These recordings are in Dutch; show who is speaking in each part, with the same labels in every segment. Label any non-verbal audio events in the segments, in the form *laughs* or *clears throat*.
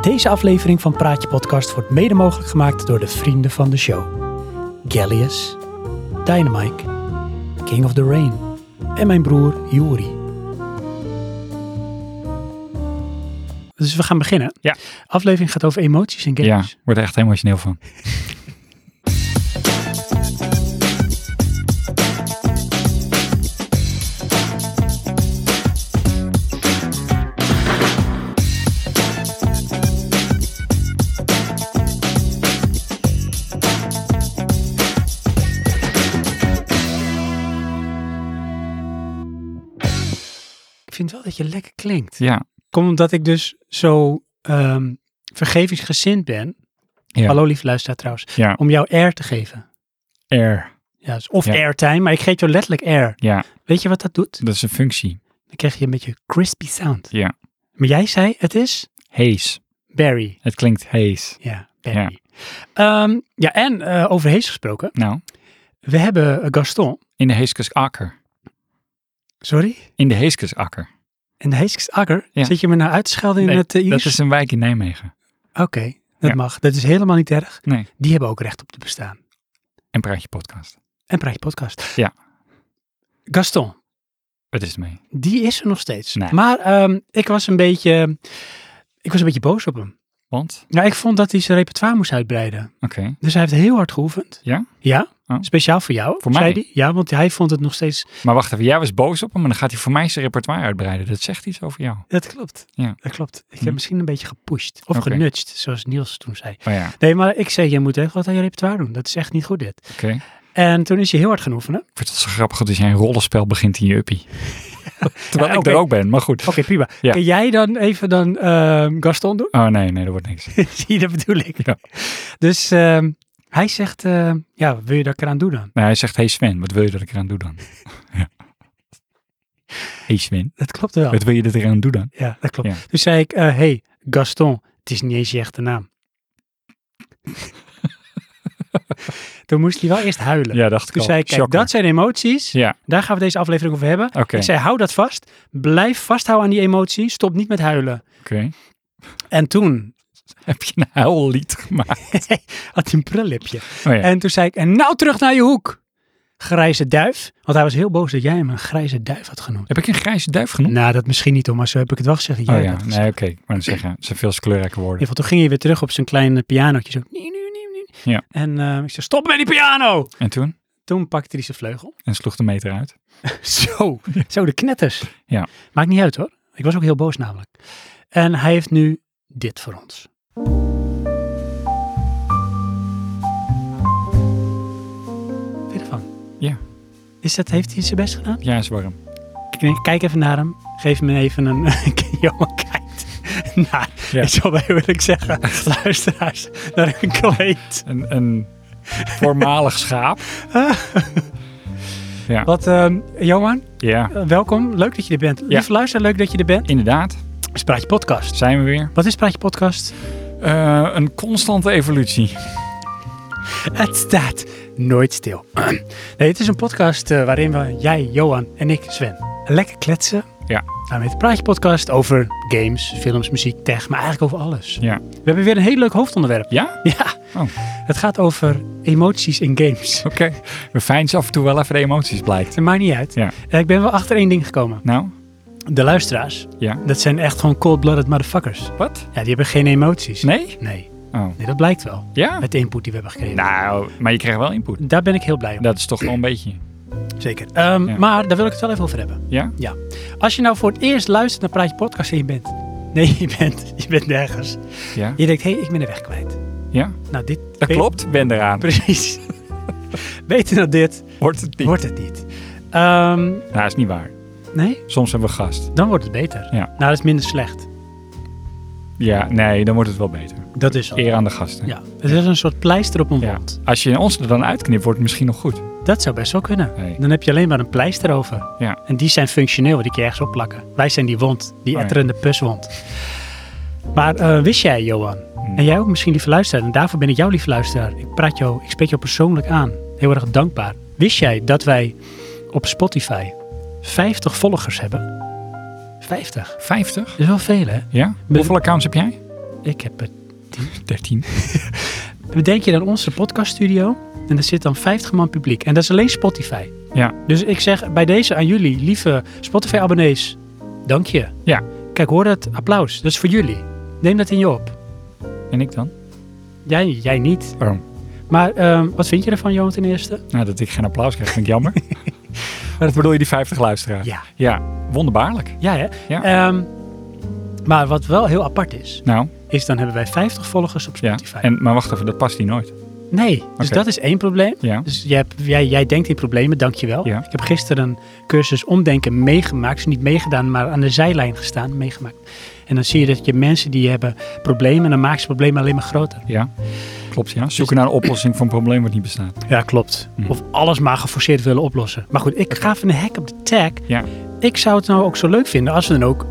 Speaker 1: Deze aflevering van Praatje Podcast wordt mede mogelijk gemaakt door de vrienden van de show. Gallius, Dynamite, King of the Rain en mijn broer Juri. Dus we gaan beginnen.
Speaker 2: Ja.
Speaker 1: Aflevering gaat over emoties en
Speaker 2: Ja,
Speaker 1: games.
Speaker 2: word er echt emotioneel van.
Speaker 1: Ik vind wel dat je lekker klinkt.
Speaker 2: Ja,
Speaker 1: Komt omdat ik dus zo ehm, vergevingsgezind ben.
Speaker 2: Ja.
Speaker 1: Hallo lieve luisteraar trouwens.
Speaker 2: Ja.
Speaker 1: Om jou air te geven.
Speaker 2: air.
Speaker 1: Ja, dus of
Speaker 2: Ja.
Speaker 1: airtime, maar ik geef jou letterlijk air.
Speaker 2: Ja,
Speaker 1: Weet je wat dat doet?
Speaker 2: dat is een functie.
Speaker 1: Dan krijg je een beetje crispy sound.
Speaker 2: Ja.
Speaker 1: Maar jij zei, het is
Speaker 2: Haze.
Speaker 1: Barry.
Speaker 2: Het klinkt haze.
Speaker 1: Ja, Barry. Ja, ja en eh over Hees gesproken.
Speaker 2: Nou,
Speaker 1: We hebben eh, Gaston.
Speaker 2: in de heeskusakker.
Speaker 1: Sorry?
Speaker 2: In de heeskusakker.
Speaker 1: En de Heeskes Akker.
Speaker 2: Ja.
Speaker 1: Zit je me nou uit te schelden in
Speaker 2: Nee,
Speaker 1: het eh,
Speaker 2: Dat
Speaker 1: Iers?
Speaker 2: is een wijk in Nijmegen.
Speaker 1: Oké, dat
Speaker 2: Ja.
Speaker 1: mag. Dat is helemaal niet erg.
Speaker 2: Nee.
Speaker 1: Die hebben ook recht op te bestaan.
Speaker 2: En praat je podcast.
Speaker 1: En Praatje Podcast.
Speaker 2: Ja.
Speaker 1: Gaston.
Speaker 2: Wat is het mee?
Speaker 1: Die is er nog steeds.
Speaker 2: Nee.
Speaker 1: Maar ehm, ik was een beetje. Ik was een beetje boos op hem.
Speaker 2: Want?
Speaker 1: Nou, ik vond dat hij zijn repertoire moest uitbreiden.
Speaker 2: Oké.
Speaker 1: Dus hij heeft heel hard geoefend.
Speaker 2: Ja?
Speaker 1: Ja.
Speaker 2: Oh.
Speaker 1: Speciaal voor jou.
Speaker 2: Voor
Speaker 1: zei
Speaker 2: mij?
Speaker 1: hij. Ja, want hij vond het nog steeds.
Speaker 2: Maar wacht even, jij was boos op hem en dan gaat hij voor mij zijn repertoire uitbreiden. Dat zegt iets over jou.
Speaker 1: Dat klopt.
Speaker 2: Ja.
Speaker 1: Dat klopt. Ik heb
Speaker 2: Hm.
Speaker 1: misschien een beetje gepusht. Of
Speaker 2: Oké.
Speaker 1: genutcht, zoals Niels toen zei.
Speaker 2: Oh ja, oké.
Speaker 1: Nee, maar ik zei: Je moet echt wat aan je repertoire doen. Dat is echt niet goed dit. En toen is hij heel hard gaan
Speaker 2: *laughs*
Speaker 1: oefenen.
Speaker 2: Ik vind het zo grappig dat jij een rollenspel begint in je
Speaker 1: *laughs*
Speaker 2: uppie.
Speaker 1: Ja,
Speaker 2: Terwijl ik
Speaker 1: oké.
Speaker 2: er ook ben, maar goed.
Speaker 1: Oké, prima.
Speaker 2: Ja.
Speaker 1: Kun jij dan even dan ehm, Gaston doen? *laughs*
Speaker 2: Oh nee, nee, dat wordt niks.
Speaker 1: Zie je, dat bedoel ik.
Speaker 2: Ja.
Speaker 1: Dus ehm, hij zegt: ehm, Ja, wat wil je daar eraan doen dan?
Speaker 2: Nee, hij zegt, hey Sven, wat wil je dat ik eraan doe dan? *laughs* ja. Hey Sven,
Speaker 1: Dat klopt wel.
Speaker 2: wat wil je dat ik eraan doe dan?
Speaker 1: Ja, dat klopt.
Speaker 2: Ja.
Speaker 1: Toen zei ik, eh, hey Gaston, het is niet eens je echte
Speaker 2: *laughs*
Speaker 1: naam. Toen moest hij wel eerst huilen.
Speaker 2: Ja, dacht ik
Speaker 1: Toen
Speaker 2: al.
Speaker 1: zei ik, kijk,
Speaker 2: Shocker.
Speaker 1: dat zijn emoties.
Speaker 2: Ja,
Speaker 1: Daar gaan we deze aflevering over hebben.
Speaker 2: oké.
Speaker 1: Ik zei, hou dat vast. Blijf vasthouden aan die emotie. Stop niet met huilen.
Speaker 2: oké.
Speaker 1: En toen
Speaker 2: Heb je een huillied gemaakt?
Speaker 1: had hij een prullipje.
Speaker 2: Oh ja.
Speaker 1: En toen zei ik, en nou terug naar je hoek. Grijze duif. Want hij was heel boos dat jij hem een grijze duif had genoemd.
Speaker 2: Heb ik een grijze duif genoemd?
Speaker 1: Nou, dat misschien niet, hoor, maar zo heb ik het wel gezegd. Jij
Speaker 2: Hm? oh ja,
Speaker 1: had het
Speaker 2: nee, oké. Ik wou net zeggen, het zijn veel kleurrijke
Speaker 1: Ja,
Speaker 2: woorden.
Speaker 1: want toen ging je weer terug op zijn kleine pianootje. Zo. nie, nie, nie, nie.
Speaker 2: Ja.
Speaker 1: En eh, ik zei, stop met die piano!
Speaker 2: En toen?
Speaker 1: Toen pakte hij zijn vleugel. *laughs*
Speaker 2: En sloeg de meter uit.
Speaker 1: zo, zo de knetters.
Speaker 2: Ja.
Speaker 1: Maakt niet uit hoor. Ik was ook heel boos namelijk. En hij heeft nu dit voor ons. Vind je ervan?
Speaker 2: Ja.
Speaker 1: Is dat, heeft hij zijn best gedaan?
Speaker 2: Ja, is warm.
Speaker 1: Ik- Kijk even naar hem. Geef me even een... *laughs* Johan kijkt. Nou,
Speaker 2: Ja.
Speaker 1: ik zal wel heel eerlijk
Speaker 2: *laughs*
Speaker 1: zeggen, luisteraars, naar een kleed.
Speaker 2: Een, een voormalig
Speaker 1: *laughs*
Speaker 2: schaap. Ja.
Speaker 1: Wat, ehm, Johan,
Speaker 2: Ja,
Speaker 1: eh, welkom. Leuk dat je er bent. Lieve luisteraar, leuk dat je er bent.
Speaker 2: inderdaad.
Speaker 1: Het is Praatje Podcast.
Speaker 2: Zijn we weer.
Speaker 1: Wat is Praatje Podcast?
Speaker 2: Eh, een constante evolutie.
Speaker 1: Het staat nooit stil. *clears throat* nee, het is een podcast eh, waarin we, jij, Johan en ik, Sven, lekker kletsen.
Speaker 2: Ja.
Speaker 1: Nou, met Praatje Podcast over games, films, muziek, tech, maar eigenlijk over alles.
Speaker 2: Ja.
Speaker 1: We hebben weer een heel leuk hoofdonderwerp.
Speaker 2: Ja?
Speaker 1: Ja,
Speaker 2: Oh.
Speaker 1: het gaat over emoties in games.
Speaker 2: *laughs* Oké. We fijnsen af en toe wel even de emoties, blijkt.
Speaker 1: Het maakt niet uit.
Speaker 2: Ja.
Speaker 1: Eh, Ik ben wel achter één ding gekomen.
Speaker 2: Nou,
Speaker 1: De luisteraars,
Speaker 2: ja.
Speaker 1: dat zijn echt gewoon cold-blooded motherfuckers.
Speaker 2: Wat?
Speaker 1: Ja, die hebben geen emoties.
Speaker 2: Nee?
Speaker 1: Nee,
Speaker 2: Oh.
Speaker 1: Nee, dat blijkt wel.
Speaker 2: Ja?
Speaker 1: Met de input die we hebben gekregen.
Speaker 2: Nou, maar je kreeg wel input.
Speaker 1: Daar ben ik heel blij om.
Speaker 2: Dat is toch wel een beetje.
Speaker 1: Zeker. Ehm,
Speaker 2: Ja.
Speaker 1: Maar daar wil ik het wel even over hebben.
Speaker 2: Ja?
Speaker 1: Ja. Als je nou voor het eerst luistert naar Praatje Podcast en je bent... Nee, je bent, je bent nergens.
Speaker 2: Ja?
Speaker 1: Je denkt, hé, hey, ik ben de weg kwijt.
Speaker 2: Ja?
Speaker 1: Nou, dit...
Speaker 2: Dat
Speaker 1: weet-
Speaker 2: klopt. Ben eraan.
Speaker 1: *laughs* Precies. Beter dan dit
Speaker 2: Wordt het niet.
Speaker 1: wordt het niet. Ehm,
Speaker 2: Nou, is niet waar.
Speaker 1: nee,
Speaker 2: Soms hebben we gast.
Speaker 1: dan wordt het beter.
Speaker 2: Ja.
Speaker 1: Nou, dat is minder slecht.
Speaker 2: Ja, nee, dan wordt het wel beter.
Speaker 1: Dat is al.
Speaker 2: Eer aan de gasten.
Speaker 1: Ja, het is een soort pleister op een
Speaker 2: Ja.
Speaker 1: wond.
Speaker 2: Als je ons er dan uitknipt, wordt het misschien nog goed.
Speaker 1: Dat zou best wel kunnen.
Speaker 2: Nee.
Speaker 1: Dan heb je alleen maar een pleister over.
Speaker 2: Ja.
Speaker 1: En die zijn functioneel, want die kun je ergens opplakken. Wij zijn die wond, die
Speaker 2: Oh ja.
Speaker 1: etterende puswond. Maar eh, wist jij, Johan,
Speaker 2: Hmm.
Speaker 1: en jij ook misschien lieve luisteraar, en daarvoor ben ik jouw lieve luisteraar. Ik praat jou, ik spreek jou persoonlijk aan. Heel erg dankbaar. Wist jij dat wij op Spotify 50 volgers hebben? 50.
Speaker 2: 50?
Speaker 1: Dat is wel veel, hè?
Speaker 2: Ja? Hoeveel accounts heb jij?
Speaker 1: Eh, Ik heb het.
Speaker 2: 13.
Speaker 1: Bedenk je dan onze podcaststudio en er zit dan 50 man publiek. En dat is alleen Spotify.
Speaker 2: Ja.
Speaker 1: Dus ik zeg bij deze aan jullie, lieve Spotify-abonnees, dank je.
Speaker 2: Ja.
Speaker 1: Kijk, hoor dat applaus. Dat is voor jullie. Neem dat in je op.
Speaker 2: En ik dan?
Speaker 1: Jij, jij niet.
Speaker 2: Waarom?
Speaker 1: Maar ehm, wat vind je ervan, Johan, ten eerste?
Speaker 2: Nou, dat ik geen applaus krijg, vind
Speaker 1: *laughs*
Speaker 2: ik jammer. Wat bedoel je die 50 luisteraars?
Speaker 1: Ja.
Speaker 2: Ja, wonderbaarlijk.
Speaker 1: Ja, hè?
Speaker 2: Ja.
Speaker 1: Ehm, maar wat wel heel apart is,
Speaker 2: Nou,
Speaker 1: is dan hebben wij 50 volgers op
Speaker 2: ja.
Speaker 1: Spotify.
Speaker 2: En, maar wacht even, dat past hier nooit.
Speaker 1: Nee, dus
Speaker 2: Oké.
Speaker 1: dat is één probleem.
Speaker 2: Ja.
Speaker 1: Dus jij, hebt- jij, jij denkt in problemen, dankjewel.
Speaker 2: Ja.
Speaker 1: Ik heb gisteren een cursus omdenken meegemaakt. Dus niet meegedaan, maar aan de zijlijn gestaan, meegemaakt. En dan zie je dat je mensen die hebben problemen, en dan maken ze problemen alleen maar groter.
Speaker 2: Ja, klopt ja. Zoeken naar een oplossing voor een probleem wat niet bestaat.
Speaker 1: Ja, klopt.
Speaker 2: Hm.
Speaker 1: Of alles maar geforceerd willen oplossen. Maar goed, ik ga even een hack op de tag.
Speaker 2: Ja.
Speaker 1: Ik zou het nou ook zo leuk vinden als we dan ook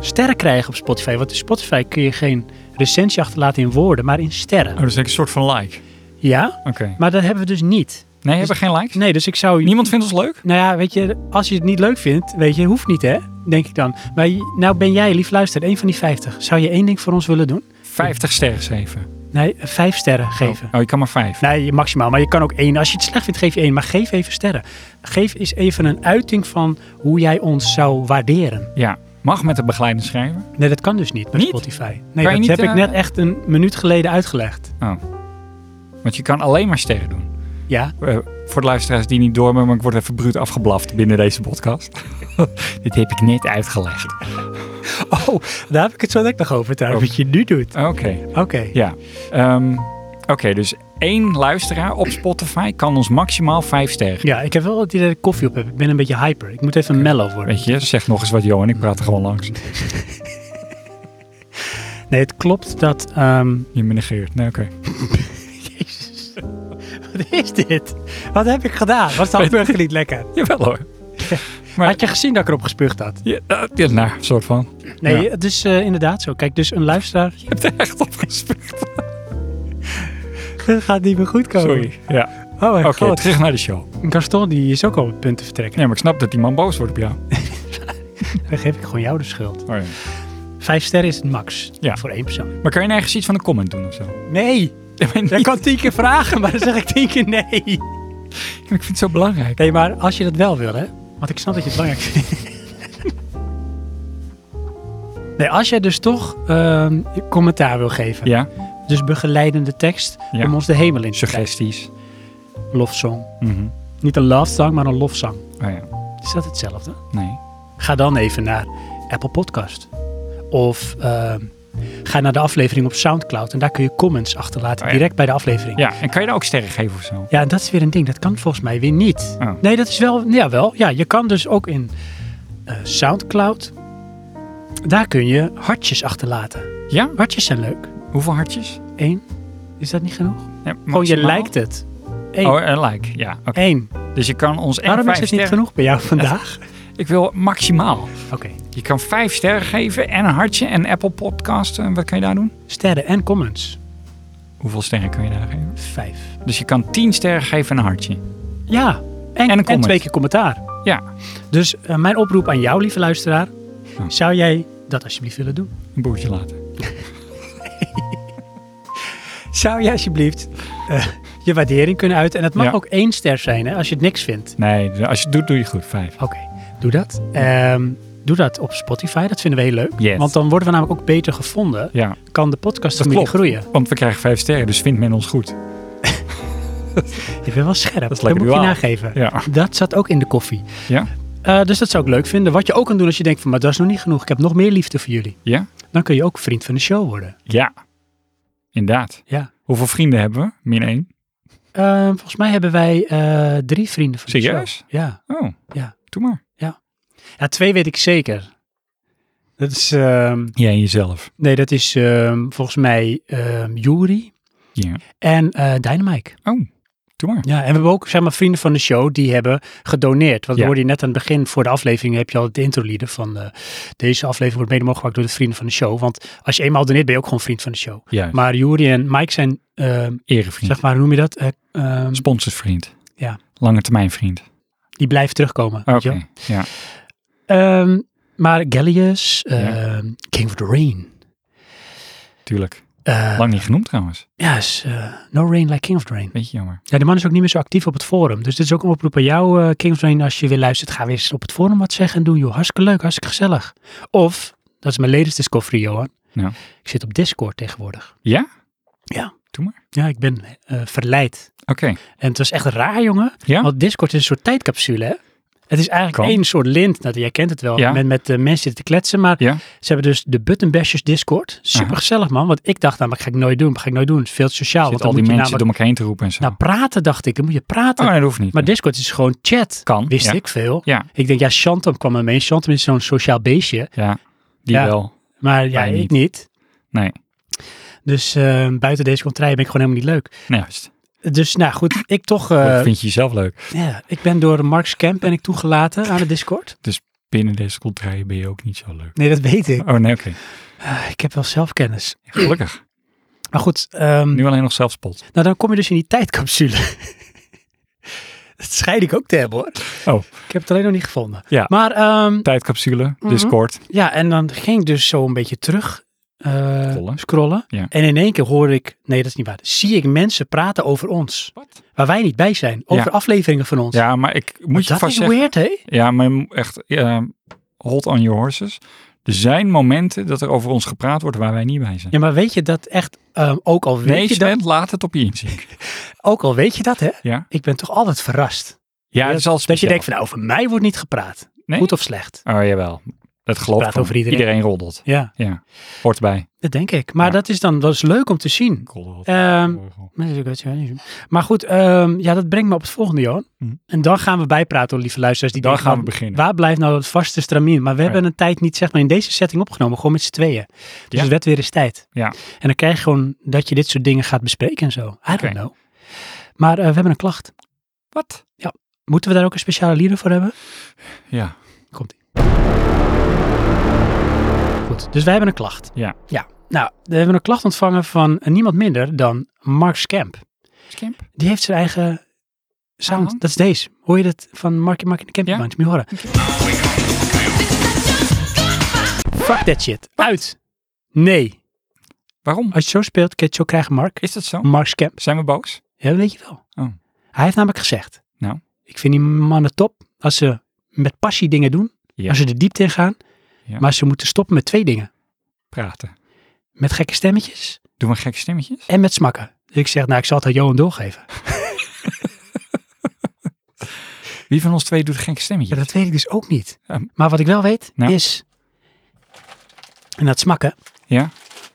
Speaker 1: sterren krijgen op Spotify. Want in Spotify kun je geen recensie achterlaten in woorden, maar in sterren.
Speaker 2: Oh, dus ik een soort van like.
Speaker 1: Ja,
Speaker 2: Oké.
Speaker 1: maar dat hebben we dus niet.
Speaker 2: Nee, hebben we geen likes?
Speaker 1: Nee, dus ik zou
Speaker 2: Niemand vindt ons leuk?
Speaker 1: Nou ja, weet je, als je het niet leuk vindt, weet je, hoeft niet hè, denk ik dan. Maar je- nou ben jij, lief luister, één van die 50. Zou je één ding voor ons willen doen?
Speaker 2: 50 sterren geven.
Speaker 1: Nee, eh, vijf sterren geven.
Speaker 2: Oh, je kan maar 5.
Speaker 1: Nee, maximaal, maar je kan ook één. Als je het slecht vindt, geef je één, maar geef even sterren. Geef eens even een uiting van hoe jij ons zou waarderen.
Speaker 2: Ja. Mag met een begeleidende schrijver?
Speaker 1: Nee, dat kan dus niet bij
Speaker 2: Niet?
Speaker 1: Spotify. Nee,
Speaker 2: je
Speaker 1: dat
Speaker 2: niet,
Speaker 1: heb ik
Speaker 2: eh,
Speaker 1: net echt een minuut geleden uitgelegd.
Speaker 2: Oh. Want je kan alleen maar sterren doen.
Speaker 1: Ja, *laughs*
Speaker 2: Eh, voor de luisteraars die niet door me, maar ik word even bruut afgeblaft binnen deze podcast. *laughs* Dit heb ik net uitgelegd.
Speaker 1: oh, daar heb ik het zo net nog over trouwens,
Speaker 2: Oh.
Speaker 1: wat je nu doet.
Speaker 2: Oké.
Speaker 1: Oké,
Speaker 2: Ja. Ehm, Oké, dus één luisteraar op Spotify kan ons maximaal 5 sterren geven.
Speaker 1: ja, ik heb wel het idee dat ik koffie op heb. Ik ben een beetje hyper. Ik moet even mellow worden.
Speaker 2: Weet je, zeg nog eens wat Johan, ik praat er gewoon langs.
Speaker 1: Nee, het klopt dat. ehm,
Speaker 2: Je menegeert. Nee, oké. *laughs*
Speaker 1: Jezus. Wat is dit? Wat heb ik gedaan? Was dat
Speaker 2: Weet-
Speaker 1: burger niet lekker?
Speaker 2: Jawel hoor. Maar-
Speaker 1: Had je gezien dat ik erop gespuugd had?
Speaker 2: Ja, eh, ja, nou, soort van. *laughs*
Speaker 1: Nee,
Speaker 2: Ja.
Speaker 1: het is eh, inderdaad zo. Kijk, dus een luisteraar... *laughs*
Speaker 2: Je hebt er echt op gespeeld.
Speaker 1: Dat gaat niet meer goed komen.
Speaker 2: Sorry. Ja.
Speaker 1: Oh mijn
Speaker 2: Oké,
Speaker 1: god.
Speaker 2: terug naar de show.
Speaker 1: Gaston die is ook al op het punt te vertrekken.
Speaker 2: Ja, maar ik snap dat die man boos wordt op jou.
Speaker 1: Dan geef ik gewoon jou de schuld.
Speaker 2: Oh, ja.
Speaker 1: Vijf sterren is het max.
Speaker 2: Ja.
Speaker 1: Voor één persoon.
Speaker 2: Maar kan je nergens iets van een comment doen of zo? *laughs*
Speaker 1: Nee. Jij kan tien keer vragen, maar dan zeg ik tien keer nee.
Speaker 2: Ik vind het zo belangrijk.
Speaker 1: Nee, maar als je dat wel wil, hè? Want ik snap dat je het belangrijk vindt. *laughs* Nee, als jij dus toch ehm, commentaar wil geven.
Speaker 2: Ja,
Speaker 1: Dus begeleidende tekst
Speaker 2: Ja.
Speaker 1: om ons de hemel in te krijgen.
Speaker 2: suggesties.
Speaker 1: Lofzong.
Speaker 2: Mhm.
Speaker 1: Niet een love song, maar een lofzang.
Speaker 2: Oh ja,
Speaker 1: Is dat hetzelfde?
Speaker 2: nee.
Speaker 1: Ga dan even naar Apple Podcast. Of ehm, ga naar de aflevering op Soundcloud. En daar kun je comments achterlaten,
Speaker 2: Oh ja.
Speaker 1: direct bij de aflevering.
Speaker 2: Ja, en kan je daar ook sterren geven of zo?
Speaker 1: Ja, en dat is weer een ding. Dat kan volgens mij weer niet.
Speaker 2: Oh.
Speaker 1: Nee, dat is wel... Ja, wel. Ja, je kan dus ook in eh, Soundcloud... Daar kun je hartjes achterlaten.
Speaker 2: Ja?
Speaker 1: Hartjes zijn leuk.
Speaker 2: Hoeveel hartjes?
Speaker 1: Eén. Is dat niet genoeg?
Speaker 2: Ja,
Speaker 1: Gewoon, je
Speaker 2: maximaal?
Speaker 1: lijkt het. Eén.
Speaker 2: Oh, een like, ja. oké.
Speaker 1: Eén.
Speaker 2: Dus je kan ons en
Speaker 1: Waarom
Speaker 2: vijf
Speaker 1: is het niet
Speaker 2: sterren...
Speaker 1: genoeg bij jou vandaag?
Speaker 2: Ik wil maximaal.
Speaker 1: Oké.
Speaker 2: Je kan vijf sterren geven en een hartje en Apple Podcast. eh, Wat kan je daar doen?
Speaker 1: Sterren en comments.
Speaker 2: Hoeveel sterren kun je daar geven?
Speaker 1: Vijf.
Speaker 2: Dus je kan tien sterren geven en een hartje.
Speaker 1: Ja. En,
Speaker 2: een
Speaker 1: en,
Speaker 2: comment.
Speaker 1: twee keer commentaar.
Speaker 2: Ja,
Speaker 1: Dus eh, mijn oproep aan jou, lieve luisteraar.
Speaker 2: Ja.
Speaker 1: Zou jij dat alsjeblieft willen doen?
Speaker 2: een boertje later.
Speaker 1: Zou jij alsjeblieft eh, je waardering kunnen uiten? En het mag
Speaker 2: Ja.
Speaker 1: ook één ster zijn hè, als je het niks vindt.
Speaker 2: Nee, als je het doet, doe je goed. Vijf.
Speaker 1: Oké, doe dat. Ehm, doe dat op Spotify. Dat vinden we heel leuk.
Speaker 2: Yes.
Speaker 1: Want dan worden we namelijk ook beter gevonden.
Speaker 2: Ja,
Speaker 1: Kan de podcast
Speaker 2: dat
Speaker 1: familie
Speaker 2: klopt.
Speaker 1: groeien.
Speaker 2: Want we krijgen vijf sterren, dus vindt men ons goed.
Speaker 1: Je bent wel scherp.
Speaker 2: Dat is
Speaker 1: moet
Speaker 2: lekker
Speaker 1: je
Speaker 2: duaal.
Speaker 1: nageven.
Speaker 2: Ja.
Speaker 1: Dat zat ook in de koffie.
Speaker 2: Ja?
Speaker 1: Eh, dus dat zou ik leuk vinden. Wat je ook kan doen als je denkt van, maar dat is nog niet genoeg. Ik heb nog meer liefde voor jullie.
Speaker 2: Ja?
Speaker 1: Dan kun je ook vriend van de show worden.
Speaker 2: Ja. Inderdaad.
Speaker 1: Ja.
Speaker 2: Hoeveel vrienden hebben we? Min één.
Speaker 1: Eh, volgens mij hebben wij eh, drie vrienden van de
Speaker 2: Serieus?
Speaker 1: show. Ja.
Speaker 2: Oh.
Speaker 1: Ja.
Speaker 2: Doe maar.
Speaker 1: ja, twee weet ik zeker. Dat is, ehm,
Speaker 2: Jij en jezelf.
Speaker 1: nee, dat is ehm, volgens mij ehm Yuri
Speaker 2: Ja.
Speaker 1: en eh Dynamike.
Speaker 2: Oh. Doe maar.
Speaker 1: Ja, en we hebben ook zeg maar, vrienden van de show die hebben gedoneerd. Want
Speaker 2: Ja.
Speaker 1: we hoorden je net aan het begin voor de aflevering heb je al de introlieden van eh, deze aflevering wordt mede mogelijk gemaakt door de vrienden van de show. Want als je eenmaal doneert ben je ook gewoon vriend van de show.
Speaker 2: Juist.
Speaker 1: Maar Juri en Mike zijn, ehm,
Speaker 2: Erevriend.
Speaker 1: zeg maar, hoe noem je dat? Eh, ehm,
Speaker 2: Sponsorsvriend.
Speaker 1: Ja.
Speaker 2: Lange termijn vriend.
Speaker 1: die blijven terugkomen.
Speaker 2: Oké.
Speaker 1: weet je wel.
Speaker 2: Ja.
Speaker 1: Ehm, maar Gallius,
Speaker 2: Ja.
Speaker 1: ehm, King of the Rain.
Speaker 2: tuurlijk.
Speaker 1: Eh,
Speaker 2: Lang niet genoemd trouwens.
Speaker 1: ja, is, eh, No Rain Like King of Drain.
Speaker 2: Beetje jammer.
Speaker 1: Ja, de man is ook niet meer zo actief op het forum. Dus dit is ook een oproep aan jou, eh, King of Drain. Als je weer luistert, ga weer eens op het forum wat zeggen en doen. Joh, hartstikke leuk, hartstikke gezellig. Of, dat is mijn latest discovery, Johan.
Speaker 2: Ja.
Speaker 1: Ik zit op Discord tegenwoordig.
Speaker 2: Ja?
Speaker 1: Ja, ik ben eh, verleid.
Speaker 2: Oké.
Speaker 1: En het was echt raar, jongen.
Speaker 2: Ja?
Speaker 1: Want Discord is een soort tijdcapsule, hè? Het is eigenlijk
Speaker 2: Kan.
Speaker 1: één soort lint. Nou, jij kent het wel.
Speaker 2: Ja.
Speaker 1: Met, met eh, mensen zitten te kletsen. Maar
Speaker 2: Ja.
Speaker 1: ze hebben dus de Buttonbashers Discord. Super gezellig, man. Want ik dacht namelijk, ga ik nooit doen. Ga ik nooit doen. Het is veel te sociaal.
Speaker 2: Zit
Speaker 1: want
Speaker 2: al
Speaker 1: dan
Speaker 2: die
Speaker 1: moet
Speaker 2: mensen
Speaker 1: je
Speaker 2: door
Speaker 1: namelijk...
Speaker 2: elkaar heen te roepen en zo.
Speaker 1: Nou, praten dacht ik. Dan moet je praten.
Speaker 2: oh, nee, dat hoeft niet.
Speaker 1: Maar Discord is gewoon chat.
Speaker 2: Kan,
Speaker 1: Wist
Speaker 2: ja.
Speaker 1: ik veel.
Speaker 2: Ja.
Speaker 1: Ik denk, ja, Chantam kwam er mee. Chantam is zo'n sociaal beestje.
Speaker 2: ja, die
Speaker 1: Ja.
Speaker 2: wel.
Speaker 1: Maar ja,
Speaker 2: Wij
Speaker 1: ik
Speaker 2: niet.
Speaker 1: niet.
Speaker 2: Nee,
Speaker 1: Dus eh, buiten deze contraille ben ik gewoon helemaal niet leuk.
Speaker 2: nee juist.
Speaker 1: Dus nou goed, ik toch... eh,
Speaker 2: dat oh, vind je jezelf leuk.
Speaker 1: ja, ik ben door Mark Camp ben ik toegelaten aan de Discord.
Speaker 2: Binnen deze contraien ben je ook niet zo leuk.
Speaker 1: Nee, dat weet ik.
Speaker 2: Oh nee, oké.
Speaker 1: Ah, ik heb wel zelfkennis. *clears throat*
Speaker 2: Gelukkig.
Speaker 1: Maar goed, ehm,
Speaker 2: Nu alleen nog zelfspot.
Speaker 1: nou dan kom je dus in die tijdcapsule. *laughs* dat scheid ik ook te hebben hoor.
Speaker 2: Oh.
Speaker 1: Ik heb het alleen nog niet gevonden.
Speaker 2: Ja.
Speaker 1: Maar ehm,
Speaker 2: Tijdcapsule, Discord.
Speaker 1: ja, en dan ging ik dus zo een beetje terug eh,
Speaker 2: Scrollen.
Speaker 1: scrollen.
Speaker 2: Ja.
Speaker 1: En in één keer hoor ik, nee dat is niet waar, zie ik mensen praten over ons.
Speaker 2: Wat?
Speaker 1: Waar wij niet bij zijn. Over
Speaker 2: Ja.
Speaker 1: afleveringen van ons.
Speaker 2: Ja, maar ik moet je
Speaker 1: dat
Speaker 2: vast
Speaker 1: is
Speaker 2: zeggen.
Speaker 1: weird hè?
Speaker 2: Ja, maar je moet echt eh, hold on your horses. Er zijn momenten dat er over ons gepraat wordt waar wij niet bij zijn.
Speaker 1: Ja, maar weet je dat echt, ehm, ook, al weet
Speaker 2: nee,
Speaker 1: je dat,
Speaker 2: Sven, laat het op je
Speaker 1: *laughs*
Speaker 2: inzien.
Speaker 1: ook al weet je dat hè?
Speaker 2: Ja.
Speaker 1: Ik ben toch altijd verrast.
Speaker 2: Ja, dat is al
Speaker 1: Dat je
Speaker 2: speciaal.
Speaker 1: denkt van nou, over mij wordt niet gepraat.
Speaker 2: Nee?
Speaker 1: Goed of slecht.
Speaker 2: Oh jawel, dat geloof
Speaker 1: Praat
Speaker 2: ik. wel.
Speaker 1: over iedereen.
Speaker 2: roddelt.
Speaker 1: Ja.
Speaker 2: Hoort bij.
Speaker 1: Dat denk ik. Maar
Speaker 2: Ja.
Speaker 1: dat is dan dat is leuk om te zien. Ehm, maar goed, ehm, ja, dat brengt me op het volgende, Johan.
Speaker 2: Mhm.
Speaker 1: En dan gaan we bijpraten, oh, lieve luisteraars. Die
Speaker 2: Dan
Speaker 1: denken,
Speaker 2: gaan we
Speaker 1: wat-
Speaker 2: beginnen.
Speaker 1: Waar blijft nou het vaste stramien? Maar we hebben een tijd niet, zeg maar, in deze setting opgenomen. Gewoon met z'n tweeën. Dus
Speaker 2: Ja.
Speaker 1: het werd weer eens tijd.
Speaker 2: Ja.
Speaker 1: En dan krijg je gewoon dat je dit soort dingen gaat bespreken en zo. I don't
Speaker 2: Oké.
Speaker 1: know. Maar eh, we hebben een klacht.
Speaker 2: Wat?
Speaker 1: Moeten we daar ook een speciale lieder voor hebben?
Speaker 2: Ja.
Speaker 1: Komt ie. Goed, dus wij hebben een klacht.
Speaker 2: Ja.
Speaker 1: Ja. Nou, we hebben een klacht ontvangen van niemand minder dan Mark Scamp.
Speaker 2: Skimp?
Speaker 1: Die heeft zijn eigen sound.
Speaker 2: Aha.
Speaker 1: Dat is deze. Hoor je dat van Mark, Mark in de Camping
Speaker 2: Ja?
Speaker 1: Band? Moet je horen. Fuck that shit. Uit. Nee.
Speaker 2: Waarom?
Speaker 1: Als je het zo speelt, kun je het zo krijgen, Mark.
Speaker 2: Is dat zo?
Speaker 1: Mark Scamp.
Speaker 2: Zijn we boos?
Speaker 1: Ja, dat weet je wel.
Speaker 2: Oh.
Speaker 1: Hij heeft namelijk gezegd.
Speaker 2: Nou?
Speaker 1: Ik vind die mannen top als ze met passie dingen doen.
Speaker 2: Ja.
Speaker 1: Als ze de diepte in gaan.
Speaker 2: Ja.
Speaker 1: Maar ze moeten stoppen met twee dingen.
Speaker 2: Praten.
Speaker 1: Met gekke stemmetjes
Speaker 2: Doen we gekke stemmetjes?
Speaker 1: en met smakken. Dus ik zeg, nou, ik zal het aan Johan doorgeven.
Speaker 2: Wie van ons twee doet gekke
Speaker 1: Ja,
Speaker 2: stemmetjes?
Speaker 1: dat weet ik dus ook niet.
Speaker 2: Ehm.
Speaker 1: Maar wat ik wel weet
Speaker 2: Nou.
Speaker 1: is... En dat smakken.
Speaker 2: Ja?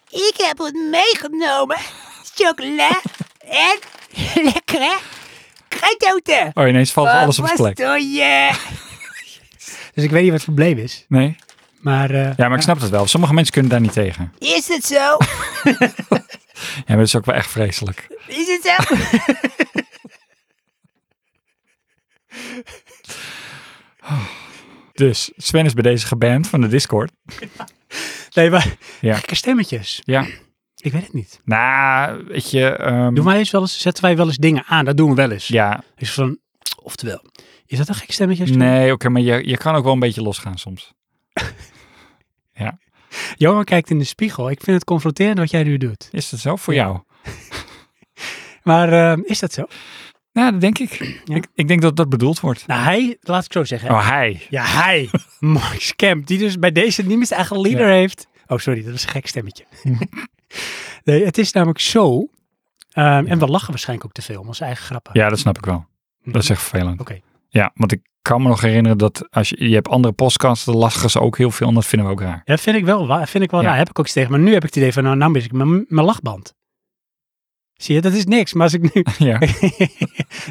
Speaker 3: Ik heb wat meegenomen. Chocola en lekkere kruidouten.
Speaker 2: Oh, ineens valt
Speaker 1: Eh,
Speaker 2: alles op
Speaker 3: Wat
Speaker 2: zijn plek.
Speaker 3: doe je?
Speaker 1: *laughs* Dus ik weet niet wat het probleem is.
Speaker 2: Nee?
Speaker 1: Maar, eh,
Speaker 2: Ja, maar ik snap het wel. Sommige mensen kunnen daar niet tegen.
Speaker 3: Is het zo?
Speaker 2: Ja, maar dat is ook wel echt vreselijk.
Speaker 3: Is het zo?
Speaker 2: Dus Sven is bij deze geband van de Discord.
Speaker 1: Nee, maar
Speaker 2: Ja.
Speaker 1: gekke stemmetjes.
Speaker 2: Ja.
Speaker 1: Ik weet het niet.
Speaker 2: Nou, weet je... ehm,
Speaker 1: Doen wij eens wel eens, zetten wij wel eens dingen aan. Dat doen we wel eens.
Speaker 2: Ja,
Speaker 1: Dus van, oftewel, is dat een gek stemmetje?
Speaker 2: nee, oké, maar je, je kan ook wel een beetje losgaan soms.
Speaker 1: Johan kijkt in de spiegel. Ik vind het confronterend wat jij nu doet.
Speaker 2: Is dat zo voor
Speaker 1: Ja.
Speaker 2: jou?
Speaker 1: Maar eh, is dat zo?
Speaker 2: Nou, dat denk ik.
Speaker 1: Ja.
Speaker 2: ik. Ik denk dat dat bedoeld wordt.
Speaker 1: Nou, hij, laat ik het zo zeggen. hè.
Speaker 2: Oh, hij.
Speaker 1: Ja,
Speaker 2: *laughs*
Speaker 1: hij. Max Kemp, die dus bij deze niet meer zijn eigen leader heeft. Oh, sorry, dat was een gek stemmetje. *laughs* nee, het is namelijk zo. ehm, En we lachen waarschijnlijk ook te veel om onze eigen grappen.
Speaker 2: Ja, dat snap ik wel. Dat is echt vervelend.
Speaker 1: Mhm. Oké.
Speaker 2: Ja, want ik kan me nog herinneren dat als je, je hebt andere podcasts, dan lachen ze ook heel veel en dat vinden we ook raar.
Speaker 1: Ja,
Speaker 2: *laughs*
Speaker 1: dat vind ik wel. waar- Vind ik wel
Speaker 2: Ja.
Speaker 1: raar. Heb ik ook eens tegen. Maar nu heb ik het idee van, nou, nou mis ik mijn, mijn lachband. Zie je, dat is niks. Maar als ik nu... *laughs*
Speaker 2: *laughs* ja,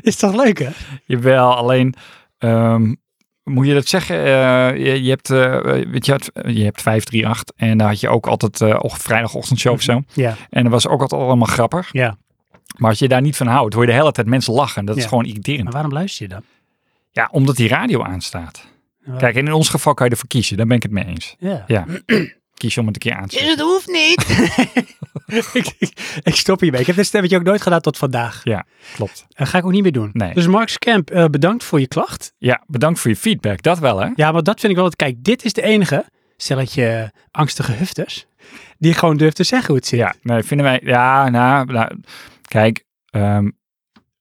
Speaker 1: is toch leuk, hè?
Speaker 2: jawel. Alleen, ehm, moet je dat zeggen? Eh, je, je hebt, eh, weet je, het- je hebt 538 en daar had je ook altijd eh, och- vrijdagochtendshow of zo.
Speaker 1: Ja.
Speaker 2: En dat was ook altijd allemaal grappig.
Speaker 1: Ja.
Speaker 2: Maar als je daar niet van houdt, hoor je de hele tijd mensen lachen. Dat is
Speaker 1: Ja.
Speaker 2: gewoon irriterend.
Speaker 1: Maar waarom luister je dan?
Speaker 2: Ja, omdat die radio aanstaat.
Speaker 1: Ja.
Speaker 2: Kijk, en in ons geval kan je ervoor kiezen. Daar ben ik het mee eens.
Speaker 1: Ja.
Speaker 2: Ja. Kies je om het een keer aan te
Speaker 3: Dus
Speaker 2: zetten.
Speaker 3: het hoeft niet.
Speaker 1: *laughs* ik, ik- ik stop hiermee. Ik heb dit stemmetje ook nooit gedaan tot vandaag.
Speaker 2: Ja, klopt.
Speaker 1: Dat ga ik ook niet meer doen.
Speaker 2: Nee.
Speaker 1: Dus Mark Kemp, eh, bedankt voor je klacht.
Speaker 2: Ja, bedankt voor je feedback. Dat wel, hè?
Speaker 1: Ja, maar dat vind ik wel. Kijk, dit is de enige stelletje angstige hufters. die gewoon durft te zeggen hoe het zit.
Speaker 2: Ja, nee, vinden wij. Ja, nou, nou, kijk, ehm,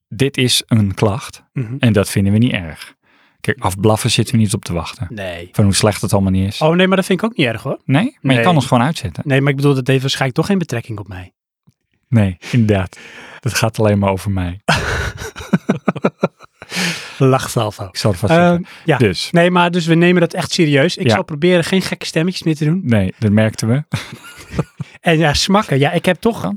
Speaker 2: dit is een klacht
Speaker 1: Mhm.
Speaker 2: en dat vinden we niet erg. Kijk, afblaffen zitten we niet op te wachten.
Speaker 1: Nee.
Speaker 2: Van hoe slecht het allemaal niet is.
Speaker 1: Oh nee, maar dat vind ik ook niet erg hoor.
Speaker 2: Nee, maar je
Speaker 1: Nee.
Speaker 2: kan ons gewoon uitzetten.
Speaker 1: Nee, maar ik bedoel, dat heeft waarschijnlijk toch geen betrekking op mij.
Speaker 2: Nee, inderdaad. Dat gaat alleen maar over mij.
Speaker 1: Lachsalvo.
Speaker 2: Ik zal het vast
Speaker 1: Ehm
Speaker 2: zeggen.
Speaker 1: ja.
Speaker 2: Dus,
Speaker 1: Nee, maar dus we nemen dat echt serieus. Ik
Speaker 2: Ja.
Speaker 1: zal proberen geen gekke stemmetjes meer te doen.
Speaker 2: nee, dat merkten we.
Speaker 1: En ja, smakken. Ja, ik heb toch...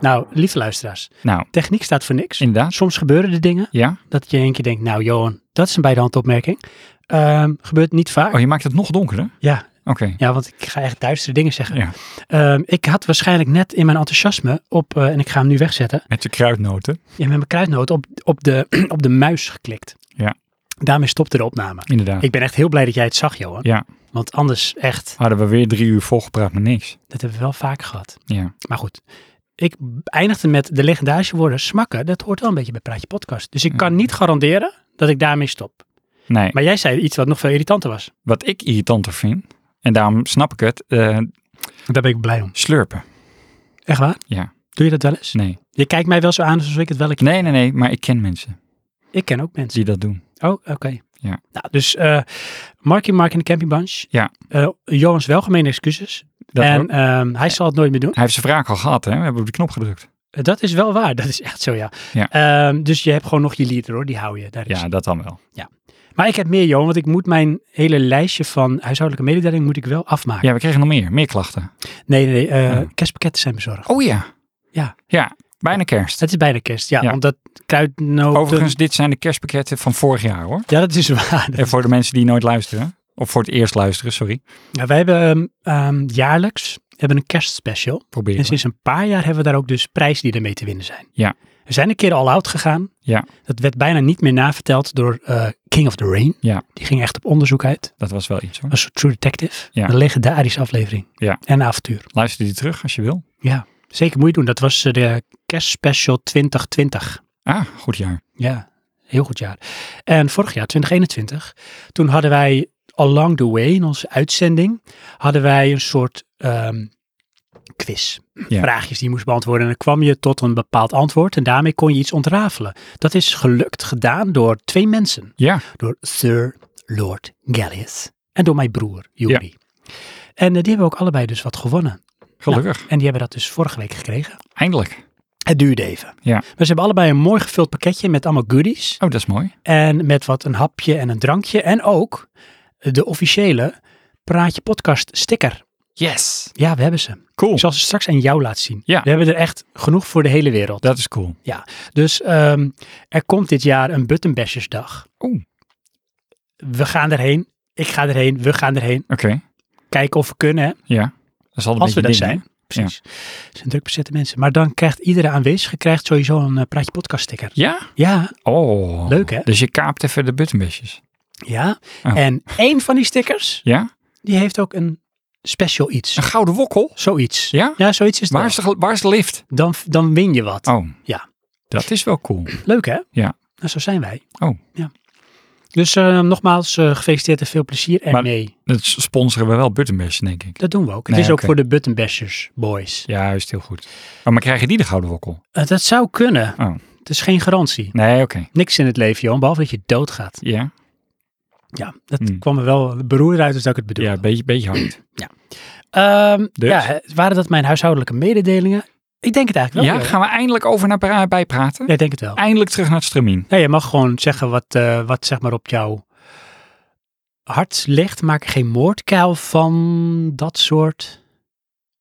Speaker 1: Nou, lieve luisteraars.
Speaker 2: Nou,
Speaker 1: Techniek staat voor niks.
Speaker 2: inderdaad.
Speaker 1: Soms gebeuren er dingen
Speaker 2: Ja.
Speaker 1: dat je in één keer denkt... Nou, Johan, dat is een bij de hand opmerking. Ehm, gebeurt niet vaak.
Speaker 2: Oh, je maakt het nog donkerder?
Speaker 1: Ja,
Speaker 2: Oké.
Speaker 1: Ja, want ik ga echt duistere dingen zeggen.
Speaker 2: Ja.
Speaker 1: Ehm, ik had waarschijnlijk net in mijn enthousiasme op, eh, en ik ga hem nu wegzetten,
Speaker 2: Met je kruidnoten.
Speaker 1: ja, met mijn kruidnoot op, op, de, *clears throat* op de muis geklikt.
Speaker 2: Ja.
Speaker 1: Daarmee stopte de opname.
Speaker 2: Inderdaad.
Speaker 1: Ik ben echt heel blij dat jij het zag, Johan.
Speaker 2: Ja.
Speaker 1: Want anders echt,
Speaker 2: Hadden we weer drie uur volgepraat met niks.
Speaker 1: dat hebben we wel vaak gehad.
Speaker 2: Ja.
Speaker 1: Maar goed, ik eindigde met de legendarische woorden smakken. Dat hoort wel een beetje bij Praatje Podcast. Dus ik kan niet garanderen dat ik daarmee stop.
Speaker 2: Nee,
Speaker 1: Maar jij zei iets wat nog veel irritanter was.
Speaker 2: wat ik irritanter vind, en daarom snap ik het, eh,
Speaker 1: Daar ben ik blij om.
Speaker 2: slurpen.
Speaker 1: Echt waar?
Speaker 2: Ja.
Speaker 1: Doe je dat wel eens?
Speaker 2: Nee.
Speaker 1: Je kijkt mij wel zo aan alsof ik het wel een keer...
Speaker 2: Nee, nee, nee, maar ik ken mensen
Speaker 1: Ik ken ook mensen.
Speaker 2: die dat doen.
Speaker 1: Oh, oké.
Speaker 2: Ja.
Speaker 1: Nou, dus eh Marky Mark en de Camping Bunch.
Speaker 2: Ja.
Speaker 1: Eh, Johans welgemeende excuses.
Speaker 2: Dat
Speaker 1: en
Speaker 2: ook.
Speaker 1: ehm, hij zal het nooit meer doen.
Speaker 2: Hij heeft zijn vraag al gehad, hè? We hebben op de knop gedrukt.
Speaker 1: Eh, Dat is wel waar. Dat is echt zo, ja.
Speaker 2: Ja.
Speaker 1: Ehm, dus je hebt gewoon nog je lieder, hoor. Die hou je. Daar is.
Speaker 2: Ja, dat dan wel.
Speaker 1: Maar ik heb meer, Johan. Want ik moet mijn hele lijstje van huishoudelijke mededelingen moet ik wel afmaken.
Speaker 2: Ja, we kregen nog meer. Meer klachten.
Speaker 1: Nee, nee, nee. eh,
Speaker 2: Oh.
Speaker 1: Kerstpakketten zijn bezorgd.
Speaker 2: Oh ja.
Speaker 1: Ja.
Speaker 2: Ja, bijna kerst.
Speaker 1: Het is bijna kerst. Ja,
Speaker 2: Ja.
Speaker 1: omdat kruidnoten...
Speaker 2: Overigens, dit zijn de kerstpakketten van vorig jaar, hoor.
Speaker 1: Ja, dat is waar. Dat
Speaker 2: En
Speaker 1: is-
Speaker 2: voor de mensen die nooit luisteren. Of voor het eerst luisteren, sorry.
Speaker 1: Ja, wij hebben ehm, ehm, jaarlijks hebben een kerstspecial.
Speaker 2: Proberen.
Speaker 1: En sinds een paar jaar hebben we daar ook dus prijzen die ermee te winnen zijn.
Speaker 2: Ja.
Speaker 1: We zijn een keer all out gegaan.
Speaker 2: Ja.
Speaker 1: Dat werd bijna niet meer naverteld door eh, King of the Rain.
Speaker 2: Ja.
Speaker 1: Die ging echt op onderzoek uit.
Speaker 2: Dat was wel iets, hoor.
Speaker 1: Als True Detective.
Speaker 2: Ja.
Speaker 1: Een legendarische aflevering.
Speaker 2: Ja.
Speaker 1: En een avontuur.
Speaker 2: Luister die terug als je wil.
Speaker 1: Ja. Zeker moet je doen. Dat was eh, de kerstspecial 2020.
Speaker 2: Ah, goed jaar.
Speaker 1: Ja. Heel goed jaar. En vorig jaar, 2021, toen hadden wij along the way in onze uitzending, hadden wij een soort ehm, quiz.
Speaker 2: Ja.
Speaker 1: Vraagjes die je moest beantwoorden. En dan kwam je tot een bepaald antwoord en daarmee kon je iets ontrafelen. Dat is gelukt gedaan door twee mensen.
Speaker 2: Ja.
Speaker 1: Door Sir Lord Gallius en door mijn broer, Juri. En eh, die hebben ook allebei dus wat gewonnen.
Speaker 2: Gelukkig.
Speaker 1: En die hebben dat dus vorige week gekregen.
Speaker 2: Eindelijk.
Speaker 1: Het duurde even.
Speaker 2: Ja.
Speaker 1: Maar ze hebben allebei een mooi gevuld pakketje met allemaal goodies.
Speaker 2: Oh, dat is mooi.
Speaker 1: En met wat een hapje en een drankje. En ook de officiële Praatje Podcast sticker.
Speaker 2: Yes.
Speaker 1: Ja, we hebben ze.
Speaker 2: Cool.
Speaker 1: Ik zal ze straks aan jou laten zien.
Speaker 2: Oh. Ja.
Speaker 1: We hebben er echt genoeg voor de hele wereld.
Speaker 2: Dat is cool.
Speaker 1: Dus ehm, er komt dit jaar een Buttonbashersdag.
Speaker 2: Oeh.
Speaker 1: We gaan erheen. Ik ga erheen. We gaan erheen.
Speaker 2: Oké.
Speaker 1: Kijken of we kunnen. Hè?
Speaker 2: Ja. Dat is altijd
Speaker 1: Als we dat
Speaker 2: een beetje ding,
Speaker 1: zijn. Precies. Het zijn druk bezette mensen. Maar dan krijgt iedere aanwezige krijgt sowieso een eh, Praatje Podcast sticker.
Speaker 2: hè? Ja?
Speaker 1: Ja.
Speaker 2: Oh.
Speaker 1: Leuk, hè?
Speaker 2: Dus je kaapt even de buttonbusjes.
Speaker 1: Ja.
Speaker 2: Oh.
Speaker 1: En één van die stickers,
Speaker 2: Ja?
Speaker 1: die heeft ook een special
Speaker 2: *laughs*
Speaker 1: iets.
Speaker 2: Een gouden wokkel?
Speaker 1: Zoiets.
Speaker 2: Ja?
Speaker 1: Ja, zoiets is het
Speaker 2: Waar
Speaker 1: wel.
Speaker 2: is, de, waar is de lift?
Speaker 1: Dan, dan win je wat.
Speaker 2: Oh.
Speaker 1: Ja.
Speaker 2: Dat is wel cool.
Speaker 1: Leuk hè?
Speaker 2: Ja.
Speaker 1: Nou, zo zijn wij.
Speaker 2: Oh.
Speaker 1: Ja. Dus eh, nogmaals, eh, gefeliciteerd en veel plezier
Speaker 2: Maar-
Speaker 1: ermee.
Speaker 2: Dat sponsoren we wel buttonbusjes, denk ik.
Speaker 1: Dat doen we ook. Het
Speaker 2: Nee,
Speaker 1: is ook
Speaker 2: oké.
Speaker 1: voor de buttonbashers, boys.
Speaker 2: Juist, heel goed. Oh, maar krijgen die de gouden wokkel?
Speaker 1: Eh, dat zou kunnen.
Speaker 2: Oh.
Speaker 1: Het is geen garantie.
Speaker 2: Nee, oké.
Speaker 1: Niks in het leven, Johan, behalve dat je doodgaat.
Speaker 2: Ja,
Speaker 1: Ja, dat
Speaker 2: Hmm.
Speaker 1: kwam er wel beroerd uit als dat ik het bedoel.
Speaker 2: ja
Speaker 1: Ja,
Speaker 2: een beetje, beetje
Speaker 1: *clears throat*
Speaker 2: hard. dus?
Speaker 1: ja, hè, waren dat mijn huishoudelijke mededelingen? Ik denk het eigenlijk wel.
Speaker 2: ja,
Speaker 1: Johan.
Speaker 2: gaan we eindelijk over naar pra- bijpraten?
Speaker 1: Ja, ik denk het wel.
Speaker 2: Eindelijk terug naar het stramien.
Speaker 1: Ja, je mag gewoon zeggen wat, eh, wat zeg maar op jouw hart ligt. Maak er geen moordkuil van dat soort.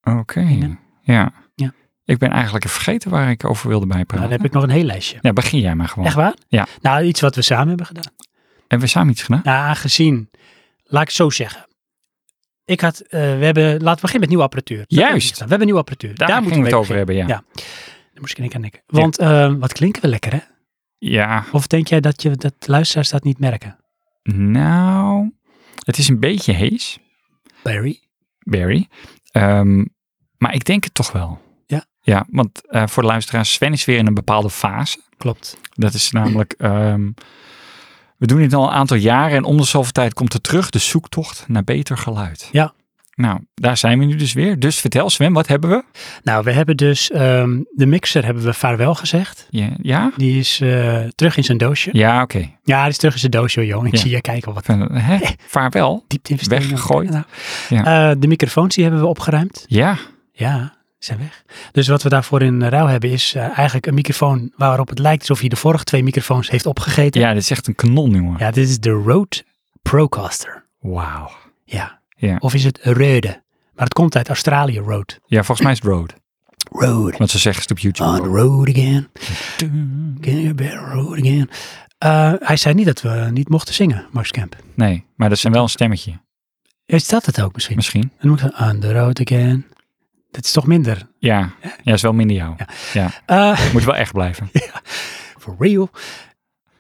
Speaker 2: Oké.
Speaker 1: Ja.
Speaker 2: Ja.
Speaker 1: Ja.
Speaker 2: Ik ben eigenlijk even vergeten waar ik over wilde
Speaker 1: Nou,
Speaker 2: bijpraten.
Speaker 1: dan heb ik nog een heel lijstje.
Speaker 2: Ja, begin jij maar gewoon.
Speaker 1: Echt waar?
Speaker 2: Ja.
Speaker 1: Nou, iets wat we samen hebben gedaan.
Speaker 2: Hebben we samen iets gedaan?
Speaker 1: Nou, aangezien, laat ik het zo zeggen. Ik had, eh, we hebben, laten we beginnen met nieuwe apparatuur. Dat
Speaker 2: Juist.
Speaker 1: hebben We, niet gedaan. we hebben nieuwe apparatuur.
Speaker 2: Daar,
Speaker 1: Daar,
Speaker 2: gingen
Speaker 1: moeten
Speaker 2: we
Speaker 1: we
Speaker 2: het
Speaker 1: mee
Speaker 2: over hebben, ja.
Speaker 1: beginnen.
Speaker 2: Ja.
Speaker 1: beginnen. Daar moest ik in één keer aan denken.
Speaker 2: Ja.
Speaker 1: Want eh, wat klinken we lekker, hè? Of denk jij dat, je, dat luisteraars dat niet merken?
Speaker 2: Nou, het is een beetje hees,
Speaker 1: Barry?
Speaker 2: Barry. Ehm, maar ik denk het toch wel.
Speaker 1: Ja?
Speaker 2: Ja, want eh, voor de luisteraars, Sven is weer in een bepaalde fase.
Speaker 1: Klopt.
Speaker 2: Dat is namelijk ehm, We doen dit al een aantal jaren en om de zoveel tijd komt er terug de zoektocht naar beter geluid.
Speaker 1: Ja.
Speaker 2: Nou, daar zijn we nu dus weer. Dus vertel Sven, wat hebben we?
Speaker 1: Nou, we hebben dus ehm, de mixer hebben we vaarwel gezegd.
Speaker 2: Ja? Ja,
Speaker 1: Die is eh, terug in zijn doosje.
Speaker 2: ja oké.
Speaker 1: Ja, die is terug in zijn doosje, joh. Ik
Speaker 2: Ja.
Speaker 1: zie je kijken wat
Speaker 2: Van, hè,
Speaker 1: *laughs*
Speaker 2: Vaarwel.
Speaker 1: diepte investeringen.
Speaker 2: Weggegooid.
Speaker 1: Nou, eh, de microfoons die hebben we opgeruimd.
Speaker 2: Ja,
Speaker 1: Ja, zijn weg. Dus wat we daarvoor in eh, ruil hebben is eh, eigenlijk een microfoon waarop het lijkt alsof hij de vorige twee microfoons heeft opgegeten.
Speaker 2: ja, dit is echt een kanon, jongen.
Speaker 1: Ja, dit is de Rode Procaster.
Speaker 2: Wauw.
Speaker 1: Ja.
Speaker 2: Ja.
Speaker 1: Of is het Rode? Maar het komt uit Australië, Rode.
Speaker 2: Ja, volgens mij is het road.
Speaker 1: Rode.
Speaker 2: Want ze zeggen het op YouTube.
Speaker 1: On the
Speaker 2: road.
Speaker 1: road Ah, again. Can you be on the road again? Eh, hij zei niet dat we niet mochten zingen, Max Kemp.
Speaker 2: Nee, maar dat zijn wel een stemmetje.
Speaker 1: Is dat het ook misschien?
Speaker 2: Misschien.
Speaker 1: Dan moet ik zeggen, on the road again. Dat is toch minder.
Speaker 2: Ja, ja is wel minder jou.
Speaker 1: Eh,
Speaker 2: Moet wel echt
Speaker 1: *laughs*
Speaker 2: blijven.
Speaker 1: for real.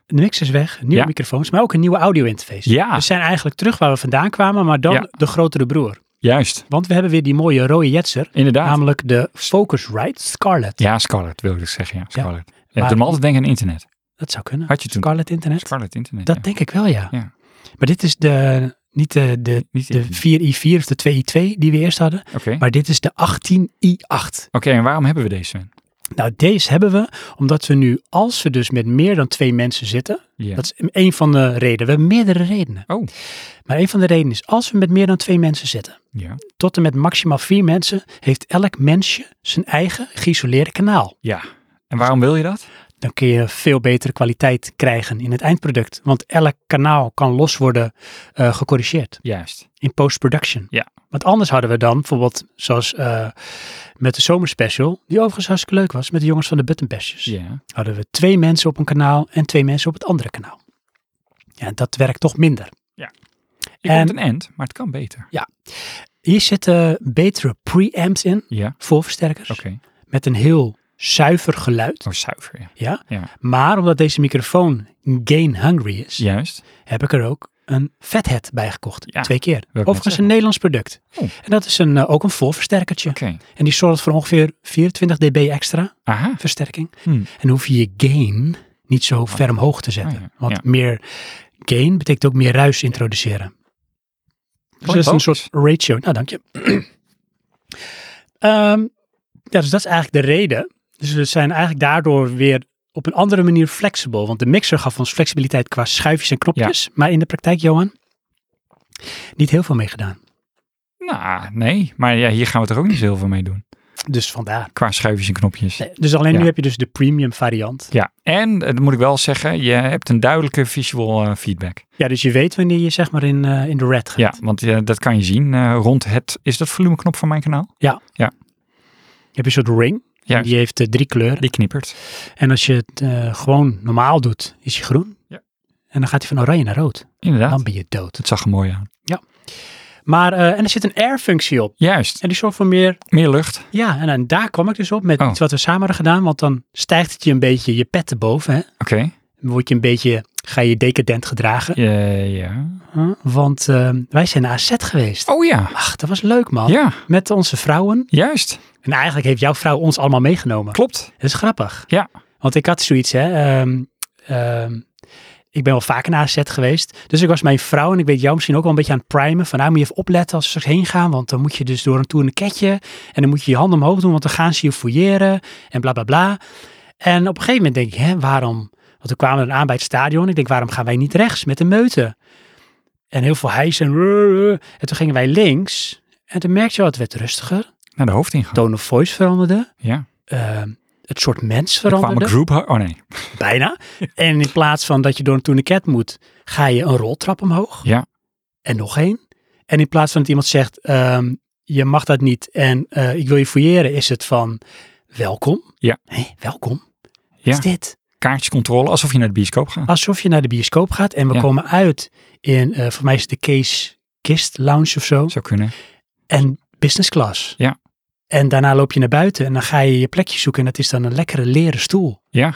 Speaker 1: De mix is weg, nieuwe
Speaker 2: Ja.
Speaker 1: microfoons, maar ook een nieuwe audio interface.
Speaker 2: Ja.
Speaker 1: We zijn eigenlijk terug waar we vandaan kwamen, maar dan
Speaker 2: Ja.
Speaker 1: de grotere broer.
Speaker 2: Juist,
Speaker 1: Want we hebben weer die mooie rode jetser,
Speaker 2: inderdaad.
Speaker 1: namelijk de Focusrite Scarlett.
Speaker 2: Ja, Scarlett wilde ik zeggen. Ja, Scarlett. Ja,
Speaker 1: Maar-
Speaker 2: doe me altijd denken aan internet.
Speaker 1: Dat zou kunnen.
Speaker 2: Had je toen-
Speaker 1: Scarlett Internet?
Speaker 2: Scarlett internet.
Speaker 1: Dat
Speaker 2: ja.
Speaker 1: denk ik wel, ja.
Speaker 2: Ja.
Speaker 1: Maar dit is de, niet de, de,
Speaker 2: Niet
Speaker 1: de
Speaker 2: internet.
Speaker 1: 4i4 of de 2i2 die we eerst hadden,
Speaker 2: Oké,
Speaker 1: maar dit is de 18i8.
Speaker 2: Oké, en waarom hebben we deze? Sven?
Speaker 1: Nou, deze hebben we omdat we nu, als we dus met meer dan twee mensen zitten,
Speaker 2: Ja.
Speaker 1: dat is een van de redenen. We hebben meerdere redenen.
Speaker 2: Oh.
Speaker 1: Maar een van de redenen is, als we met meer dan twee mensen zitten,
Speaker 2: Ja.
Speaker 1: tot en met maximaal vier mensen, heeft elk mensje zijn eigen geïsoleerde kanaal.
Speaker 2: ja. En waarom wil je dat?
Speaker 1: Dan kun je veel betere kwaliteit krijgen in het eindproduct, want elk kanaal kan los worden eh, gecorrigeerd
Speaker 2: Juist.
Speaker 1: in post-production.
Speaker 2: Ja.
Speaker 1: Want anders hadden we dan bijvoorbeeld, zoals eh, met de zomerspecial, die overigens hartstikke leuk was, met de jongens van de Buttonbashers
Speaker 2: Ja.
Speaker 1: hadden we twee mensen op een kanaal en twee mensen op het andere kanaal. Ja, dat werkt toch minder.
Speaker 2: Ik
Speaker 1: En-
Speaker 2: en... een end, maar het kan beter.
Speaker 1: Hier zitten betere preamps in
Speaker 2: Ja.
Speaker 1: voor versterkers
Speaker 2: Oké.
Speaker 1: met een heel zuiver geluid.
Speaker 2: Oh, zuiver. Ja.
Speaker 1: Ja?
Speaker 2: Ja.
Speaker 1: Maar omdat deze microfoon gain hungry is,
Speaker 2: Juist.
Speaker 1: heb ik er ook een fathead bij gekocht.
Speaker 2: Ja,
Speaker 1: Twee keer.
Speaker 2: net
Speaker 1: Overigens
Speaker 2: zeggen.
Speaker 1: een Nederlands product.
Speaker 2: Oh.
Speaker 1: En dat is een, eh, ook een voorversterkertje.
Speaker 2: Oké.
Speaker 1: En die zorgt voor ongeveer 24 dB extra
Speaker 2: Aha.
Speaker 1: versterking.
Speaker 2: Hmm.
Speaker 1: En hoef je je gain niet zo ver omhoog te zetten.
Speaker 2: Ah, ja.
Speaker 1: Want
Speaker 2: Ja.
Speaker 1: meer gain betekent ook meer ruis introduceren. Dus dat is een
Speaker 2: logisch.
Speaker 1: soort ratio. Nou, dank je. *clears throat* Ehm, ja, dus dat is eigenlijk de reden. Dus we zijn eigenlijk daardoor weer op een andere manier flexibel. Want de mixer gaf ons flexibiliteit qua schuifjes en knopjes. Maar in de praktijk, Johan, niet heel veel mee gedaan.
Speaker 2: Nou, nee. Maar ja, hier gaan we er ook niet zoveel mee doen.
Speaker 1: Dus vandaar.
Speaker 2: Qua schuifjes en knopjes.
Speaker 1: Nee, Dus alleen
Speaker 2: Ja.
Speaker 1: nu heb je dus de premium variant.
Speaker 2: Ja. En, eh, dat moet ik wel zeggen, je hebt een duidelijke visual eh, feedback.
Speaker 1: Ja, dus je weet wanneer je zeg maar in, eh, in de red gaat.
Speaker 2: Ja, want eh, dat kan je zien eh, rond het... Is dat volumeknop van mijn kanaal?
Speaker 1: Je hebt een soort ring.
Speaker 2: Ja.
Speaker 1: Die heeft eh, drie kleuren.
Speaker 2: Die knippert.
Speaker 1: En als je het eh, gewoon normaal doet, is hij groen.
Speaker 2: Ja.
Speaker 1: En dan gaat hij van oranje naar rood.
Speaker 2: Inderdaad.
Speaker 1: Dan ben je dood.
Speaker 2: Dat zag er mooi aan.
Speaker 1: Maar, eh, en er zit een air-functie op.
Speaker 2: Juist.
Speaker 1: En die zorgt voor meer.
Speaker 2: Meer lucht.
Speaker 1: Ja, en, en daar kwam ik dus op met
Speaker 2: Oh.
Speaker 1: iets wat we samen hadden gedaan. Want dan stijgt het je een beetje je pet erboven. Hè?
Speaker 2: Oké.
Speaker 1: Dan word je een beetje. Ga je decadent gedragen.
Speaker 2: Eh, ja.
Speaker 1: Huh? Want eh, wij zijn naar AZ geweest.
Speaker 2: Oh ja.
Speaker 1: Ach, dat was leuk, man.
Speaker 2: Ja,
Speaker 1: Met onze vrouwen.
Speaker 2: juist.
Speaker 1: En eigenlijk heeft jouw vrouw ons allemaal meegenomen.
Speaker 2: Klopt.
Speaker 1: Dat is grappig.
Speaker 2: Ja.
Speaker 1: Want ik had zoiets, hè. ehm, ehm, ik ben wel vaker naar AZ geweest. Dus ik was mijn vrouw en ik weet jou misschien ook wel een beetje aan het primen. Van nou moet je even opletten als ze straks heen gaan. Want dan moet je dus door een toer een ketje. En dan moet je je handen omhoog doen, want dan gaan ze je fouilleren. En bla bla bla. En op een gegeven moment denk ik, hè, waarom? Want we kwamen dan aan bij het stadion. Ik denk, waarom gaan wij niet rechts met de meute? En heel veel hijs en... En toen gingen wij links. En toen merkte je wel, het werd rustiger.
Speaker 2: Naar de hoofdingang.
Speaker 1: Tone of voice veranderde.
Speaker 2: ja.
Speaker 1: Ehm, het soort mens
Speaker 2: Er kwam
Speaker 1: veranderde.
Speaker 2: een group. Oh nee. *laughs*
Speaker 1: Bijna. En in plaats van dat je door een tourniquet moet, ga je een roltrap omhoog.
Speaker 2: Ja.
Speaker 1: En nog één. En in plaats van dat iemand zegt, ehm, je mag dat niet en eh, ik wil je fouilleren, is het van welkom.
Speaker 2: Ja.
Speaker 1: Hé, welkom. Wat
Speaker 2: Ja.
Speaker 1: is dit?
Speaker 2: Kaartjescontrole, alsof je naar de bioscoop gaat.
Speaker 1: Alsof je naar de bioscoop gaat en we
Speaker 2: Ja.
Speaker 1: komen uit in, eh voor mij is het de Case Kist Lounge of zo.
Speaker 2: Zou kunnen.
Speaker 1: En business class.
Speaker 2: Ja.
Speaker 1: En daarna loop je naar buiten en dan ga je je plekje zoeken en dat is dan een lekkere leren stoel.
Speaker 2: Ja.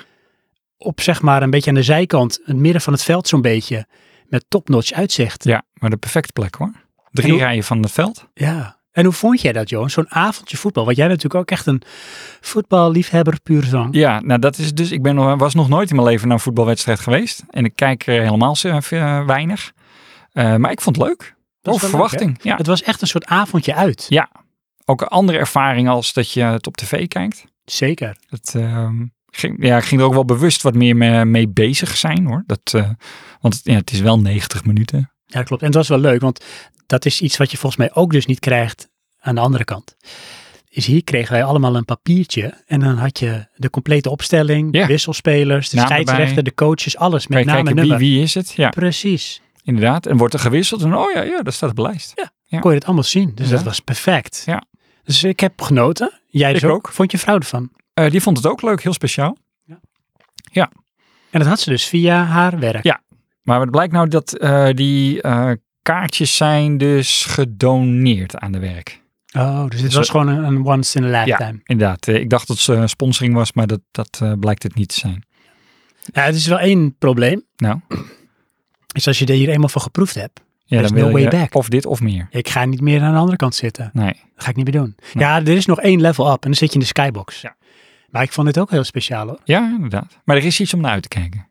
Speaker 1: op zeg maar een beetje aan de zijkant, in het midden van het veld zo'n beetje, met topnotch uitzicht.
Speaker 2: Ja, maar de perfecte plek hoor. Drie
Speaker 1: En hoe-
Speaker 2: rijen van het veld.
Speaker 1: Ja. En hoe vond jij dat, Johan? Zo'n avondje voetbal. Want jij bent natuurlijk ook echt een voetballiefhebber puur zang.
Speaker 2: Ja, nou dat is dus. Ik ben, nog- was nog nooit in mijn leven naar een voetbalwedstrijd geweest. En ik kijk eh, helemaal ze- eh, weinig. Eh, maar ik vond het leuk.
Speaker 1: wel
Speaker 2: Over
Speaker 1: leuk,
Speaker 2: verwachting. ja.
Speaker 1: Het was echt een soort avondje uit.
Speaker 2: Ook een andere ervaring als dat je het op tv kijkt.
Speaker 1: Zeker.
Speaker 2: Het ehm, ging, ja, ik ging er ook wel bewust wat meer mee, mee bezig zijn hoor. Dat, eh, want het- ja, het is wel 90 minuten.
Speaker 1: Ja, dat klopt. En het was wel leuk, want dat is iets wat je volgens mij ook dus niet krijgt aan de andere kant. Is hier kregen wij allemaal een papiertje en dan had je de complete opstelling,
Speaker 2: Ja.
Speaker 1: de wisselspelers, de
Speaker 2: Naam erbij.
Speaker 1: scheidsrechter, de coaches, alles
Speaker 2: Kan
Speaker 1: met
Speaker 2: je
Speaker 1: naam en
Speaker 2: kijken wie,
Speaker 1: nummer.
Speaker 2: wie is het? Ja,
Speaker 1: Precies.
Speaker 2: inderdaad. En wordt er gewisseld en oh ja, ja daar staat op de lijst. Ja.
Speaker 1: Kon je het allemaal zien, dus
Speaker 2: Ja.
Speaker 1: dat was perfect.
Speaker 2: Ja.
Speaker 1: Dus ik heb genoten. Jij dus
Speaker 2: Ik
Speaker 1: ook.
Speaker 2: ook.
Speaker 1: Vond je vrouw ervan?
Speaker 2: Eh, die vond het ook leuk, heel speciaal.
Speaker 1: En dat had ze dus via haar werk.
Speaker 2: Ja. Maar het blijkt nou dat eh, die eh, kaartjes zijn dus gedoneerd aan de werk.
Speaker 1: Oh, dus dit
Speaker 2: Dus
Speaker 1: was
Speaker 2: we-
Speaker 1: gewoon een, een once in a lifetime.
Speaker 2: Inderdaad, eh, ik dacht dat het eh, sponsoring was, maar dat, dat eh, blijkt het niet te zijn.
Speaker 1: Ja, het is wel één probleem.
Speaker 2: Nou.
Speaker 1: Is als je er hier eenmaal van geproefd hebt.
Speaker 2: Ja,
Speaker 1: There's
Speaker 2: dan wil
Speaker 1: no
Speaker 2: je
Speaker 1: way back.
Speaker 2: of dit of meer.
Speaker 1: Ik ga niet meer aan de andere kant zitten.
Speaker 2: Nee.
Speaker 1: Dat ga ik niet meer doen. Ja, er is nog één level up en dan zit je in de skybox.
Speaker 2: Ja.
Speaker 1: Maar ik vond dit ook heel speciaal hoor.
Speaker 2: Ja, inderdaad. Maar er is iets om naar uit te kijken.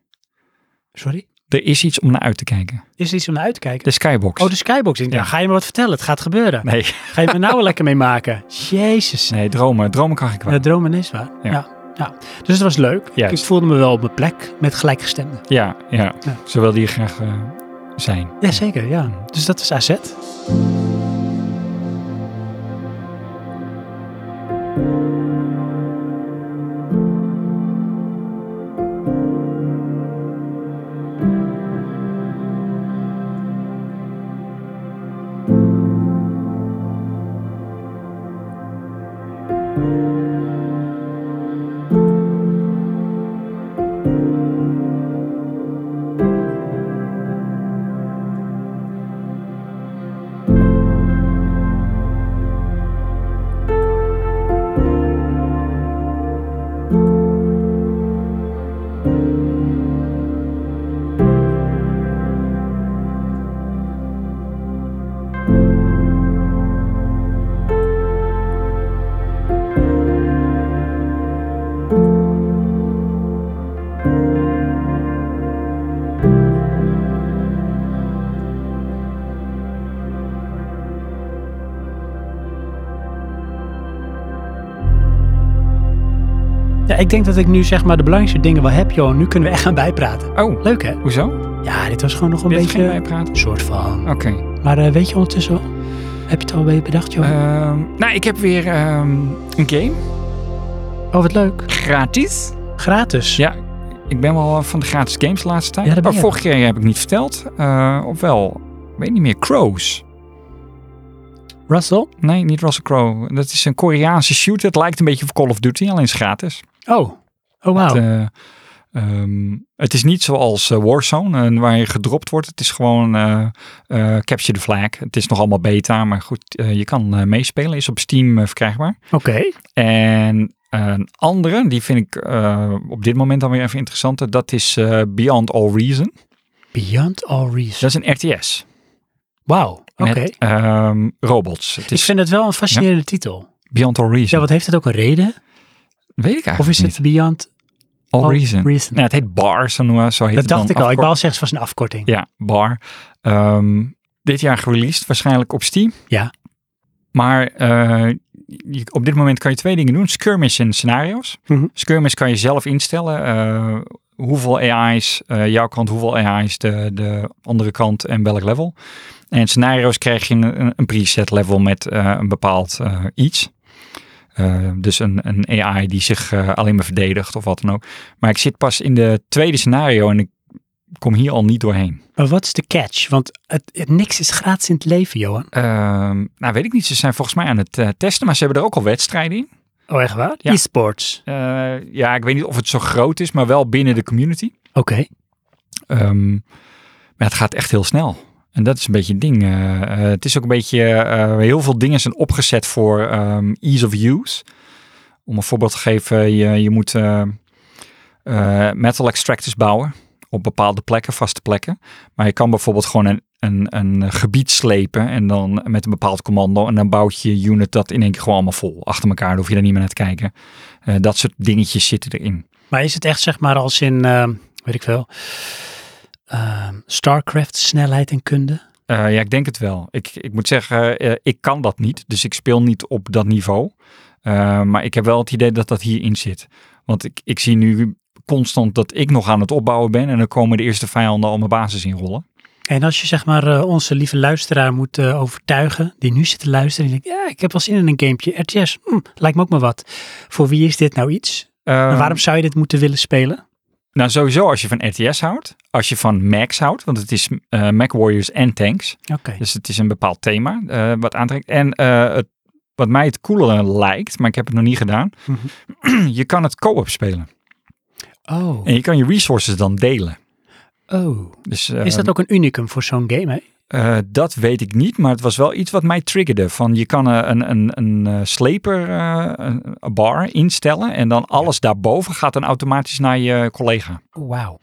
Speaker 1: Sorry?
Speaker 2: Er is iets om naar uit te kijken.
Speaker 1: Is er iets om naar uit te kijken?
Speaker 2: De skybox.
Speaker 1: Oh, de skybox. Ik denk,
Speaker 2: Ja.
Speaker 1: ja. Ga je me wat vertellen? Het gaat gebeuren.
Speaker 2: Nee,
Speaker 1: Ga je me nou wel lekker mee maken? Jezus.
Speaker 2: *laughs* nee, dromen. Dromen kan ik wel.
Speaker 1: De dromen is waar.
Speaker 2: Ja.
Speaker 1: Ja. ja. Dus het was leuk. Ik- Ik
Speaker 2: Juist.
Speaker 1: voelde me wel op mijn plek met gelijkgestemden.
Speaker 2: Ja, ja.
Speaker 1: Ja.
Speaker 2: Ze wilde hier graag eh, zijn.
Speaker 1: Jazeker,
Speaker 2: Mm.
Speaker 1: ja. Dus dat is AZ. Ja, ik denk dat ik nu zeg maar de belangrijkste dingen wel heb, joh. Nu kunnen we echt gaan bijpraten.
Speaker 2: Oh,
Speaker 1: Leuk, hè?
Speaker 2: hoezo?
Speaker 1: Ja, dit was gewoon nog een
Speaker 2: dit
Speaker 1: beetje...
Speaker 2: ging wij praten?
Speaker 1: Een soort van.
Speaker 2: Oké.
Speaker 1: Maar eh, weet je ondertussen al? Heb je het al bij bedacht, joh?
Speaker 2: Ehm, nou, ik heb weer ehm, een game.
Speaker 1: oh, wat leuk.
Speaker 2: Gratis.
Speaker 1: Gratis.
Speaker 2: Ja, ik ben wel eh, van de gratis games de laatste tijd.
Speaker 1: Ja, dat ben
Speaker 2: Oh,
Speaker 1: je.
Speaker 2: vorige keer heb ik niet verteld. Eh, of wel, ik weet niet meer. Crows.
Speaker 1: Russell?
Speaker 2: Nee, niet Russell Crowe. Dat is een Koreaanse shooter. Het lijkt een beetje op Call of Duty, alleen is het gratis.
Speaker 1: Oh. Oh, wauw.
Speaker 2: Het, eh, ehm, het is niet zoals eh, Warzone, eh, waar je gedropt wordt. Het is gewoon eh, eh, Capture the Flag. Het is nog allemaal beta, maar goed, eh, je kan eh, meespelen. Is op Steam eh, verkrijgbaar.
Speaker 1: Oké.
Speaker 2: En eh, een andere, die vind ik eh, op dit moment dan weer even interessanter. Dat is eh, Beyond All Reason.
Speaker 1: Beyond All Reason.
Speaker 2: Dat is een RTS.
Speaker 1: Wauw. Oké.
Speaker 2: Met ehm, robots. Het
Speaker 1: Ik
Speaker 2: is
Speaker 1: vind het wel een fascinerende titel.
Speaker 2: Beyond All Reason.
Speaker 1: Ja, wat heeft het ook een reden?
Speaker 2: Weet ik eigenlijk
Speaker 1: Of is
Speaker 2: niet.
Speaker 1: het Beyond
Speaker 2: All,
Speaker 1: All
Speaker 2: Reason?
Speaker 1: Reason?
Speaker 2: Nou, het heet Bar, zo noemen we- zo heet
Speaker 1: Dat
Speaker 2: het dan
Speaker 1: dacht ik al. Ik
Speaker 2: afgekort.
Speaker 1: wou zeggen, het was een afkorting.
Speaker 2: Ja, Bar. Ehm, dit jaar gereleased, waarschijnlijk op Steam.
Speaker 1: Ja.
Speaker 2: Maar eh, je- op dit moment kan je twee dingen doen. Skirmish en scenario's.
Speaker 1: Mhm.
Speaker 2: Skirmish kan je zelf instellen. eh, hoeveel AI's, eh, jouw kant, hoeveel AI's, de, de andere kant en welk level. En scenario's krijg je een, een preset level met eh, een bepaald eh, iets. Eh, dus een, een AI die zich eh, alleen maar verdedigt of wat dan ook. Maar ik zit pas in de tweede scenario en ik kom hier al niet doorheen.
Speaker 1: Maar wat is de catch? Want het, het- niks is gratis in het leven, Johan.
Speaker 2: Ehm, nou, weet ik niet. Ze zijn volgens mij aan het eh, testen, maar ze hebben er ook al wedstrijden in.
Speaker 1: Oh, echt waar?
Speaker 2: Ja.
Speaker 1: E-sports.
Speaker 2: Eh, ja, ik weet niet of het zo groot is, maar wel binnen de community.
Speaker 1: Oké.
Speaker 2: Ehm, maar het gaat echt heel snel. En dat is een beetje het ding. Eh, eh, het is ook een beetje, eh, heel veel dingen zijn opgezet voor ehm, ease of use. Om een voorbeeld te geven, je, je moet eh, eh, metal extractors bouwen op bepaalde plekken, vaste plekken. Maar je kan bijvoorbeeld gewoon een een, een gebied slepen en dan met een bepaald commando. En dan bouwt je unit dat in één keer gewoon allemaal vol achter elkaar. Dan hoef je daar niet meer naar te kijken. Eh, dat soort dingetjes zitten erin.
Speaker 1: Maar is het echt zeg maar als in, ehm, weet ik veel, ehm, Starcraft snelheid en kunde?
Speaker 2: Eh, ja, ik denk het wel. Ik, ik moet zeggen, eh, ik kan dat niet. Dus ik speel niet op dat niveau. Eh, maar ik heb wel het idee dat dat hierin zit. Want ik, ik zie nu constant dat ik nog aan het opbouwen ben. En dan komen de eerste vijanden al mijn basis inrollen.
Speaker 1: En als je zeg maar eh, onze lieve luisteraar moet eh, overtuigen, die nu zit te luisteren, en denkt, ja, ik heb wel zin in een gamepje, RTS, hm, lijkt me ook maar wat. Voor wie is dit nou iets?
Speaker 2: Eh,
Speaker 1: En waarom zou je dit moeten willen spelen?
Speaker 2: Nou, sowieso als je van RTS houdt. Als je van Max houdt. Want het is eh Mac Warriors en Tanks.
Speaker 1: Oké.
Speaker 2: Dus het is een bepaald thema eh, wat aantrekt. En eh, het, wat mij het coolere lijkt, maar ik heb het nog niet gedaan.
Speaker 1: Mhm.
Speaker 2: *clears throat* je kan het co-op spelen.
Speaker 1: Oh.
Speaker 2: En je kan je resources dan delen.
Speaker 1: oh.
Speaker 2: Dus,
Speaker 1: Is
Speaker 2: eh,
Speaker 1: dat ook een unicum voor zo'n game? Hè?
Speaker 2: Eh, dat weet ik niet, maar het was wel iets wat mij triggerde. Van je kan eh, een, een, een eh, sleper, eh, een een bar instellen en dan alles daarboven gaat dan automatisch naar je collega.
Speaker 1: Oh, Wauw.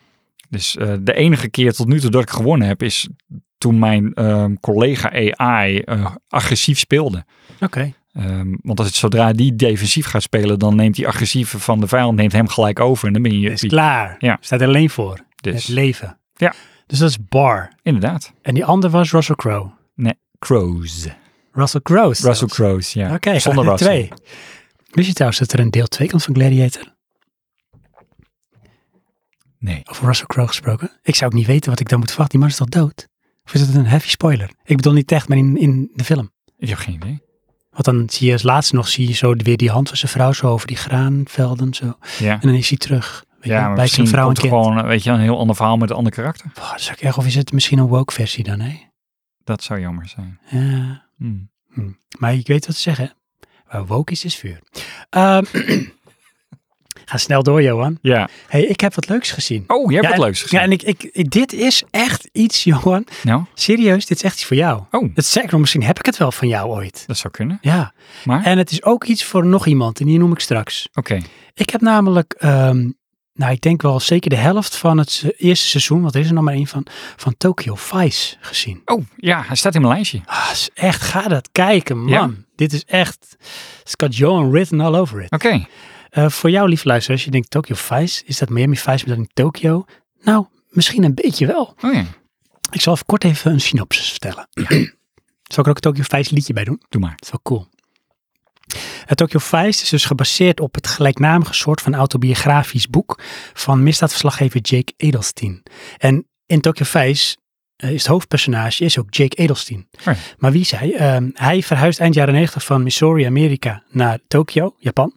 Speaker 2: Dus eh, de enige keer tot nu toe dat ik gewonnen heb is toen mijn ehm, collega AI eh, agressief speelde.
Speaker 1: Oké.
Speaker 2: Ehm, want als het, zodra die defensief gaat spelen, dan neemt die agressieve van de vijand neemt hem gelijk over en dan ben je
Speaker 1: Is
Speaker 2: piek.
Speaker 1: klaar.
Speaker 2: Ja.
Speaker 1: Staat er alleen voor. Het
Speaker 2: Dus
Speaker 1: leven.
Speaker 2: Ja.
Speaker 1: Dus dat is Bar.
Speaker 2: inderdaad,
Speaker 1: En die ander was Russell Crowe.
Speaker 2: Crows.
Speaker 1: Russell Crowe. zelfs.
Speaker 2: Russell Crows, ja.
Speaker 1: Oké,
Speaker 2: Zonder
Speaker 1: de *laughs*
Speaker 2: Russell.
Speaker 1: twee. Wist je trouwens dat er een deel 2 komt van Gladiator?
Speaker 2: Nee.
Speaker 1: Over Russell Crowe gesproken? Ik zou ook niet weten wat ik dan moet verwachten. Die man is toch dood? Of is het een heavy spoiler? Ik bedoel niet echt, maar in, in de film.
Speaker 2: Ik heb geen idee.
Speaker 1: Want dan zie je als laatste nog zie je zo weer die hand van zijn vrouw zo over die graanvelden. Zo.
Speaker 2: Ja.
Speaker 1: En dan is hij terug. Weet je,
Speaker 2: Ja, maar
Speaker 1: bij
Speaker 2: misschien
Speaker 1: zijn vrouw en
Speaker 2: komt er
Speaker 1: kind.
Speaker 2: gewoon weet je, een heel ander verhaal met een ander karakter.
Speaker 1: Boah, dat is ook erg. Of is het misschien een woke versie dan, hè?
Speaker 2: Dat zou jammer zijn.
Speaker 1: Ja.
Speaker 2: Hmm.
Speaker 1: Maar ik weet wat ze zeggen. Waar woke is, is vuur. Ehm, *clears throat* ga snel door, Johan.
Speaker 2: Ja.
Speaker 1: hey, ik heb wat leuks gezien.
Speaker 2: Oh, je hebt
Speaker 1: Ja,
Speaker 2: wat
Speaker 1: en-
Speaker 2: leuks gezien.
Speaker 1: Ja, en ik, ik, ik- dit is echt iets, Johan.
Speaker 2: Nou,
Speaker 1: Serieus, dit is echt iets voor jou.
Speaker 2: oh,
Speaker 1: Het zeker, misschien heb ik het wel van jou ooit.
Speaker 2: dat zou kunnen.
Speaker 1: Ja.
Speaker 2: Maar?
Speaker 1: En het is ook iets voor nog iemand, en die noem ik straks.
Speaker 2: Oké.
Speaker 1: Ik heb namelijk, ehm, nou, ik denk wel zeker de helft van het se- eerste seizoen, want er is er nog maar één van, van Tokyo Vice gezien.
Speaker 2: Oh, ja, hij staat in mijn lijstje.
Speaker 1: Ah, is echt, ga dat kijken, man.
Speaker 2: Ja.
Speaker 1: Dit is echt, it's got Johan written all over it.
Speaker 2: Oké.
Speaker 1: Eh, voor jou, lief luisteraar, als je denkt Tokyo Vice, is dat Miami Vice, maar dan in Tokyo? Nou, misschien een beetje wel.
Speaker 2: Oh ja,
Speaker 1: Ik zal even kort even een synopsis vertellen. *clears throat* Zal ik er ook een Tokyo Vice liedje bij doen?
Speaker 2: doe maar.
Speaker 1: Dat is wel cool. Het Tokyo Vice is dus gebaseerd op het gelijknamige soort van autobiografisch boek van misdaadverslaggever Jake Edelstein. En in Tokyo Vice eh, is het hoofdpersonage is ook Jake Edelstein.
Speaker 2: Oh ja.
Speaker 1: Maar wie is hij? Ehm, hij verhuist eind jaren 90 van Missouri, Amerika, naar Tokio, Japan.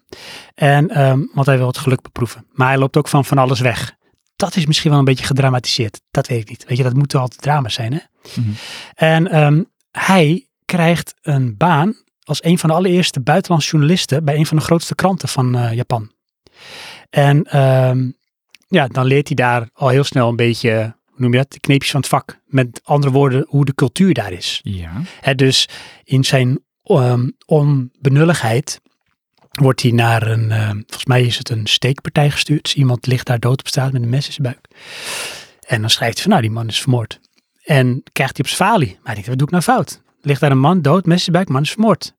Speaker 1: En, ehm, want hij wil het geluk beproeven. Maar hij loopt ook van van alles weg. Dat is misschien wel een beetje gedramatiseerd. Dat weet ik niet. Weet je, dat moet wel altijd drama zijn, hè?
Speaker 2: Mhm.
Speaker 1: En ehm, hij krijgt een baan als een van de allereerste buitenlandse journalisten bij een van de grootste kranten van eh, Japan. En ehm, ja, dan leert hij daar al heel snel een beetje, hoe noem je dat, de kneepjes van het vak. Met andere woorden, hoe de cultuur daar is.
Speaker 2: Ja.
Speaker 1: Hè, dus in zijn ehm, onbenulligheid wordt hij naar een, ehm, volgens mij is het een steekpartij gestuurd. Dus iemand ligt daar dood op straat met een mes in zijn buik. En dan schrijft hij van, nou die man is vermoord. En krijgt hij op zijn falie. Maar hij denkt, wat doe ik nou fout? Ligt daar een man dood, mes in zijn buik, man is vermoord.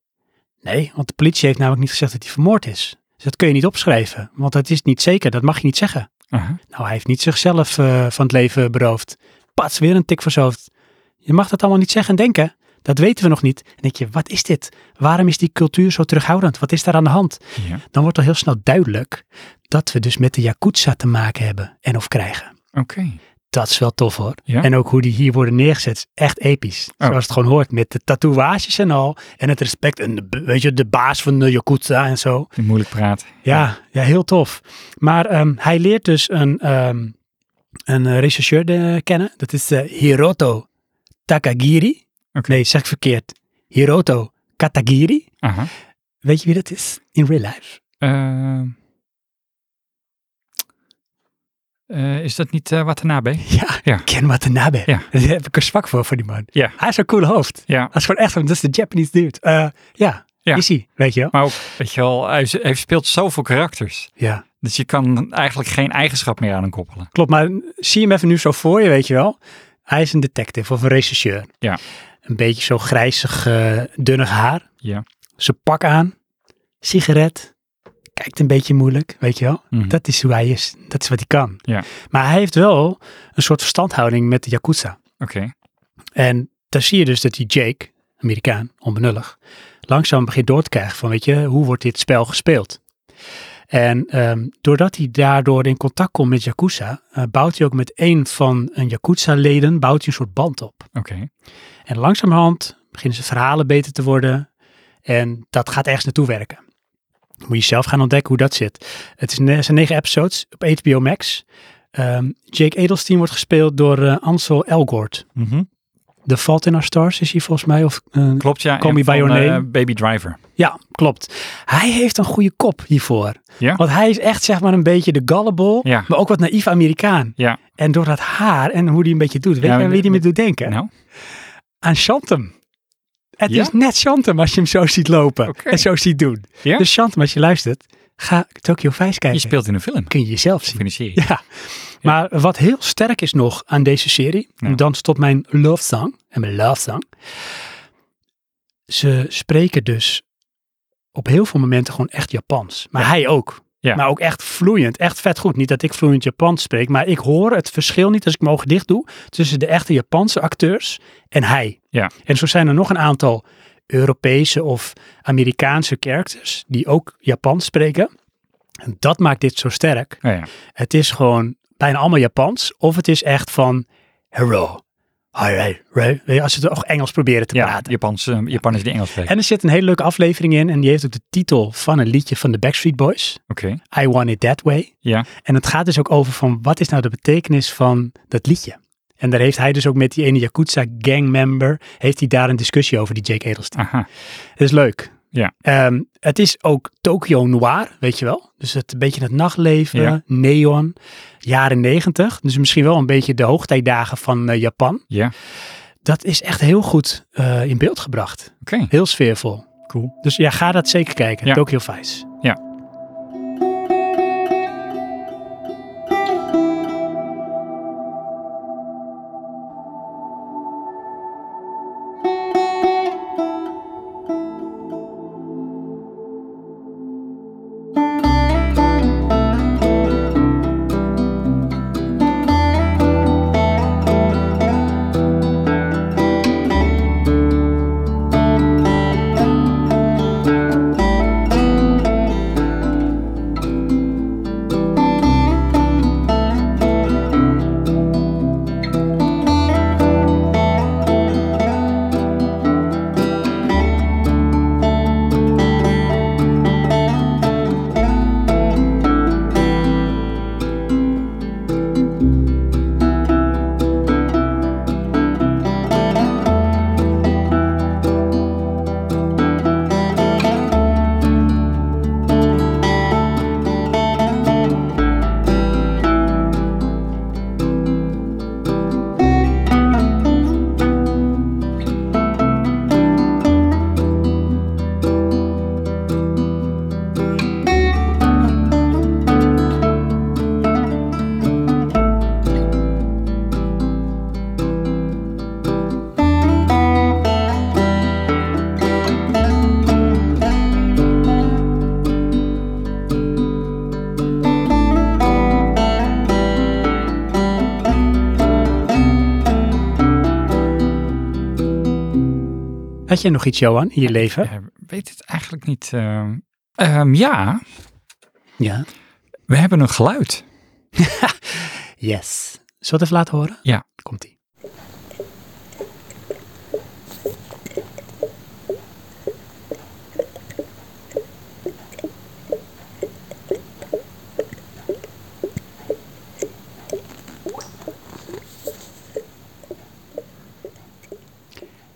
Speaker 1: Nee, want de politie heeft namelijk niet gezegd dat hij vermoord is. Dus dat kun je niet opschrijven, want dat is niet zeker. Dat mag je niet zeggen.
Speaker 2: Aha.
Speaker 1: Nou, hij heeft niet zichzelf eh, van het leven beroofd. Pats, weer een tik voor zijn hoofd. Je mag dat allemaal niet zeggen en denken. Dat weten we nog niet. En denk je, wat is dit? Waarom is die cultuur zo terughoudend? Wat is daar aan de hand?
Speaker 2: Ja.
Speaker 1: Dan wordt al heel snel duidelijk dat we dus met de Yakuza te maken hebben en of krijgen.
Speaker 2: Oké.
Speaker 1: Dat is wel tof hoor.
Speaker 2: Ja?
Speaker 1: En ook hoe die hier worden neergezet is echt episch.
Speaker 2: Oh.
Speaker 1: Zoals het gewoon hoort met de tatoeages en al. En het respect en de, weet je, de baas van de Yakuza en zo.
Speaker 2: Die Moeilijk praat.
Speaker 1: Ja, ja heel tof. Maar ehm, hij leert dus een, ehm een eh, rechercheur eh, kennen. Dat is eh, Hiroto Takagiri.
Speaker 2: Oké.
Speaker 1: Nee, zeg ik verkeerd. Hiroto Katagiri.
Speaker 2: Aha.
Speaker 1: Weet je wie dat is? In real life. *laughs*
Speaker 2: Ehm. Eh, is dat niet eh, Watanabe?
Speaker 1: Ja,
Speaker 2: Ja.
Speaker 1: Ken Watanabe.
Speaker 2: Ja.
Speaker 1: Daar heb ik een zwak voor, voor die man.
Speaker 2: Ja.
Speaker 1: Hij is een cool hoofd.
Speaker 2: Ja.
Speaker 1: Hij is gewoon echt, dat is de Japanese dude. Eh, ja,
Speaker 2: Ja.
Speaker 1: is hij, weet je wel.
Speaker 2: Maar ook, weet je wel, hij, is- hij speelt zoveel karakters.
Speaker 1: Ja.
Speaker 2: Dus je kan eigenlijk geen eigenschap meer aan hem koppelen.
Speaker 1: Klopt, maar zie hem even nu zo voor je, weet je wel. Hij is een detective of een rechercheur.
Speaker 2: Ja.
Speaker 1: Een beetje zo grijzig, eh dunnig haar.
Speaker 2: Ja.
Speaker 1: Zijn pak aan, sigaret, kijkt een beetje moeilijk, weet je wel.
Speaker 2: Mhm.
Speaker 1: Dat is hoe hij is. Dat is wat hij kan.
Speaker 2: Ja.
Speaker 1: Maar hij heeft wel een soort verstandhouding met de Yakuza.
Speaker 2: Oké.
Speaker 1: En daar zie je dus dat die Jake, Amerikaan, onbenullig, langzaam begint door te krijgen van, weet je, hoe wordt dit spel gespeeld? En ehm, doordat hij daardoor in contact komt met Yakuza, eh, bouwt hij ook met een van een Yakuza-leden bouwt hij een soort band op.
Speaker 2: Oké.
Speaker 1: En langzamerhand beginnen zijn verhalen beter te worden en dat gaat ergens naartoe werken. Moet je zelf gaan ontdekken hoe dat zit. Het is ne- zijn negen episodes op HBO Max. Ehm, Jake Edelstein wordt gespeeld door eh, Ansel Elgort.
Speaker 2: Mhm.
Speaker 1: The Fault in Our Stars is hij volgens mij. Of, eh,
Speaker 2: Klopt, ja.
Speaker 1: Call
Speaker 2: en
Speaker 1: me by
Speaker 2: van,
Speaker 1: your
Speaker 2: eh,
Speaker 1: name.
Speaker 2: Baby Driver.
Speaker 1: ja, klopt. Hij heeft een goede kop hiervoor.
Speaker 2: Ja?
Speaker 1: Want hij is echt zeg maar een beetje de gullible,
Speaker 2: Ja.
Speaker 1: maar ook wat naïef Amerikaan.
Speaker 2: Ja.
Speaker 1: En door dat haar en hoe die een beetje doet, weet
Speaker 2: Ja,
Speaker 1: je aan
Speaker 2: maar
Speaker 1: wie
Speaker 2: de-
Speaker 1: die me doet denken?
Speaker 2: Nou,
Speaker 1: Aan Chantem. Het
Speaker 2: Ja?
Speaker 1: is net Chantem als je hem zo ziet lopen
Speaker 2: Oké.
Speaker 1: en zo ziet doen.
Speaker 2: Ja?
Speaker 1: Dus Chantem, als je luistert, ga Tokyo Vice
Speaker 2: je
Speaker 1: kijken.
Speaker 2: speelt in een film.
Speaker 1: Kun je jezelf zien.
Speaker 2: Of in een serie.
Speaker 1: *laughs* Ja. Maar wat heel sterk is nog aan deze serie,
Speaker 2: Ja.
Speaker 1: dan tot mijn love song en mijn love song. Ze spreken dus op heel veel momenten gewoon echt Japans. Maar hij ook.
Speaker 2: Ja.
Speaker 1: Maar ook echt vloeiend, echt vet goed. Niet dat ik vloeiend Japans spreek, maar ik hoor het verschil niet als ik mijn ogen dicht doe tussen de echte Japanse acteurs en hij.
Speaker 2: Ja.
Speaker 1: En zo zijn er nog een aantal Europese of Amerikaanse characters die ook Japans spreken. En dat maakt dit zo sterk.
Speaker 2: Oh, ja.
Speaker 1: Het is gewoon bijna allemaal Japans. Of het is echt van hello. Hi, hi, hi. Weet je, Als ze het ook Engels proberen te
Speaker 2: ja
Speaker 1: praten.
Speaker 2: Japans, eh, Japanners die Engels spreken.
Speaker 1: En er zit een hele leuke aflevering in. En die heeft ook de titel van een liedje van de Backstreet Boys.
Speaker 2: Oké.
Speaker 1: I Want It That Way.
Speaker 2: Ja.
Speaker 1: En het gaat dus ook over van wat is nou de betekenis van dat liedje. En daar heeft hij dus ook met die ene Yakuza gangmember, heeft hij daar een discussie over, die Jake Edelstein.
Speaker 2: Aha.
Speaker 1: Het is leuk.
Speaker 2: Ja.
Speaker 1: Ehm, het is ook Tokyo Noir, weet je wel. Dus het, een beetje het nachtleven,
Speaker 2: Ja.
Speaker 1: neon, jaren negentig. Dus misschien wel een beetje de hoogtijdagen van eh, Japan.
Speaker 2: Ja.
Speaker 1: Dat is echt heel goed eh, in beeld gebracht.
Speaker 2: Oké.
Speaker 1: Heel sfeervol.
Speaker 2: Cool.
Speaker 1: Dus ja, ga dat zeker kijken.
Speaker 2: Ja.
Speaker 1: Tokyo Vice. Had jij nog iets, Johan, in je leven?
Speaker 2: Eh, weet het eigenlijk niet. ehm. Ehm, ja,
Speaker 1: Ja.
Speaker 2: we hebben een geluid.
Speaker 1: Yes. Zullen we het even laten horen?
Speaker 2: Ja.
Speaker 1: Komt-ie.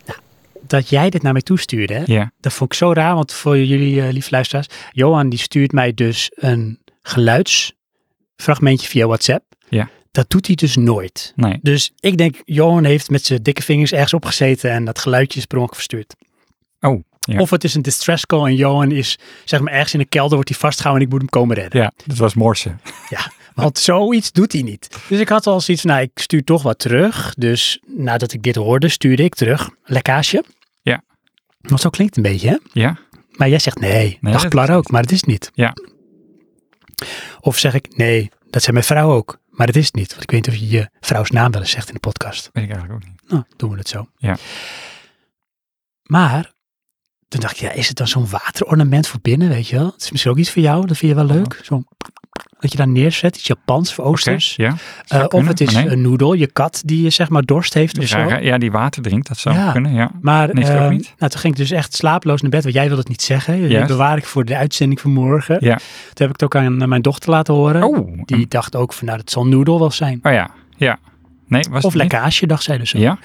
Speaker 1: Nou, Dat jij dit naar mij toestuurde, hè?
Speaker 2: Ja.
Speaker 1: dat vond ik zo raar, want voor jullie eh, lieve luisteraars, Johan die stuurt mij dus een geluidsfragmentje via WhatsApp.
Speaker 2: Ja.
Speaker 1: Dat doet hij dus nooit.
Speaker 2: Nee.
Speaker 1: Dus ik denk, Johan heeft met zijn dikke vingers ergens opgezeten en dat geluidje is per ongeluk verstuurd.
Speaker 2: Oh, ja.
Speaker 1: Of het is een distress call en Johan is, zeg maar, ergens in de kelder wordt hij vastgehouden en ik moet hem komen redden.
Speaker 2: Ja, dat was Morse.
Speaker 1: Want zoiets doet hij niet. Dus ik had al zoiets, nou, ik stuur toch wat terug. Dus nadat ik dit hoorde, stuurde ik terug. Lekkage.
Speaker 2: Ja.
Speaker 1: Want zo klinkt het een beetje, hè?
Speaker 2: Ja,
Speaker 1: Maar jij zegt nee,
Speaker 2: Nee,
Speaker 1: nee
Speaker 2: dat
Speaker 1: Plar
Speaker 2: is
Speaker 1: ook, maar het is het niet.
Speaker 2: Ja.
Speaker 1: Of zeg ik nee, dat zei mijn vrouw ook, maar het is het niet. Want ik weet niet of je je vrouws naam wel eens zegt in de podcast.
Speaker 2: weet ik eigenlijk ook niet.
Speaker 1: Nou, doen we het zo.
Speaker 2: Ja.
Speaker 1: Maar toen dacht ik, ja, is het dan zo'n waterornament voor binnen, weet je wel? Het is misschien ook iets voor jou, dat vind je wel leuk. Zo'n dat je daar neerzet, iets Japans of
Speaker 2: Oh. Oké,
Speaker 1: Oosters.
Speaker 2: ja.
Speaker 1: Eh,
Speaker 2: Zou
Speaker 1: of
Speaker 2: kunnen,
Speaker 1: het is
Speaker 2: maar nee.
Speaker 1: een noedel, je kat die je zeg maar dorst heeft of
Speaker 2: Die
Speaker 1: zo.
Speaker 2: rare- ja, die water drinkt, dat zou
Speaker 1: Ja.
Speaker 2: kunnen, ja.
Speaker 1: Maar
Speaker 2: Nee, is het ook
Speaker 1: ehm,
Speaker 2: niet.
Speaker 1: nou, toen ging ik dus echt slaaploos naar bed. Want jij wilde het niet zeggen. Dat
Speaker 2: Juist.
Speaker 1: bewaar ik voor de uitzending van morgen.
Speaker 2: Ja.
Speaker 1: Toen heb ik het ook aan eh, mijn dochter laten horen.
Speaker 2: Oh,
Speaker 1: Die
Speaker 2: een-
Speaker 1: dacht ook van, nou, dat zal noedel wel zijn.
Speaker 2: oh ja, ja. Nee, was
Speaker 1: Of
Speaker 2: het niet?
Speaker 1: lekkage, dacht zij dus ook.
Speaker 2: Ja.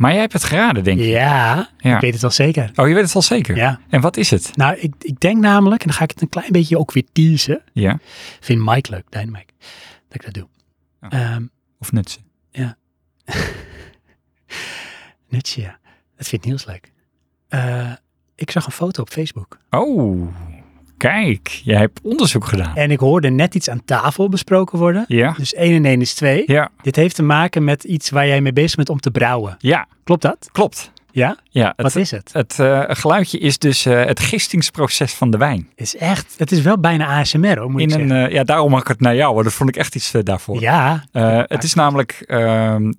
Speaker 2: Maar jij hebt het geraden, denk ik.
Speaker 1: Ja,
Speaker 2: Ja.
Speaker 1: ik weet het wel zeker.
Speaker 2: Oh, je weet het al zeker.
Speaker 1: Ja.
Speaker 2: En wat is het?
Speaker 1: Nou, ik, ik denk namelijk, en dan ga ik het een klein beetje ook weer teasen.
Speaker 2: Ja.
Speaker 1: Vind Mike leuk, Dijn Mike, dat ik dat doe.
Speaker 2: Ja.
Speaker 1: Ehm,
Speaker 2: Of nutsen?
Speaker 1: Netje, ja. Dat vindt Niels leuk. Eh, ik zag een foto op Facebook.
Speaker 2: Oh, kijk. Jij hebt onderzoek gedaan.
Speaker 1: En ik hoorde net iets aan tafel besproken worden.
Speaker 2: Ja.
Speaker 1: Dus 1 en 1 is 2.
Speaker 2: Ja.
Speaker 1: Dit heeft te maken met iets waar jij mee bezig bent om te brouwen.
Speaker 2: Ja,
Speaker 1: Klopt dat?
Speaker 2: klopt.
Speaker 1: Ja?
Speaker 2: Ja,
Speaker 1: Wat
Speaker 2: het,
Speaker 1: is het?
Speaker 2: het eh, geluidje is dus eh, het gistingsproces van de wijn.
Speaker 1: Het is echt, het is wel bijna ASMR hoor, moet ik
Speaker 2: In een,
Speaker 1: zeggen.
Speaker 2: eh, ja, daarom had ik het naar jou, hoor. dat vond ik echt iets eh, daarvoor.
Speaker 1: ja,
Speaker 2: Eh, het is namelijk, ehm,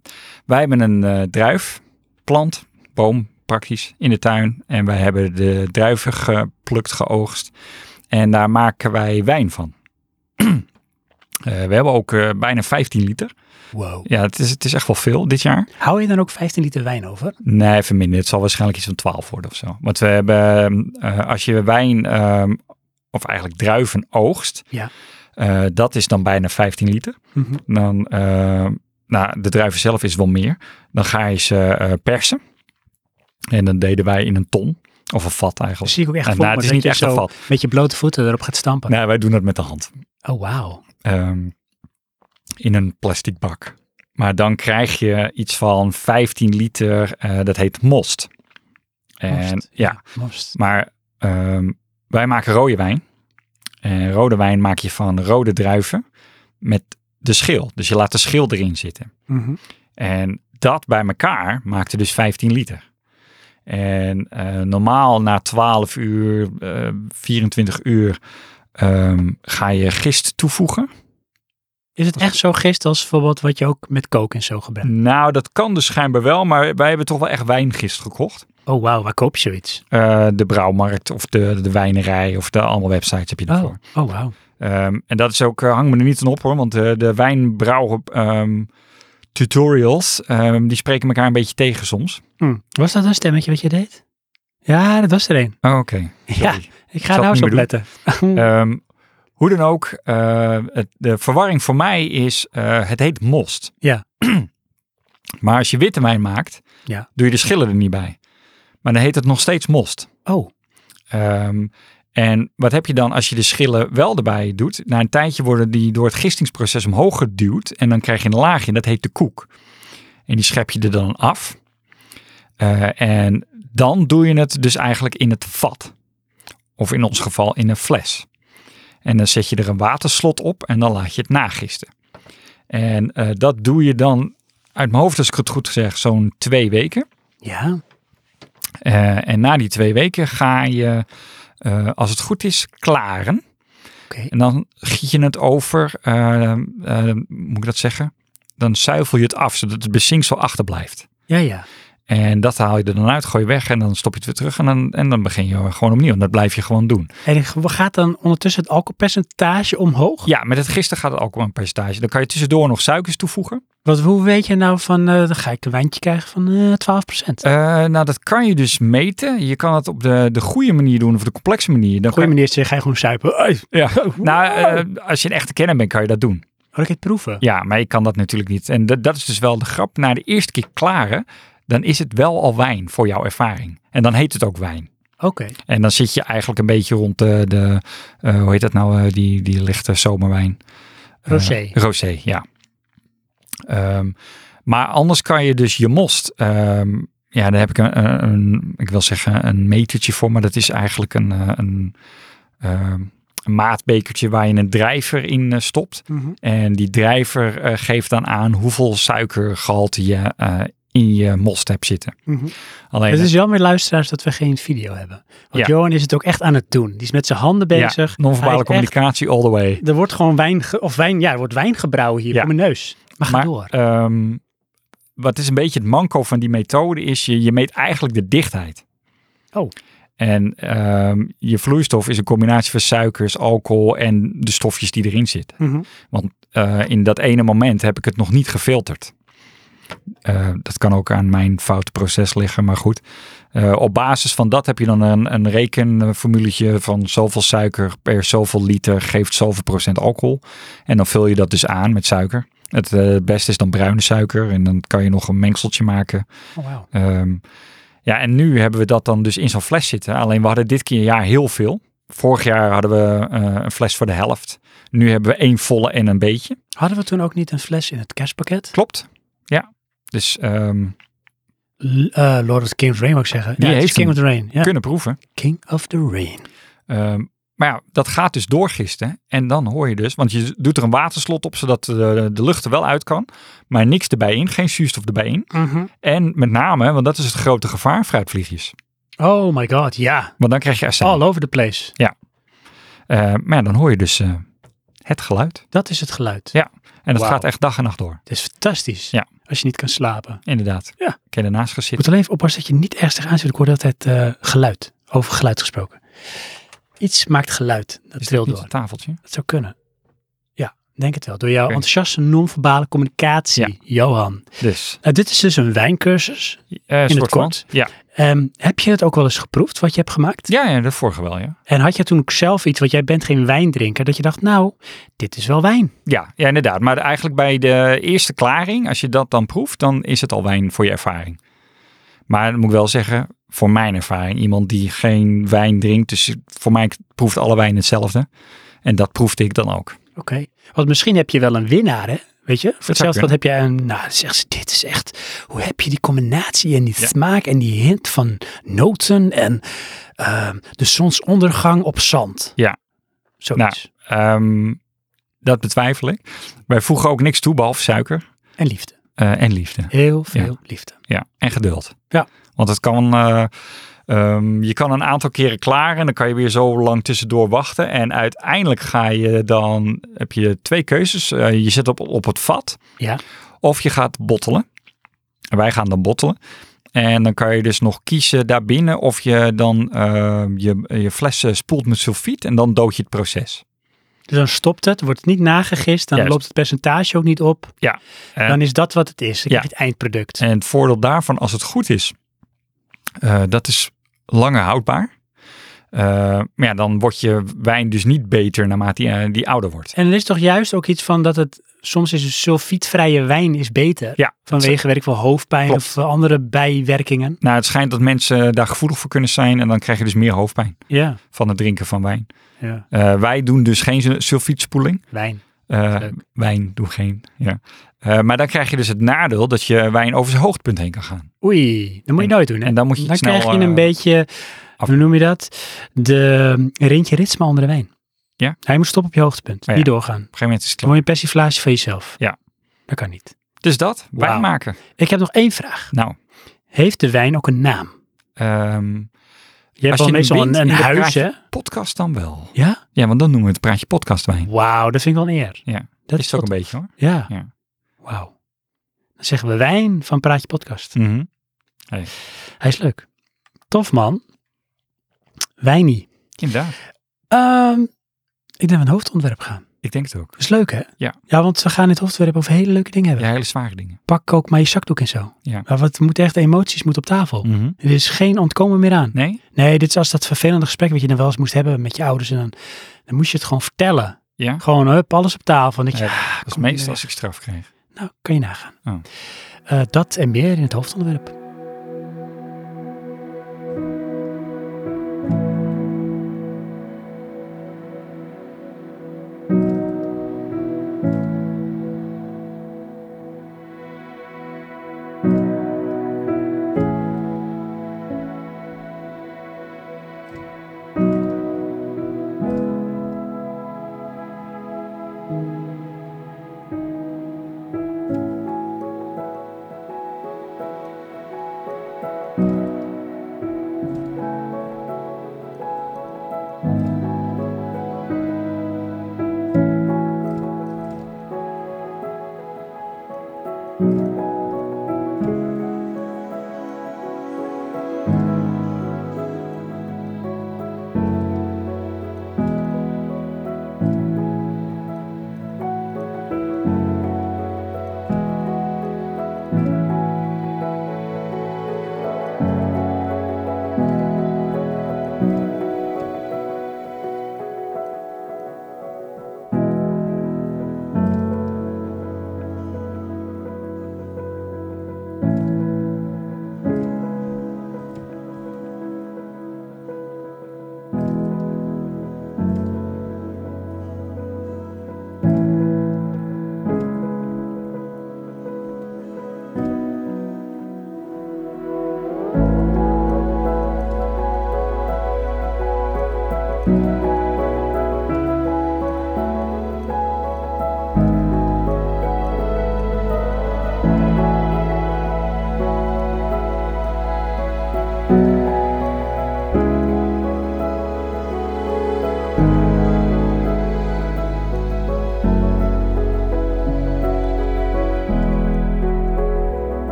Speaker 2: wij hebben een eh, druifplant, boom praktisch, in de tuin. En wij hebben de druiven geplukt, geoogst. En daar maken wij wijn van. *clears throat* Eh, we hebben ook eh, bijna 15 liter.
Speaker 1: wow.
Speaker 2: Ja, het is, het is echt wel veel dit jaar.
Speaker 1: Hou je dan ook 15 liter wijn over?
Speaker 2: Nee, even minder. Het zal waarschijnlijk iets van 12 worden of zo. Want we hebben, ehm, eh, als je wijn, ehm, of eigenlijk druiven oogst,
Speaker 1: Ja.
Speaker 2: eh, dat is dan bijna 15 liter.
Speaker 1: Mhm.
Speaker 2: Dan, eh, nou, de druiven zelf is wel meer. Dan ga je ze eh, persen. En dan deden wij in een ton. Of een vat
Speaker 1: Dat
Speaker 2: eigenlijk.
Speaker 1: zie ik ook Dus echt
Speaker 2: Nou,
Speaker 1: voor
Speaker 2: het
Speaker 1: me,
Speaker 2: is
Speaker 1: dat
Speaker 2: niet
Speaker 1: je
Speaker 2: echt
Speaker 1: zo
Speaker 2: een vat.
Speaker 1: met je blote voeten erop gaat stampen.
Speaker 2: Nee, wij doen dat met de hand.
Speaker 1: Oh, wauw.
Speaker 2: Ehm, in een plastic bak. Maar dan krijg je iets van 15 liter. eh, dat heet most. En
Speaker 1: Most,
Speaker 2: ja,
Speaker 1: Most.
Speaker 2: Maar ehm, wij maken rode wijn. En rode wijn maak je van rode druiven met de schil. Dus je laat de schil erin zitten.
Speaker 1: Mhm.
Speaker 2: En dat bij elkaar maakte dus 15 liter. En eh, normaal na 12 uur, eh, 24 uur ehm, ga je gist toevoegen.
Speaker 1: Is het echt zo gist als bijvoorbeeld wat je ook met kook en zo gebruikt?
Speaker 2: Nou, dat kan dus schijnbaar wel, maar wij hebben toch wel echt wijngist gekocht.
Speaker 1: Oh, wauw, waar koop je zoiets?
Speaker 2: Eh, de brouwmarkt of de, de wijnerij of de allemaal websites heb je daarvoor.
Speaker 1: Oh, oh wauw.
Speaker 2: Ehm, en dat is ook, eh, hang me er niet van op hoor, want eh, de wijnbrouwen ehm, tutorials, ehm, die spreken elkaar een beetje tegen soms.
Speaker 1: Hm. Was dat een stemmetje wat je deed? Ja, dat was er een.
Speaker 2: Oh, oké.
Speaker 1: Ja, ik ga
Speaker 2: Zal
Speaker 1: er nou eens
Speaker 2: ik
Speaker 1: op
Speaker 2: niet meer
Speaker 1: letten.
Speaker 2: Ehm, hoe dan ook, eh, het, de verwarring voor mij is, eh, het heet most.
Speaker 1: Ja.
Speaker 2: maar als je witte wijn maakt,
Speaker 1: Ja.
Speaker 2: doe je de schillen er niet bij. Maar dan heet het nog steeds most.
Speaker 1: Oh,
Speaker 2: Ehm, en wat heb je dan als je de schillen wel erbij doet? Na een tijdje worden die door het gistingsproces omhoog geduwd. En dan krijg je een laagje en dat heet de koek. En die schep je er dan af. Eh, en dan doe je het dus eigenlijk in het vat. Of in ons geval in een fles. En dan zet je er een waterslot op en dan laat je het nagisten. En eh, dat doe je dan, uit mijn hoofd als ik het goed zeg, zo'n twee weken.
Speaker 1: ja.
Speaker 2: Eh, en na die twee weken ga je, eh, als het goed is, klaren.
Speaker 1: Oké.
Speaker 2: En dan giet je het over, eh, eh, moet ik dat zeggen? Dan zuivel je het af, zodat het bezinksel achterblijft.
Speaker 1: Ja, ja.
Speaker 2: En dat haal je er dan uit, gooi je weg en dan stop je het weer terug. En dan, en dan begin je gewoon opnieuw. En dat blijf je gewoon doen.
Speaker 1: En gaat dan ondertussen het alcoholpercentage omhoog?
Speaker 2: Ja, met het gisteren gaat het alcoholpercentage. Dan kan je tussendoor nog suikers toevoegen.
Speaker 1: Wat, hoe weet je nou van, eh, dan ga ik een wijntje krijgen van eh 12%?
Speaker 2: Eh, nou, dat kan je dus meten. Je kan het op de, de goede manier doen of de complexe manier. Dan
Speaker 1: Goeie
Speaker 2: kan-
Speaker 1: meneer, zeg, ga je gewoon suipen. Oei,
Speaker 2: Ja. Nou, eh, als je een echte kenner bent, kan je dat doen.
Speaker 1: Had ik het proeven?
Speaker 2: Ja, maar ik kan dat natuurlijk niet. En dat, dat is dus wel de grap. Na de eerste keer klaren, dan is het wel al wijn voor jouw ervaring. En dan heet het ook wijn.
Speaker 1: Oké.
Speaker 2: En dan zit je eigenlijk een beetje rond de, de eh, hoe heet dat nou, eh, die, die lichte zomerwijn. Eh,
Speaker 1: Rosé.
Speaker 2: rosé, ja. Ehm, maar anders kan je dus je most, ehm, ja, daar heb ik een, een- een- ik wil zeggen een metertje voor, maar dat is eigenlijk een, eh, een ehm, maatbekertje waar je een drijver in eh, stopt.
Speaker 1: Mhm.
Speaker 2: En die drijver eh, geeft dan aan hoeveel suikergehalte je eh, in je most hebt zitten.
Speaker 1: Mhm.
Speaker 2: Alleen,
Speaker 1: Het is jammer, luisteraars, dat we geen video hebben. Want
Speaker 2: Ja.
Speaker 1: Johan is het ook echt aan het doen. Die is met zijn handen
Speaker 2: eh, ja,
Speaker 1: bezig. Hij
Speaker 2: non-verbale
Speaker 1: is echt-
Speaker 2: communicatie all the way.
Speaker 1: Er wordt gewoon wijn, ge- of wijn, ja, er wordt wijn gebrouwen hier
Speaker 2: Ja.
Speaker 1: voor mijn neus. Maar ga
Speaker 2: Maar,
Speaker 1: door.
Speaker 2: ehm, wat is een beetje het manco van die methode is, je, je meet eigenlijk de dichtheid.
Speaker 1: Oh.
Speaker 2: En ehm, je vloeistof is een combinatie van suikers, alcohol en de stofjes die erin zitten.
Speaker 1: Mhm.
Speaker 2: Eh, in dat ene moment heb ik het nog niet gefilterd. Eh, dat kan ook aan mijn foute proces liggen, maar goed. Eh, op basis van dat heb je dan een, een rekenformuletje van zoveel suiker per zoveel liter geeft zoveel procent alcohol. En dan vul je dat dus aan met suiker. Het eh, beste is dan bruine suiker en dan kan je nog een mengseltje maken.
Speaker 1: Oh, wauw.
Speaker 2: Ehm, ja, en nu hebben we dat dan dus in zo'n fles zitten. Alleen we hadden dit keer jaar heel veel. Vorig jaar hadden we eh, een fles voor de helft. Nu hebben we één volle en een beetje.
Speaker 1: Hadden we toen ook niet een fles in het kerstpakket?
Speaker 2: Klopt. Ja. Dus ehm,
Speaker 1: L- eh, Lord of the King of the Rain, mag ik zeggen.
Speaker 2: Die
Speaker 1: ja, het is
Speaker 2: heeft
Speaker 1: King
Speaker 2: hem.
Speaker 1: of the Rain. Ja.
Speaker 2: kunnen proeven.
Speaker 1: King of the Rain.
Speaker 2: Ehm, maar ja, dat gaat dus doorgisten. En dan hoor je dus, want je doet er een waterslot op, zodat de, de lucht er wel uit kan. Maar niks erbij in, geen zuurstof erbij in. En met name, want dat is het grote gevaar, fruitvliegjes.
Speaker 1: Oh my god, ja.
Speaker 2: Want dan krijg je azijn.
Speaker 1: All over the place.
Speaker 2: Eh, maar ja, dan hoor je dus eh, het geluid.
Speaker 1: Dat is het geluid.
Speaker 2: Ja. En dat
Speaker 1: Wauw.
Speaker 2: gaat echt dag en nacht door.
Speaker 1: Het is fantastisch.
Speaker 2: Ja.
Speaker 1: Als je niet kan slapen.
Speaker 2: Inderdaad.
Speaker 1: Ja.
Speaker 2: Kun je ernaast gaan
Speaker 1: Je
Speaker 2: zitten.
Speaker 1: moet alleen even oppassen dat je niet ernstig aanzet. Ik hoor altijd eh, geluid. Over geluid gesproken. Iets maakt geluid. Dat
Speaker 2: Is
Speaker 1: trilt
Speaker 2: dat
Speaker 1: door.
Speaker 2: niet een tafeltje?
Speaker 1: Dat zou kunnen. Ja, denk het wel. Door jouw
Speaker 2: Oké.
Speaker 1: enthousiaste non-verbale communicatie,
Speaker 2: Ja.
Speaker 1: Johan.
Speaker 2: Dus,
Speaker 1: Nou, dit is dus een wijncursus.
Speaker 2: eh soort van.
Speaker 1: kort.
Speaker 2: Ja.
Speaker 1: Ehm, heb je het ook wel eens geproefd, wat je hebt gemaakt?
Speaker 2: Ja, ja, de vorige wel, ja.
Speaker 1: En had je toen ook zelf iets, want jij bent geen wijndrinker, dat je dacht, nou, dit is wel wijn.
Speaker 2: Ja, ja, inderdaad. Maar eigenlijk bij de eerste klaring, als je dat dan proeft, dan is het al wijn voor je ervaring. Maar dan moet ik wel zeggen, voor mijn ervaring, iemand die geen wijn drinkt, dus voor mij proeft alle wijn hetzelfde. En dat proefde ik dan ook.
Speaker 1: Oké. Want misschien heb je wel een winnaar, hè? Weet je? Voor hetzelfde
Speaker 2: kunnen.
Speaker 1: geld heb jij een, nou, dan zegt ze, dit is echt, hoe heb je die combinatie en die
Speaker 2: Ja.
Speaker 1: smaak en die hint van noten en ehm, de zonsondergang op zand.
Speaker 2: Ja.
Speaker 1: Zoiets.
Speaker 2: Ehm, dat betwijfel ik. Wij voegen ook niks toe, behalve suiker
Speaker 1: En liefde.
Speaker 2: eh, en liefde.
Speaker 1: Heel veel liefde.
Speaker 2: Ja, en geduld.
Speaker 1: Ja.
Speaker 2: Want het kan, eh, ehm, je kan een aantal keren klaren en dan kan je weer zo lang tussendoor wachten. En uiteindelijk ga je dan, heb je twee keuzes. Eh, je zit op, op het vat
Speaker 1: Ja.
Speaker 2: of je gaat bottelen. En wij gaan dan bottelen. En dan kan je dus nog kiezen daarbinnen of je dan eh, je, je flessen spoelt met sulfiet en dan dood je het proces.
Speaker 1: Dus dan stopt het, wordt het niet nagegist, dan
Speaker 2: Juist.
Speaker 1: loopt het percentage ook niet op.
Speaker 2: Ja. En-
Speaker 1: dan is dat wat het is, dan
Speaker 2: Ja.
Speaker 1: krijg je het eindproduct.
Speaker 2: En het voordeel daarvan, als het goed is, eh, dat is langer houdbaar. Eh, maar ja, dan wordt je wijn dus niet beter naarmate die, eh, die ouder wordt.
Speaker 1: En er is toch juist ook iets van dat het soms is een sulfietvrije wijn is beter.
Speaker 2: Ja,
Speaker 1: Vanwege werk van hoofdpijn
Speaker 2: Klopt.
Speaker 1: of eh, andere bijwerkingen.
Speaker 2: Nou, het schijnt dat mensen daar gevoelig voor kunnen zijn en dan krijg je dus meer hoofdpijn
Speaker 1: Ja,
Speaker 2: van het drinken van wijn.
Speaker 1: ja.
Speaker 2: Eh, wij doen dus geen su- sulfietspoeling.
Speaker 1: wijn.
Speaker 2: Eh,
Speaker 1: Leuk.
Speaker 2: wijn doen geen. Ja. Eh, maar dan krijg je dus het nadeel dat je wijn over zijn hoogtepunt heen kan gaan.
Speaker 1: Oei, dat moet je nooit doen. Hè?
Speaker 2: en dan moet je het snel,
Speaker 1: krijg je een
Speaker 2: eh,
Speaker 1: beetje,
Speaker 2: af-
Speaker 1: hoe noem je dat? De eh, Rintje Ritsma onder de wijn.
Speaker 2: Ja. Oh,
Speaker 1: Hij moet stoppen op je hoogtepunt.
Speaker 2: Ja.
Speaker 1: Niet doorgaan.
Speaker 2: Op een gegeven moment is het
Speaker 1: Dan
Speaker 2: klaar.
Speaker 1: word je een persiflage van jezelf.
Speaker 2: Ja.
Speaker 1: Dat kan niet.
Speaker 2: Dus dat,
Speaker 1: Wauw.
Speaker 2: wijn maken.
Speaker 1: Ik heb nog één vraag.
Speaker 2: Nou,
Speaker 1: Heeft de wijn ook een naam?
Speaker 2: ehm,
Speaker 1: Je hebt
Speaker 2: Als
Speaker 1: wel
Speaker 2: je hem
Speaker 1: meestal een,
Speaker 2: wint
Speaker 1: een
Speaker 2: in de
Speaker 1: huis,
Speaker 2: praatje-
Speaker 1: hè?
Speaker 2: podcast dan wel.
Speaker 1: Ja?
Speaker 2: Ja, want dan noemen we het praatje podcastwijn.
Speaker 1: Wauw, dat vind ik wel een eer.
Speaker 2: Ja,
Speaker 1: Dat
Speaker 2: is het ook
Speaker 1: wat-
Speaker 2: een beetje hoor.
Speaker 1: Ja.
Speaker 2: Ja.
Speaker 1: Wauw. Dan zeggen we wijn van Praatje Podcast.
Speaker 2: Mhm.
Speaker 1: Hij is leuk. Tof man. Wijnie.
Speaker 2: Inderdaad.
Speaker 1: Ehm, ik denk aan het hoofdontwerp gaan.
Speaker 2: Ik denk het ook.
Speaker 1: Dat is leuk hè?
Speaker 2: Ja.
Speaker 1: Ja, want we gaan in het hoofdontwerp over hele leuke dingen hebben.
Speaker 2: Ja, hele zware dingen.
Speaker 1: Pak ook maar je zakdoek en zo.
Speaker 2: Ja. Mm.
Speaker 1: Maar wat moet echt emoties moeten op tafel.
Speaker 2: Mhm.
Speaker 1: Er is geen ontkomen meer aan.
Speaker 2: Nee?
Speaker 1: Nee, dit is als dat vervelende gesprek wat je dan wel eens moest hebben met je ouders. En dan, dan moest je het gewoon vertellen.
Speaker 2: Ja.
Speaker 1: Gewoon, hup, alles op tafel. En dat je,
Speaker 2: Ja,
Speaker 1: ah,
Speaker 2: Dat is
Speaker 1: kom
Speaker 2: meestal
Speaker 1: weer.
Speaker 2: als ik straf krijg.
Speaker 1: Nou, kan je nagaan.
Speaker 2: Oh.
Speaker 1: Eh, dat en meer in het hoofdonderwerp.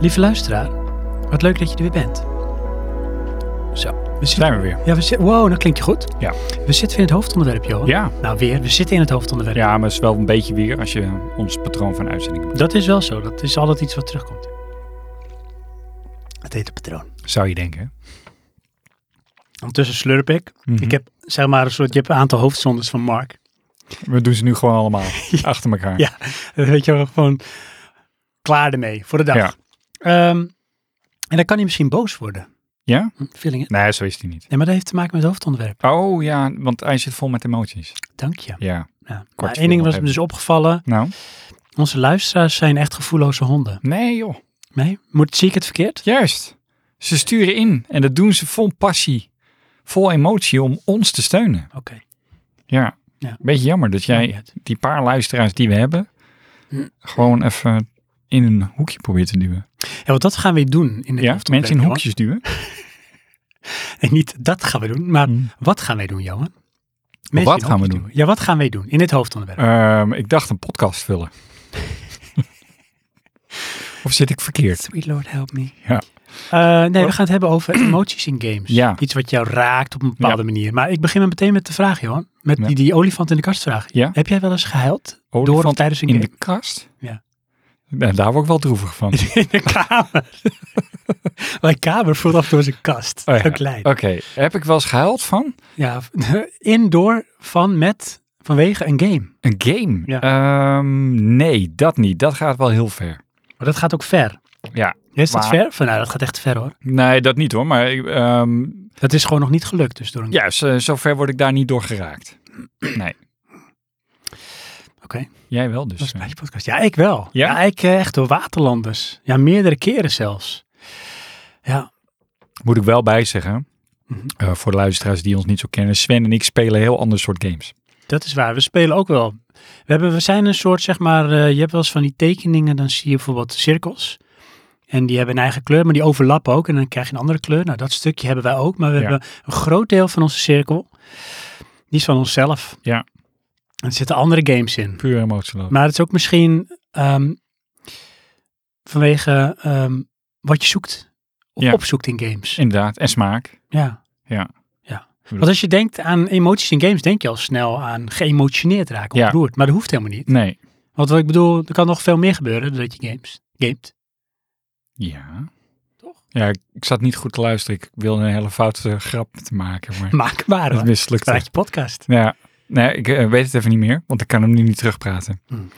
Speaker 1: Lieve luisteraar, wat leuk dat je er weer bent. Zo. We zitten,
Speaker 2: Zijn we weer.
Speaker 1: ja, we zitten, wow, dat klinkt je goed.
Speaker 2: Ja.
Speaker 1: We zitten weer in het hoofdonderwerp, Johan.
Speaker 2: Ja.
Speaker 1: Nou, weer. We zitten in het hoofdonderwerp.
Speaker 2: Ja, maar het is wel een beetje weer als je ons patroon van uitzendingen
Speaker 1: Dat is wel zo. Dat is altijd iets wat terugkomt. Het heet een patroon.
Speaker 2: Zou je denken.
Speaker 1: Ondertussen slurp ik.
Speaker 2: Mhm.
Speaker 1: Ik heb zeg maar een soort, je hebt een aantal hoofdzondes van Mark. *laughs*
Speaker 2: We doen ze nu gewoon *laughs* allemaal achter elkaar.
Speaker 1: Ja. Weet je wel, gewoon klaar ermee voor de dag.
Speaker 2: Ja.
Speaker 1: Ehm, en dan kan hij misschien boos worden.
Speaker 2: Ja?
Speaker 1: Hm, Feeling it.
Speaker 2: Nee, zo is die niet.
Speaker 1: Nee, maar dat heeft te maken met het hoofdonderwerp.
Speaker 2: Oh ja, want hij zit vol met emoties.
Speaker 1: Dank je.
Speaker 2: Ja.
Speaker 1: Ja.
Speaker 2: Kort
Speaker 1: Eén ding
Speaker 2: nog
Speaker 1: was me
Speaker 2: even.
Speaker 1: dus opgevallen.
Speaker 2: Nou?
Speaker 1: Onze luisteraars zijn echt gevoelloze honden.
Speaker 2: Nee joh.
Speaker 1: Nee? Moet, zie ik het verkeerd?
Speaker 2: Juist. Ze sturen in en dat doen ze vol passie, vol emotie om ons te steunen.
Speaker 1: Oké.
Speaker 2: Ja.
Speaker 1: Ja.
Speaker 2: Beetje jammer dat jij die paar luisteraars die we hebben,
Speaker 1: Hm.
Speaker 2: gewoon even in een hoekje probeert te duwen.
Speaker 1: Ja, want dat gaan we doen in de
Speaker 2: Ja, mensen in hoekjes duwen.
Speaker 1: En niet dat gaan we doen, maar
Speaker 2: Hm.
Speaker 1: wat gaan wij doen, Johan?
Speaker 2: Wat
Speaker 1: in
Speaker 2: gaan we
Speaker 1: hoekjes
Speaker 2: doen?
Speaker 1: Ja, wat gaan wij doen in dit hoofdonderwerp?
Speaker 2: Ehm, ik dacht een podcast
Speaker 1: *laughs*
Speaker 2: vullen. of zit ik verkeerd?
Speaker 1: Sweet Lord, help me.
Speaker 2: Ja.
Speaker 1: Eh, nee, we
Speaker 2: Wat?
Speaker 1: gaan het hebben over emoties in games.
Speaker 2: Ja.
Speaker 1: Iets wat jou raakt op een bepaalde manier. Maar ik begin maar meteen met de vraag, Johan. Met
Speaker 2: Ja.
Speaker 1: die, die olifant in de kast vraag.
Speaker 2: Ja.
Speaker 1: Heb jij wel eens gehuild door of
Speaker 2: Olifant
Speaker 1: tijdens een
Speaker 2: in
Speaker 1: game?
Speaker 2: de kast?
Speaker 1: Ja.
Speaker 2: Nou, daar word ik wel droevig van.
Speaker 1: *laughs* in de kamer. *laughs* Mijn kamer voelt af door zijn kast.
Speaker 2: Oh ja.
Speaker 1: Zo klein.
Speaker 2: Oké, heb ik wel eens gehuild van?
Speaker 1: Ja, *laughs* in, door, van, met, vanwege een game.
Speaker 2: Een game?
Speaker 1: Ja.
Speaker 2: Ehm, nee, dat niet. Dat gaat wel heel ver.
Speaker 1: Maar dat gaat ook ver.
Speaker 2: Ja.
Speaker 1: Is dat
Speaker 2: Maar-
Speaker 1: ver? Van, nou, dat gaat echt ver hoor.
Speaker 2: Nee, dat niet hoor. Maar ehm
Speaker 1: Dat is gewoon nog niet gelukt dus door een
Speaker 2: ja, zo, zover word ik daar niet door geraakt. Nee.
Speaker 1: Oké,
Speaker 2: Jij wel dus.
Speaker 1: dat is bij je podcast. Ja, ik wel.
Speaker 2: Ja?
Speaker 1: ik eh, echt door waterlanders. Ja, meerdere keren zelfs. Ja,
Speaker 2: Moet ik wel bij zeggen.
Speaker 1: Mhm.
Speaker 2: eh, voor de luisteraars die ons niet zo kennen. Sven en ik spelen heel ander soort games.
Speaker 1: dat is waar. We spelen ook wel. We, hebben, we zijn een soort, zeg maar, eh, je hebt wel eens van die tekeningen, dan zie je bijvoorbeeld cirkels. En die hebben een eigen kleur, maar die overlappen ook. En dan krijg je een andere kleur. Nou, dat stukje hebben wij ook. Maar we
Speaker 2: Ja.
Speaker 1: hebben een groot deel van onze cirkel, die is van onszelf.
Speaker 2: Ja.
Speaker 1: En er zitten andere games in.
Speaker 2: Puur emotioneel.
Speaker 1: Maar het is ook misschien ehm, vanwege ehm, wat je zoekt. Of
Speaker 2: Ja.
Speaker 1: opzoekt in games.
Speaker 2: Inderdaad. En smaak.
Speaker 1: Ja.
Speaker 2: Ja.
Speaker 1: ja.
Speaker 2: bedoel-
Speaker 1: Want als je denkt aan emoties in games, denk je al snel aan geëmotioneerd raken,
Speaker 2: Ja.
Speaker 1: ontroerd. Maar dat hoeft helemaal niet.
Speaker 2: Nee.
Speaker 1: Want wat ik bedoel, er kan nog veel meer gebeuren doordat je games *laughs* gamet.
Speaker 2: Ja.
Speaker 1: Toch?
Speaker 2: Ja, ik, ik zat niet goed te luisteren. Ik wilde een hele foute grap te maken. Maar
Speaker 1: Maak *laughs* maar.
Speaker 2: het
Speaker 1: hoor.
Speaker 2: mislukte.
Speaker 1: Praat je podcast.
Speaker 2: Ja, nee, ik eh, weet het even niet meer, want ik kan hem nu niet terugpraten.
Speaker 1: Hmm.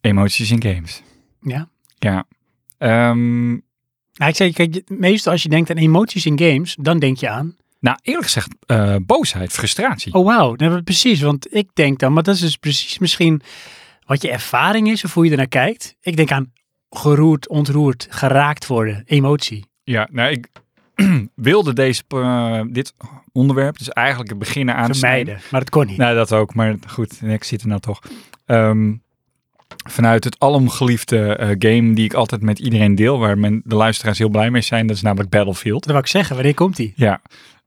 Speaker 2: Emoties in games.
Speaker 1: Ja.
Speaker 2: Ja. Ehm,
Speaker 1: Nou, ik zeg, kijk, je- meestal als je denkt aan emoties in games, dan denk je aan,
Speaker 2: nou, eerlijk gezegd, eh, boosheid, frustratie.
Speaker 1: oh wauw, dat hebben we precies. Want ik denk dan, maar dat is dus precies misschien wat je ervaring is of hoe je ernaar kijkt. Ik denk aan geroerd, ontroerd, geraakt worden, emotie.
Speaker 2: Ja, nou, ik *clears throat* wilde deze, eh, dit onderwerp, dus eigenlijk het beginnen aan
Speaker 1: Vermijden, maar dat kon niet.
Speaker 2: Nou, dat ook. Maar goed, ik zit er nou toch. Ehm, vanuit het alomgeliefde eh, game die ik altijd met iedereen deel, waar men, de luisteraars heel blij mee zijn, dat is namelijk Battlefield.
Speaker 1: Dat wou ik zeggen, wanneer komt die?
Speaker 2: Ja,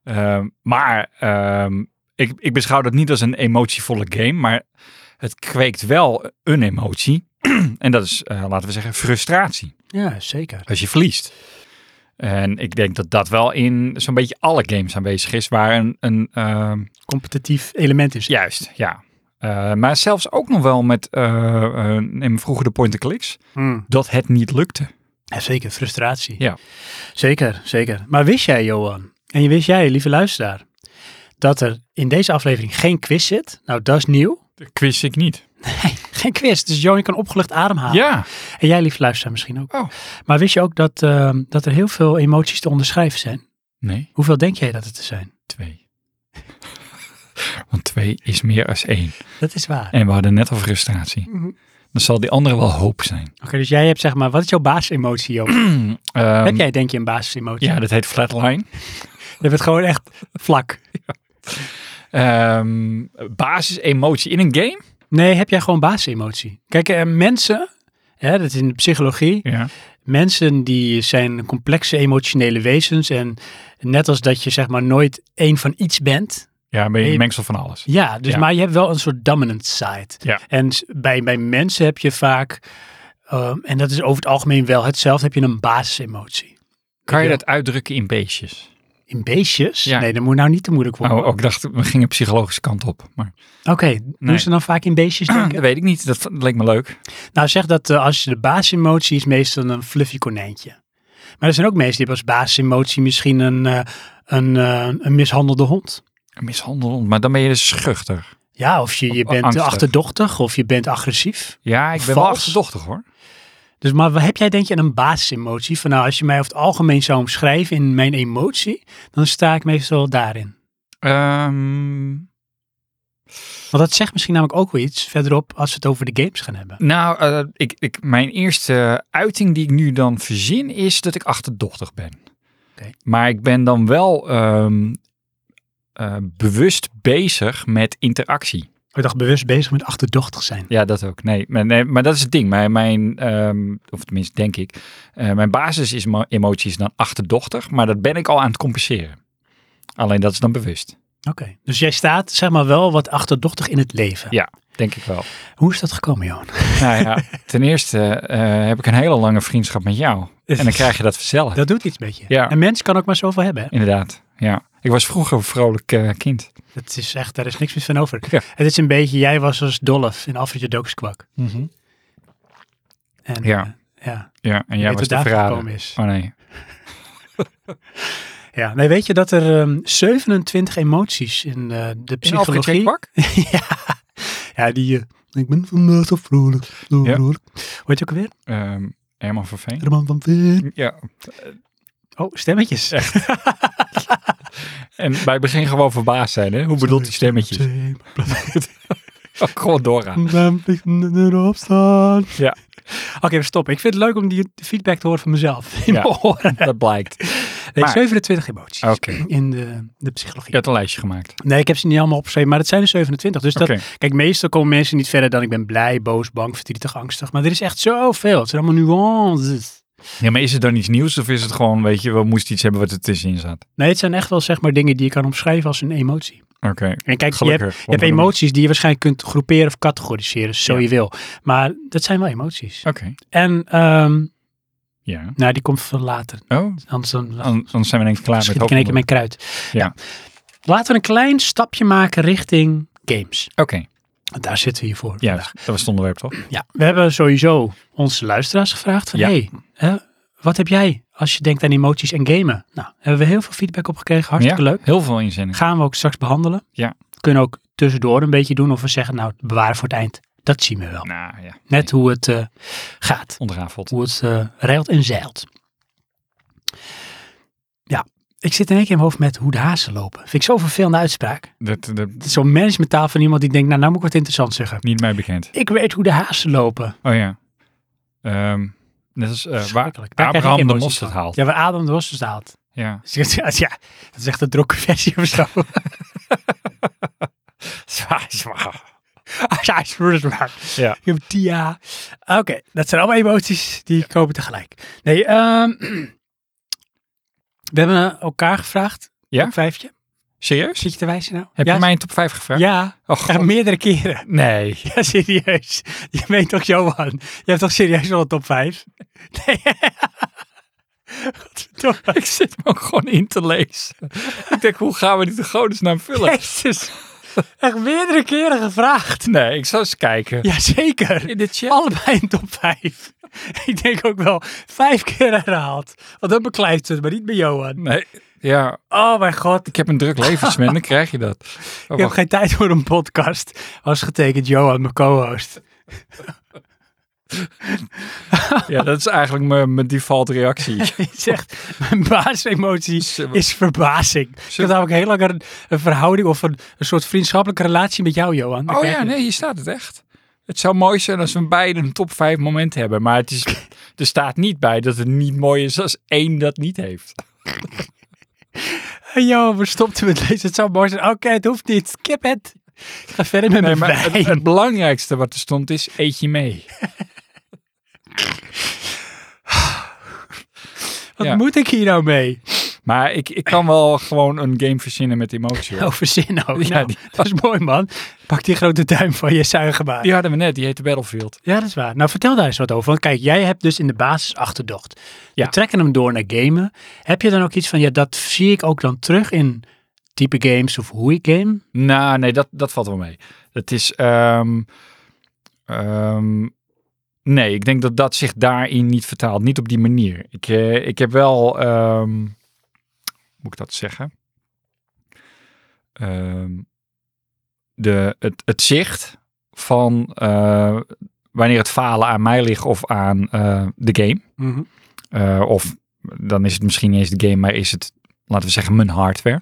Speaker 2: Ehm, maar ehm, ik, ik beschouw dat niet als een emotievolle game, maar het kweekt wel een emotie. *clears throat* en dat is, eh, laten we zeggen, frustratie
Speaker 1: Ja, zeker.
Speaker 2: als je verliest. En ik denk dat dat wel in zo'n beetje alle games aanwezig is, waar een, een ehm,
Speaker 1: Competitief element is.
Speaker 2: Juist, ja. Eh, maar zelfs ook nog wel met eh, eh, neem vroeger de point-and-clicks,
Speaker 1: Mm.
Speaker 2: dat het niet lukte.
Speaker 1: Ja, zeker, frustratie.
Speaker 2: Ja.
Speaker 1: Zeker, zeker. Maar wist jij, Johan, en wist jij, lieve luisteraar, dat er in deze aflevering geen quiz zit? Nou, dat is nieuw.
Speaker 2: Dat quiz ik niet.
Speaker 1: Geen quiz, dus Johan kan opgelucht ademhalen.
Speaker 2: Ja,
Speaker 1: En jij, lieve luisteraar, misschien ook.
Speaker 2: Oh.
Speaker 1: Maar wist je ook dat, ehm, dat er heel veel emoties te onderschrijven zijn?
Speaker 2: nee,
Speaker 1: Hoeveel denk jij dat het er zijn?
Speaker 2: twee. *laughs* Want twee is meer als één.
Speaker 1: Dat is waar.
Speaker 2: En we hadden net al frustratie.
Speaker 1: Mhm.
Speaker 2: Dan zal die andere wel hoop zijn.
Speaker 1: Oké, dus jij hebt zeg maar, wat is jouw basisemotie, Johan?
Speaker 2: *clears throat* Ehm,
Speaker 1: Heb jij denk je een basisemotie?
Speaker 2: Ja, dat heet flatline.
Speaker 1: Je bent gewoon echt vlak.
Speaker 2: Ehm basisemotie in een game?
Speaker 1: Nee, heb jij gewoon basisemotie? Kijk, eh, mensen, hè, dat is in de psychologie,
Speaker 2: Ja.
Speaker 1: mensen die zijn complexe emotionele wezens en net als dat je zeg maar nooit één van iets bent,
Speaker 2: Ja, ben je
Speaker 1: Nee.
Speaker 2: een mengsel van alles.
Speaker 1: Ja, dus,
Speaker 2: Ja.
Speaker 1: maar je hebt wel een soort dominant side.
Speaker 2: Ja.
Speaker 1: En s- bij, bij mensen heb je vaak, ehm, en dat is over het algemeen wel hetzelfde, heb je een basisemotie.
Speaker 2: Kan je
Speaker 1: Ja.
Speaker 2: dat uitdrukken in beestjes?
Speaker 1: In beestjes?
Speaker 2: Ja.
Speaker 1: Nee, dat moet nou niet te moeilijk worden.
Speaker 2: Oh, ook dacht, we gingen psychologische kant op. Maar
Speaker 1: Oké,
Speaker 2: Oh. Nee.
Speaker 1: doen ze dan vaak in beestjes
Speaker 2: *clears throat* dat
Speaker 1: denken?
Speaker 2: weet ik niet. Dat leek me leuk.
Speaker 1: nou, zeg dat eh, als je de basisemotie is, meestal een fluffy konijntje. Maar er zijn ook mensen die hebben als basisemotie misschien een, eh, een, eh, een mishandelde hond.
Speaker 2: Een Mishandeld, maar dan ben je dus schuchter.
Speaker 1: Ja, of je, je
Speaker 2: Of
Speaker 1: bent
Speaker 2: angstig.
Speaker 1: achterdochtig of je bent agressief.
Speaker 2: Ja, ik ben wel
Speaker 1: Vals.
Speaker 2: achterdochtig hoor.
Speaker 1: Dus maar wat heb jij denk je een basisemotie? Van nou, als je mij over het algemeen zou omschrijven in mijn emotie, dan sta ik meestal daarin.
Speaker 2: Ehm,
Speaker 1: Want dat zegt misschien namelijk ook wel iets verderop als we het over de games gaan hebben.
Speaker 2: nou, eh, ik, ik, mijn eerste uiting die ik nu dan verzin is dat ik achterdochtig ben.
Speaker 1: Oké.
Speaker 2: Maar ik ben dan wel ehm, eh, bewust bezig met interactie.
Speaker 1: Ik dacht bewust bezig met achterdochtig zijn.
Speaker 2: Ja, dat ook. Nee, maar, nee, maar dat is het ding. Mijn, mijn ehm, of tenminste denk ik, eh, mijn basis is mo- emoties dan achterdochtig, maar dat ben ik al aan het compenseren. Alleen dat is dan bewust.
Speaker 1: Oké. Dus jij staat zeg maar wel wat achterdochtig in het leven.
Speaker 2: Ja, denk ik
Speaker 1: *laughs*
Speaker 2: wel.
Speaker 1: Hoe is dat gekomen, Johan?
Speaker 2: Nou ja, ten eerste eh, heb ik een hele lange vriendschap met jou. En dan krijg je dat vanzelf.
Speaker 1: Dat doet iets met je.
Speaker 2: Ja.
Speaker 1: Een mens kan ook maar zoveel hebben. Hè?
Speaker 2: Inderdaad, ja. Ik was vroeger een vrolijk eh, kind.
Speaker 1: Dat is echt, daar is niks meer van over.
Speaker 2: Ja.
Speaker 1: Het is een beetje, jij was als Dolf in Alfredje Dookskwak. En,
Speaker 2: Ja.
Speaker 1: eh, ja.
Speaker 2: Ja,
Speaker 1: Je
Speaker 2: en jij
Speaker 1: weet wat
Speaker 2: was de
Speaker 1: daar
Speaker 2: verrader.
Speaker 1: gekomen is.
Speaker 2: Oh nee.
Speaker 1: Ja, nee, weet je dat er ehm, 27 emoties in eh, de psychologie... Ja, die. eh, ik ben vandaag zo vrolijk. Zo
Speaker 2: Ja.
Speaker 1: vrolijk. Hoe heet je ook alweer?
Speaker 2: Ehm, Herman van Veen.
Speaker 1: Herman van Veen.
Speaker 2: Ja,
Speaker 1: Oh, stemmetjes.
Speaker 2: en wij beginnen gewoon verbaasd zijn, hè? Hoe bedoelt die stemmetjes? Oh, Ook gewoon doorgaan.
Speaker 1: Dan vliegen erop staan.
Speaker 2: Ja.
Speaker 1: Oké, we stoppen. Ik vind het leuk om die feedback te horen van mezelf. In
Speaker 2: Ja.
Speaker 1: mijn oren.
Speaker 2: Dat blijkt.
Speaker 1: Nee,
Speaker 2: Maar-
Speaker 1: 27 emoties.
Speaker 2: Oké.
Speaker 1: In de, de psychologie.
Speaker 2: Je had een lijstje gemaakt.
Speaker 1: Nee, ik heb ze niet allemaal opgeschreven, maar het zijn er 27. Dus dat,
Speaker 2: Oké.
Speaker 1: kijk, meestal komen mensen niet verder dan ik ben blij, boos, bang, verdrietig, angstig. Maar er is echt zoveel. Het zijn allemaal nuances.
Speaker 2: Ja, maar is het dan iets nieuws of is het gewoon, weet je, we moesten iets hebben wat er tussenin zat?
Speaker 1: Nee, het zijn echt wel zeg maar dingen die je kan omschrijven als een emotie.
Speaker 2: Oké.
Speaker 1: En kijk, je hebt,
Speaker 2: Gelukkig.
Speaker 1: je hebt emoties die je waarschijnlijk kunt groeperen of categoriseren, zo
Speaker 2: Ja.
Speaker 1: je wil. Maar dat zijn wel emoties.
Speaker 2: Oké.
Speaker 1: En, ehm,
Speaker 2: Ja.
Speaker 1: nou, die komt van later.
Speaker 2: Oh,
Speaker 1: Anders dan
Speaker 2: an- anders zijn we denk ik klaar met
Speaker 1: schiet ik in één keer
Speaker 2: hoofdonderwerp.
Speaker 1: mijn kruid.
Speaker 2: Ja.
Speaker 1: Nou, laten we een klein stapje maken richting games.
Speaker 2: Oké,
Speaker 1: Want daar zitten we hier voor.
Speaker 2: ja,
Speaker 1: vandaag.
Speaker 2: dat was het onderwerp toch?
Speaker 1: ja. We hebben sowieso onze luisteraars gevraagd van,
Speaker 2: Ja.
Speaker 1: hey, hè, wat heb jij als je denkt aan emoties en gamen? Nou, hebben we heel veel feedback op gekregen. Hartstikke
Speaker 2: Ja,
Speaker 1: leuk.
Speaker 2: Heel veel inzendingen.
Speaker 1: Gaan we ook straks behandelen.
Speaker 2: Ja.
Speaker 1: Kunnen ook tussendoor een beetje doen of we zeggen, nou, bewaren voor het eind. Dat zien we wel.
Speaker 2: Nou ja,
Speaker 1: Net hoe het eh, gaat.
Speaker 2: ontrafeld.
Speaker 1: Hoe het eh rijlt en zeilt. Ja, Ik zit in één keer in mijn hoofd met hoe de hazen lopen. Vind ik zo'n vervelende uitspraak.
Speaker 2: Dat, dat
Speaker 1: Het is zo'n managementtaal van iemand die denkt, nou, nou moet ik wat interessants zeggen.
Speaker 2: niet mij bekend.
Speaker 1: Ik weet hoe de hazen lopen.
Speaker 2: Oh ja. Ehm dat is eh, waar
Speaker 1: Schrikkelijk. Daar krijg ik
Speaker 2: Abraham de
Speaker 1: emoties
Speaker 2: mosterd
Speaker 1: van.
Speaker 2: haalt. Ja.
Speaker 1: Ja, waar Adam de mosterd haalt. *laughs* Dus ik zeg, ja, dat is echt een drokke versie of zo.
Speaker 2: *laughs* Zwaar, zwaar.
Speaker 1: *laughs* ja, is voor het waar.
Speaker 2: Ja.
Speaker 1: Ik heb Tia. Oké, dat zijn allemaal emoties die komen tegelijk. Nee, ehm, *clears throat* we hebben elkaar gevraagd.
Speaker 2: Ja?
Speaker 1: Een vijfje.
Speaker 2: Serieus?
Speaker 1: Zit je te wijzen nou?
Speaker 2: Heb
Speaker 1: ja,
Speaker 2: je mij een top 5 gevraagd?
Speaker 1: Ja,
Speaker 2: Oh, god. *laughs*
Speaker 1: echt meerdere keren.
Speaker 2: nee.
Speaker 1: *laughs* Ja, serieus. Je meent toch, Johan? Je hebt toch serieus wel een top 5? Nee. *laughs* Godverdomme.
Speaker 2: Ik zit me ook gewoon in te lezen. ik denk, hoe gaan we dit in godesnaam
Speaker 1: *laughs*
Speaker 2: vullen?
Speaker 1: Jezus. Echt meerdere keren gevraagd.
Speaker 2: Nee, ik zal eens kijken.
Speaker 1: Jazeker.
Speaker 2: In de chat.
Speaker 1: Allebei een top 5. Ik denk ook wel vijf keer herhaald. Want dat beklijft het, maar niet bij Johan.
Speaker 2: Nee. Ja,
Speaker 1: Oh mijn god.
Speaker 2: ik heb een druk levensman, dan krijg je dat. Oh,
Speaker 1: Ik heb
Speaker 2: wacht.
Speaker 1: geen tijd voor een podcast. Was getekend Johan, mijn co-host.
Speaker 2: Ja, dat is eigenlijk mijn, mijn default reactie.
Speaker 1: *laughs* Hij zegt, mijn baasemotie
Speaker 2: Zullen we-
Speaker 1: is verbazing. Ik had namelijk heel lang een, een verhouding of een, een soort vriendschappelijke relatie met jou, Johan. Dan
Speaker 2: *laughs* Oh
Speaker 1: krijg
Speaker 2: ja,
Speaker 1: je-
Speaker 2: nee, hier staat het echt. Het zou mooi zijn als we beide een top 5 moment hebben. Maar het is, *laughs* er staat niet bij dat het niet mooi is als één dat niet heeft.
Speaker 1: Hey, Johan, we stopten met lezen. Het zou mooi zijn. Oké, het hoeft niet. Skip het. Ik ga verder met
Speaker 2: *laughs* Nee,
Speaker 1: mijn
Speaker 2: maar het,
Speaker 1: wijn.
Speaker 2: het belangrijkste wat er stond is, eet je mee.
Speaker 1: Wat
Speaker 2: ja.
Speaker 1: moet ik hier nou mee?
Speaker 2: Maar ik, ik kan wel gewoon een game verzinnen met emotie. hoor.
Speaker 1: Oh, verzin ook.
Speaker 2: Ja,
Speaker 1: Nou,
Speaker 2: die-
Speaker 1: Dat is mooi, man. Pak die grote duim van je zuigenbaar.
Speaker 2: Die hadden we net, die heette Battlefield.
Speaker 1: Ja, dat is waar. Nou, vertel daar eens wat over. Want kijk, jij hebt dus in de basis achterdocht.
Speaker 2: Ja.
Speaker 1: We trekken hem door naar gamen. Heb je dan ook iets van, ja, dat zie ik ook dan terug in type games of hoe ik game?
Speaker 2: Nou, nee, dat, dat valt wel mee. Het is. ehm, ehm, nee, ik denk dat dat zich daarin niet vertaalt. Niet op die manier. Ik, eh, ik heb wel. ehm, moet ik dat zeggen? Ehm, de, het, het zicht van eh, wanneer het falen aan mij ligt of aan eh, de game. Eh, of dan is het misschien niet eens de game, maar is het, laten we zeggen, mijn hardware.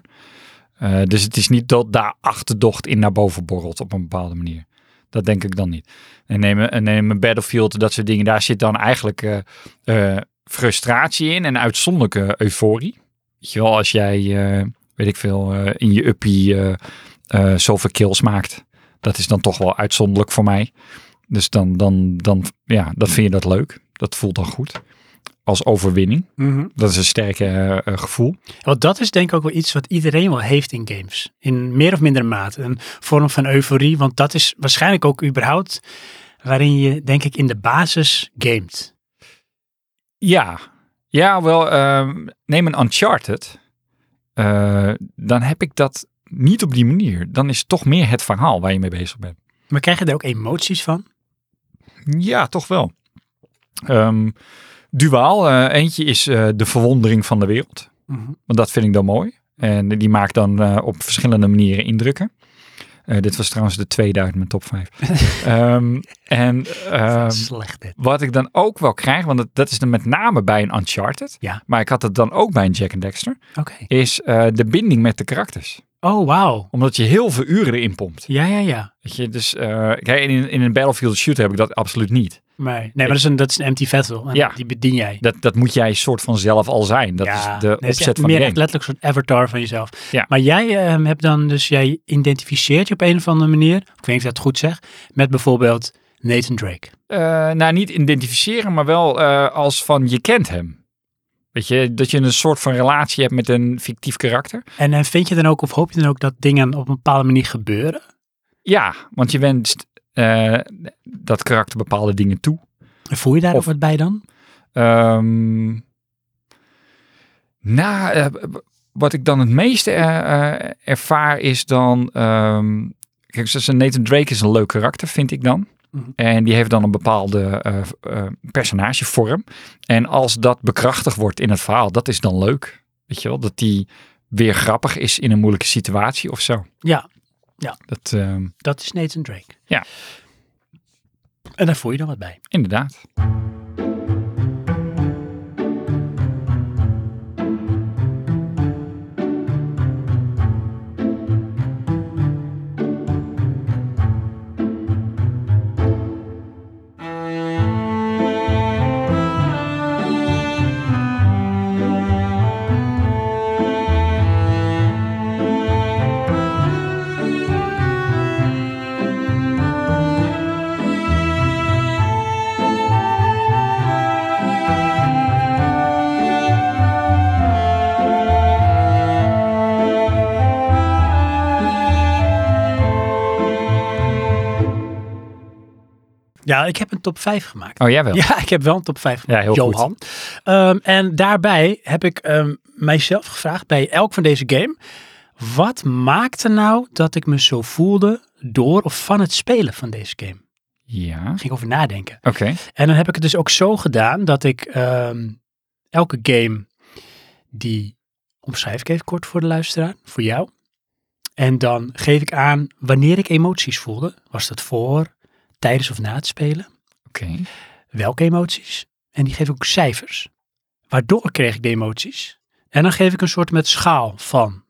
Speaker 2: Eh, dus het is niet dat daar achterdocht in naar boven borrelt op een bepaalde manier. Dat denk ik dan niet. En neem, en neem een Battlefield, dat soort dingen. Daar zit dan eigenlijk eh, eh, frustratie in en uitzonderlijke euforie. Weet je wel, als jij, eh, weet ik veel, eh, in je uppie eh, eh, zoveel kills maakt. Dat is dan toch wel uitzonderlijk voor mij. Dus dan, dan, dan, ja, dat vind je dat leuk. Dat voelt dan goed. Als overwinning. Dat is een sterke eh, eh, gevoel.
Speaker 1: Want dat is denk ik ook wel iets wat iedereen wel heeft in games. In meer of mindere mate. Een vorm van euforie. Want dat is waarschijnlijk ook überhaupt waarin je, denk ik, in de basis gamet.
Speaker 2: Ja, ja wel, ehm, neem een Uncharted. Eh, dan heb ik dat niet op die manier. Dan is het toch meer het verhaal waar je mee bezig bent.
Speaker 1: Maar krijg je daar ook emoties van?
Speaker 2: Ja, toch wel. Ehm, duaal. eh, eentje is eh, de verwondering van de wereld. Want dat vind ik dan mooi. En die maakt dan eh, op verschillende manieren indrukken. Eh, dit was trouwens de tweede uit mijn top 5. en ehm,
Speaker 1: Slecht dit.
Speaker 2: wat ik dan ook wel krijg, want dat, dat is dan met name bij een Uncharted.
Speaker 1: Ja.
Speaker 2: Maar ik had het dan ook bij een Jack and Dexter.
Speaker 1: Oké.
Speaker 2: Is eh, de binding met de karakters.
Speaker 1: Oh, wauw.
Speaker 2: Omdat je heel veel uren erin pompt.
Speaker 1: Ja, ja, ja.
Speaker 2: Weet je, dus eh, kijk, in, in een Battlefield shooter heb ik dat absoluut niet.
Speaker 1: Maar, nee, maar dat is een, dat is een empty vessel. En
Speaker 2: Ja.
Speaker 1: Die bedien jij.
Speaker 2: Dat, dat moet jij soort van zelf al zijn. Dat is de
Speaker 1: nee, het
Speaker 2: opzet
Speaker 1: echt
Speaker 2: van de
Speaker 1: meer
Speaker 2: game.
Speaker 1: echt letterlijk een soort avatar van jezelf.
Speaker 2: Ja.
Speaker 1: Maar jij ehm, hebt dan dus, jij identificeert je op een of andere manier, ik weet niet of ik dat goed zeg, met bijvoorbeeld Nathan Drake.
Speaker 2: eh, nou, niet identificeren, maar wel eh, als van je kent hem. Weet je, dat je een soort van relatie hebt met een fictief karakter.
Speaker 1: En, en vind je dan ook, of hoop je dan ook dat dingen op een bepaalde manier gebeuren?
Speaker 2: Ja, want je wenst eh, dat karakter bepaalde dingen toe.
Speaker 1: En Voel je daar ook
Speaker 2: Of-
Speaker 1: wat bij dan?
Speaker 2: Ehm, nou, eh, b- wat ik dan het meeste eh, eh, ervaar is dan... ehm, kijk, zoals een Nathan Drake is een leuk karakter, vind ik dan.
Speaker 1: Mhm.
Speaker 2: En die heeft dan een bepaalde eh, v- eh, personagevorm. En als dat bekrachtigd wordt in het verhaal, dat is dan leuk. Weet je wel, dat die weer grappig is in een moeilijke situatie of zo.
Speaker 1: Ja. Ja.
Speaker 2: Dat, ehm,
Speaker 1: Dat is Nathan Drake.
Speaker 2: Ja.
Speaker 1: En daar voel je dan wat bij.
Speaker 2: inderdaad.
Speaker 1: Ja, ik heb een top 5 gemaakt.
Speaker 2: Oh, jij wel?
Speaker 1: *laughs* Ja, ik heb wel een top 5
Speaker 2: Ja,
Speaker 1: gemaakt,
Speaker 2: heel goed.
Speaker 1: Johan. Ehm, en daarbij heb ik ehm, mijzelf gevraagd bij elk van deze game. Wat maakte nou dat ik me zo voelde door of van het spelen van deze game?
Speaker 2: Ja.
Speaker 1: Ik ging over nadenken.
Speaker 2: Oké.
Speaker 1: En dan heb ik het dus ook zo gedaan dat ik ehm, elke game die omschrijf ik even kort voor de luisteraar, voor jou. En dan geef ik aan wanneer ik emoties voelde. Was dat voor, tijdens of na het spelen?
Speaker 2: Oké.
Speaker 1: welke emoties. En die geef ik ook cijfers. Waardoor kreeg ik de emoties. En dan geef ik een soort met schaal van.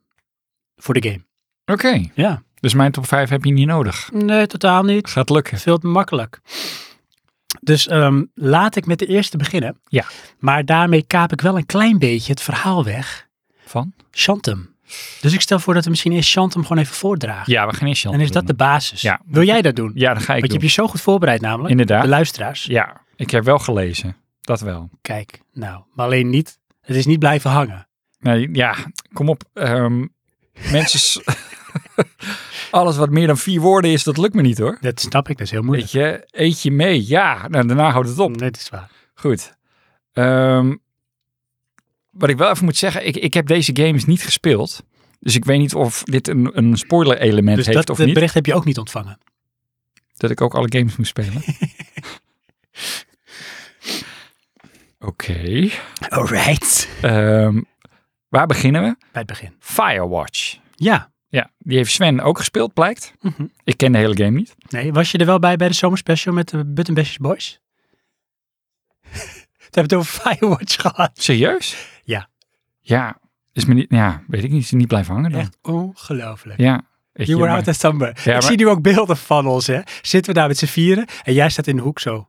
Speaker 1: Voor de game.
Speaker 2: Oké.
Speaker 1: Ja.
Speaker 2: Dus mijn top 5 heb je niet nodig.
Speaker 1: Nee, totaal niet.
Speaker 2: Gaat lukken.
Speaker 1: Veel te makkelijk. Dus ehm, laat ik met de eerste beginnen.
Speaker 2: Ja.
Speaker 1: Maar daarmee kaap ik wel een klein beetje het verhaal weg.
Speaker 2: Van?
Speaker 1: Chantum. Dus ik stel voor dat we misschien eerst Chantum gewoon even voordragen.
Speaker 2: Ja, we gaan eerst Jan
Speaker 1: En is
Speaker 2: doen.
Speaker 1: dat de basis?
Speaker 2: Ja.
Speaker 1: Wil jij dat doen?
Speaker 2: Ja, dat ga ik
Speaker 1: Want je
Speaker 2: doen.
Speaker 1: hebt je zo goed voorbereid namelijk.
Speaker 2: Inderdaad.
Speaker 1: De luisteraars.
Speaker 2: Ja, ik heb wel gelezen. Dat wel.
Speaker 1: Kijk, nou. Maar alleen niet. Het is niet blijven hangen.
Speaker 2: Nee, ja, kom op. ehm, mensen... s- *laughs* Alles wat meer dan vier woorden is, dat lukt me niet hoor.
Speaker 1: Dat snap ik, dat is heel moeilijk.
Speaker 2: Weet je, eet je mee. Ja, nou, daarna houdt het op.
Speaker 1: Nee, dat is waar.
Speaker 2: Goed. Ehm, wat ik wel even moet zeggen, ik, ik heb deze games niet gespeeld. Dus ik weet niet of dit een, een spoiler element
Speaker 1: dus
Speaker 2: heeft
Speaker 1: dat
Speaker 2: of
Speaker 1: dat
Speaker 2: niet.
Speaker 1: bericht heb je ook niet ontvangen.
Speaker 2: Dat ik ook alle games moest
Speaker 1: *laughs*
Speaker 2: spelen. Oké.
Speaker 1: Alright.
Speaker 2: Ehm, waar beginnen we?
Speaker 1: Bij het begin.
Speaker 2: Firewatch.
Speaker 1: Ja.
Speaker 2: Ja, die heeft Sven ook gespeeld, blijkt.
Speaker 1: Mhm.
Speaker 2: Ik ken de hele game niet.
Speaker 1: Nee, was je er wel bij bij de zomerspecial met de Button Bashers
Speaker 2: *laughs*
Speaker 1: Boys? We hebben het over Firewatch gehad.
Speaker 2: Serieus?
Speaker 1: Ja.
Speaker 2: Ja, is me niet, ja, weet ik niet. Is niet blijven hangen dan?
Speaker 1: Echt ongelooflijk.
Speaker 2: Ja. weet
Speaker 1: You
Speaker 2: je,
Speaker 1: were
Speaker 2: maar-
Speaker 1: out of summer.
Speaker 2: Ja,
Speaker 1: ik
Speaker 2: maar-
Speaker 1: zie nu ook beelden van ons, hè. Zitten we daar met z'n vieren en jij staat in de hoek zo.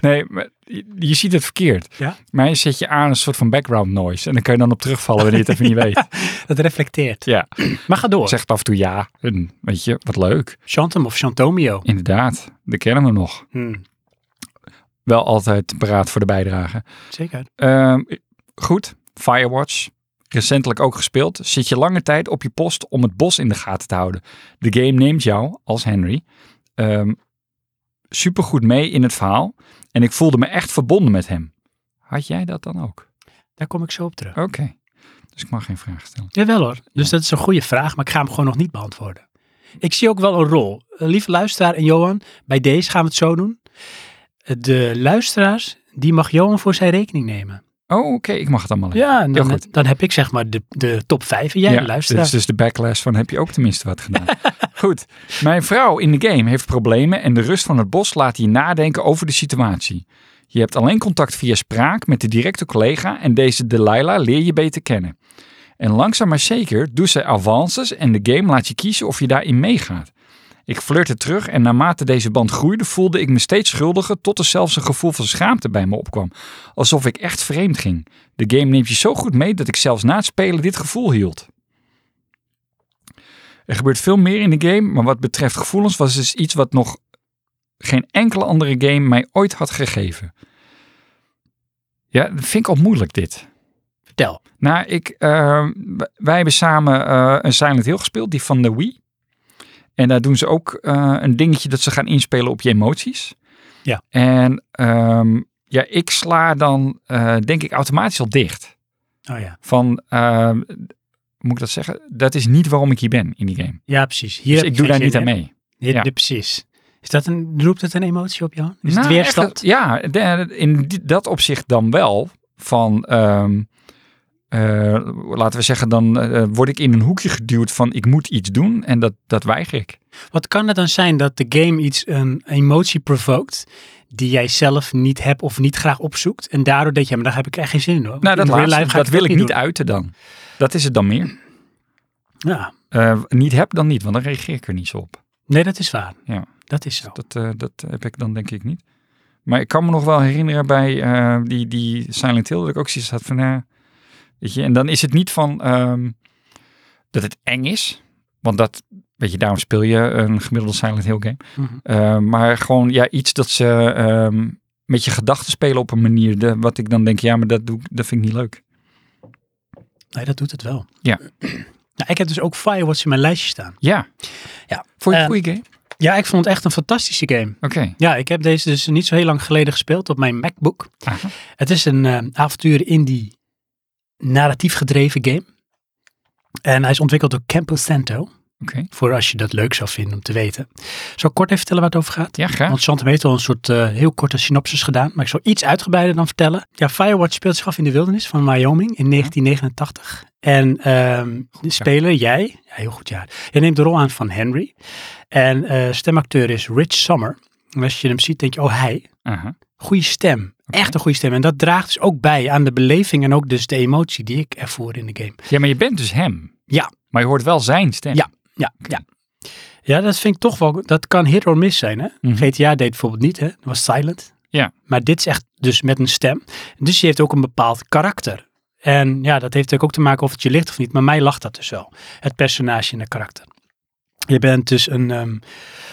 Speaker 2: Nee, maar je, je ziet het verkeerd.
Speaker 1: Ja?
Speaker 2: Mij zet je aan een soort van background noise. En dan kun je dan op terugvallen wanneer je het even
Speaker 1: *laughs*
Speaker 2: niet weet.
Speaker 1: Dat reflecteert.
Speaker 2: Ja,
Speaker 1: Maar ga door.
Speaker 2: zegt af en toe ja. En weet je, wat leuk.
Speaker 1: Chantum of Chantomio.
Speaker 2: Inderdaad, de kennen we nog.
Speaker 1: Hmm,
Speaker 2: Wel altijd paraat voor de bijdrage.
Speaker 1: zeker.
Speaker 2: Ehm, goed, Firewatch. Recentelijk ook gespeeld. Zit je lange tijd op je post om het bos in de gaten te houden. De game neemt jou, als Henry, ehm supergoed mee in het verhaal. En ik voelde me echt verbonden met hem. Had jij dat dan ook?
Speaker 1: Daar kom ik zo op terug.
Speaker 2: Oké. Dus ik mag geen vraag stellen.
Speaker 1: Jawel hoor. Dus dat is een goede vraag, maar ik ga hem gewoon nog niet beantwoorden. Ik zie ook wel een rol. Eh, Lieve luisteraar en Johan, bij deze gaan we het zo doen. Eh, De luisteraars, die mag Johan voor zijn rekening nemen.
Speaker 2: Oh, oké, ik mag het allemaal. even.
Speaker 1: Ja, en
Speaker 2: Heel
Speaker 1: dan,
Speaker 2: goed.
Speaker 1: dan heb ik zeg maar de, de top 5 en jij de luisteraar.
Speaker 2: Dus, dus de backlash van heb je ook tenminste wat gedaan. goed. Mijn vrouw in de game heeft problemen en de rust van het bos laat je nadenken over de situatie. Je hebt alleen contact via spraak met de directe collega en deze Delilah leer je beter kennen. En langzaam maar zeker doet zij avances en de game laat je kiezen of je daarin meegaat. Ik flirte terug en naarmate deze band groeide voelde ik me steeds schuldiger tot er zelfs een gevoel van schaamte bij me opkwam. Alsof ik echt vreemd ging. De game neemt je zo goed mee dat ik zelfs na het spelen dit gevoel hield. Er gebeurt veel meer in de game, maar wat betreft gevoelens was dus iets wat nog geen enkele andere game mij ooit had gegeven. Ja, dat vind ik al moeilijk dit.
Speaker 1: Vertel.
Speaker 2: Nou, ik, eh, w- wij hebben samen eh, een Silent Hill gespeeld, die van de Wii. En daar doen ze ook eh, een dingetje dat ze gaan inspelen op je emoties.
Speaker 1: Ja.
Speaker 2: En ehm, ja, ik sla dan eh, denk ik automatisch al dicht.
Speaker 1: Oh ja.
Speaker 2: Van, eh, moet ik dat zeggen? Dat is niet waarom ik hier ben in die game.
Speaker 1: Ja, precies. Hier
Speaker 2: Dus
Speaker 1: heb
Speaker 2: ik
Speaker 1: je
Speaker 2: doe
Speaker 1: geen
Speaker 2: daar niet
Speaker 1: zin
Speaker 2: aan
Speaker 1: in.
Speaker 2: mee.
Speaker 1: Hier-
Speaker 2: Ja.
Speaker 1: dit- precies. Is dat een, roept het een emotie op Johan? Is
Speaker 2: Nou,
Speaker 1: het weerstand?
Speaker 2: echt, ja, de- in die- dat opzicht dan wel. Van, ehm, eh, laten we zeggen, dan eh, word ik in een hoekje geduwd van ik moet iets doen en dat, dat weiger ik.
Speaker 1: Wat kan het dan zijn dat de game iets, een emotie provoked die jij zelf niet hebt of niet graag opzoekt en daardoor denk je, maar daar heb ik echt geen zin in hoor.
Speaker 2: Nou, dat,
Speaker 1: In real
Speaker 2: laatste,
Speaker 1: life ga
Speaker 2: dat wil
Speaker 1: het
Speaker 2: ik
Speaker 1: ook
Speaker 2: niet uiten dan. Dat is het dan meer.
Speaker 1: doen. Ja.
Speaker 2: Eh, niet heb dan niet, want dan reageer ik er niet zo op.
Speaker 1: Nee, dat is waar.
Speaker 2: Ja.
Speaker 1: Dat is zo.
Speaker 2: Dat, eh, dat heb ik dan denk ik niet. Maar ik kan me nog wel herinneren bij eh, die, die Silent Hill dat ik ook zoiets had van, eh, weet je, en dan is het niet van ehm, dat het eng is, want dat, weet je, daarom speel je een gemiddelde Silent Hill game.
Speaker 1: Mhm.
Speaker 2: Eh, maar gewoon ja, iets dat ze ehm, met je gedachten spelen op een manier de, wat ik dan denk, ja, maar dat, doe, ik- dat vind ik niet leuk.
Speaker 1: Nee, dat doet het wel.
Speaker 2: Ja.
Speaker 1: *clears throat* Nou, ik heb dus ook Firewatch in mijn lijstje staan.
Speaker 2: Ja.
Speaker 1: Ja.
Speaker 2: Vond
Speaker 1: Eh,
Speaker 2: je het een goede game?
Speaker 1: Ja, ik vond het echt een fantastische game.
Speaker 2: Oké.
Speaker 1: Ja, ik heb deze dus niet zo heel lang geleden gespeeld op mijn MacBook.
Speaker 2: Aha.
Speaker 1: Het is een eh, avontuur in die narratief gedreven game. En hij is ontwikkeld door Campo Santo.
Speaker 2: Oké.
Speaker 1: Voor als je dat leuk zou vinden om te weten. Zal ik kort even vertellen waar het over gaat?
Speaker 2: Ja, graag.
Speaker 1: Want Santom heeft al een soort eh, heel korte synopsis gedaan. Maar ik zal iets uitgebreider dan vertellen. Ja, Firewatch speelt zich af in de wildernis van Wyoming in 1989. En ehm de
Speaker 2: Mhm. ja.
Speaker 1: speler, jij, ja, heel goed jaar, jij neemt de rol aan van Henry. En eh, stemacteur is Rich Summer. En als je hem ziet, denk je, oh hij,
Speaker 2: Aha.
Speaker 1: goede stem. Echt een goede stem. En dat draagt dus ook bij aan de beleving en ook dus de emotie die ik ervoer in de game.
Speaker 2: Ja, maar je bent dus hem.
Speaker 1: Ja.
Speaker 2: Maar je hoort wel zijn stem.
Speaker 1: Ja. Ja, ja. Ja, dat vind ik toch wel. Dat kan hit or miss zijn. Hè?
Speaker 2: Mhm.
Speaker 1: GTA deed bijvoorbeeld niet, hè? Dat was silent.
Speaker 2: Ja.
Speaker 1: Maar dit is echt dus met een stem. Dus die heeft ook een bepaald karakter. En ja, dat heeft natuurlijk ook te maken of het je ligt of niet. Maar mij lacht dat dus wel. Het personage en het karakter. Je bent dus een ehm,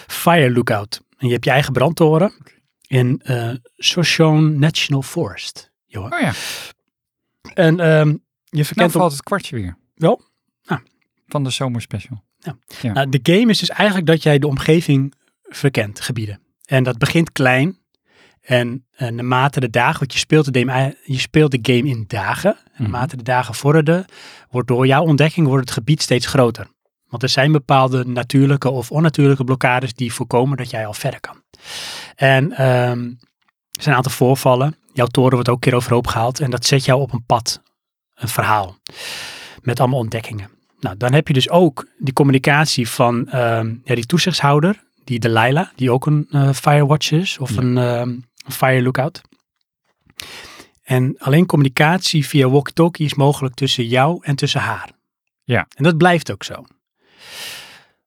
Speaker 1: fire lookout. En je hebt je eigen brandtoren in eh Shoshone National Forest. Johan.
Speaker 2: Oh ja.
Speaker 1: En ehm, je
Speaker 2: Nou
Speaker 1: verkent op-
Speaker 2: valt het kwartje weer.
Speaker 1: Wel? Ah.
Speaker 2: Van de zomerspecial.
Speaker 1: Nou, de game is dus eigenlijk dat jij de omgeving verkent, gebieden. En dat begint klein. En eh, naarmate de dagen, want je speelt de game, je speelt de game in dagen. En naarmate de dagen vorderden, wordt door jouw ontdekking wordt het gebied steeds groter. Want er zijn bepaalde natuurlijke of onnatuurlijke blokkades die voorkomen dat jij al verder kan. En ehm, er zijn een aantal voorvallen. Jouw toren wordt ook een keer overhoop gehaald. En dat zet jou op een pad, een verhaal. Met allemaal ontdekkingen. Nou, dan heb je dus ook die communicatie van ehm, ja, die toezichtshouder, die Delilah, die ook een eh, firewatch is of
Speaker 2: Ja.
Speaker 1: een ehm, een fire lookout. En alleen communicatie via walkie-talkie is mogelijk tussen jou en tussen haar.
Speaker 2: Ja.
Speaker 1: En dat blijft ook zo.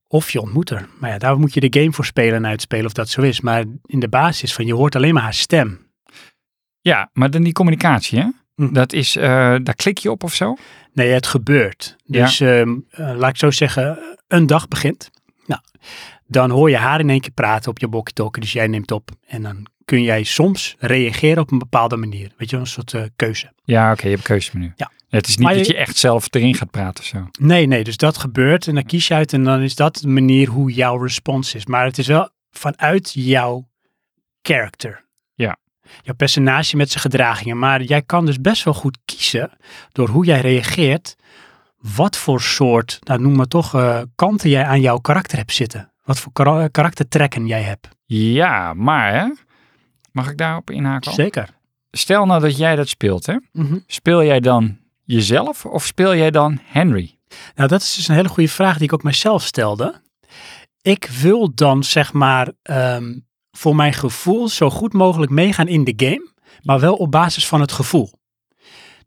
Speaker 1: Of je ontmoet haar. Maar ja, daar moet je de game voor spelen en uitspelen of dat zo is. Maar in de basis van je hoort alleen maar haar stem.
Speaker 2: Ja, maar dan die communicatie, hè?
Speaker 1: Mhm.
Speaker 2: Dat is, eh, daar klik je op of zo?
Speaker 1: Nee, het gebeurt.
Speaker 2: Ja.
Speaker 1: Dus ehm, eh, laat ik zo zeggen, een dag begint. Nou, dan hoor je haar in één keer praten op je walkie-talkie. Dus jij neemt op. En dan kun jij soms reageren op een bepaalde manier. Weet je, wel, een soort eh, keuze.
Speaker 2: Ja, oké, je hebt een keuzemenu.
Speaker 1: Ja.
Speaker 2: Het is niet
Speaker 1: Maar
Speaker 2: dat
Speaker 1: je-
Speaker 2: je echt zelf erin gaat praten of zo.
Speaker 1: Nee, nee, dus dat gebeurt. En dan kies je uit en dan is dat de manier hoe jouw respons is. Maar het is wel vanuit jouw character.
Speaker 2: Ja.
Speaker 1: Jouw personage met zijn gedragingen. Maar jij kan dus best wel goed kiezen door hoe jij reageert. Wat voor soort, nou noem maar toch, eh, kanten jij aan jouw karakter hebt zitten. Wat voor kara- karaktertrekken jij hebt.
Speaker 2: Ja, maar hè? Mag ik daarop inhaken? al?
Speaker 1: Zeker.
Speaker 2: Stel nou dat jij dat speelt, hè?
Speaker 1: Mhm.
Speaker 2: Speel jij dan jezelf of speel jij dan Henry?
Speaker 1: Nou, dat is dus een hele goede vraag die ik ook mijzelf stelde. Ik wil dan, zeg maar, ehm, voor mijn gevoel zo goed mogelijk meegaan in de game, maar wel op basis van het gevoel.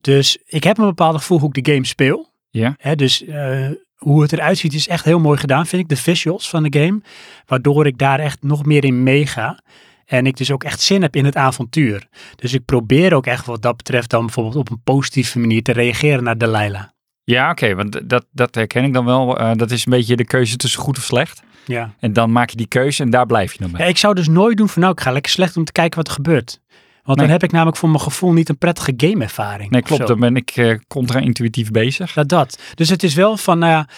Speaker 1: Dus ik heb een bepaald gevoel hoe ik de game speel.
Speaker 2: Ja.
Speaker 1: Hè, dus eh, hoe het eruit ziet is echt heel mooi gedaan, vind ik. De visuals van de game, waardoor ik daar echt nog meer in meega. En ik dus ook echt zin heb in het avontuur. Dus ik probeer ook echt wat dat betreft dan bijvoorbeeld op een positieve manier te reageren naar Delilah.
Speaker 2: Ja, oké, want dat, dat herken ik dan wel. Eh, dat is een beetje de keuze tussen goed of slecht.
Speaker 1: Ja.
Speaker 2: En dan maak je die keuze en daar blijf je dan bij.
Speaker 1: Ja, ik zou dus nooit doen van nou, ik ga lekker slecht om te kijken wat er gebeurt. Want dan
Speaker 2: Nee.
Speaker 1: heb ik namelijk voor mijn gevoel niet een prettige gameervaring.
Speaker 2: Nee,
Speaker 1: of
Speaker 2: klopt.
Speaker 1: zo.
Speaker 2: Dan ben ik eh, contra-intuïtief bezig.
Speaker 1: Dat, dat. Dus het is wel van, nou ja,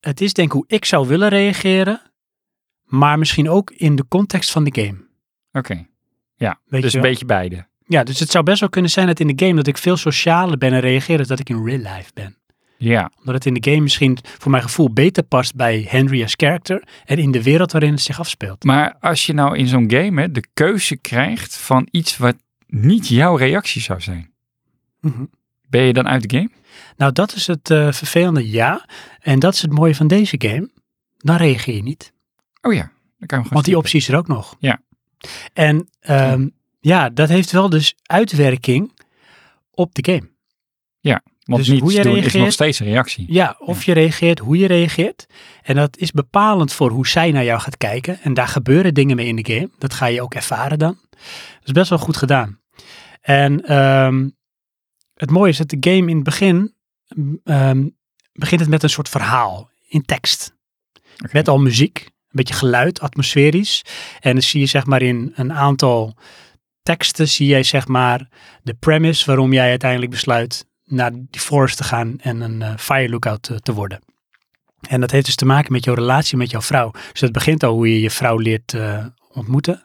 Speaker 1: het is denk ik hoe ik zou willen reageren, maar misschien ook in de context van de game.
Speaker 2: Oké.
Speaker 1: Weet
Speaker 2: Dus
Speaker 1: je
Speaker 2: een
Speaker 1: wel?
Speaker 2: beetje beide.
Speaker 1: Ja, dus het zou best wel kunnen zijn dat in de game dat ik veel socialer ben en reageer dan dat ik in real life ben.
Speaker 2: Ja.
Speaker 1: Omdat het in de game misschien voor mijn gevoel beter past bij Henry als character en in de wereld waarin het zich afspeelt.
Speaker 2: Maar als je nou in zo'n game hè, de keuze krijgt van iets wat niet jouw reactie zou zijn,
Speaker 1: Mhm.
Speaker 2: ben je dan uit de game?
Speaker 1: Nou, dat is het eh, vervelende ja. En dat is het mooie van deze game. Dan reageer je niet.
Speaker 2: Oh ja, dan kan je hem gewoon.
Speaker 1: Want die
Speaker 2: skippen.
Speaker 1: optie is er ook nog.
Speaker 2: Ja.
Speaker 1: En ehm, ja, dat heeft wel dus uitwerking op de game.
Speaker 2: Want
Speaker 1: dus
Speaker 2: niets
Speaker 1: hoe jij
Speaker 2: doen is nog
Speaker 1: reageert-
Speaker 2: steeds een reactie.
Speaker 1: Ja, of je reageert, hoe je reageert. En dat is bepalend voor hoe zij naar jou gaat kijken. En daar gebeuren dingen mee in de game. Dat ga je ook ervaren dan. Dat is best wel goed gedaan. En ehm, het mooie is dat de game in het begin m, ehm, begint het met een soort verhaal in tekst.
Speaker 2: Oké.
Speaker 1: Met al muziek, een beetje geluid, atmosferisch. En dan zie je zeg maar in een aantal teksten zie jij zeg maar de premise waarom jij uiteindelijk besluit naar die forest te gaan en een eh, fire lookout te, te worden. En dat heeft dus te maken met jouw relatie met jouw vrouw. Dus dat begint al hoe je je vrouw leert eh, ontmoeten.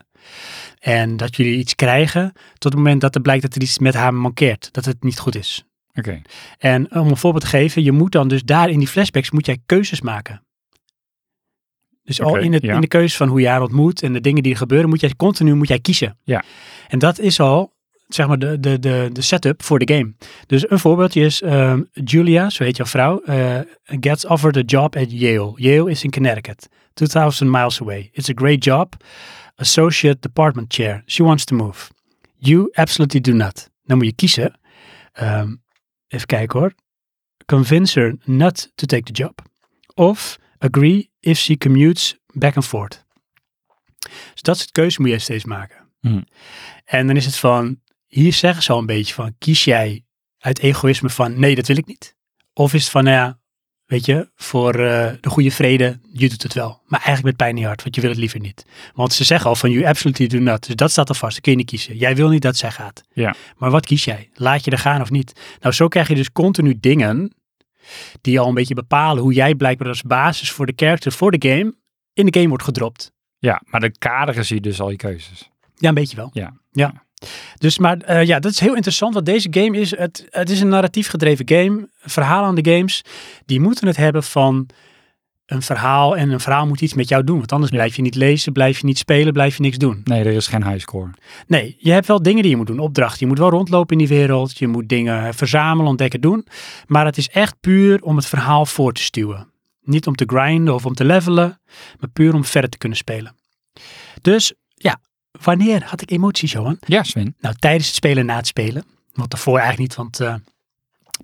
Speaker 1: En dat jullie iets krijgen tot het moment dat er blijkt dat er iets met haar mankeert. Dat het niet goed is.
Speaker 2: Oké.
Speaker 1: En om een voorbeeld te geven, je moet dan dus daar in die flashbacks moet jij keuzes maken. Dus al
Speaker 2: Oké,
Speaker 1: in, het,
Speaker 2: ja.
Speaker 1: in de keuzes van hoe je haar ontmoet en de dingen die er gebeuren, moet jij continu moet jij kiezen.
Speaker 2: Ja.
Speaker 1: En dat is al, zeg maar, de, de, de, de setup voor de game. Dus een voorbeeldje is ehm, Julia, zo heet jouw vrouw, eh, gets offered a job at Yale. Yale is in Connecticut, 2000 miles away. It's a great job. Associate department chair. She wants to move. You absolutely do not. Dan moet je kiezen. Ehm, even kijken hoor. Convince her not to take the job. Of agree if she commutes back and forth. Dus dat soort keuze moet je steeds maken.
Speaker 2: Hmm.
Speaker 1: En dan is het van, hier zeggen ze al een beetje van, kies jij uit egoïsme van, nee, dat wil ik niet. Of is het van, nou ja, weet je, voor eh, de goede vrede, je doet het wel. Maar eigenlijk met pijn in je hart, want je wil het liever niet. Want ze zeggen al van, you absolutely do not. Dus dat staat al vast, dat kun je niet kiezen. Jij wil niet dat zij gaat.
Speaker 2: Ja.
Speaker 1: Maar wat kies jij? Laat je er gaan of niet? Nou, zo krijg je dus continu dingen die al een beetje bepalen hoe jij blijkbaar als basis voor de character, voor de game, in de game wordt gedropt.
Speaker 2: Ja, maar de kaderen zie je dus al je keuzes.
Speaker 1: Ja, een beetje wel.
Speaker 2: Ja.
Speaker 1: Ja. Dus, maar eh, ja, dat is heel interessant, want deze game is, het, het is een narratief gedreven game. Verhalen aan de games, die moeten het hebben van een verhaal en een verhaal moet iets met jou doen. Want anders blijf je niet lezen, blijf je niet spelen, blijf je niks doen.
Speaker 2: Nee, er is geen highscore.
Speaker 1: Nee, je hebt wel dingen die je moet doen, opdrachten. Je moet wel rondlopen in die wereld, je moet dingen verzamelen, ontdekken, doen. Maar het is echt puur om het verhaal voor te stuwen. Niet om te grinden of om te levelen, maar puur om verder te kunnen spelen. Dus ja, wanneer had ik emoties, Johan?
Speaker 2: Ja, Sven.
Speaker 1: Nou, tijdens het spelen en na het spelen. Want daarvoor eigenlijk niet, want eh,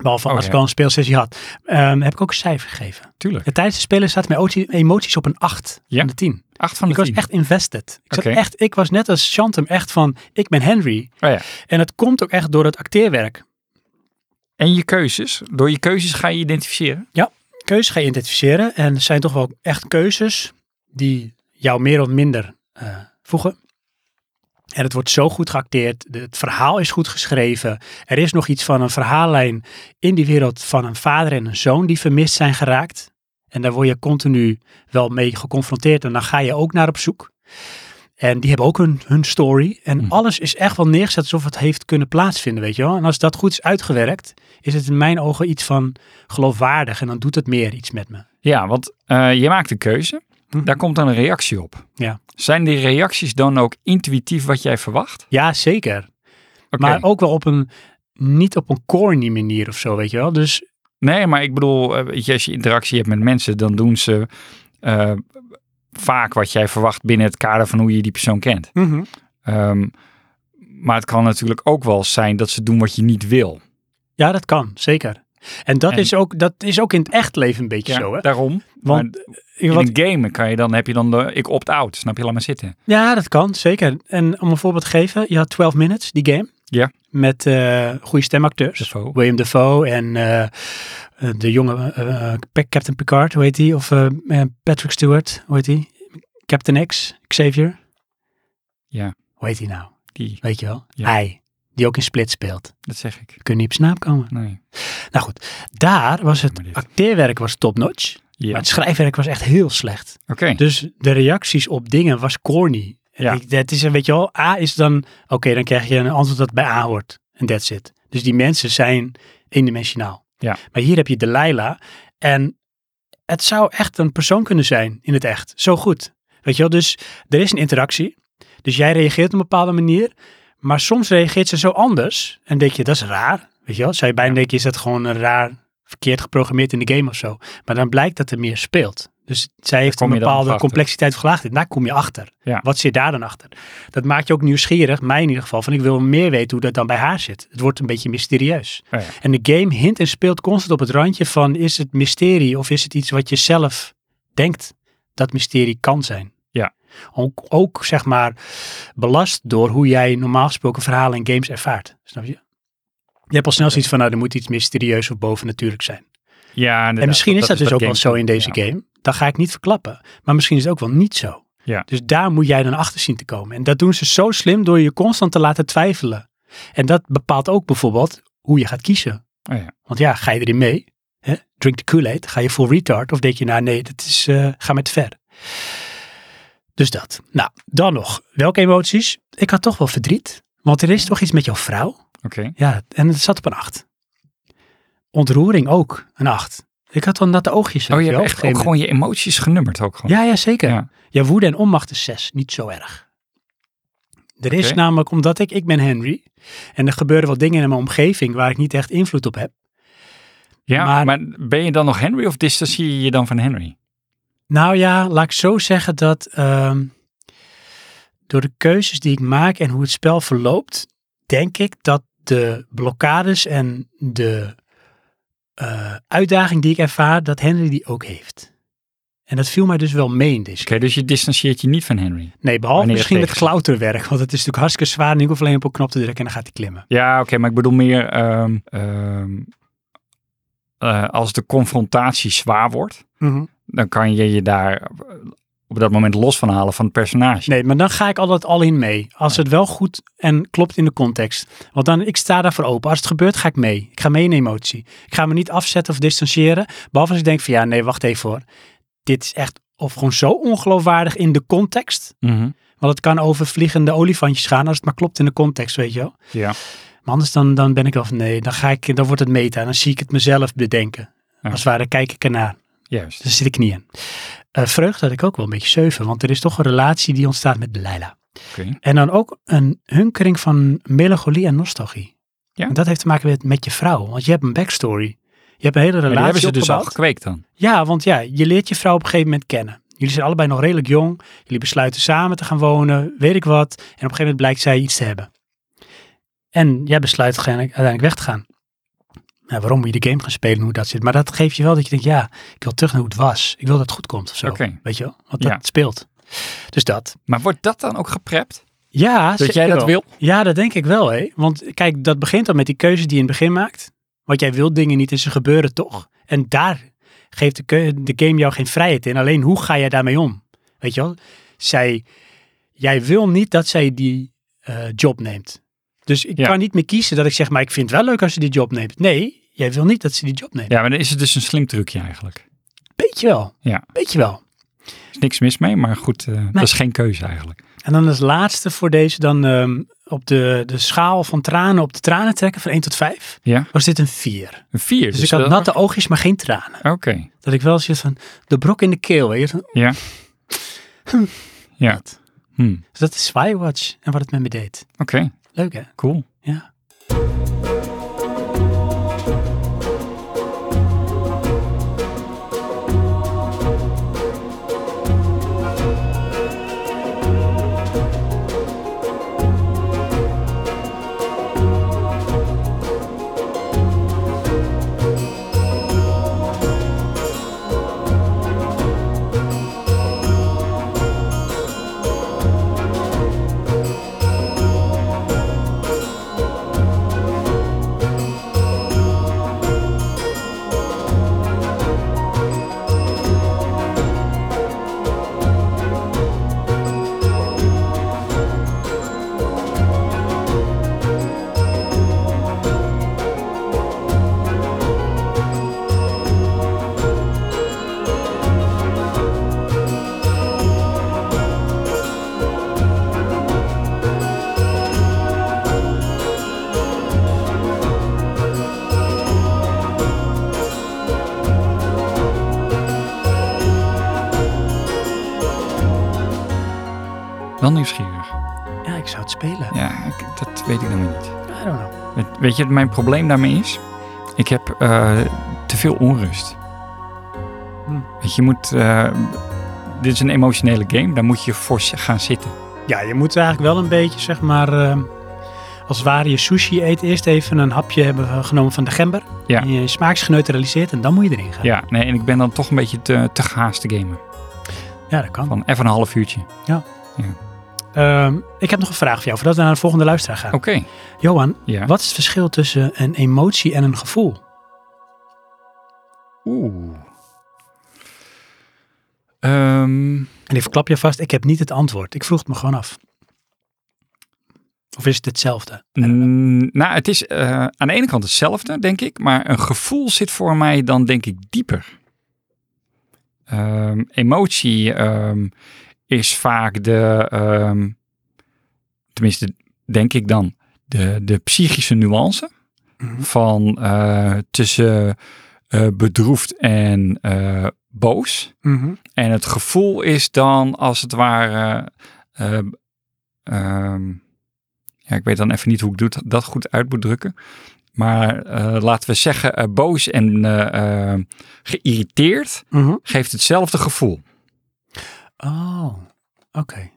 Speaker 1: behalve
Speaker 2: Oh,
Speaker 1: als
Speaker 2: ja.
Speaker 1: ik al een speelsessie had, ehm, heb ik ook een cijfer gegeven.
Speaker 2: Tuurlijk.
Speaker 1: En tijdens het spelen zaten mijn oti- emoties op een 8
Speaker 2: Ja.
Speaker 1: van de 10.
Speaker 2: Acht van de
Speaker 1: Ik was
Speaker 2: tien.
Speaker 1: echt invested. Ik, zat
Speaker 2: Oké.
Speaker 1: echt, ik was net als Chantem echt van, ik ben Henry.
Speaker 2: Oh ja.
Speaker 1: En dat komt ook echt door het acteerwerk.
Speaker 2: En je keuzes. Door je keuzes ga je identificeren.
Speaker 1: Keuzes ga je identificeren en er zijn toch wel echt keuzes die jou meer of minder eh, voegen. En het wordt zo goed geacteerd. de- Het verhaal is goed geschreven. Er is nog iets van een verhaallijn in die wereld van een vader en een zoon die vermist zijn geraakt. En daar word je continu wel mee geconfronteerd. En dan ga je ook naar op zoek. En die hebben ook hun, hun story. En
Speaker 2: Mhm.
Speaker 1: alles is echt wel neergezet alsof het heeft kunnen plaatsvinden, weet je wel. En als dat goed is uitgewerkt, is het in mijn ogen iets van geloofwaardig. En dan doet het meer iets met me.
Speaker 2: Ja, want eh, je maakt een keuze.
Speaker 1: Mhm.
Speaker 2: Daar komt dan een reactie op.
Speaker 1: Ja.
Speaker 2: Zijn die reacties dan ook intuïtief wat jij verwacht?
Speaker 1: Ja, zeker.
Speaker 2: Oké.
Speaker 1: Maar ook wel op een, niet op een corny manier of zo, weet je wel. Dus
Speaker 2: Nee, maar ik bedoel, eh, weet je, als je interactie hebt met mensen, dan doen ze eh, vaak wat jij verwacht binnen het kader van hoe je die persoon kent. Ehm, maar het kan natuurlijk ook wel zijn dat ze doen wat je niet wil.
Speaker 1: ja, dat kan, zeker. En dat,
Speaker 2: En-
Speaker 1: is ook, dat is ook in het echt leven een beetje zo, hè.
Speaker 2: daarom.
Speaker 1: Want
Speaker 2: Want
Speaker 1: eh, wat-
Speaker 2: in een game kan je dan, heb je dan de, ik opt-out, snap je, laat maar zitten.
Speaker 1: Ja, dat kan, zeker. En om een voorbeeld te geven, je had 12 Minutes, die game.
Speaker 2: Ja.
Speaker 1: Met eh, goede stemacteurs.
Speaker 2: Defoe.
Speaker 1: William Defoe en eh, eh, de jonge eh, eh, Pe- Captain Picard, hoe heet die? Of eh, eh, Patrick Stewart, hoe heet die? Captain X, Xavier.
Speaker 2: Ja.
Speaker 1: Hoe heet die nou?
Speaker 2: Die,
Speaker 1: Weet je wel?
Speaker 2: Ja.
Speaker 1: Hij, die ook in Split speelt.
Speaker 2: dat zeg ik.
Speaker 1: We kunnen niet op snaap komen.
Speaker 2: Nee.
Speaker 1: Nou goed, daar was het
Speaker 2: Maar dit-
Speaker 1: acteerwerk was topnotch,
Speaker 2: Ja.
Speaker 1: maar het schrijfwerk was echt heel slecht.
Speaker 2: Oké.
Speaker 1: Dus de reacties op dingen was corny.
Speaker 2: Ja.
Speaker 1: Ik, dat is een beetje wel, A is dan, oké, dan krijg je een antwoord dat bij A hoort. En that's it. Dus die mensen zijn eendimensionaal.
Speaker 2: Ja.
Speaker 1: Maar hier heb je Delilah en het zou echt een persoon kunnen zijn in het echt. Zo goed. Weet je wel, dus er is een interactie. Dus jij reageert op een bepaalde manier. Maar soms reageert ze zo anders. En denk je, dat is raar. Weet je wel, zou je bijna denken, is dat gewoon een raar, verkeerd geprogrammeerd in de game of zo. Maar dan blijkt dat er meer speelt. Dus zij heeft een
Speaker 2: kom je dan
Speaker 1: bepaalde
Speaker 2: achter.
Speaker 1: complexiteit of gelaagdheid. Daar kom je achter.
Speaker 2: Ja.
Speaker 1: Wat zit daar dan achter? Dat maakt je ook nieuwsgierig, mij in ieder geval. Van ik wil meer weten hoe dat dan bij haar zit. Het wordt een beetje mysterieus.
Speaker 2: Oh ja.
Speaker 1: En de game hint en speelt constant op het randje van is het mysterie of is het iets wat je zelf denkt dat mysterie kan zijn.
Speaker 2: Ja.
Speaker 1: Ook, ook zeg maar belast door hoe jij normaal gesproken verhalen in games ervaart. Snap je? Je hebt al snel zoiets van nou er moet iets mysterieus of bovennatuurlijk zijn.
Speaker 2: Ja, inderdaad,
Speaker 1: En misschien is dat, dus
Speaker 2: wat
Speaker 1: ook wel zo
Speaker 2: games
Speaker 1: in
Speaker 2: doen,
Speaker 1: deze
Speaker 2: ja.
Speaker 1: game. Dat ga ik niet verklappen. Maar misschien is het ook wel niet zo.
Speaker 2: Ja.
Speaker 1: Dus daar moet jij dan achter zien te komen. En dat doen ze zo slim door je constant te laten twijfelen. En dat bepaalt ook bijvoorbeeld hoe je gaat kiezen.
Speaker 2: Oh ja.
Speaker 1: Want ja, ga je erin mee? Hè? Drink de Kool-Aid. Ga je full retard? Of denk je, nou nee, dat is, eh, ga maar te ver. Dus dat. Nou, dan nog. Welke emoties? Ik had toch wel verdriet. Want er is toch iets met jouw vrouw?
Speaker 2: Oké.
Speaker 1: Ja, en het zat op een 8. Ontroering ook, een 8. Ik had dan natte oogjes.
Speaker 2: Oh,
Speaker 1: weet
Speaker 2: je hebt
Speaker 1: wel,
Speaker 2: echt
Speaker 1: op een
Speaker 2: ook
Speaker 1: gegeven
Speaker 2: gewoon je emoties genummerd ook gewoon.
Speaker 1: moment. Ja, ja, zeker. Ja.
Speaker 2: Ja.
Speaker 1: woede en onmacht is 6, niet zo erg. Er is
Speaker 2: Oké.
Speaker 1: namelijk, omdat ik, ik ben Henry, en er gebeuren wat dingen in mijn omgeving waar ik niet echt invloed op heb.
Speaker 2: Ja,
Speaker 1: Maar-
Speaker 2: maar, ben je dan nog Henry of distancieer je je dan van Henry?
Speaker 1: Nou ja, laat ik zo zeggen dat ehm, door de keuzes die ik maak en hoe het spel verloopt, denk ik dat de blokkades en de eh, uitdaging die ik ervaar, dat Henry die ook heeft. En dat viel mij dus wel mee in deze
Speaker 2: Oké, dus je distancieert je niet van Henry.
Speaker 1: Nee, behalve
Speaker 2: Wanneer het
Speaker 1: misschien het
Speaker 2: tegen zit.
Speaker 1: klauterwerk, want het is natuurlijk hartstikke zwaar. Nu hoef ik alleen op een knop te drukken en dan gaat hij klimmen.
Speaker 2: Ja, oké, maar ik bedoel meer ehm, ehm, eh, als de confrontatie zwaar wordt, dan kan je je daar op dat moment los van halen van het personage.
Speaker 1: Nee, maar dan ga ik altijd al in mee. Als het wel goed en klopt in de context. Want dan, ik sta daarvoor open. Als het gebeurt, ga ik mee. Ik ga mee in emotie. Ik ga me niet afzetten of distancieren. Behalve als ik denk van, ja, nee, wacht even hoor. Dit is echt, of gewoon zo ongeloofwaardig in de context.
Speaker 2: Mhm.
Speaker 1: Want het kan over vliegende olifantjes gaan, als het maar klopt in de context, weet je wel.
Speaker 2: Ja.
Speaker 1: Maar anders dan, dan ben ik wel van, nee, dan, ga ik, dan wordt het meta. Dan zie ik het mezelf bedenken.
Speaker 2: Ja.
Speaker 1: Als het ware kijk ik ernaar.
Speaker 2: Juist.
Speaker 1: Dus daar zit ik niet in. Eh, vreugde had ik ook wel een beetje zeven, want er is toch een relatie die ontstaat met Delilah.
Speaker 2: Oké.
Speaker 1: En dan ook een hunkering van melancholie en nostalgie.
Speaker 2: Ja.
Speaker 1: En dat heeft te maken met, met je vrouw, want je hebt een backstory. Je hebt een hele
Speaker 2: Maar die hebben
Speaker 1: relatie
Speaker 2: ze dus al
Speaker 1: opgebouwd.
Speaker 2: gekweekt dan.
Speaker 1: ja, want ja, je leert je vrouw op een gegeven moment kennen. Jullie zijn allebei nog redelijk jong. Jullie besluiten samen te gaan wonen, weet ik wat. En op een gegeven moment blijkt zij iets te hebben. En jij besluit uiteindelijk uiteindelijk weg te gaan. Nou, waarom moet je de game gaan spelen en hoe dat zit? Maar dat geeft je wel dat je denkt, ja, ik wil terug naar hoe het was. Ik wil dat het goed komt of zo.
Speaker 2: Oké.
Speaker 1: Weet je wel? Want dat
Speaker 2: Ja.
Speaker 1: speelt. Dus dat.
Speaker 2: Maar wordt dat dan ook geprept?
Speaker 1: Ja,
Speaker 2: Dat jij
Speaker 1: zeker
Speaker 2: dat
Speaker 1: wel.
Speaker 2: wil?
Speaker 1: Ja, dat denk ik wel, hè. Want kijk, dat begint dan met die keuze die je in het begin maakt. Want jij wilt dingen niet en ze gebeuren toch. En daar geeft de, keu- de game jou geen vrijheid in. Alleen hoe ga jij daarmee om? Weet je wel? Zij, jij wil niet dat zij die eh, job neemt. Dus ik
Speaker 2: Ja.
Speaker 1: kan niet meer kiezen dat ik zeg, maar ik vind het wel leuk als ze die job neemt. Nee, jij wil niet dat ze die job neemt.
Speaker 2: Ja, maar dan is het dus een slim trucje eigenlijk.
Speaker 1: Beetje wel.
Speaker 2: Ja.
Speaker 1: Beetje wel.
Speaker 2: Er is niks mis mee, maar goed, eh, dat is geen keuze eigenlijk.
Speaker 1: En dan als laatste voor deze dan ehm, op de, de schaal van tranen op de tranen trekken van 1 tot 5.
Speaker 2: Ja,
Speaker 1: Was dit een 4?
Speaker 2: een vier.
Speaker 1: Dus, ik had
Speaker 2: dat-
Speaker 1: natte oogjes, maar geen tranen.
Speaker 2: Oké,
Speaker 1: Dat ik wel zit van de brok in de keel. Weet je? Van,
Speaker 2: ja. Ja,
Speaker 1: dat.
Speaker 2: hm.
Speaker 1: Dus dat is Spywatch en wat het met me deed.
Speaker 2: oké,
Speaker 1: Leuk hè?
Speaker 2: cool.
Speaker 1: Ja.
Speaker 2: Wel nieuwsgierig.
Speaker 1: Ja, ik zou het spelen.
Speaker 2: Ja, ik- dat weet ik nog maar niet.
Speaker 1: I don't know.
Speaker 2: Weet, weet je wat mijn probleem daarmee is? Ik heb eh, te veel onrust.
Speaker 1: Hm.
Speaker 2: Weet je, je moet... eh, dit is een emotionele game, daar moet je voor zi- gaan zitten.
Speaker 1: Ja, je moet eigenlijk wel een beetje, zeg maar, ehm, als het ware je sushi eet, eerst even een hapje hebben eh, genomen van de gember.
Speaker 2: Ja.
Speaker 1: En je smaak is geneutraliseerd en dan moet je erin gaan.
Speaker 2: Ja, nee, en ik ben dan toch een beetje te, te gehaast te gamen.
Speaker 1: Ja, dat kan.
Speaker 2: Van even een half uurtje. Oké,
Speaker 1: Ehm, ik heb nog een vraag voor jou, voordat we naar de volgende luisteraar gaan. Johan,
Speaker 2: ja.
Speaker 1: wat is het verschil tussen een emotie en een gevoel?
Speaker 2: Oeh. Ehm,
Speaker 1: En ik verklap je vast, ik heb niet het antwoord. Ik vroeg het me gewoon af. Of is het hetzelfde?
Speaker 2: Mm, nou, het is eh, aan de ene kant hetzelfde, denk ik. Maar een gevoel zit voor mij dan, denk ik, dieper. Ehm, emotie ehm, is vaak de, ehm, tenminste, denk ik dan, de, de psychische nuance.
Speaker 1: Mhm.
Speaker 2: Van eh, tussen eh, bedroefd en eh, boos.
Speaker 1: Mhm,
Speaker 2: En het gevoel is dan als het ware. eh, ehm, ja, ik weet dan even niet hoe ik doet- dat goed uit moet drukken. Maar eh, laten we zeggen, eh, boos en eh, eh, geïrriteerd
Speaker 1: Mhm.
Speaker 2: geeft hetzelfde gevoel.
Speaker 1: Oh, oké.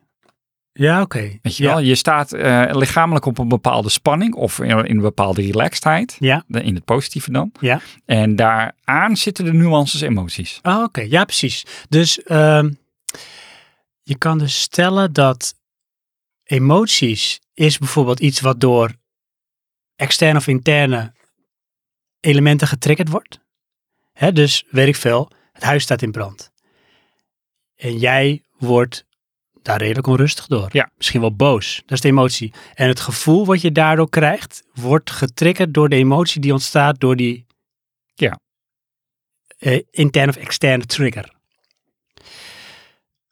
Speaker 1: Ja, oké.
Speaker 2: Weet je
Speaker 1: ja.
Speaker 2: wel, je staat eh, lichamelijk op een bepaalde spanning of in, in een bepaalde relaxedheid.
Speaker 1: Ja.
Speaker 2: De- In het positieve dan.
Speaker 1: Ja.
Speaker 2: En daaraan zitten de nuances emoties.
Speaker 1: Ah, oké. Ja, precies. Dus ehm, je kan dus stellen dat emoties is bijvoorbeeld iets wat door externe of interne elementen getriggerd wordt. Hè, dus weet ik veel, het huis staat in brand. En jij wordt daar redelijk onrustig door.
Speaker 2: Ja.
Speaker 1: Misschien wel boos. Dat is de emotie. En het gevoel wat je daardoor krijgt, wordt getriggerd door de emotie die ontstaat door die
Speaker 2: Ja.
Speaker 1: eh, interne of externe trigger.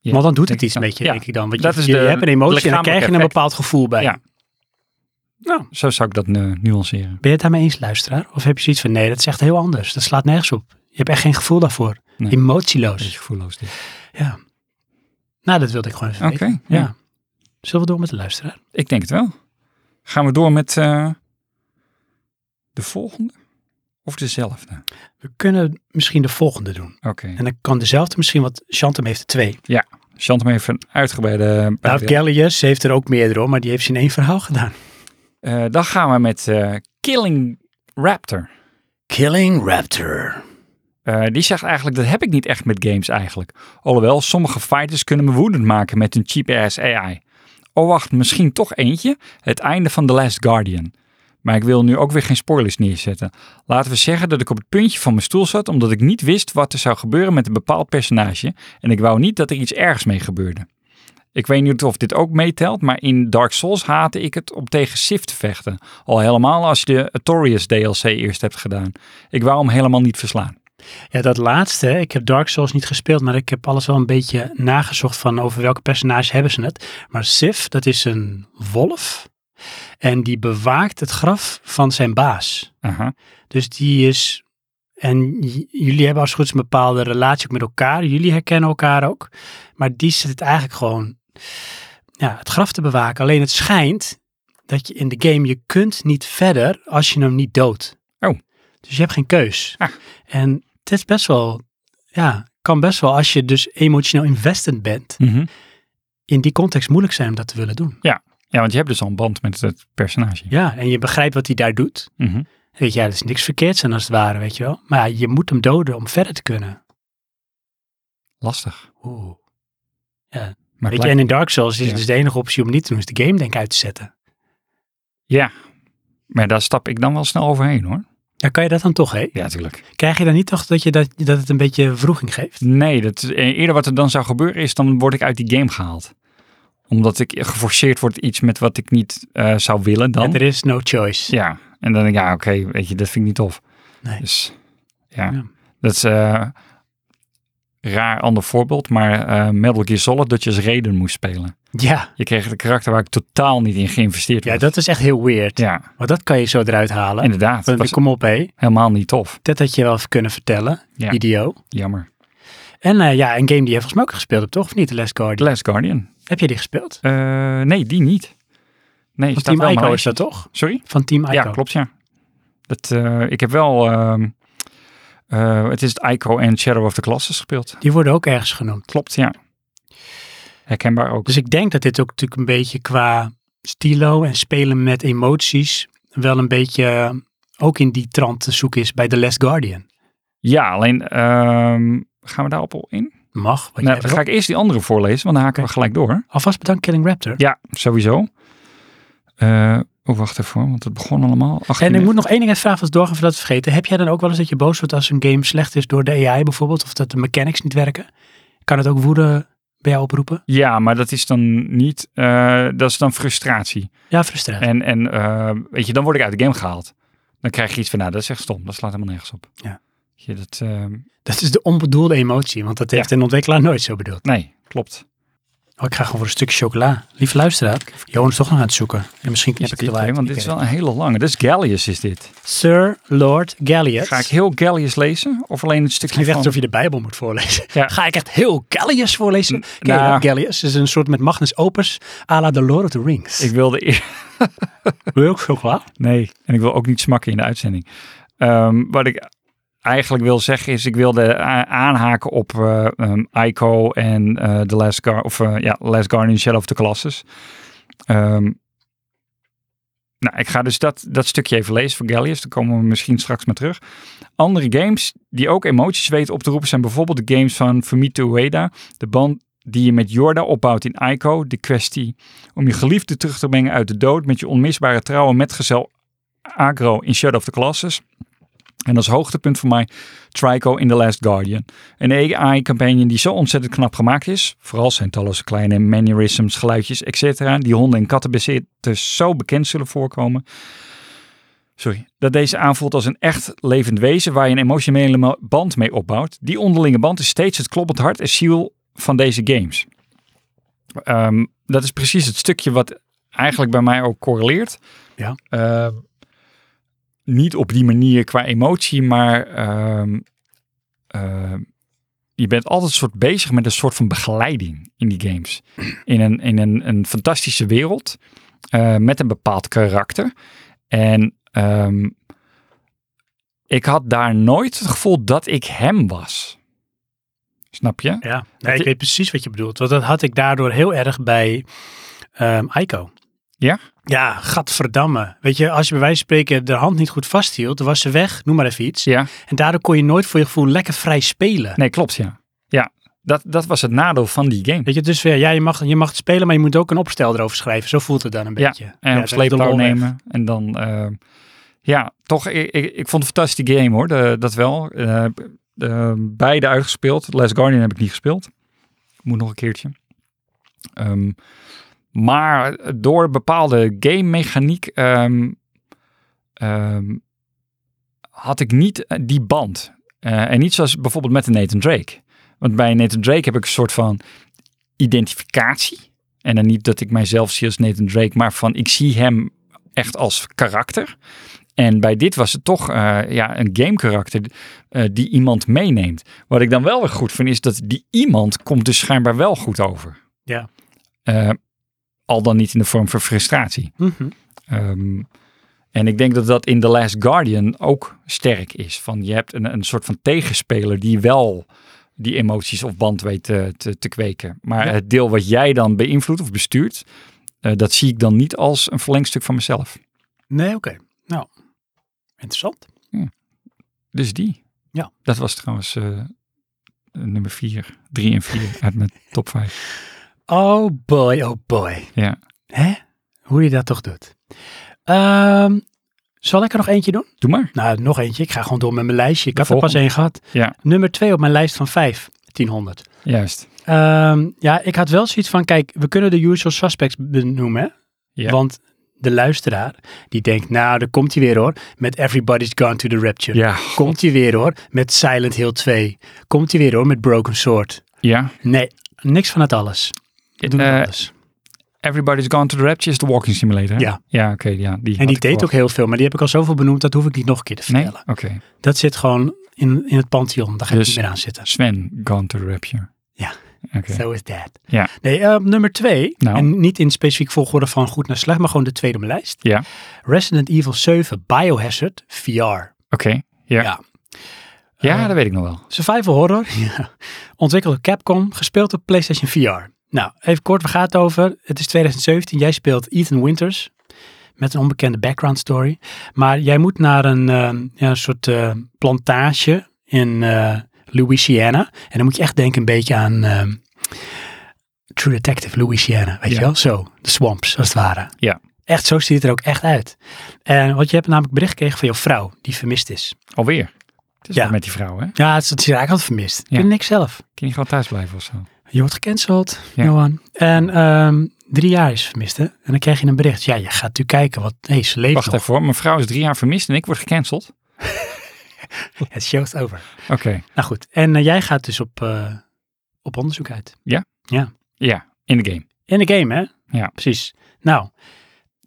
Speaker 2: Ja,
Speaker 1: Want dan doet
Speaker 2: denk
Speaker 1: het iets
Speaker 2: ik
Speaker 1: met
Speaker 2: wel.
Speaker 1: je,
Speaker 2: Ja.
Speaker 1: denk ik dan. Want
Speaker 2: Dat
Speaker 1: je,
Speaker 2: is
Speaker 1: je
Speaker 2: de
Speaker 1: hebt een emotie en dan
Speaker 2: lichamelijke
Speaker 1: krijg je een
Speaker 2: effect.
Speaker 1: bepaald gevoel bij.
Speaker 2: Ja.
Speaker 1: Nou, ben
Speaker 2: Zo zou ik dat nu- nuanceren.
Speaker 1: je het daarmee eens, luisteraar? Of heb je zoiets van, nee, dat is echt heel anders. Dat slaat nergens op. Je hebt echt geen gevoel daarvoor.
Speaker 2: Nee. Beetje
Speaker 1: Emotieloos.
Speaker 2: gevoelloos. dit.
Speaker 1: Ja. Nou, dat wilde ik gewoon even
Speaker 2: Oké.
Speaker 1: weten. Ja.
Speaker 2: ja.
Speaker 1: Zullen we door met de luisteraar?
Speaker 2: Ik denk het wel. Gaan we door met eh, de volgende? Of dezelfde?
Speaker 1: We kunnen misschien de volgende doen.
Speaker 2: Oké.
Speaker 1: En dan kan dezelfde misschien, want Chantem heeft er twee.
Speaker 2: Chant me even een uitgebreide...
Speaker 1: Nou, Gallius heeft er ook meerdere, hoor, maar die heeft ze in één verhaal gedaan.
Speaker 2: Eh, dan gaan we met eh, Killing Raptor.
Speaker 1: Killing Raptor.
Speaker 2: Eh, die zegt eigenlijk, dat heb ik niet echt met games eigenlijk. Alhoewel, sommige fighters kunnen me woedend maken met hun cheap-ass AI. Oh wacht, misschien toch eentje? Het einde van The Last Guardian. Maar ik wil nu ook weer geen spoilers neerzetten. Laten we zeggen dat ik op het puntje van mijn stoel zat omdat ik niet wist wat er zou gebeuren met een bepaald personage en ik wou niet dat er iets ergs mee gebeurde. Ik weet niet of dit ook meetelt, maar in Dark Souls haatte ik het om tegen Sif te vechten. Al helemaal als je de Artorias DLC eerst hebt gedaan. Ik wou hem helemaal niet verslaan.
Speaker 1: Ja, dat laatste. Ik heb Dark Souls niet gespeeld, maar ik heb alles wel een beetje nagezocht van over welke personage hebben ze het. Maar Sif, dat is een wolf. En die bewaakt het graf van zijn baas.
Speaker 2: Aha.
Speaker 1: Dus die is. En j- jullie hebben als het goed is een bepaalde relatie ook met elkaar. Jullie herkennen elkaar ook. Maar die zit het eigenlijk gewoon ja, het graf te bewaken. Alleen het schijnt dat je in de game, je kunt niet verder als je hem niet doodt.
Speaker 2: Oh.
Speaker 1: Dus je hebt geen keus.
Speaker 2: Ah.
Speaker 1: En het is best wel, ja, kan best wel als je dus emotioneel invested bent, in die context moeilijk zijn om dat te willen doen.
Speaker 2: Ja, want je hebt dus al een band met het personage.
Speaker 1: Ja, en je begrijpt wat hij daar doet.
Speaker 2: Mhm.
Speaker 1: Weet je, ja, er is niks verkeerds aan als het ware, weet je wel. Maar ja, je moet hem doden om verder te kunnen.
Speaker 2: Lastig.
Speaker 1: Oeh.
Speaker 2: Maar
Speaker 1: Weet
Speaker 2: het
Speaker 1: je,
Speaker 2: lijkt-
Speaker 1: en in Dark Souls is
Speaker 2: Ja.
Speaker 1: het dus de enige optie om niet te doen, is de game denk ik uit te zetten.
Speaker 2: Ja, maar daar stap ik dan wel snel overheen hoor.
Speaker 1: Ja, kan je dat dan toch, hé?
Speaker 2: Ja, natuurlijk.
Speaker 1: Krijg je dan niet toch dat, je dat, dat het een beetje vroeging geeft?
Speaker 2: Nee, dat, eh, eerder wat er dan zou gebeuren is, dan word ik uit die game gehaald. Omdat ik geforceerd word iets met wat ik niet eh, zou willen dan.
Speaker 1: En er is no choice.
Speaker 2: Ja, en dan denk ik, ja oké, weet je, dat vind ik niet tof.
Speaker 1: Nee.
Speaker 2: Dus ja,
Speaker 1: Ja.
Speaker 2: dat is eh, raar ander voorbeeld, maar eh Metal Gear Solid dat je als Raiden moest spelen.
Speaker 1: Ja,
Speaker 2: Je kreeg een karakter waar ik totaal niet in geïnvesteerd
Speaker 1: ja
Speaker 2: werd.
Speaker 1: dat is echt heel weird.
Speaker 2: ja
Speaker 1: Want dat kan je zo eruit halen.
Speaker 2: inderdaad.
Speaker 1: Want,
Speaker 2: Dat was
Speaker 1: Kom op, hé.
Speaker 2: helemaal niet tof.
Speaker 1: Dat had je wel even kunnen vertellen,
Speaker 2: Ja.
Speaker 1: idioot.
Speaker 2: Jammer.
Speaker 1: En eh, ja, een game die je volgens mij ook gespeeld hebt, toch? Of niet, The Last
Speaker 2: The
Speaker 1: Guardian?
Speaker 2: Last Guardian.
Speaker 1: Heb je die gespeeld?
Speaker 2: Eh, nee, die niet. Nee,
Speaker 1: Van
Speaker 2: staat
Speaker 1: Team
Speaker 2: wel maar
Speaker 1: Ico is
Speaker 2: lijstje.
Speaker 1: dat toch?
Speaker 2: Sorry?
Speaker 1: Van Team Ico.
Speaker 2: Ja, klopt, ja. Dat, eh, ik heb wel... ehm, eh, het is het Ico en Shadow of the Classes gespeeld.
Speaker 1: Die worden ook ergens genoemd.
Speaker 2: Klopt, ja. Herkenbaar ook.
Speaker 1: Dus ik denk dat dit ook natuurlijk een beetje qua stilo en spelen met emoties wel een beetje eh, ook in die trant te zoeken is bij The Last Guardian.
Speaker 2: Ja, alleen... ehm, gaan we daarop al in?
Speaker 1: Mag, wat
Speaker 2: Nou,
Speaker 1: jij
Speaker 2: dan
Speaker 1: wil.
Speaker 2: ga ik eerst die andere voorlezen, want dan haken we gelijk door.
Speaker 1: Alvast bedankt Killing Raptor.
Speaker 2: Ja, sowieso. Eh oh, wacht even, hoor, want het begon allemaal... Ach,
Speaker 1: En ik moet nog één ding even vragen, als doorgaan voordat we het vergeten. Heb jij dan ook wel eens dat je boos wordt als een game slecht is door de AI bijvoorbeeld? Of dat de mechanics niet werken? Kan het ook woede bij jou oproepen?
Speaker 2: Ja, maar dat is dan niet, eh, dat is dan frustratie.
Speaker 1: Ja, frustratie.
Speaker 2: En, en eh, weet je, dan word ik uit de game gehaald. Dan krijg je iets van, nou, dat is echt stom. Dat slaat helemaal nergens op.
Speaker 1: Ja.
Speaker 2: Weet Je, dat, eh,
Speaker 1: Dat is de onbedoelde emotie, want dat heeft een ontwikkelaar nooit zo bedoeld.
Speaker 2: nee, klopt.
Speaker 1: Oh, ik ga gewoon voor een stukje chocola. Lief luisteraar, Johan is toch nog aan het zoeken. En misschien knip
Speaker 2: Heb
Speaker 1: ik het
Speaker 2: ik dit,
Speaker 1: wel uit.
Speaker 2: hè?
Speaker 1: Ik
Speaker 2: want dit is
Speaker 1: weet
Speaker 2: wel een hele lange. Dit is Gallius, is dit.
Speaker 1: het. Sir Lord Gallius.
Speaker 2: Ga ik heel Gallius lezen? Of alleen het
Speaker 1: Het klinkt
Speaker 2: stukje
Speaker 1: echt
Speaker 2: van...
Speaker 1: alsof je de Bijbel moet voorlezen.
Speaker 2: Ja.
Speaker 1: Ga ik echt heel Gallius voorlezen? Ken je
Speaker 2: nou.
Speaker 1: dat, Gallius is een soort met Magnus Opus à la The Lord of the Rings.
Speaker 2: Ik wilde eer-
Speaker 1: wil je ook chocola.
Speaker 2: Nee, en ik wil ook niet smakken in de uitzending. Ehm, wat ik eigenlijk wil zeggen is, ik wilde a- aanhaken op eh ehm, Ico en eh The Last, Gar of, eh, ja, Last Guardian Shadow of the Colossus. Ehm, nou, ik ga dus dat, dat stukje even lezen voor Gallius. Daar komen we misschien straks maar terug. Andere games die ook emoties weten op te roepen zijn bijvoorbeeld de games van Fumito Ueda. De band die je met Jorda opbouwt in Ico. De kwestie om je geliefde terug te brengen uit de dood met je onmisbare trouwe metgezel Agro in Shadow of the Classes. En als hoogtepunt voor mij Trico in The Last Guardian. Een AI-campagne die zo ontzettend knap gemaakt is. Vooral zijn talloze kleine mannerisms, geluidjes, etc. Die honden en kattenbezitters zo bekend zullen voorkomen. Sorry. Dat deze aanvoelt als een echt levend wezen waar je een emotionele mo- band mee opbouwt. Die onderlinge band is steeds het kloppend hart en ziel van deze games. Ehm, dat is precies het stukje wat eigenlijk bij mij ook correleert.
Speaker 1: Ja.
Speaker 2: Ehm, niet op die manier qua emotie, maar ehm, ehm, je bent altijd soort bezig met een soort van begeleiding in die games. In een, in een, een fantastische wereld eh, met een bepaald karakter. En ehm, ik had daar nooit het gevoel dat ik hem was. Snap je?
Speaker 1: Ja, nee, ik weet precies wat je bedoelt. Want dat had ik daardoor heel erg bij ehm Aiko.
Speaker 2: Ja?
Speaker 1: Ja, gadverdamme. Weet je, als je bij wijze van spreken de hand niet goed vasthield, dan was ze weg, noem maar even iets.
Speaker 2: Ja.
Speaker 1: En daardoor kon je nooit voor je gevoel lekker vrij spelen.
Speaker 2: Nee, klopt ja. Ja, dat, dat was het nadeel van die game.
Speaker 1: Weet je, dus weer, ja, je mag, je mag het spelen, maar je moet ook een opstel erover schrijven. Zo voelt het dan een
Speaker 2: Ja,
Speaker 1: beetje.
Speaker 2: En
Speaker 1: dat
Speaker 2: op
Speaker 1: is de
Speaker 2: sleeptouw
Speaker 1: lol weg.
Speaker 2: nemen. En dan, eh, ja, toch, ik, ik, ik vond het een fantastische game hoor, de- dat wel. Eh, eh, beide uitgespeeld. Last Guardian heb ik niet gespeeld. Moet nog een keertje. Ehm, maar door bepaalde game mechaniek ehm, ehm, had ik niet eh, die band. Eh, en niet zoals bijvoorbeeld met de Nathan Drake. Want bij Nathan Drake heb ik een soort van identificatie. En dan niet dat ik mijzelf zie als Nathan Drake, maar van ik zie hem echt als karakter. En bij dit was het toch eh, ja, een game karakter eh, die iemand meeneemt. Wat ik dan wel weer goed vind, is dat die iemand komt dus schijnbaar wel goed over.
Speaker 1: Ja.
Speaker 2: Eh, al dan niet in de vorm van frustratie.
Speaker 1: Mhm.
Speaker 2: Ehm, en ik denk dat dat in The Last Guardian ook sterk is. Van je hebt een, een soort van tegenspeler die wel die emoties of band weet te, te, te kweken. Maar
Speaker 1: Ja.
Speaker 2: het deel wat jij dan beïnvloedt of bestuurt, eh, dat zie ik dan niet als een verlengstuk van mezelf.
Speaker 1: Nee, oké. Nou, interessant.
Speaker 2: Dus die.
Speaker 1: Ja.
Speaker 2: Dat was trouwens eh, nummer 4, 3 en 4 *laughs* uit mijn top 5.
Speaker 1: Oh boy, oh boy.
Speaker 2: Ja.
Speaker 1: Hè? Hoe je dat toch doet. Ehm, zal ik er nog eentje doen?
Speaker 2: Doe maar.
Speaker 1: Nou, nog eentje. Ik ga gewoon door met mijn lijstje. Ik
Speaker 2: De
Speaker 1: had er pas
Speaker 2: volgende.
Speaker 1: één gehad.
Speaker 2: Ja.
Speaker 1: Nummer twee op mijn lijst van vijf. 1000.
Speaker 2: Juist.
Speaker 1: Ehm, ja, ik had wel zoiets van, kijk, we kunnen de usual suspects benoemen. hè?
Speaker 2: Ja.
Speaker 1: Want de luisteraar, die denkt, nou, daar komt hij weer hoor. Met Everybody's Gone to the Rapture.
Speaker 2: Ja.
Speaker 1: Komt hij weer hoor. Met Silent Hill 2. Komt hij weer hoor. Met Broken Sword.
Speaker 2: Ja.
Speaker 1: Nee, niks van het alles. Doe niet
Speaker 2: Eh,
Speaker 1: alles.
Speaker 2: Everybody's Gone to the Rapture is de walking simulator. hè?
Speaker 1: Ja.
Speaker 2: Ja, oké. ja, die
Speaker 1: En
Speaker 2: had
Speaker 1: die
Speaker 2: ik
Speaker 1: deed ook
Speaker 2: verwacht.
Speaker 1: heel veel, maar die heb ik al zoveel benoemd, dat hoef ik niet nog een keer te
Speaker 2: Nee?
Speaker 1: vertellen.
Speaker 2: Oké.
Speaker 1: Dat zit gewoon in, in het pantheon, daar ga ik
Speaker 2: Dus-
Speaker 1: niet meer aan zitten.
Speaker 2: Sven Gone to the Rapture.
Speaker 1: Ja.
Speaker 2: Oké.
Speaker 1: So is that.
Speaker 2: Ja.
Speaker 1: Nee, eh, nummer twee,
Speaker 2: Nou.
Speaker 1: en niet in specifiek volgorde van goed naar slecht, maar gewoon de tweede op mijn lijst.
Speaker 2: Ja.
Speaker 1: Resident Evil 7 Biohazard VR.
Speaker 2: Oké. Ja.
Speaker 1: Ja.
Speaker 2: Ja,
Speaker 1: Eh,
Speaker 2: dat weet ik nog wel.
Speaker 1: Survival horror, ja. ontwikkeld door Capcom, gespeeld op PlayStation VR. Nou, even kort, waar gaat het over? Het is 2017, jij speelt Ethan Winters met een onbekende background story. Maar jij moet naar een, ehm, ja, een soort eh, plantage in eh, Louisiana. En dan moet je echt denken een beetje aan ehm, True Detective Louisiana, weet je
Speaker 2: Ja.
Speaker 1: wel? Zo, de swamps als het ware.
Speaker 2: Ja.
Speaker 1: Echt, zo ziet het er ook echt uit. En want je hebt namelijk bericht gekregen van jouw vrouw, die vermist is.
Speaker 2: Alweer. Het is
Speaker 1: Ja.
Speaker 2: wat met die vrouw, hè?
Speaker 1: Ja, het is het is eigenlijk altijd vermist. Ik
Speaker 2: Ja.
Speaker 1: weet niks zelf.
Speaker 2: Kun je gewoon thuis blijven of zo?
Speaker 1: Je wordt gecanceld,
Speaker 2: Ja.
Speaker 1: Johan. En ehm, drie jaar is vermist, hè? En dan krijg je een bericht. Ja, je gaat natuurlijk kijken, wat hey, ze leeft
Speaker 2: Wacht
Speaker 1: nog.
Speaker 2: even hoor, mijn vrouw is drie jaar vermist en ik word gecanceld.
Speaker 1: Het show's over.
Speaker 2: Oké,
Speaker 1: Nou goed, en eh, jij gaat dus op, eh, op onderzoek uit.
Speaker 2: ja, in de game.
Speaker 1: In de game, hè?
Speaker 2: Ja.
Speaker 1: Precies. Nou,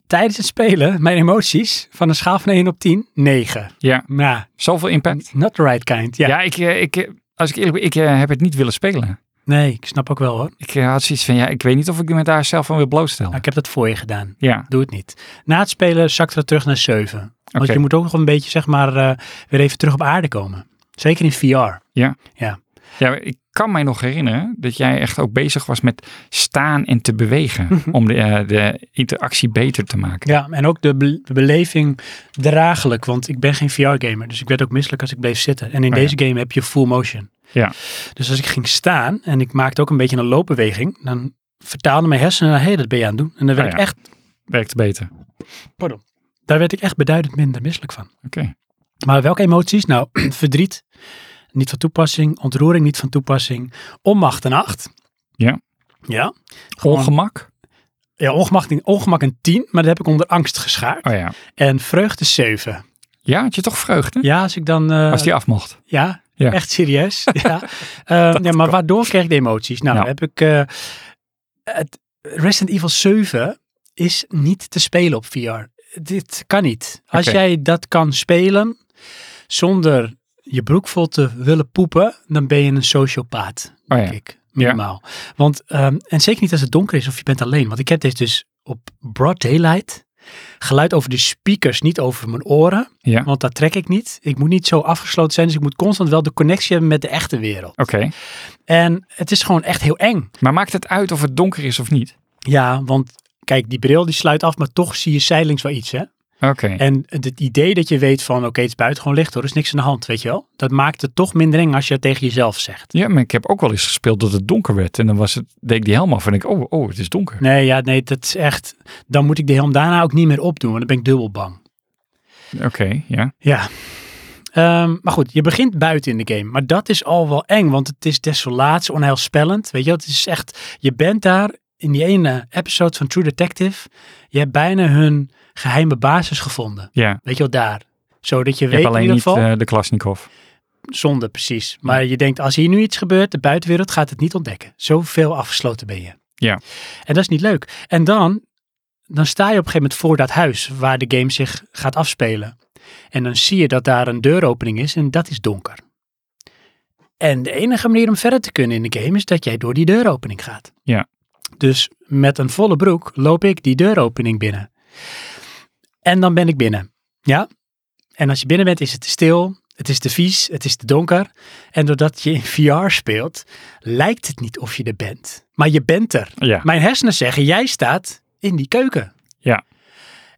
Speaker 1: tijdens het spelen, mijn emoties van een schaal van 1 op 10, 9.
Speaker 2: Ja,
Speaker 1: Nou,
Speaker 2: zoveel impact.
Speaker 1: not the right kind. Ja.
Speaker 2: Ja, ik, eh, ik, eh, als ik eerlijk ben, ik eh, heb het niet willen spelen.
Speaker 1: Nee, ik snap ook wel hoor.
Speaker 2: Ik eh, had zoiets van, ja, ik weet niet of ik me daar zelf van wil blootstellen.
Speaker 1: Nou, ik heb dat voor je gedaan.
Speaker 2: Ja,
Speaker 1: Doe het niet. Na het spelen zakt het terug naar 7. Want
Speaker 2: Oké.
Speaker 1: je moet ook nog een beetje, zeg maar, eh, weer even terug op aarde komen. Zeker in VR.
Speaker 2: ja, ik kan mij nog herinneren dat jij echt ook bezig was met staan en te bewegen.
Speaker 1: Mhm.
Speaker 2: Om de, eh, de interactie beter te maken.
Speaker 1: Ja, en ook de, be- de beleving draaglijk. Want ik ben geen VR-gamer. Dus ik werd ook misselijk als ik bleef zitten. En in
Speaker 2: Oh ja.
Speaker 1: deze game heb je full motion.
Speaker 2: Ja.
Speaker 1: Dus als ik ging staan en ik maakte ook een beetje een loopbeweging. Dan vertaalde mijn hersenen, hé, hey, dat ben je aan het doen. En dan werd
Speaker 2: Oh ja.
Speaker 1: ik echt,
Speaker 2: Werkt beter.
Speaker 1: daar werd ik echt beduidend minder misselijk van.
Speaker 2: Oké.
Speaker 1: Maar welke emoties? Nou, *clears throat* verdriet, niet van toepassing. Ontroering, niet van toepassing. Onmacht en acht.
Speaker 2: Ja.
Speaker 1: Ja. Gewoon-
Speaker 2: Ongemak?
Speaker 1: Ja, ongemak, ongemak een 10, maar dat heb ik onder angst geschaard.
Speaker 2: Oh ja.
Speaker 1: En vreugde 7.
Speaker 2: Ja, had je toch vreugde?
Speaker 1: Ja, als ik dan... eh,
Speaker 2: Als die af mocht.
Speaker 1: ja,
Speaker 2: Ja.
Speaker 1: echt
Speaker 2: *laughs*
Speaker 1: serieus. ja. Eh, ja, maar waardoor kreeg ik de emoties? Nou,
Speaker 2: Ja.
Speaker 1: heb ik... eh, het Resident Evil 7 is niet te spelen op VR. Dit kan niet. Als
Speaker 2: Oké.
Speaker 1: jij dat kan spelen zonder je broek vol te willen poepen, dan ben je een sociopaat
Speaker 2: Oh
Speaker 1: denk
Speaker 2: ja.
Speaker 1: ik. Minimaal. Want, ehm, en zeker niet als het donker is of je bent alleen. Want ik heb deze dus op broad daylight. Geluid over de speakers, niet over mijn oren.
Speaker 2: Ja.
Speaker 1: Want dat trek ik niet. Ik moet niet zo afgesloten zijn. Dus ik moet constant wel de connectie hebben met de echte wereld.
Speaker 2: Oké.
Speaker 1: En het is gewoon echt heel eng.
Speaker 2: Maar maakt het uit of het donker is of niet?
Speaker 1: Ja, want kijk, die bril die sluit af, maar toch zie je zijdelings wel iets, hè?
Speaker 2: Oké.
Speaker 1: En het idee dat je weet van, oké, het is buitengewoon licht hoor, er is niks aan de hand, weet je wel? Dat maakt het toch minder eng als je het tegen jezelf zegt.
Speaker 2: Ja, maar ik heb ook wel eens gespeeld dat het donker werd. En dan was het, deed ik die helm af en ik, oh, oh, het is donker.
Speaker 1: Nee, ja, nee, dat is echt. Dan moet ik de helm daarna ook niet meer opdoen, want dan ben ik dubbel bang.
Speaker 2: Oké, ja.
Speaker 1: Ja. Ehm, maar goed, je begint buiten in de game. Maar dat is al wel eng, want het is desolaat, onheilspellend. Weet je, wel, het is echt. Je bent daar in die ene episode van True Detective. Je hebt bijna hun geheime basis gevonden.
Speaker 2: Ja.
Speaker 1: Weet je wel, daar. Zodat je
Speaker 2: Ik heb
Speaker 1: weet in
Speaker 2: alleen
Speaker 1: ieder
Speaker 2: niet
Speaker 1: geval.
Speaker 2: eh, de Klasnikov.
Speaker 1: Zonde, precies. Maar je denkt, als hier nu iets gebeurt, de buitenwereld gaat het niet ontdekken. Zoveel afgesloten ben je.
Speaker 2: Ja.
Speaker 1: En dat is niet leuk. En dan, dan sta je op een gegeven moment voor dat huis waar de game zich gaat afspelen. En dan zie je dat daar een deuropening is en dat is donker. En de enige manier om verder te kunnen in de game is dat jij door die deuropening gaat.
Speaker 2: Ja.
Speaker 1: Dus met een volle broek loop ik die deuropening binnen. En dan ben ik binnen. Ja? En als je binnen bent is het te stil, het is te vies, het is te donker. En doordat je in VR speelt, lijkt het niet of je er bent. Maar je bent er.
Speaker 2: Ja.
Speaker 1: Mijn hersenen zeggen, jij staat in die keuken.
Speaker 2: Ja.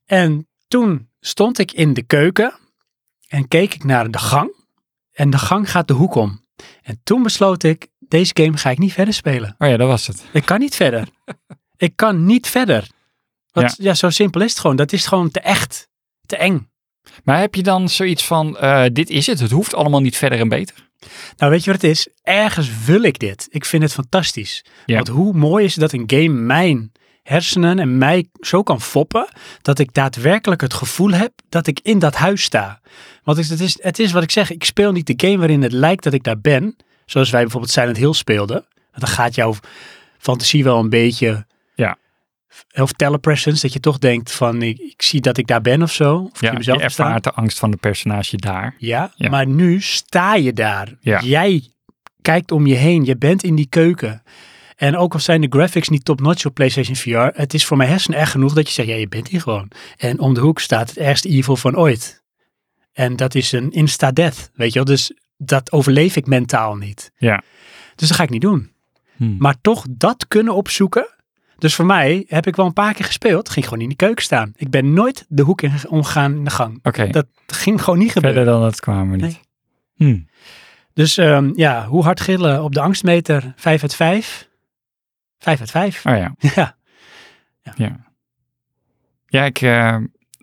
Speaker 1: En toen stond ik in de keuken en keek ik naar de gang. En de gang gaat de hoek om. En toen besloot ik, deze game ga ik niet verder spelen.
Speaker 2: Oh ja, dat was het.
Speaker 1: Ik kan niet verder. Ik kan niet verder. Want ja. zo simpel is het gewoon. Dat is gewoon te echt. Te eng.
Speaker 2: Maar heb je dan zoiets van, eh, dit is het, het hoeft allemaal niet verder en beter?
Speaker 1: Nou, weet je wat het is? Ergens wil ik dit. Ik vind het fantastisch.
Speaker 2: Ja.
Speaker 1: Want hoe mooi is het dat een game mijn hersenen en mij zo kan foppen, dat ik daadwerkelijk het gevoel heb dat ik in dat huis sta. Want het is, het is wat ik zeg, ik speel niet de game waarin het lijkt dat ik daar ben, zoals wij bijvoorbeeld Silent Hill speelden. Want dan gaat jouw fantasie wel een beetje...
Speaker 2: Ja.
Speaker 1: Of telepresence, dat je toch denkt van ik, ik zie dat ik daar ben of zo. Of ik zie
Speaker 2: Ja, je
Speaker 1: mezelf daar staan.
Speaker 2: ervaart de angst van de personage daar.
Speaker 1: Ja,
Speaker 2: Ja.
Speaker 1: maar nu sta je daar.
Speaker 2: Ja.
Speaker 1: Jij kijkt om je heen. Je bent in die keuken. En ook al zijn de graphics niet top-notch op PlayStation VR, het is voor mijn hersenen echt genoeg dat je zegt, ja, je bent hier gewoon. En om de hoek staat het ergste evil van ooit. En dat is een insta-death, weet je wel. Dus dat overleef ik mentaal niet.
Speaker 2: Ja.
Speaker 1: Dus dat ga ik niet doen.
Speaker 2: Hmm.
Speaker 1: Maar toch dat kunnen opzoeken. Dus voor mij heb ik wel een paar keer gespeeld. Ging gewoon in de keuken staan. Ik ben nooit de hoek in omgaan in de gang.
Speaker 2: Oké,
Speaker 1: Dat ging gewoon niet gebeuren.
Speaker 2: verder dan dat kwamen we niet. Hmm.
Speaker 1: Dus ehm, ja, hoe hard gillen op de angstmeter? 5 uit 5. 5 uit 5.
Speaker 2: Oh ja.
Speaker 1: *laughs* Ja.
Speaker 2: Ja, ik, eh,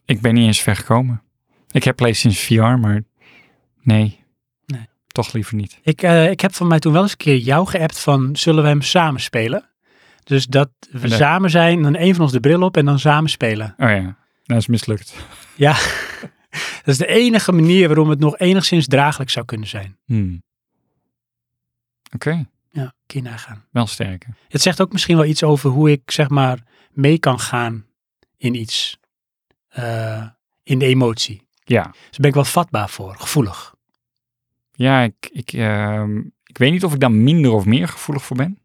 Speaker 2: ik ben niet eens ver gekomen. Ik heb PlayStation VR, maar nee.
Speaker 1: Nee.
Speaker 2: toch liever niet.
Speaker 1: Ik, eh, ik heb van mij toen wel eens een keer jou geappt van zullen we hem samen spelen? Dus dat we
Speaker 2: Nee.
Speaker 1: samen zijn, dan een van ons de bril op en dan samen spelen.
Speaker 2: Oh ja, dat is mislukt.
Speaker 1: Ja, dat is de enige manier waarom het nog enigszins draaglijk zou kunnen zijn.
Speaker 2: Hmm. Oké,
Speaker 1: Ja, kun je nagaan.
Speaker 2: wel sterker.
Speaker 1: Het zegt ook misschien wel iets over hoe ik zeg maar mee kan gaan in iets. Eh, in de emotie.
Speaker 2: Ja,
Speaker 1: Dus daar ben ik wel vatbaar voor, gevoelig.
Speaker 2: ja ik, ik, ehm, ik weet niet of ik daar minder of meer gevoelig voor ben.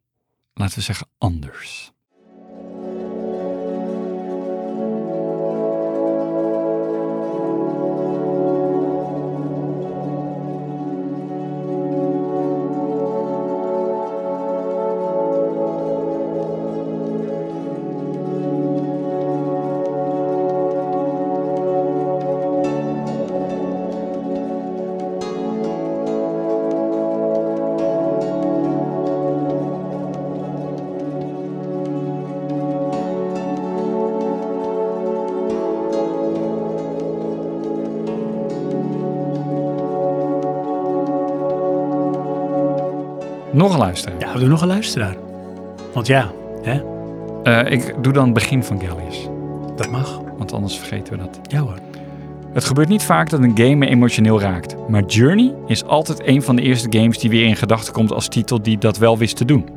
Speaker 2: Laten we zeggen anders. Nog een luisteraar.
Speaker 1: Ja, we doen nog een luisteraar. Want ja, hè,
Speaker 2: Eh, ik doe dan het begin van Gallius,
Speaker 1: dat mag.
Speaker 2: want anders vergeten we dat.
Speaker 1: Ja hoor.
Speaker 2: Het gebeurt niet vaak dat een game me emotioneel raakt. Maar Journey is altijd een van de eerste games die weer in gedachten komt als titel die dat wel wist te doen.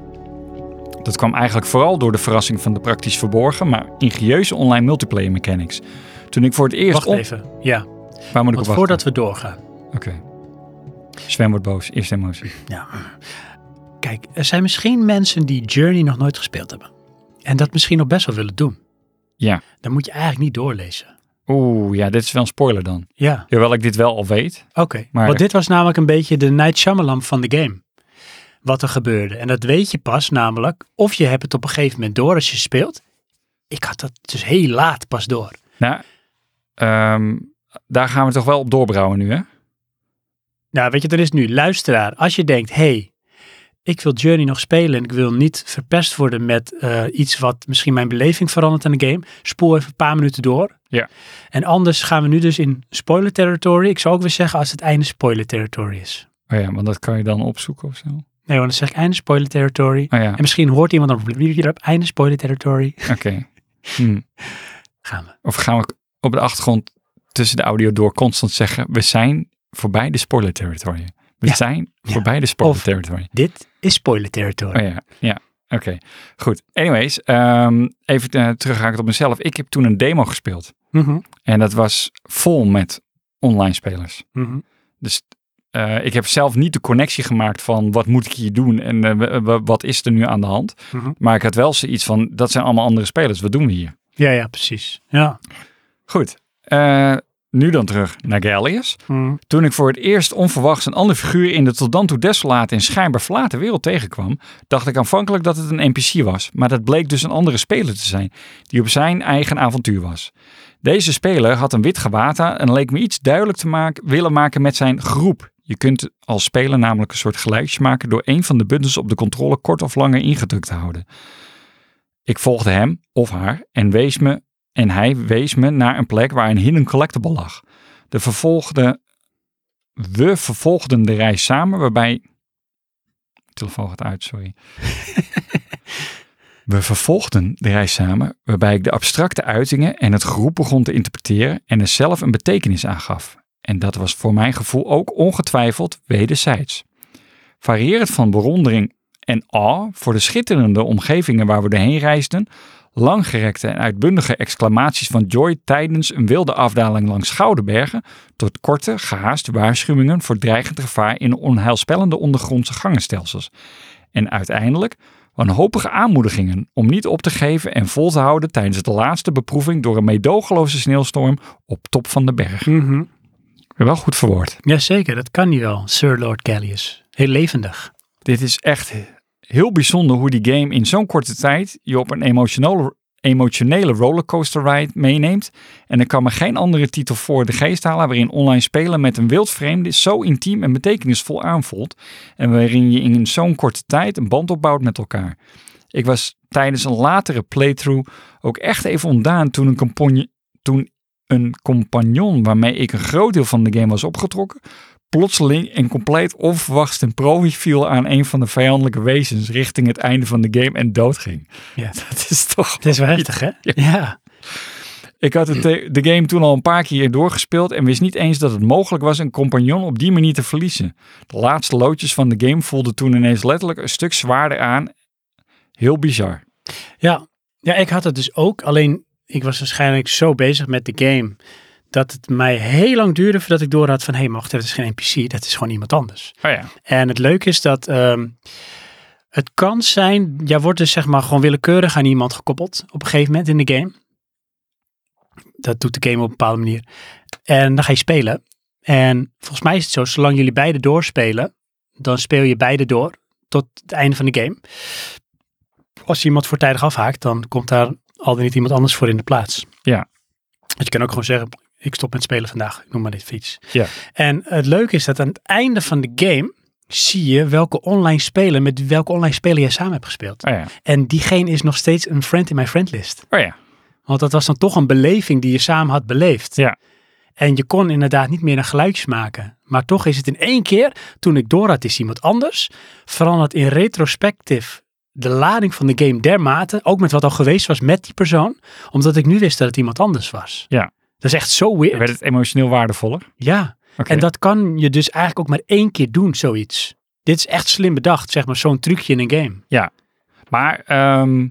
Speaker 2: Dat kwam eigenlijk vooral door de verrassing van de praktisch verborgen, maar ingenieuze online multiplayer mechanics. Toen ik voor het eerst...
Speaker 1: Wacht
Speaker 2: op-
Speaker 1: even. Ja,
Speaker 2: Waar moet ik
Speaker 1: want
Speaker 2: op wachten?
Speaker 1: voordat we doorgaan.
Speaker 2: Oké. Sven wordt boos. Eerste emotie.
Speaker 1: Ja. Kijk, er zijn misschien mensen die Journey nog nooit gespeeld hebben. En dat misschien nog best wel willen doen.
Speaker 2: Ja.
Speaker 1: Dan moet je eigenlijk niet doorlezen.
Speaker 2: Oeh, ja, dit is wel een spoiler dan.
Speaker 1: Ja,
Speaker 2: Hoewel ik dit wel al weet.
Speaker 1: oké.
Speaker 2: Maar-
Speaker 1: Want dit was namelijk een beetje de Night Shyamalan van de game. Wat er gebeurde. En dat weet je pas namelijk. Of je hebt het op een gegeven moment door als je speelt. Ik had dat dus heel laat pas door.
Speaker 2: Nou, ehm, daar gaan we toch wel op doorbrouwen nu, hè?
Speaker 1: Nou, weet je, er is nu luisteraar. Als je denkt, hey, ik wil Journey nog spelen en ik wil niet verpest worden met eh, iets wat misschien mijn beleving verandert aan de game, spoel even een paar minuten door.
Speaker 2: Ja.
Speaker 1: En anders gaan we nu dus in spoiler territory. Ik zou ook weer zeggen als het einde spoiler territory is.
Speaker 2: Oh ja, want dat kan je dan opzoeken of zo. Oh
Speaker 1: Nee, want dan zeg ik einde spoiler territory.
Speaker 2: ja,
Speaker 1: En misschien hoort iemand dan einde spoiler territory.
Speaker 2: oké. Hm.
Speaker 1: Gaan we.
Speaker 2: Of gaan we op de achtergrond tussen de audio door constant zeggen... We zijn voorbij de spoiler territory. We
Speaker 1: Ja.
Speaker 2: zijn
Speaker 1: Ja.
Speaker 2: voorbij de spoiler
Speaker 1: Of-
Speaker 2: territory.
Speaker 1: Dit is spoiler territory.
Speaker 2: Oh ja, ja. Oké, goed. Anyways, ehm, even eh terughakend op mezelf. Ik heb toen een demo gespeeld.
Speaker 1: Mhm,
Speaker 2: En dat was vol met online spelers.
Speaker 1: mhm.
Speaker 2: Dus eh, ik heb zelf niet de connectie gemaakt van wat moet ik hier doen en eh, w- w- wat is er nu aan de hand.
Speaker 1: Mhm.
Speaker 2: Maar ik had wel zoiets van, dat zijn allemaal andere spelers, wat doen we hier?
Speaker 1: Ja, ja, precies. Ja.
Speaker 2: Goed, eh, nu dan terug naar Gallius.
Speaker 1: Mhm.
Speaker 2: Toen ik voor het eerst onverwachts een ander figuur in de tot dan toe desolate en schijnbaar verlaten wereld tegenkwam, dacht ik aanvankelijk dat het een NPC was, maar dat bleek dus een andere speler te zijn, die op zijn eigen avontuur was. Deze speler had een wit gewaad aan en leek me iets duidelijk te maken, willen maken met zijn groep. Je kunt als speler namelijk een soort geluidje maken door een van de buttons op de controle kort of langer ingedrukt te houden. Ik volgde hem of haar en, wees me, en hij wees me naar een plek waar een hidden collectible lag. De vervolgde we vervolgden de reis samen, waarbij. Telefoon gaat uit, sorry. We vervolgden de reis samen, waarbij ik de abstracte uitingen en het groep begon te interpreteren en er zelf een betekenis aan gaf. En dat was voor mijn gevoel ook ongetwijfeld wederzijds. Variërend van bewondering en awe voor de schitterende omgevingen waar we doorheen reisden, langgerekte en uitbundige exclamaties van joy tijdens een wilde afdaling langs Schouderbergen, tot korte, gehaast waarschuwingen voor dreigend gevaar in onheilspellende ondergrondse gangenstelsels. En uiteindelijk wanhopige aanmoedigingen om niet op te geven en vol te houden tijdens de laatste beproeving door een meedogenloze sneeuwstorm op top van de berg.
Speaker 1: Mhm.
Speaker 2: Wel goed verwoord.
Speaker 1: Jazeker, dat kan niet wel, Sir Lord Gallius. Heel levendig.
Speaker 2: Dit is echt heel bijzonder hoe die game in zo'n korte tijd je op een emotionele, emotionele rollercoaster ride meeneemt. En ik kan me geen andere titel voor de geest halen waarin online spelen met een wild vreemde zo intiem en betekenisvol aanvoelt. En waarin je in zo'n korte tijd een band opbouwt met elkaar. Ik was tijdens een latere playthrough ook echt even ontdaan toen een, compagnon, toen een compagnon waarmee ik een groot deel van de game was opgetrokken, plotseling en compleet onverwachts ten prooi viel aan een van de vijandelijke wezens richting het einde van de game en doodging.
Speaker 1: Ja.
Speaker 2: *laughs* Dat is toch...
Speaker 1: Het is wel heftig, hè? Ja.
Speaker 2: Ik had het, eh, de game toen al een paar keer doorgespeeld en wist niet eens dat het mogelijk was een compagnon op die manier te verliezen. De laatste loodjes van de game voelden toen ineens letterlijk een stuk zwaarder aan. Heel bizar.
Speaker 1: Ja. ja, ik had het dus ook. Alleen, ik was waarschijnlijk zo bezig met de game. Dat het mij heel lang duurde voordat ik door had van... Hé, hey, maar wacht even, dat is geen NPC. Dat is gewoon iemand anders.
Speaker 2: Oh ja.
Speaker 1: En het leuke is dat ehm, het kan zijn, jij wordt dus zeg maar gewoon willekeurig aan iemand gekoppeld op een gegeven moment in de game. Dat doet de game op een bepaalde manier. En dan ga je spelen. En volgens mij is het zo, zolang jullie beide doorspelen, dan speel je beide door tot het einde van de game. Als iemand voortijdig afhaakt, dan komt daar al dan niet iemand anders voor in de plaats.
Speaker 2: Ja.
Speaker 1: Dus je kan ook gewoon zeggen, ik stop met spelen vandaag, ik noem maar dit fiets.
Speaker 2: Ja.
Speaker 1: En het leuke is dat aan het einde van de game zie je welke online speler, met welke online speler jij samen hebt gespeeld.
Speaker 2: Oh ja.
Speaker 1: En diegene is nog steeds een friend in mijn friendlist.
Speaker 2: Oh ja.
Speaker 1: Want dat was dan toch een beleving die je samen had beleefd.
Speaker 2: Ja.
Speaker 1: En je kon inderdaad niet meer een geluidjes maken. Maar toch is het in één keer, toen ik door had, is iemand anders, verandert in retrospectief de lading van de game dermate, ook met wat al geweest was met die persoon, omdat ik nu wist dat het iemand anders was.
Speaker 2: Ja.
Speaker 1: Dat is echt zo weird.
Speaker 2: Werd het emotioneel waardevoller?
Speaker 1: Ja.
Speaker 2: Oké.
Speaker 1: En dat kan je dus eigenlijk ook maar één keer doen, zoiets. Dit is echt slim bedacht, zeg maar, zo'n trucje in een game.
Speaker 2: Maar ehm,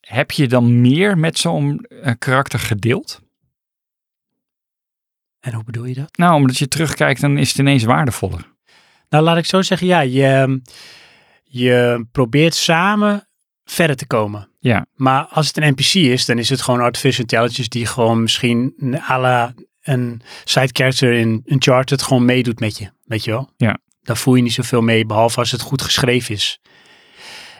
Speaker 2: heb je dan meer met zo'n eh, karakter gedeeld?
Speaker 1: En hoe bedoel je dat?
Speaker 2: Nou, omdat je terugkijkt, dan is het ineens waardevoller.
Speaker 1: Nou, laat ik zo zeggen, ja, je, je probeert samen verder te komen.
Speaker 2: Ja.
Speaker 1: Maar als het een NPC is, dan is het gewoon artificial intelligence die gewoon misschien à la een side character in Uncharted gewoon meedoet met je. Weet je wel?
Speaker 2: Ja.
Speaker 1: Daar voel je niet zoveel mee, behalve als het goed geschreven is.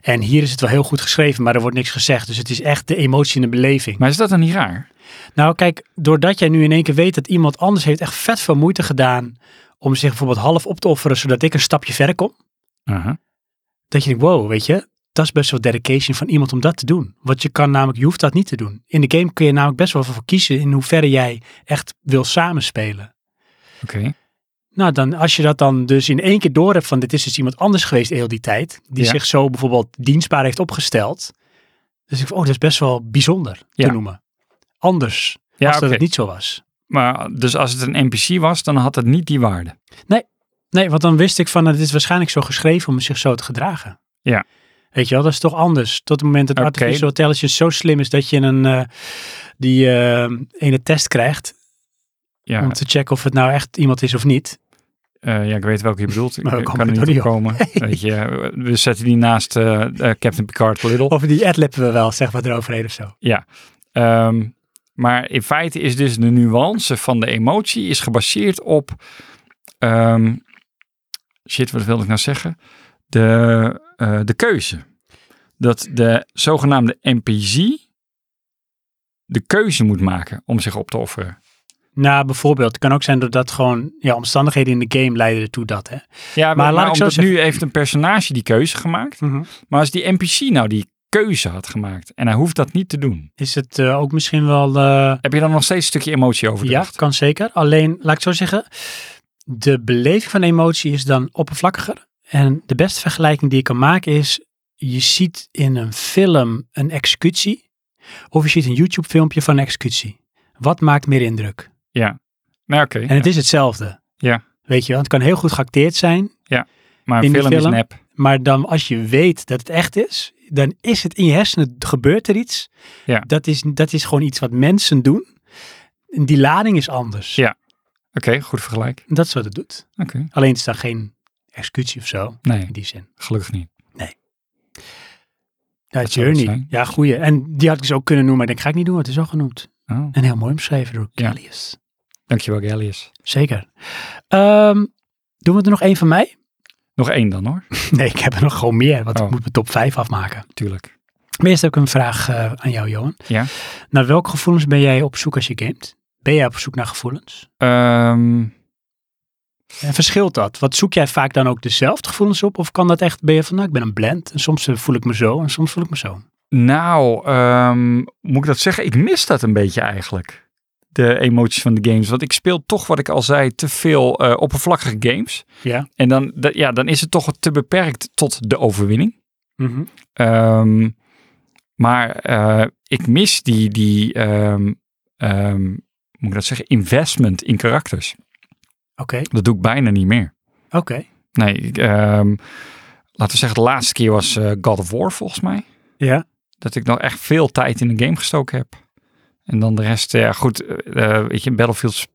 Speaker 1: En hier is het wel heel goed geschreven, maar er wordt niks gezegd. Dus het is echt de emotie en de beleving.
Speaker 2: Maar is dat dan niet raar?
Speaker 1: Nou, kijk, doordat jij nu in één keer weet dat iemand anders heeft echt vet veel moeite gedaan om zich bijvoorbeeld half op te offeren, zodat ik een stapje verder kom.
Speaker 2: Aha.
Speaker 1: Dat je denkt, wow, weet je, dat is best wel dedication van iemand om dat te doen. Want je kan namelijk, je hoeft dat niet te doen. In de game kun je namelijk best wel voor kiezen in hoeverre jij echt wil samenspelen.
Speaker 2: Oké.
Speaker 1: Nou, dan als je dat dan dus in één keer door hebt van dit is dus iemand anders geweest heel die tijd, die
Speaker 2: Ja.
Speaker 1: zich zo bijvoorbeeld dienstbaar heeft opgesteld. Dus ik vond, oh, dat is best wel bijzonder
Speaker 2: Ja.
Speaker 1: te noemen. Anders,
Speaker 2: Ja,
Speaker 1: als dat
Speaker 2: oké.
Speaker 1: het niet zo was.
Speaker 2: Maar dus als het een NPC was, dan had het niet die waarde.
Speaker 1: Nee, want dan wist ik van, nou, dit is waarschijnlijk zo geschreven om zich zo te gedragen.
Speaker 2: Ja.
Speaker 1: Weet je wel, dat is toch anders. Tot het moment dat
Speaker 2: Oké.
Speaker 1: artificial intelligence zo slim is dat je een, eh, die eh, ene test krijgt
Speaker 2: Ja,
Speaker 1: om te checken of het nou echt iemand is of niet.
Speaker 2: eh, ja ik weet welke je bedoelt. Ik
Speaker 1: Maar we
Speaker 2: eh,
Speaker 1: komen
Speaker 2: kan er
Speaker 1: er
Speaker 2: niet op
Speaker 1: niet op.
Speaker 2: komen.
Speaker 1: *laughs*
Speaker 2: Weet je, eh, we zetten die naast eh, eh, Captain Picard Little.
Speaker 1: Of die adlippen we wel, zeg maar eroverheen of zo.
Speaker 2: Ehm, maar in feite is dus de nuance van de emotie is gebaseerd op. ehm, shit, wat wilde ik nou zeggen? De, eh, de keuze. Dat de zogenaamde NPC de keuze moet maken om zich op te offeren.
Speaker 1: Nou, bijvoorbeeld, het kan ook zijn doordat gewoon ja, omstandigheden in de game leiden ertoe dat. Hè?
Speaker 2: Ja, maar, maar,
Speaker 1: laat ik zo Mhm.
Speaker 2: omdat nu heeft een personage die keuze gemaakt. Maar als die NPC nou die keuze had gemaakt en hij hoeft dat niet te doen,
Speaker 1: Is het eh, ook misschien wel eh,
Speaker 2: heb je dan nog steeds een stukje emotie over?
Speaker 1: Ja, kan zeker. Alleen, laat ik het zo zeggen, de beleving van emotie is dan oppervlakkiger. En de beste vergelijking die ik kan maken is, je ziet in een film een executie of je ziet een YouTube filmpje van een executie. Wat maakt meer indruk?
Speaker 2: Nou, oké.
Speaker 1: En het is hetzelfde.
Speaker 2: Ja.
Speaker 1: Weet je wel, het kan heel goed geacteerd zijn,
Speaker 2: Maar
Speaker 1: in
Speaker 2: een
Speaker 1: die
Speaker 2: film is
Speaker 1: film-
Speaker 2: nep.
Speaker 1: maar dan als je weet dat het echt is, dan is het in je hersenen, gebeurt er iets.
Speaker 2: Ja.
Speaker 1: Dat, is, dat is gewoon iets wat mensen doen. En Die lading is anders.
Speaker 2: Ja. Oké, goed vergelijk.
Speaker 1: Dat is wat het doet.
Speaker 2: Oké.
Speaker 1: Alleen het is dan geen executie of zo,
Speaker 2: Nee,
Speaker 1: in die zin.
Speaker 2: gelukkig niet.
Speaker 1: Ja,
Speaker 2: zou het
Speaker 1: Journey.
Speaker 2: zijn.
Speaker 1: Ja, goeie. En die had ik dus ook kunnen noemen, maar ik denk, ga ik niet doen, want het is al genoemd.
Speaker 2: Oh,
Speaker 1: En heel mooi omschreven door
Speaker 2: Ja.
Speaker 1: Gallius.
Speaker 2: dankjewel, Gallius.
Speaker 1: Zeker. Ehm, doen we er nog één van mij? *laughs*
Speaker 2: Nog één dan hoor,
Speaker 1: Nee, ik heb er nog gewoon meer, want
Speaker 2: Oh.
Speaker 1: ik moet mijn top 5 afmaken.
Speaker 2: tuurlijk.
Speaker 1: Maar eerst heb ik een vraag eh, aan jou, Johan.
Speaker 2: Ja.
Speaker 1: Naar welke gevoelens ben jij op zoek als je gamet? Ben jij op zoek naar gevoelens?
Speaker 2: Ehm,
Speaker 1: En verschilt dat? Wat zoek jij vaak dan ook dezelfde gevoelens op? Of kan dat echt, ben je van, nou, ik ben een blend. En soms eh, voel ik me zo en soms voel ik me zo.
Speaker 2: nou, ehm, moet ik dat zeggen? Ik mis dat een beetje eigenlijk. de emoties van de games. Want ik speel toch, wat ik al zei, te veel eh, oppervlakkige games.
Speaker 1: Ja.
Speaker 2: En dan, dat- ja, dan is het toch te beperkt tot de overwinning.
Speaker 1: Mhm.
Speaker 2: Ehm, maar eh, ik mis die, die ehm, ehm, hoe moet ik dat zeggen, investment in karakters.
Speaker 1: Oké,
Speaker 2: Dat doe ik bijna niet meer.
Speaker 1: oké.
Speaker 2: Nee, ik, ehm, laten we zeggen, de laatste keer was eh, God of War volgens mij.
Speaker 1: Ja.
Speaker 2: Dat ik nog echt veel tijd in een game gestoken heb. En dan de rest, ja goed, eh, eh, weet je, Battlefield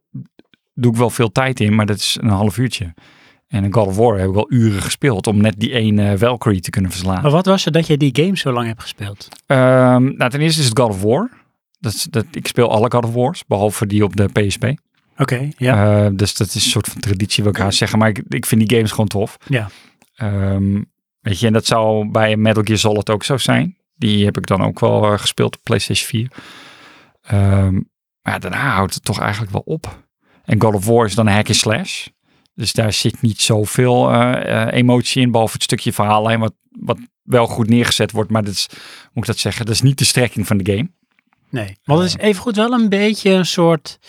Speaker 2: doe ik wel veel tijd in, maar dat is een half uurtje. En in God of War heb ik wel uren gespeeld om net die ene eh, Valkyrie te kunnen verslaan.
Speaker 1: Maar wat was er dat je die game zo lang hebt gespeeld?
Speaker 2: Ehm, nou, ten eerste is het God of War. Dat, is- dat, ik speel alle God of Wars, behalve die op de PSP.
Speaker 1: Oké, ja.
Speaker 2: Eh, dus dat is een soort van traditie, wil ik haast zeggen. Maar ik, ik vind die games gewoon tof.
Speaker 1: Ja.
Speaker 2: Ehm, weet je, en dat zou bij Metal Gear Solid ook zo zijn. Die heb ik dan ook wel eh, gespeeld op PlayStation 4. Ehm, maar daarna houdt het toch eigenlijk wel op. En God of War is dan een hack and slash. Dus daar zit niet zoveel eh, eh, emotie in, behalve het stukje verhaallijn, wat, wat wel goed neergezet wordt. Maar dat is, hoe moet ik dat zeggen, dat is niet de strekking van de game.
Speaker 1: Nee. Want het is
Speaker 2: eh.
Speaker 1: evengoed wel een beetje een soort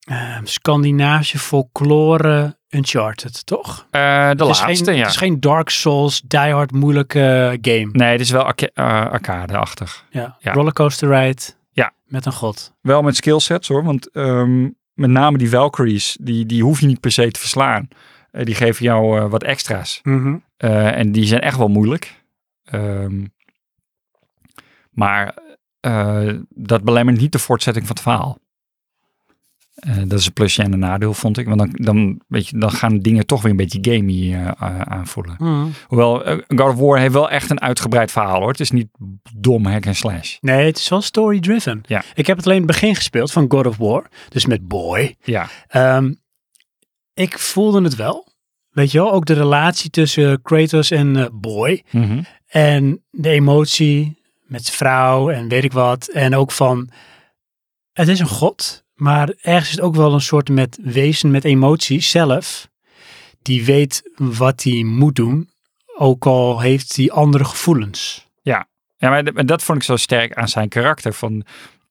Speaker 1: ehm, Scandinavische folklore Uncharted, toch?
Speaker 2: Eh, de
Speaker 1: het, is
Speaker 2: laatste,
Speaker 1: geen,
Speaker 2: ja.
Speaker 1: het is geen Dark Souls, diehard moeilijke game.
Speaker 2: Nee, het is wel arca- eh, arcade-achtig.
Speaker 1: Ja.
Speaker 2: Ja.
Speaker 1: Rollercoaster ride
Speaker 2: Ja.
Speaker 1: met een god.
Speaker 2: Wel met skillsets hoor, want ehm, met name die Valkyries, die, die hoef je niet per se te verslaan. Eh, die geven jou eh, wat extra's. Eh, en die zijn echt wel moeilijk. Ehm, maar eh, dat belemmert niet de voortzetting van het verhaal. Eh, dat is een plusje en een nadeel, vond ik. Want dan, dan, weet je, dan gaan dingen toch weer een beetje gamey eh, a- aanvoelen.
Speaker 1: Mhm.
Speaker 2: Hoewel, eh, God of War heeft wel echt een uitgebreid verhaal hoor. Het is niet dom hack en slash.
Speaker 1: Nee, het is wel story-driven.
Speaker 2: Ja.
Speaker 1: Ik heb het alleen in het begin gespeeld van God of War, dus met Boy.
Speaker 2: Ja,
Speaker 1: Ehm, ik voelde het wel. Weet je wel, ook de relatie tussen Kratos en eh, Boy.
Speaker 2: Mhm.
Speaker 1: En de emotie met zijn vrouw en weet ik wat. En ook van, het is een god, maar ergens is het ook wel een soort met wezen met emotie zelf. Die weet wat hij moet doen, ook al heeft hij andere gevoelens.
Speaker 2: Ja, maar d- maar dat vond ik zo sterk aan zijn karakter. Van,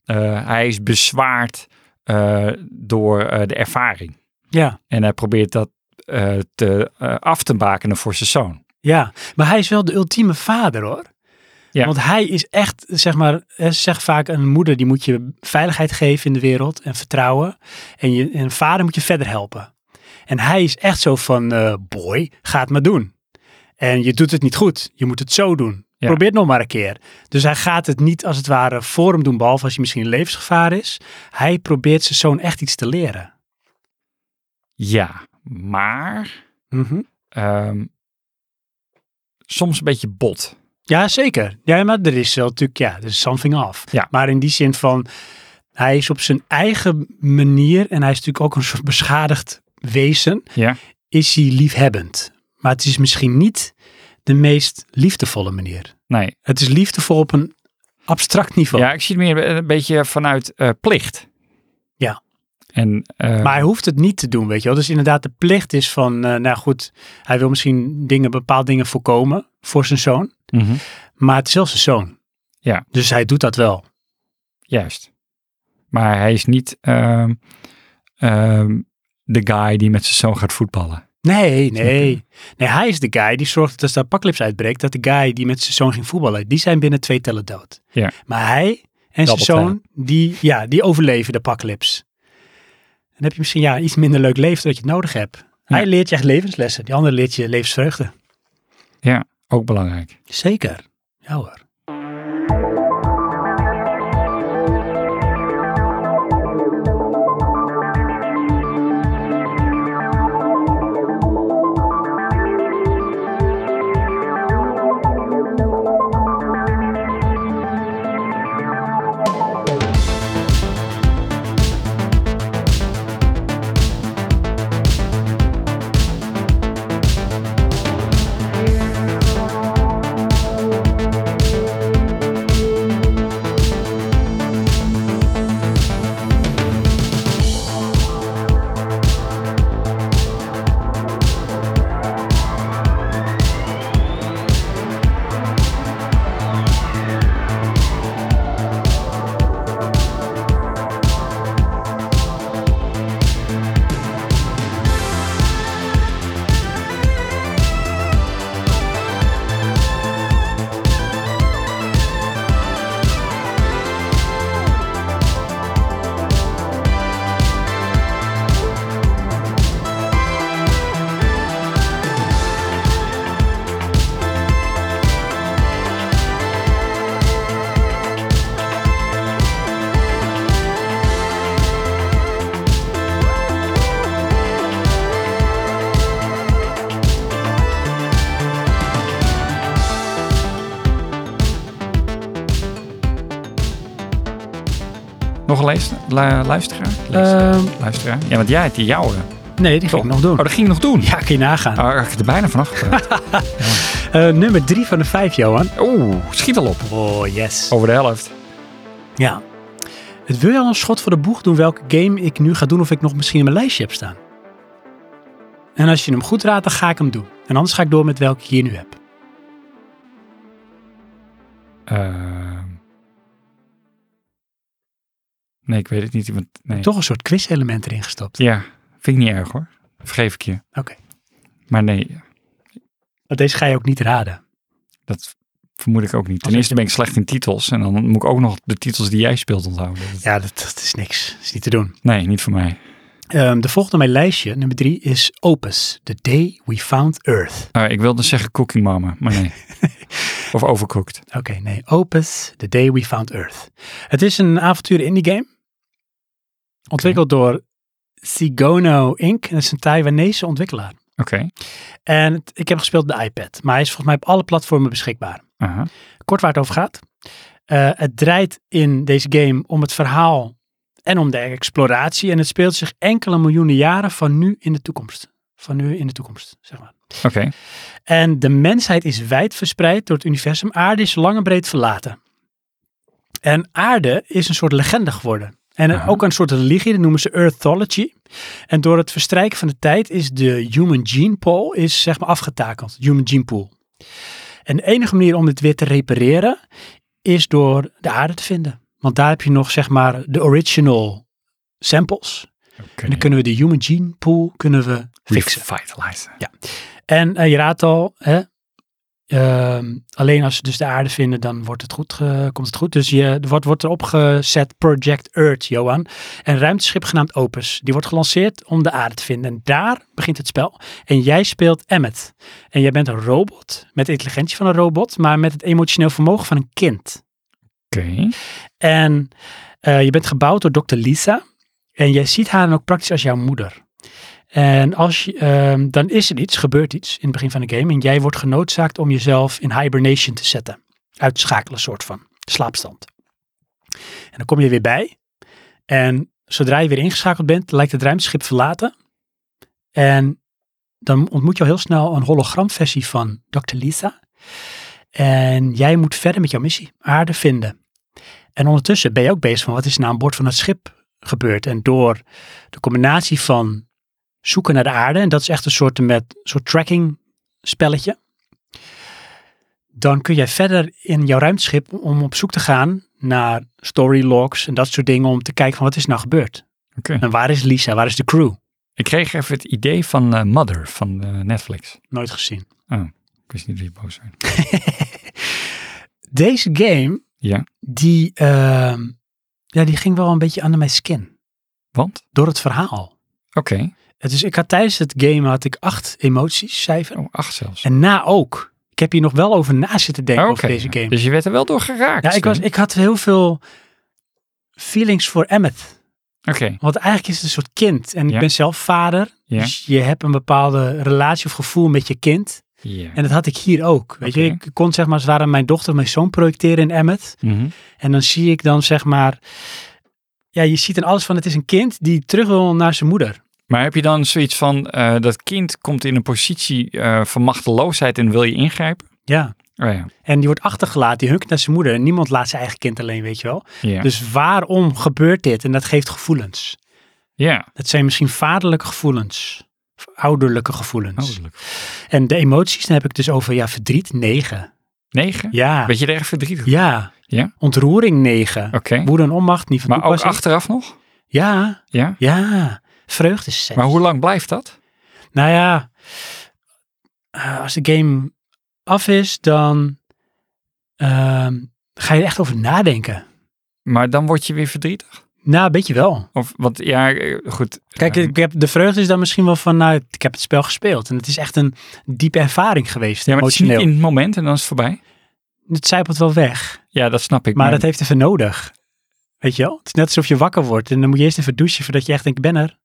Speaker 2: eh, hij is bezwaard eh, door eh, de ervaring.
Speaker 1: Ja.
Speaker 2: En hij probeert dat eh, te, eh, af te bakenen voor zijn zoon.
Speaker 1: Ja, maar hij is wel de ultieme vader hoor.
Speaker 2: Ja.
Speaker 1: Want hij is echt, zeg maar, hè, ze zeggen vaak een moeder die moet je veiligheid geven in de wereld en vertrouwen. En, je, en een vader moet je verder helpen. En hij is echt zo van, eh, boy, ga het maar doen. En je doet het niet goed, je moet het zo doen.
Speaker 2: Ja.
Speaker 1: Probeer het nog maar een keer. Dus hij gaat het niet als het ware voor hem doen, behalve als hij misschien in levensgevaar is. Hij probeert zijn zoon echt iets te leren.
Speaker 2: Ja, maar
Speaker 1: Mhm.
Speaker 2: ehm, soms een beetje bot.
Speaker 1: Ja, zeker. Ja, maar er is wel natuurlijk, ja, er is something off.
Speaker 2: Ja.
Speaker 1: Maar in die zin van, hij is op zijn eigen manier, en hij is natuurlijk ook een soort beschadigd wezen,
Speaker 2: Ja.
Speaker 1: is hij liefhebbend. Maar het is misschien niet de meest liefdevolle manier.
Speaker 2: Nee.
Speaker 1: Het is liefdevol op een abstract niveau.
Speaker 2: Ja, ik zie het meer een beetje vanuit eh, plicht.
Speaker 1: Ja.
Speaker 2: En, eh,
Speaker 1: Maar hij hoeft het niet te doen, weet je wel. Dus inderdaad, de plicht is van, eh, nou goed, hij wil misschien dingen, bepaalde dingen voorkomen voor zijn zoon.
Speaker 2: mhm,
Speaker 1: Maar het is zelfs zijn zoon.
Speaker 2: Ja.
Speaker 1: Dus hij doet dat wel.
Speaker 2: Juist. Maar hij is niet ehm, ehm, de guy die met zijn zoon gaat voetballen.
Speaker 1: Nee,
Speaker 2: Snap je?
Speaker 1: nee. Nee, hij is de guy die zorgt dat als de apocalypse uitbreekt, dat de guy die met zijn zoon ging voetballen, die zijn binnen twee tellen dood.
Speaker 2: Ja.
Speaker 1: Maar hij en zijn
Speaker 2: Double
Speaker 1: zoon, die, ja, die overleven de apocalypse. Dan heb je misschien ja, iets minder leuk leven dat je het nodig hebt. Hij leert je echt levenslessen, die andere leert je levensvreugde.
Speaker 2: Ja, ook belangrijk.
Speaker 1: Zeker. Ja hoor.
Speaker 2: Nog een lees- lu- luisteraar? Lees-
Speaker 1: Ehm,
Speaker 2: luisteraar? Ja, want jij hebt die jouwe.
Speaker 1: nee, die ga ik
Speaker 2: Toch?
Speaker 1: nog doen.
Speaker 2: Oh, dat ging je nog doen?
Speaker 1: Ja, kun je nagaan.
Speaker 2: Oh, ik heb er bijna vanaf
Speaker 1: *laughs*
Speaker 2: gepraat. Ah.
Speaker 1: Eh, nummer drie van de vijf, Johan.
Speaker 2: Oeh, schiet al op.
Speaker 1: Oh, yes.
Speaker 2: Over de helft.
Speaker 1: Ja. Het wil je al een schot voor de boeg doen welke game ik nu ga doen of ik nog misschien in mijn lijstje heb staan. En als je hem goed raadt, dan ga ik hem doen. En anders ga ik door met welke ik hier nu heb.
Speaker 2: Ehm. nee, ik weet het niet. Want, nee.
Speaker 1: Toch een soort quiz-element erin gestopt.
Speaker 2: Ja, vind ik niet erg hoor. Vergeef ik je.
Speaker 1: Oké.
Speaker 2: Maar nee,
Speaker 1: Want deze ga je ook niet raden.
Speaker 2: dat vermoed ik ook niet. Ten
Speaker 1: ik-
Speaker 2: eerste ben ik slecht in titels. En dan moet ik ook nog de titels die jij speelt onthouden. Dat-
Speaker 1: Ja, dat, dat is niks. Dat is niet te doen.
Speaker 2: Nee, niet voor mij.
Speaker 1: Ehm, de volgende op mijn lijstje, nummer drie, is Opus. The Day We Found Earth.
Speaker 2: Eh, ik wilde zeggen Cooking Mama, maar
Speaker 1: *laughs*
Speaker 2: nee. of Overcooked.
Speaker 1: Oké, nee. Opus, The Day We Found Earth. Het is een avontuur indie game. Ontwikkeld door Sigono Inc. En dat is een Taiwanese ontwikkelaar.
Speaker 2: Oké.
Speaker 1: En het- ik heb gespeeld op de iPad. Maar hij is volgens mij op alle platformen beschikbaar.
Speaker 2: Aha.
Speaker 1: Kort waar het over gaat. Eh, het draait in deze game om het verhaal en om de exploratie. En het speelt zich enkele miljoenen jaren van nu in de toekomst. Van nu in de toekomst, zeg maar.
Speaker 2: Oké.
Speaker 1: En de mensheid is wijd verspreid door het universum. Aarde is lang en breed verlaten. En aarde is een soort legende geworden. En
Speaker 2: Aha.
Speaker 1: ook een soort religie, dat noemen ze Earthology. En door het verstrijken van de tijd is de human gene pool is zeg maar afgetakeld. Human gene pool. En de enige manier om dit weer te repareren is door de aarde te vinden. Want daar heb je nog zeg maar de original samples. En dan kunnen we de human gene pool kunnen we fixen.
Speaker 2: Revitalizen.
Speaker 1: En eh, je raadt al, hè? ehm, alleen als ze dus de aarde vinden, dan wordt het goed, ge- komt het goed. Dus je, er wordt, wordt erop gezet Project Earth, Johan. Een ruimteschip genaamd Opus. Die wordt gelanceerd om de aarde te vinden. En daar begint het spel. En jij speelt Emmet. En jij bent een robot, met de intelligentie van een robot, maar met het emotioneel vermogen van een kind.
Speaker 2: Oké.
Speaker 1: En eh, je bent gebouwd door Dr. Lisa. En jij ziet haar dan ook praktisch als jouw moeder. En als je, ehm, dan is er iets, gebeurt iets in het begin van de game. En jij wordt genoodzaakt om jezelf in hibernation te zetten. Uitschakelen, soort van. Slaapstand. En dan kom je weer bij. En zodra je weer ingeschakeld bent, lijkt het ruimteschip verlaten. En dan ontmoet je al heel snel een hologramversie van Dr. Lisa. En jij moet verder met jouw missie. Aarde vinden. En ondertussen ben je ook bezig van wat is er nou aan boord van het schip gebeurd. En door de combinatie van zoeken naar de aarde, en dat is echt een soort, met, soort tracking spelletje, dan kun jij verder in jouw ruimteschip om op zoek te gaan naar story logs en dat soort dingen om te kijken van wat is er nou gebeurd.
Speaker 2: Oké.
Speaker 1: En waar is Lisa, waar is de crew?
Speaker 2: Ik kreeg even het idee van eh, Mother van eh, Netflix.
Speaker 1: Nooit gezien.
Speaker 2: Ik wist niet wie boos zijn.
Speaker 1: Deze game,
Speaker 2: Ja.
Speaker 1: die, ehm, ja, die ging wel een beetje aan mijn skin.
Speaker 2: Want?
Speaker 1: Door het verhaal.
Speaker 2: Oké.
Speaker 1: Het is, ik had tijdens het game had ik acht emoties, cijfer.
Speaker 2: Oh, acht zelfs.
Speaker 1: En na ook. Ik heb hier nog wel over na zitten denken
Speaker 2: Oké.
Speaker 1: over deze game.
Speaker 2: Dus je werd er wel door geraakt.
Speaker 1: ja, ik, was,
Speaker 2: Sven.
Speaker 1: ik had heel veel feelings voor Emmet.
Speaker 2: Oké.
Speaker 1: Want eigenlijk is het een soort kind. En
Speaker 2: Ja.
Speaker 1: ik ben zelf vader.
Speaker 2: Ja.
Speaker 1: Dus je hebt een bepaalde relatie of gevoel met je kind.
Speaker 2: Ja.
Speaker 1: En dat had ik hier ook. Weet je,
Speaker 2: Oké.
Speaker 1: ik kon zeg maar als het ware mijn dochter, of mijn zoon projecteren in Emmet.
Speaker 2: Mhm.
Speaker 1: En dan zie ik dan zeg maar... Ja, je ziet in alles van het is een kind die terug wil naar zijn moeder.
Speaker 2: Maar heb je dan zoiets van eh, dat kind komt in een positie eh, van machteloosheid en wil je ingrijpen?
Speaker 1: Ja.
Speaker 2: Oh ja.
Speaker 1: En die wordt achtergelaten, die hunkt naar zijn moeder. En niemand laat zijn eigen kind alleen, weet je wel.
Speaker 2: Ja.
Speaker 1: Dus waarom gebeurt dit? En dat geeft gevoelens.
Speaker 2: ja.
Speaker 1: Dat zijn misschien vaderlijke gevoelens. Of ouderlijke gevoelens.
Speaker 2: Oh, leuk.
Speaker 1: En de emoties, dan heb ik dus over ja, verdriet 9.
Speaker 2: Negen?
Speaker 1: Ja.
Speaker 2: Ben je er erg verdrietig?
Speaker 1: Ja.
Speaker 2: Ja?
Speaker 1: Ontroering 9.
Speaker 2: Oké.
Speaker 1: Woede en onmacht niet van
Speaker 2: Maar ook
Speaker 1: toepassing.
Speaker 2: achteraf nog?
Speaker 1: Ja.
Speaker 2: Ja.
Speaker 1: Ja. Vreugde 6.
Speaker 2: Maar hoe lang blijft dat?
Speaker 1: Nou ja. eh, als de game af is, dan ehm, ga je er echt over nadenken.
Speaker 2: Maar dan word je weer verdrietig?
Speaker 1: Nou, een beetje wel.
Speaker 2: Of, want ja, eh, goed.
Speaker 1: Kijk,
Speaker 2: eh,
Speaker 1: ik heb, de vreugde is dan misschien wel van, nou, ik heb het spel gespeeld. En het is echt een diepe ervaring geweest,
Speaker 2: ja, maar het is niet
Speaker 1: emotioneel. Het,
Speaker 2: in het moment en dan is het voorbij.
Speaker 1: zijpelt wel weg,
Speaker 2: Ja, dat snap ik.
Speaker 1: maar dat heeft even nodig. Weet je wel? Het is net alsof je wakker wordt en dan moet je eerst even douchen voordat je echt denkt, ik ben er.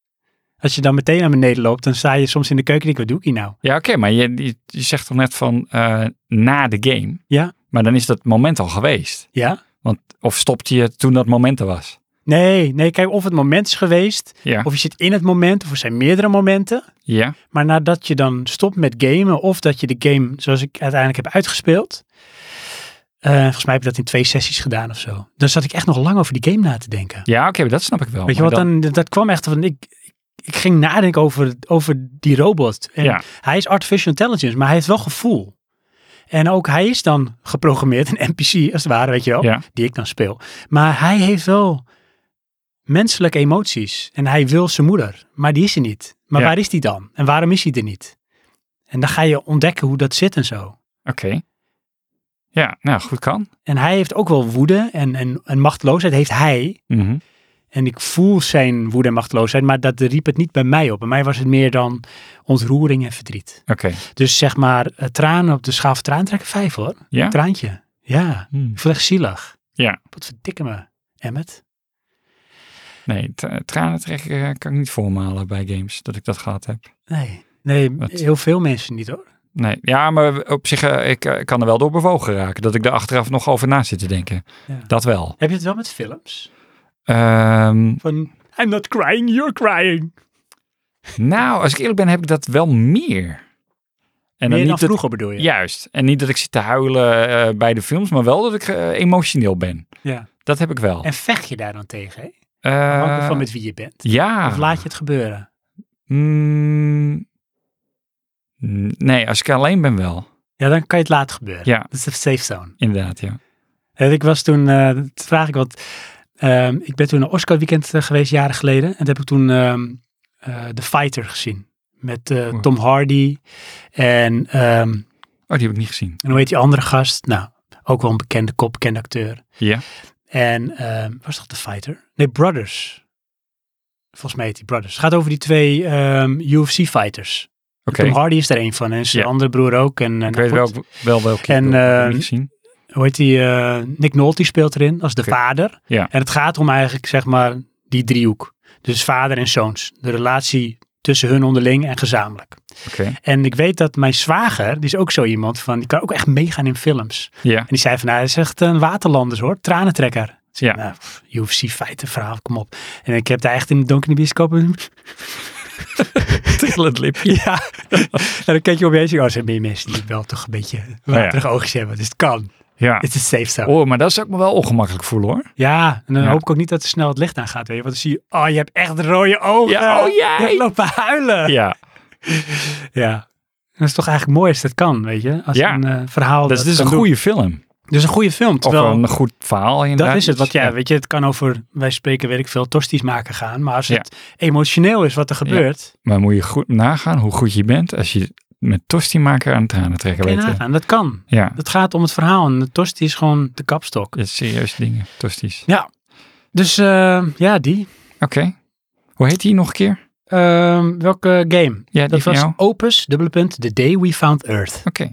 Speaker 1: Als je dan meteen naar beneden loopt, dan sta je soms in de keuken en denk ik, wat doe ik hier nou?
Speaker 2: Ja, oké, maar je, je, je zegt toch net van eh, na de game?
Speaker 1: Ja.
Speaker 2: Maar dan is dat moment al geweest.
Speaker 1: Ja?
Speaker 2: Want, of stopte je toen dat moment er was?
Speaker 1: Nee, nee, kijk, of het moment is geweest,
Speaker 2: Ja.
Speaker 1: of je zit in het moment, of er zijn meerdere momenten.
Speaker 2: Ja.
Speaker 1: Maar nadat je dan stopt met gamen, of dat je de game zoals ik uiteindelijk heb uitgespeeld. eh, volgens mij heb ik dat in twee sessies gedaan of zo. Dan zat ik echt nog lang over die game na te denken.
Speaker 2: Ja, oké, dat snap ik wel.
Speaker 1: Weet je
Speaker 2: Oh, Maar
Speaker 1: wat, dan, dat kwam echt van, ik, ik ging nadenken over, over die robot. En
Speaker 2: Ja.
Speaker 1: Hij is artificial intelligence, maar hij heeft wel gevoel. En ook hij is dan geprogrammeerd, een NPC als het ware, weet je wel,
Speaker 2: Ja.
Speaker 1: die ik dan speel. Maar hij heeft wel menselijke emoties. En hij wil zijn moeder, maar die is er niet. Maar
Speaker 2: Ja.
Speaker 1: waar is die dan? En waarom is hij er niet? En dan ga je ontdekken hoe dat zit en zo.
Speaker 2: Oké. Ja, nou, goed kan.
Speaker 1: En hij heeft ook wel woede en, en, en machteloosheid heeft hij.
Speaker 2: Mhm.
Speaker 1: En ik voel zijn woede en machteloosheid, maar dat riep het niet bij mij op. Bij mij was het meer dan ontroering en verdriet.
Speaker 2: Oké.
Speaker 1: Dus zeg maar, eh, tranen op de schaal van traan trekken vijf hoor.
Speaker 2: Ja?
Speaker 1: Traantje. Ja.
Speaker 2: Hmm.
Speaker 1: Ik voel echt zielig.
Speaker 2: Ja.
Speaker 1: Wat verdikke me, Emmet.
Speaker 2: Nee, t- tranen trekken eh, kan ik niet voormalen bij games, dat ik dat gehad heb.
Speaker 1: Nee. Nee,
Speaker 2: Wat?
Speaker 1: heel veel mensen niet hoor.
Speaker 2: Nee, ja, maar op zich, eh, ik eh, kan er wel door bewogen raken. Dat ik daar achteraf nog over na zit te denken.
Speaker 1: Ja.
Speaker 2: Dat wel.
Speaker 1: Heb je het wel met films?
Speaker 2: Ehm,
Speaker 1: Van, I'm not crying, you're crying.
Speaker 2: nou, als ik eerlijk ben, heb ik dat wel meer. En
Speaker 1: En meer dan
Speaker 2: niet dat-
Speaker 1: vroeger bedoel je?
Speaker 2: Juist. En niet dat ik zit te huilen eh, bij de films, maar wel dat ik eh, emotioneel ben.
Speaker 1: Ja.
Speaker 2: Dat heb ik wel.
Speaker 1: En vecht je daar dan tegen? hè?
Speaker 2: Eh, ah.
Speaker 1: Hangt ervan met wie je bent.
Speaker 2: Ja.
Speaker 1: Of laat je het gebeuren?
Speaker 2: Mm, n- nee, als ik alleen ben wel.
Speaker 1: Ja, dan kan je het laten gebeuren.
Speaker 2: Ja.
Speaker 1: Dat is de safe zone.
Speaker 2: Inderdaad, ja.
Speaker 1: En ik was toen, eh, dat vraag ik wat. ehm, ik ben toen een Oscar weekend eh, geweest, jaren geleden. En dat heb ik toen ehm, eh, The Fighter gezien. Met eh,
Speaker 2: Oeh.
Speaker 1: Tom Hardy en, ehm,
Speaker 2: Oh, die heb ik niet gezien.
Speaker 1: en hoe heet die andere gast? Nou, ook wel een bekende kop, bekende acteur.
Speaker 2: Ja.
Speaker 1: En ehm, was dat The Fighter? Nee, Brothers. Volgens mij heet die Brothers. Het gaat over die twee ehm, UFC fighters.
Speaker 2: Oké.
Speaker 1: Tom Hardy is er een van en zijn
Speaker 2: Ja.
Speaker 1: andere broer ook. En, eh, en
Speaker 2: Ik weet wel, wel welke.
Speaker 1: En,
Speaker 2: ik bedoel, ik heb
Speaker 1: eh,
Speaker 2: niet gezien.
Speaker 1: hoe heet die, eh, Nick Nolte speelt erin als de
Speaker 2: Oké.
Speaker 1: vader.
Speaker 2: Ja.
Speaker 1: En het gaat om eigenlijk, zeg maar, die driehoek. Dus vader en zoons. De relatie tussen hun onderling en gezamenlijk.
Speaker 2: Oké.
Speaker 1: En ik weet dat mijn zwager, die is ook zo iemand van, die kan ook echt meegaan in films. *laughs*
Speaker 2: Ja.
Speaker 1: En die zei van, nou, hij is echt een waterlanders hoor, tranentrekker. Dus ik,
Speaker 2: Ja.
Speaker 1: Nou, pff, UFC feiten verhaal, kom op. En ik heb daar echt in de donkere bioscoop een-
Speaker 2: *laughs* Trillend lipje.
Speaker 1: ja. en dan kijk je om je heen en zeg je, oh, er zijn meer mensen die wel toch een beetje waterige oogjes hebben. Dus het kan.
Speaker 2: Nou Ja.
Speaker 1: Het is safe zone.
Speaker 2: Oh, maar dat zou ik me wel ongemakkelijk voelen hoor.
Speaker 1: Ja, en dan
Speaker 2: Ja.
Speaker 1: hoop ik ook niet dat er snel het licht aan gaat. Weet je? Want dan zie je, oh, je hebt echt rode ogen.
Speaker 2: Ja, oh, jij.
Speaker 1: Je hebt lopen huilen. Ja.
Speaker 2: Ja.
Speaker 1: Dat is toch eigenlijk mooi als dat kan, weet je? Als
Speaker 2: Ja.
Speaker 1: een eh, verhaal.
Speaker 2: Dat is dus
Speaker 1: kan
Speaker 2: een
Speaker 1: doen.
Speaker 2: goede film.
Speaker 1: Dus een goede film.
Speaker 2: Of
Speaker 1: Terwijl,
Speaker 2: een goed verhaal.
Speaker 1: dat
Speaker 2: inderdaad.
Speaker 1: is het. Want ja,
Speaker 2: Ja.
Speaker 1: weet je, het kan over, wij spreken, weet ik veel, tosties maken gaan. Maar als
Speaker 2: Ja.
Speaker 1: het emotioneel is wat er gebeurt,
Speaker 2: Maar moet je goed nagaan hoe goed je bent als je met tosti maken aan tranen trekken
Speaker 1: kan je
Speaker 2: weet. je.
Speaker 1: nagaan. Dat kan.
Speaker 2: Ja.
Speaker 1: Het gaat om het verhaal en de tosti is gewoon de kapstok.
Speaker 2: Dat is serieuze dingen. Tosties.
Speaker 1: Dus eh, ja, die.
Speaker 2: Oké. Hoe heet die nog een keer?
Speaker 1: Ehm, welke game?
Speaker 2: Ja, die
Speaker 1: dat
Speaker 2: van
Speaker 1: was
Speaker 2: jou.
Speaker 1: Opus, dubbele punt, The Day We Found Earth.
Speaker 2: Oké.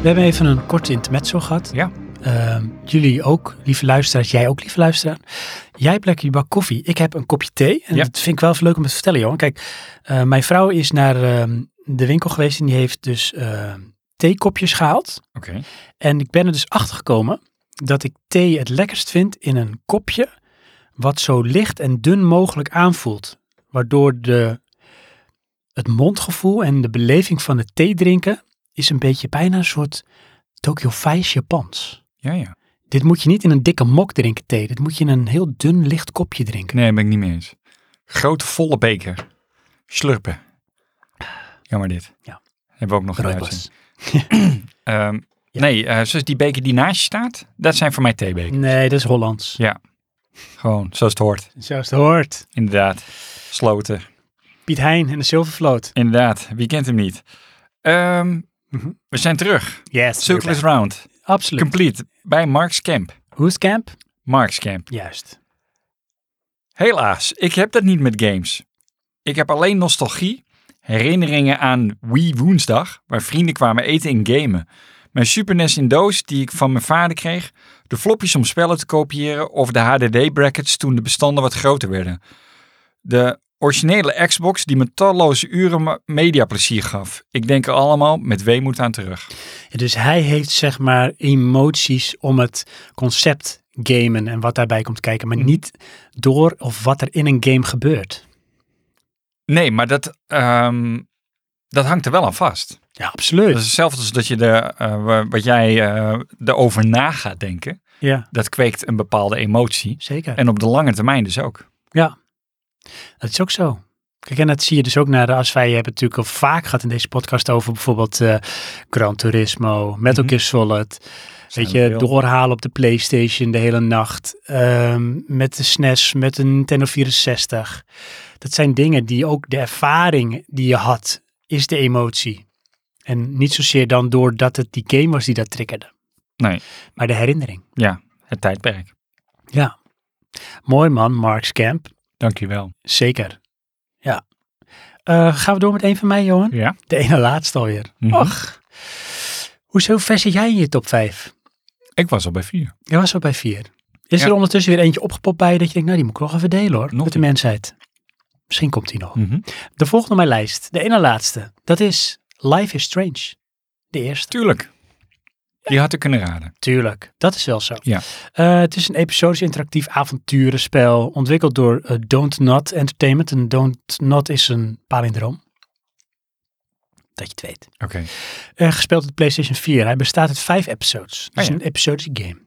Speaker 1: We hebben even een korte intermezzo gehad.
Speaker 2: Ja.
Speaker 1: Ehm, jullie ook, lieve luisteraars. Jij ook, lieve luisteraar. Jij hebt lekker je bak koffie. Ik heb een kopje thee. En
Speaker 2: Ja.
Speaker 1: dat vind ik wel even leuk om het te vertellen, joh. Kijk, eh, mijn vrouw is naar ehm, de winkel geweest en die heeft dus ehm, theekopjes gehaald.
Speaker 2: Oké.
Speaker 1: En ik ben er dus achter gekomen dat ik thee het lekkerst vind in een kopje wat zo licht en dun mogelijk aanvoelt. Waardoor de, het mondgevoel en de beleving van het thee drinken is een beetje bijna een soort Tokyo Vice Japans.
Speaker 2: Ja, ja.
Speaker 1: Dit moet je niet in een dikke mok drinken thee. Dit moet je in een heel dun licht kopje drinken.
Speaker 2: Nee, ben ik niet mee eens. Grote volle beker. Slurpen. Jammer dit.
Speaker 1: Ja.
Speaker 2: Hebben we ook nog een
Speaker 1: Rooibos.
Speaker 2: uitzending. Ehm,
Speaker 1: Ja.
Speaker 2: Nee, eh, zoals die beker die naast je staat, dat zijn voor mij theebekers.
Speaker 1: Nee, dat is Hollands. Mm.
Speaker 2: Gewoon, zoals het hoort.
Speaker 1: Zoals het hoort.
Speaker 2: Inderdaad. Sloten.
Speaker 1: Piet Hein en de Zilvervloot.
Speaker 2: Inderdaad. Wie kent hem niet? Ehm,
Speaker 1: Mhm.
Speaker 2: We zijn terug.
Speaker 1: Yes.
Speaker 2: Circle is round.
Speaker 1: Absoluut.
Speaker 2: Complete. Bij Mark's Camp.
Speaker 1: Hoestkamp?
Speaker 2: Mark's Camp.
Speaker 1: Juist.
Speaker 2: Helaas, ik heb dat niet met games. Ik heb alleen nostalgie, herinneringen aan Wii Woensdag, waar vrienden kwamen eten en gamen. Mijn Super NES in doos die ik van mijn vader kreeg, de floppies om spellen te kopiëren of de HDD-brackets toen de bestanden wat groter werden. De originele Xbox die me talloze uren me- mediaplezier gaf. Ik denk er allemaal met weemoed aan terug.
Speaker 1: Dus hij heeft zeg maar emoties om het concept gamen en wat daarbij komt kijken,
Speaker 2: Mhm.
Speaker 1: maar niet door of wat er in een game gebeurt.
Speaker 2: Nee, maar dat, ehm, dat hangt er wel aan vast.
Speaker 1: Ja,
Speaker 2: Dat is
Speaker 1: absoluut.
Speaker 2: hetzelfde als dat je de, eh, wa- wat jij eh erover na gaat denken.
Speaker 1: Ja,
Speaker 2: dat kweekt een bepaalde emotie.
Speaker 1: zeker.
Speaker 2: En op de lange termijn dus ook.
Speaker 1: Dat is ook zo. Kijk, en dat zie je dus ook naar de, als wij hebben het natuurlijk al vaak gehad in deze podcast over bijvoorbeeld eh Gran Turismo, Metal
Speaker 2: Mhm.
Speaker 1: Gear Solid. Weet je,
Speaker 2: Silent Hill.
Speaker 1: doorhalen op de Playstation de hele nacht. ehm, met de SNES, met de Nintendo 64. Dat zijn dingen die ook de ervaring die je had, is de emotie. En niet zozeer dan doordat het die game was die dat triggerde.
Speaker 2: Nee.
Speaker 1: Maar de herinnering.
Speaker 2: Ja, het tijdperk.
Speaker 1: Ja. Mooi man, Mark's Camp.
Speaker 2: Dankjewel.
Speaker 1: Zeker. Ja. Eh, gaan we door met één van mij, Johan?
Speaker 2: Ja.
Speaker 1: De ene laatste alweer.
Speaker 2: Mhm.
Speaker 1: Och. Hoezo ver zit jij in je top 5?
Speaker 2: Ik was al bij vier.
Speaker 1: Je was al bij 4. Is
Speaker 2: Ja.
Speaker 1: er ondertussen weer eentje opgepopt bij je dat je denkt, nou die moet ik nog even delen hoor.
Speaker 2: Nog
Speaker 1: met de
Speaker 2: niet.
Speaker 1: mensheid. Misschien komt die nog.
Speaker 2: Mhm.
Speaker 1: De volgende op mijn lijst, de ene laatste, dat is Life is Strange. De eerste.
Speaker 2: Tuurlijk. Die had ik kunnen raden.
Speaker 1: Tuurlijk, dat is wel zo.
Speaker 2: Ja.
Speaker 1: Eh, het is een episodisch interactief avonturenspel ontwikkeld door eh, Don't Not Entertainment. En Don't Not is een palindroom. Dat je het weet.
Speaker 2: Oké.
Speaker 1: Eh, gespeeld op de PlayStation 4. Hij bestaat uit vijf episodes. Het
Speaker 2: Ah,
Speaker 1: is
Speaker 2: ja.
Speaker 1: een episodische game.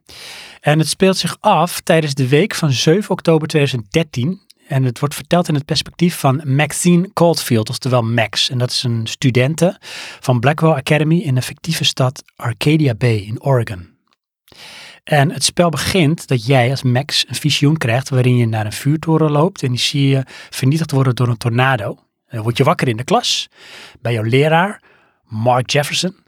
Speaker 1: En het speelt zich af tijdens de week van 7 oktober 2013. En het wordt verteld in het perspectief van Maxine Caulfield, oftewel Max. En dat is een studente van Blackwell Academy in de fictieve stad Arcadia Bay in Oregon. En het spel begint dat jij als Max een visioen krijgt waarin je naar een vuurtoren loopt en die zie je vernietigd worden door een tornado. Dan word je wakker in de klas bij jouw leraar, Mark Jefferson.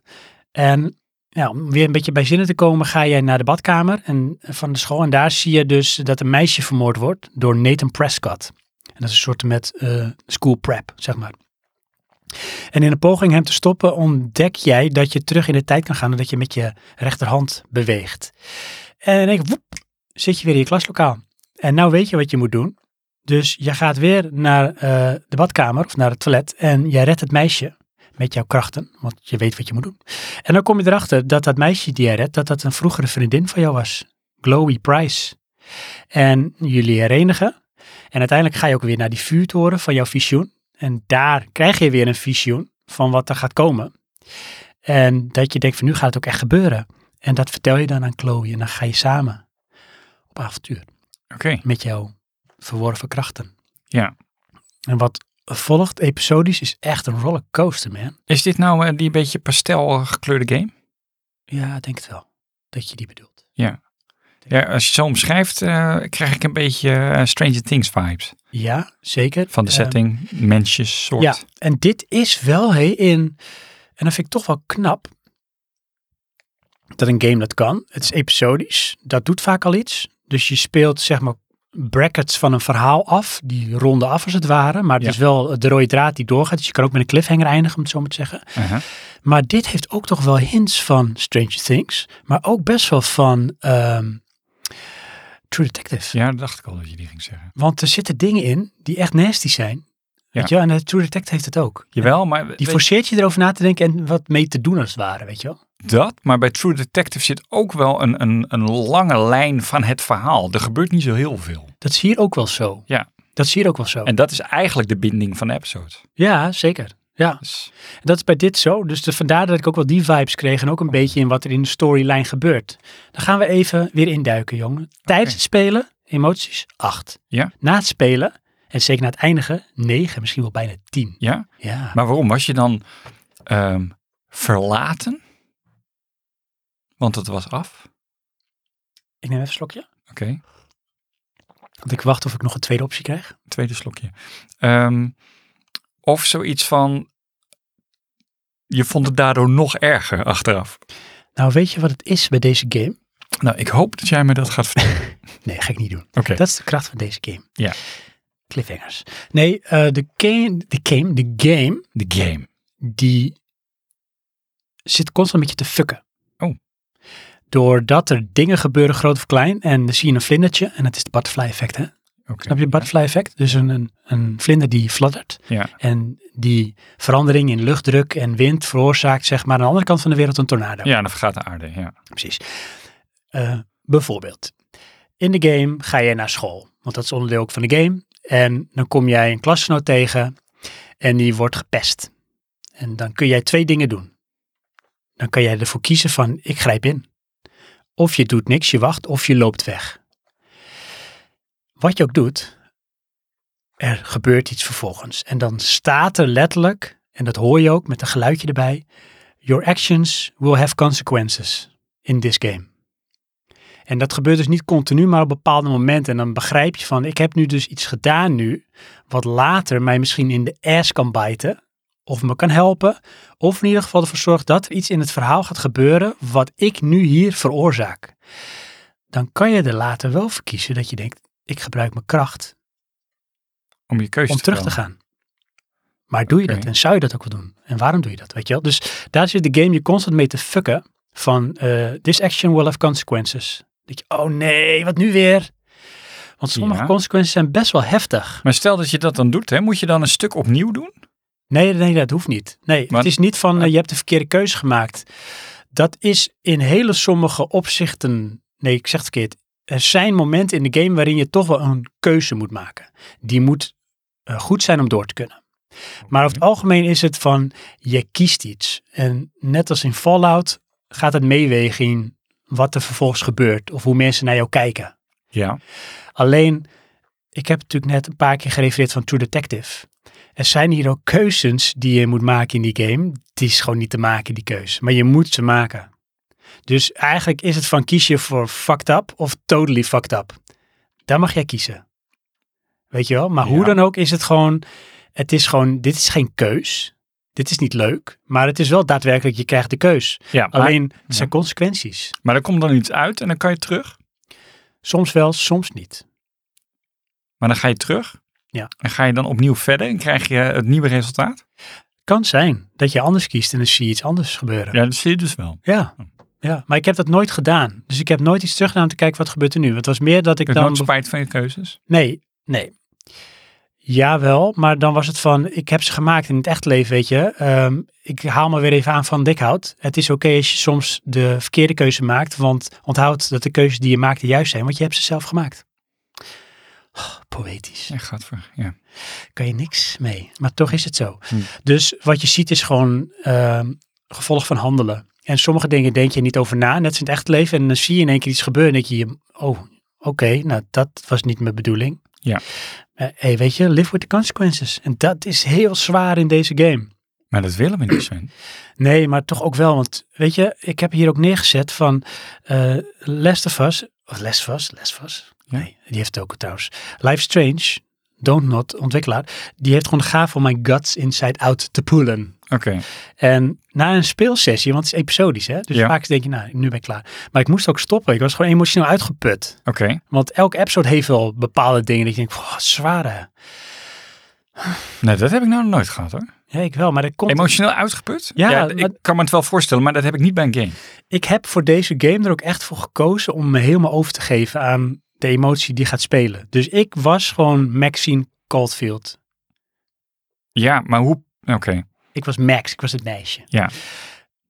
Speaker 1: En ja, om weer een beetje bij zinnen te komen, ga jij naar de badkamer en, van de school. En daar zie je dus dat een meisje vermoord wordt door Nathan Prescott. En dat is een soort met eh, school prep, zeg maar. En in een poging hem te stoppen ontdek jij dat je terug in de tijd kan gaan en dat je met je rechterhand beweegt. En in één keer, woep, zit je weer in je klaslokaal. En nou weet je wat je moet doen. Dus je gaat weer naar eh, de badkamer of naar het toilet en jij redt het meisje met jouw krachten, want je weet wat je moet doen. En dan kom je erachter dat dat meisje die jij redt, dat dat een vroegere vriendin van jou was. Glowy Price. En jullie herenigen. En uiteindelijk ga je ook weer naar die vuurtoren van jouw visioen. En daar krijg je weer een visioen van wat er gaat komen. En dat je denkt van nu gaat het ook echt gebeuren. En dat vertel je dan aan Chloe en dan ga je samen op avontuur
Speaker 2: Oké.
Speaker 1: met jouw verworven krachten.
Speaker 2: Ja.
Speaker 1: En wat volgt episodisch is echt een rollercoaster, man.
Speaker 2: Is dit nou eh, die beetje pastel gekleurde game?
Speaker 1: Ja, ik denk het wel. Dat je die bedoelt.
Speaker 2: Ja, als je het zo omschrijft, eh, krijg ik een beetje eh, Stranger Things vibes.
Speaker 1: Ja, zeker.
Speaker 2: Van de
Speaker 1: Ehm,
Speaker 2: setting, mensjes, soort.
Speaker 1: ja, en dit is wel hey, in, en dat vind ik toch wel knap, dat een game dat kan. Het is episodisch, dat doet vaak al iets. Dus je speelt zeg maar brackets van een verhaal af, die ronden af als het ware. Maar het
Speaker 2: Ja.
Speaker 1: is wel de rode draad die doorgaat. Dus je kan ook met een cliffhanger eindigen, om het zo maar te zeggen.
Speaker 2: Aha.
Speaker 1: Maar dit heeft ook toch wel hints van Stranger Things, maar ook best wel van ehm, True Detective.
Speaker 2: Ja, dat dacht ik al dat je die ging zeggen.
Speaker 1: Want er zitten dingen in die echt nasty zijn. Weet je wel? En eh, True Detect heeft het ook.
Speaker 2: Jawel, maar
Speaker 1: Die
Speaker 2: weet-
Speaker 1: forceert je erover na te denken en wat mee te doen als het ware, weet je wel?
Speaker 2: dat, maar bij True Detective zit ook wel een, een, een lange lijn van het verhaal. Er gebeurt niet zo heel veel.
Speaker 1: Dat zie je ook wel zo.
Speaker 2: Ja.
Speaker 1: Dat zie je ook wel zo.
Speaker 2: En dat is eigenlijk de binding van de episode.
Speaker 1: ja, zeker. Ja,
Speaker 2: Dus,
Speaker 1: dat is bij dit zo. Dus de, vandaar dat ik ook wel die vibes kreeg en ook een beetje in wat er in de storyline gebeurt. Dan gaan we even weer induiken, jongen. Tijdens
Speaker 2: Oké.
Speaker 1: het spelen, emoties, 8.
Speaker 2: Ja.
Speaker 1: Na het spelen, en zeker na het eindigen, 9, misschien wel bijna 10.
Speaker 2: ja,
Speaker 1: Ja.
Speaker 2: maar waarom? Was je dan ehm, verlaten? Want het was af.
Speaker 1: Ik neem even een slokje.
Speaker 2: Oké,
Speaker 1: Want ik wacht of ik nog een tweede optie krijg.
Speaker 2: tweede slokje. Ehm, of zoiets van, je vond het daardoor nog erger achteraf.
Speaker 1: Nou, weet je wat het is bij deze game?
Speaker 2: Nou, ik hoop dat jij me dat gaat vertellen.
Speaker 1: Nee, ga ik niet doen. *laughs*
Speaker 2: Oké,
Speaker 1: Dat is de kracht van deze game.
Speaker 2: Ja.
Speaker 1: Cliffhangers. Nee, eh, de, game, de game, de game,
Speaker 2: de game.
Speaker 1: die zit constant met je te fucken.
Speaker 2: Oh.
Speaker 1: Doordat er dingen gebeuren, groot of klein, en dan zie je een vlindertje, en dat is het butterfly effect, hè?
Speaker 2: Oké.
Speaker 1: Snap je het butterfly effect? Dus een, een, een vlinder die fladdert,
Speaker 2: Ja,
Speaker 1: en die verandering in luchtdruk en wind veroorzaakt, zeg maar, aan de andere kant van de wereld een tornado.
Speaker 2: ja dan vergaat de aarde, ja.
Speaker 1: Precies. Eh, bijvoorbeeld, in de game ga jij naar school, want dat is onderdeel ook van de game. En dan kom jij een klasgenoot tegen en die wordt gepest. En dan kun jij twee dingen doen. Dan kan jij ervoor kiezen van ik grijp in. Of je doet niks, je wacht, of je loopt weg. Wat je ook doet, er gebeurt iets vervolgens. En dan staat er letterlijk, en dat hoor je ook met een geluidje erbij, Your actions will have consequences in this game. En dat gebeurt dus niet continu, maar op bepaalde momenten. En dan begrijp je van, ik heb nu dus iets gedaan nu, wat later mij misschien in de ass kan bijten, of me kan helpen, of in ieder geval ervoor zorgt dat er iets in het verhaal gaat gebeuren, wat ik nu hier veroorzaak. Dan kan je er later wel voor kiezen dat je denkt, ik gebruik mijn kracht
Speaker 2: Om je keuze
Speaker 1: om terug te
Speaker 2: veranderen.
Speaker 1: gaan. Maar doe je dat
Speaker 2: Oké.
Speaker 1: en zou je dat ook wel doen? En waarom doe je dat? Weet je wel? Dus daar zit de game je constant mee te fucken van eh, this action will have consequences. Dat je, oh nee, wat nu weer? Want sommige
Speaker 2: Ja.
Speaker 1: consequenties zijn best wel heftig.
Speaker 2: Maar stel dat je dat dan doet, hè, moet je dan een stuk opnieuw doen?
Speaker 1: Nee, nee, dat hoeft niet. Nee,
Speaker 2: Maar-
Speaker 1: het is niet van eh, je hebt de verkeerde keuze gemaakt. Dat is in hele sommige opzichten, nee, ik zeg het verkeerd. Er zijn momenten in de game waarin je toch wel een keuze moet maken. Die moet eh, goed zijn om door te kunnen. Maar over het algemeen is het van je kiest iets. En net als in Fallout gaat het meewegen in wat er vervolgens gebeurt of hoe mensen naar jou kijken.
Speaker 2: Ja.
Speaker 1: Alleen, ik heb natuurlijk net een paar keer gerefereerd van True Detective. Er zijn hier ook keuzes die je moet maken in die game. Die is gewoon niet te maken, die keuze. Maar je moet ze maken. Dus eigenlijk is het van kies je voor fucked up of totally fucked up. Daar mag jij kiezen. Weet je wel? Maar hoe
Speaker 2: Ja.
Speaker 1: dan ook is het gewoon, het is gewoon, dit is geen keus. Dit is niet leuk, maar het is wel daadwerkelijk, je krijgt de keus.
Speaker 2: ja maar,
Speaker 1: Alleen, het zijn consequenties.
Speaker 2: maar er komt dan iets uit en dan kan je terug.
Speaker 1: Soms wel, soms niet.
Speaker 2: Maar dan ga je terug.
Speaker 1: Ja.
Speaker 2: En ga je dan opnieuw verder en krijg je het nieuwe resultaat?
Speaker 1: Kan zijn dat je anders kiest en dan zie je iets anders gebeuren. Ja.
Speaker 2: Ja, dat zie je dus wel.
Speaker 1: ja. maar ik heb dat nooit gedaan. Dus ik heb nooit iets teruggedaan om te kijken wat gebeurt er nu. Het was meer dat ik
Speaker 2: Ik heb
Speaker 1: dan...
Speaker 2: nooit spijt van je keuzes.
Speaker 1: Nee, nee. Jawel, maar dan was het van, ik heb ze gemaakt in het echt leven, weet je. Ehm, ik haal me weer even aan van dikhout. Het is oké als je soms de verkeerde keuze maakt, want onthoud dat de keuzes die je maakt de juist zijn, want je hebt ze zelf gemaakt. Oh, poëtisch.
Speaker 2: Ja, gaat voor. Ja.
Speaker 1: Kan je niks mee, maar toch is het zo.
Speaker 2: Hm.
Speaker 1: Dus wat je ziet is gewoon ehm, gevolg van handelen. En sommige dingen denk je niet over na, net als in het echt leven. En dan zie je in één keer iets gebeuren en denk je, oh, oké, nou dat was niet mijn bedoeling.
Speaker 2: Ja.
Speaker 1: Eh, hey, weet je, live with the consequences. En dat is heel zwaar in deze game.
Speaker 2: Maar dat willen we niet zijn.
Speaker 1: Nee, maar toch ook wel, want weet je, ik heb hier ook neergezet van eh Last of Us, of Last of Us, Last of Us.
Speaker 2: Ja.
Speaker 1: Nee, die heeft het ook trouwens. Life Strange, Don't Not, ontwikkelaar, die heeft gewoon de gaaf om mijn guts inside out te poelen.
Speaker 2: Oké.
Speaker 1: En na een speelsessie, want het is episodisch, hè? dus
Speaker 2: Ja.
Speaker 1: vaak denk je, nou, nu ben ik klaar. Maar ik moest ook stoppen. Ik was gewoon emotioneel uitgeput.
Speaker 2: Oké.
Speaker 1: Want elke episode heeft wel bepaalde dingen dat je denkt, oh, zware.
Speaker 2: Nee, dat heb ik nou nog nooit gehad hoor.
Speaker 1: Ja, ik wel, maar dat komt...
Speaker 2: Emotioneel uitgeput?
Speaker 1: Ja, maar-
Speaker 2: ik kan me het wel voorstellen, maar dat heb ik niet bij een game.
Speaker 1: ik heb voor deze game er ook echt voor gekozen om me helemaal over te geven aan de emotie die gaat spelen. Dus ik was gewoon Maxine Caulfield.
Speaker 2: Ja, maar hoe... Oké,
Speaker 1: Ik was Max, ik was het meisje.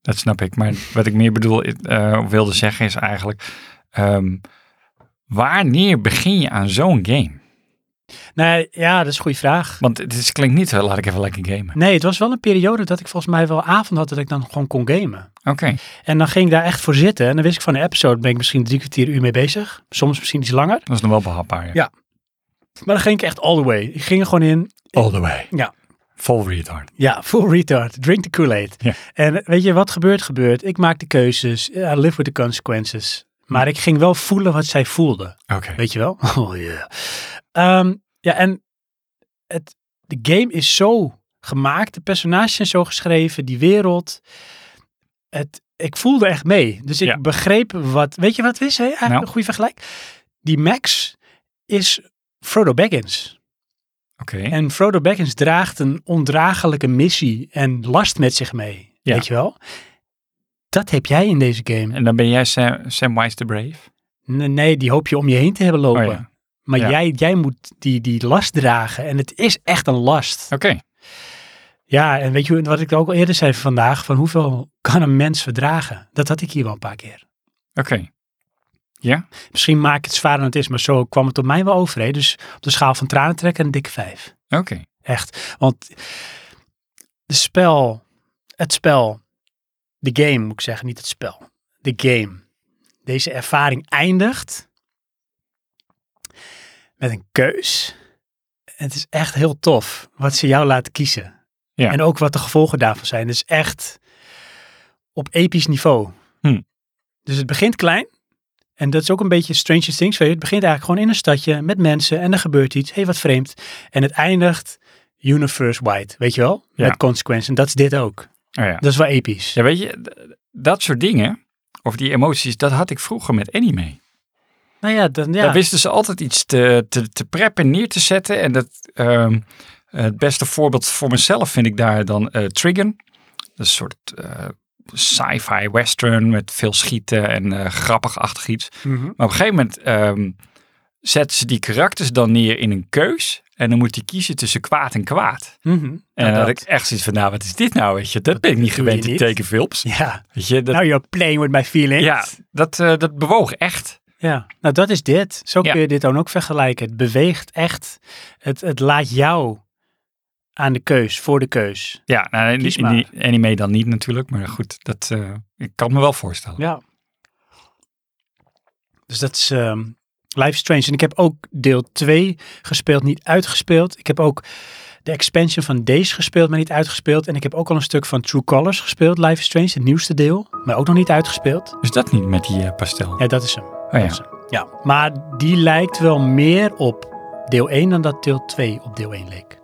Speaker 2: dat snap ik. Maar wat ik meer bedoel, eh, wilde zeggen is eigenlijk... ehm, wanneer begin je aan zo'n game?
Speaker 1: Nee, Nou, ja, dat is een goede vraag.
Speaker 2: Want het is- klinkt niet, eh, laat ik even lekker gamen.
Speaker 1: Nee, het was wel een periode dat ik volgens mij wel avond had dat ik dan gewoon kon gamen.
Speaker 2: Oké,
Speaker 1: En dan ging ik daar echt voor zitten. En dan wist ik van een episode ben ik misschien drie kwartier uur mee bezig. Soms misschien iets langer.
Speaker 2: dat is nog wel behapbaar. Ja.
Speaker 1: Ja. Maar dan ging ik echt all the way. Ik ging er gewoon in.
Speaker 2: All the way.
Speaker 1: Ja.
Speaker 2: Full retard.
Speaker 1: Ja, full retard. Drink the Kool-Aid.
Speaker 2: Ja.
Speaker 1: En weet je, wat gebeurt, gebeurt. Ik maak de keuzes. I live with the consequences. Maar ik ging wel voelen wat zij voelde.
Speaker 2: Oké.
Speaker 1: Weet je wel? *laughs* Oh ja. Ehm, ja, en het, de game is zo gemaakt. De personages zijn zo geschreven. Die wereld. Het, ik voelde echt mee. Dus ik
Speaker 2: Ja.
Speaker 1: begreep wat... Weet je wat het is? Hè? Eigenlijk
Speaker 2: Nou.
Speaker 1: een goede vergelijk. Die Max is Frodo Baggins.
Speaker 2: Oké.
Speaker 1: En Frodo Baggins draagt een ondraaglijke missie en last met zich mee.
Speaker 2: Ja.
Speaker 1: Weet je wel? Dat heb jij in deze game.
Speaker 2: En dan ben jij Sam, Samwise the Brave?
Speaker 1: Nee, nee, die hoop je om je heen te hebben
Speaker 2: Oh
Speaker 1: lopen.
Speaker 2: ja. Oké.
Speaker 1: Maar
Speaker 2: Ja.
Speaker 1: jij, jij moet die, die last dragen. En het is echt een last. Ja, en weet je wat ik ook al eerder zei vandaag? Van hoeveel kan een mens verdragen? Dat had ik hier wel een paar keer.
Speaker 2: Oké.
Speaker 1: Misschien maak ik het zwaarder dan het is, maar zo kwam het op mij wel over. hè. Dus op de schaal van tranen trekken een dikke vijf.
Speaker 2: Oké.
Speaker 1: Echt. Want de spel, het spel, de game moet ik zeggen, niet het spel. De game. Deze ervaring eindigt met een keus. En het is echt heel tof wat ze jou laten kiezen.
Speaker 2: Ja.
Speaker 1: En ook wat de gevolgen daarvan zijn. Dus echt op episch niveau.
Speaker 2: Hm.
Speaker 1: Dus het begint klein. En dat is ook een beetje Stranger Things. Weet je. Het begint eigenlijk gewoon in een stadje met mensen. En er gebeurt iets. Hé, hey, wat vreemd. En het eindigt universe-wide. Weet je wel?
Speaker 2: Ja.
Speaker 1: Met consequences. En dat is dit ook.
Speaker 2: Oh ja.
Speaker 1: Dat is wel episch.
Speaker 2: Ja, weet je, d- dat soort dingen, of die emoties, dat had ik vroeger met anime.
Speaker 1: Nou ja, dan, ja.
Speaker 2: Daar wisten ze altijd iets te, te, te preppen, neer te zetten. En dat, ehm, het beste voorbeeld voor mezelf vind ik daar dan eh Trigon. Dat is Een soort eh, sci-fi western met veel schieten en eh, grappig-achtig iets.
Speaker 1: Mhm.
Speaker 2: Maar op een gegeven moment ehm, zetten ze die karakters dan neer in een keus. En dan moet hij kiezen tussen kwaad en kwaad.
Speaker 1: Mhm.
Speaker 2: En
Speaker 1: Nou,
Speaker 2: dan had
Speaker 1: dat.
Speaker 2: ik echt zoiets van, nou, wat is dit nou? Weet je, dat, ben ik
Speaker 1: doe
Speaker 2: niet
Speaker 1: je
Speaker 2: gewend in
Speaker 1: niet. Nou,
Speaker 2: tekenfilms.
Speaker 1: Ja,
Speaker 2: Weet je, dat,
Speaker 1: now you're playing with my feelings.
Speaker 2: Ja, dat, eh, dat bewoog echt.
Speaker 1: Ja, nou dat is dit. Zo
Speaker 2: Ja.
Speaker 1: kun je dit dan ook vergelijken. Het beweegt echt. Het, het laat jou aan de keus, voor de keus.
Speaker 2: Ja, nou, in, die-
Speaker 1: Kies
Speaker 2: in die anime dan niet natuurlijk, maar goed, dat, eh, ik kan me wel voorstellen.
Speaker 1: Ja. Dus dat is ehm, Life is Strange. En ik heb ook deel 2 gespeeld, niet uitgespeeld. Ik heb ook de expansion van Days gespeeld, maar niet uitgespeeld. En ik heb ook al een stuk van True Colors gespeeld, Life is Strange, het nieuwste deel. Maar ook nog niet uitgespeeld.
Speaker 2: Is dat niet met die eh, pastel?
Speaker 1: Ja, dat is hem.
Speaker 2: oh, ja.
Speaker 1: dat is hem. ja. Maar die lijkt wel meer op deel 1 dan dat deel 2 op deel 1 leek.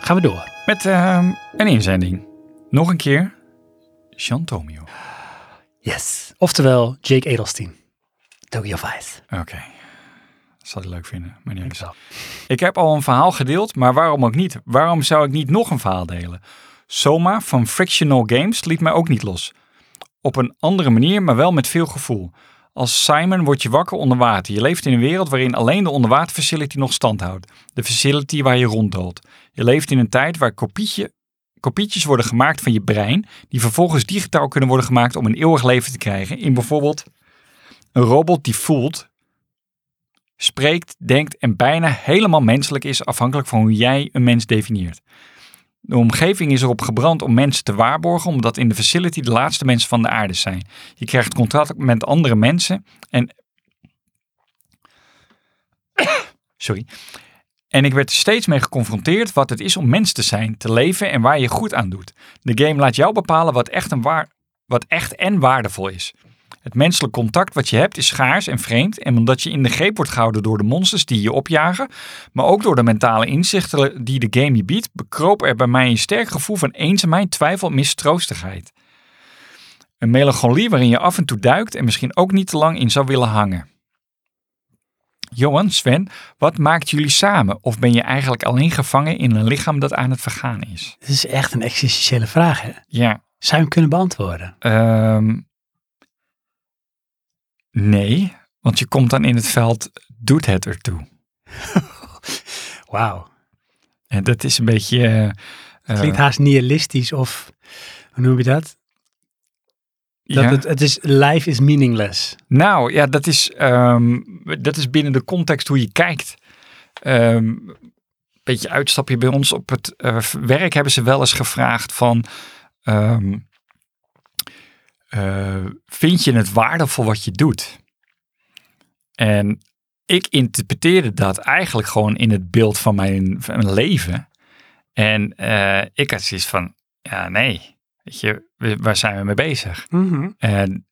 Speaker 1: Gaan we door.
Speaker 2: Met ehm, een inzending. Nog een keer, Chantomio.
Speaker 1: Yes. Oftewel Jake Edelstein. Tokyo Vice.
Speaker 2: Oké, dat zal hij leuk vinden. Maar niet uit.
Speaker 1: wel.
Speaker 2: Ik heb al een verhaal gedeeld, maar waarom ook niet? Waarom zou ik niet nog een verhaal delen? Soma van Frictional Games liet mij ook niet los. op een andere manier, maar wel met veel gevoel. Als Simon word je wakker onder water. Je leeft in een wereld waarin alleen de onderwaterfacility nog stand houdt. De facility waar je ronddoolt. Je leeft in een tijd waar kopietje, kopietjes worden gemaakt van je brein, die vervolgens digitaal kunnen worden gemaakt om een eeuwig leven te krijgen. In bijvoorbeeld een robot die voelt, spreekt, denkt en bijna helemaal menselijk is, afhankelijk van hoe jij een mens definieert. De omgeving is erop gebrand om mensen te waarborgen, omdat in de facility de laatste mensen van de aarde zijn. Je krijgt contact met andere mensen en. *coughs* Sorry. En ik werd er steeds mee geconfronteerd wat het is om mens te zijn, te leven en waar je goed aan doet. De game laat jou bepalen wat echt, en waar, wat echt en waardevol is. Het menselijk contact wat je hebt is schaars en vreemd. En omdat je in de greep wordt gehouden door de monsters die je opjagen, maar ook door de mentale inzichten die de game je biedt, bekroop er bij mij een sterk gevoel van eenzaamheid, twijfel en mistroostigheid. Een melancholie waarin je af en toe duikt en misschien ook niet te lang in zou willen hangen. Johan, Sven, wat maakt jullie samen? Of ben je eigenlijk alleen gevangen in een lichaam dat aan het vergaan is?
Speaker 1: Dit is echt een existentiële vraag, hè?
Speaker 2: Ja,
Speaker 1: Zou je hem kunnen beantwoorden?
Speaker 2: Ehm, nee, want je komt dan in het veld, doet het ertoe.
Speaker 1: Wauw.
Speaker 2: En dat is een beetje. eh, eh,
Speaker 1: Klinkt haast nihilistisch of... Hoe noem je dat? dat
Speaker 2: eh, ja.
Speaker 1: het, het is... Life is meaningless.
Speaker 2: Nou ja, dat is, ehm, dat is binnen de context hoe je kijkt. Ehm beetje uitstapje bij ons op het eh, werk hebben ze wel eens gevraagd van. ehm, eh, vind je het waardevol wat je doet? En ik interpreteerde dat eigenlijk gewoon in het beeld van mijn, van mijn leven. En eh, ik had zoiets van, ja nee, weet je, we- waar zijn we mee bezig? En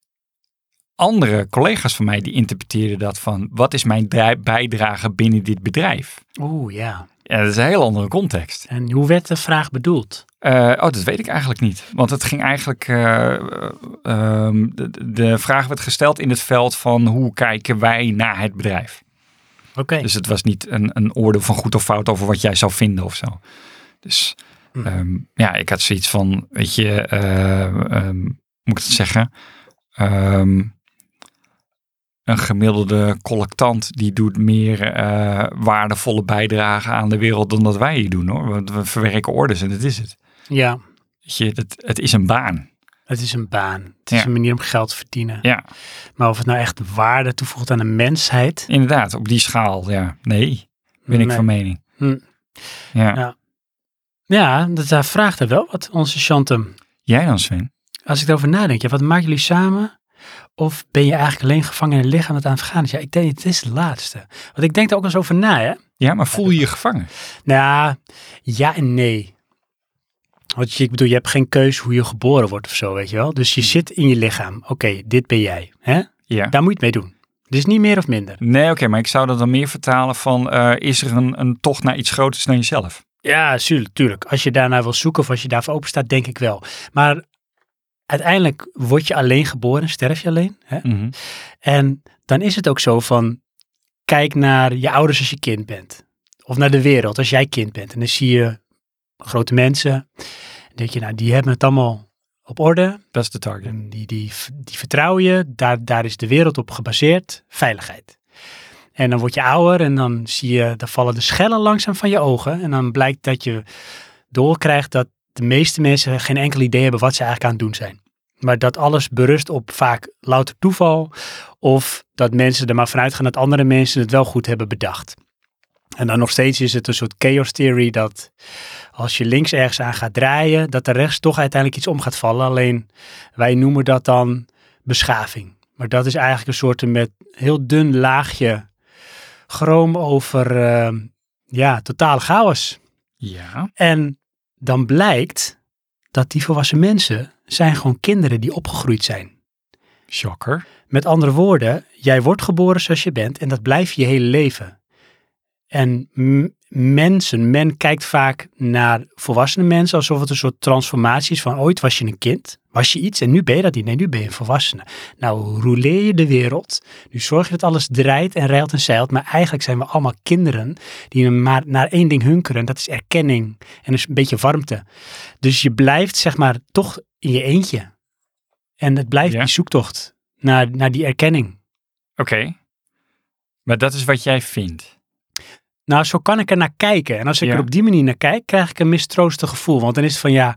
Speaker 2: andere collega's van mij die interpreteerden dat van wat is mijn dra- bijdrage binnen dit bedrijf?
Speaker 1: Oeh, ja.
Speaker 2: Ja, dat is een heel andere context.
Speaker 1: En hoe werd de vraag bedoeld?
Speaker 2: Eh, oh, dat weet ik eigenlijk niet. Want het ging eigenlijk. eh, eh, ehm, de, de vraag werd gesteld in het veld van hoe kijken wij naar het bedrijf.
Speaker 1: Oké.
Speaker 2: Dus het was niet een, een oordeel van goed of fout over wat jij zou vinden of zo. Dus
Speaker 1: Mhm.
Speaker 2: ehm, ja, ik had zoiets van, weet je, eh, ehm, moet ik het zeggen? Ehm, een gemiddelde collectant die doet meer eh, waardevolle bijdrage aan de wereld dan dat wij hier doen hoor. Want we verwerken orders en dat is het.
Speaker 1: ja,
Speaker 2: Weet je, dat, het is een baan.
Speaker 1: het is een baan. Het is
Speaker 2: Ja.
Speaker 1: een manier om geld te verdienen.
Speaker 2: Ja,
Speaker 1: Maar of het nou echt waarde toevoegt aan de mensheid...
Speaker 2: inderdaad, op die schaal. Ja, nee, ben ik
Speaker 1: nee.
Speaker 2: van mening.
Speaker 1: Hm.
Speaker 2: Ja.
Speaker 1: Ja. Ja, dat daar vraagt er wel wat, onze Chantem.
Speaker 2: Jij dan Sven?
Speaker 1: Als ik erover nadenk, ja, wat maken jullie samen? Of ben je eigenlijk alleen gevangen in een lichaam dat aan het vergaan is? Ja, ik denk, het is het laatste. Want ik denk er ook eens over na, hè?
Speaker 2: Ja, maar voel je je gevangen?
Speaker 1: Nou, ja en nee. Want je, ik bedoel, je hebt geen keus hoe je geboren wordt of zo, weet je wel? Dus je zit in je lichaam. Oké, dit ben jij. Hè?
Speaker 2: Ja.
Speaker 1: Daar moet je het mee doen. Dus niet meer of minder.
Speaker 2: Nee, oké, maar ik zou dat dan meer vertalen van, eh, is er een, een tocht naar iets groters dan jezelf?
Speaker 1: Ja, tuurlijk, tuurlijk. Als je daarnaar wil zoeken of als je daarvoor open staat, denk ik wel. Maar uiteindelijk word je alleen geboren, sterf je alleen. Hè?
Speaker 2: Mhm.
Speaker 1: En dan is het ook zo van, kijk naar je ouders als je kind bent. Of naar de wereld als jij kind bent. En dan zie je grote mensen. Dan denk je, nou, die hebben het allemaal op orde.
Speaker 2: Dat is de target.
Speaker 1: En die, die, die vertrouwen je. Daar, daar is de wereld op gebaseerd. Veiligheid. En dan word je ouder en dan zie je, dan vallen de schellen langzaam van je ogen. En dan blijkt dat je doorkrijgt dat de meeste mensen geen enkel idee hebben wat ze eigenlijk aan het doen zijn. Maar dat alles berust op vaak louter toeval. Of dat mensen er maar vanuit gaan dat andere mensen het wel goed hebben bedacht. En dan nog steeds is het een soort chaos theory dat als je links ergens aan gaat draaien, dat er rechts toch uiteindelijk iets om gaat vallen. Alleen wij noemen dat dan beschaving. Maar dat is eigenlijk een soort met heel dun laagje chroom over eh, ja, totale chaos.
Speaker 2: Ja.
Speaker 1: En dan blijkt dat die volwassen mensen zijn gewoon kinderen die opgegroeid zijn.
Speaker 2: Shocker.
Speaker 1: Met andere woorden, jij wordt geboren zoals je bent en dat blijf je je hele leven. En m- mensen, men kijkt vaak naar volwassene mensen alsof het een soort transformatie is van ooit was je een kind, was je iets en nu ben je dat niet. Nee, nu ben je een volwassene. Nou, rouleer je de wereld. Nu zorg je dat alles draait en reilt en zeilt. Maar eigenlijk zijn we allemaal kinderen die maar naar één ding hunkeren. En dat is erkenning en dus een beetje warmte. Dus je blijft zeg maar toch in je eentje. En het blijft
Speaker 2: Ja.
Speaker 1: die zoektocht naar, naar die erkenning.
Speaker 2: Oké. Maar dat is wat jij vindt.
Speaker 1: Nou, zo kan ik er naar kijken. En als ik
Speaker 2: Ja.
Speaker 1: er op die manier naar kijk, krijg ik een mistroostig gevoel. Want dan is het van ja,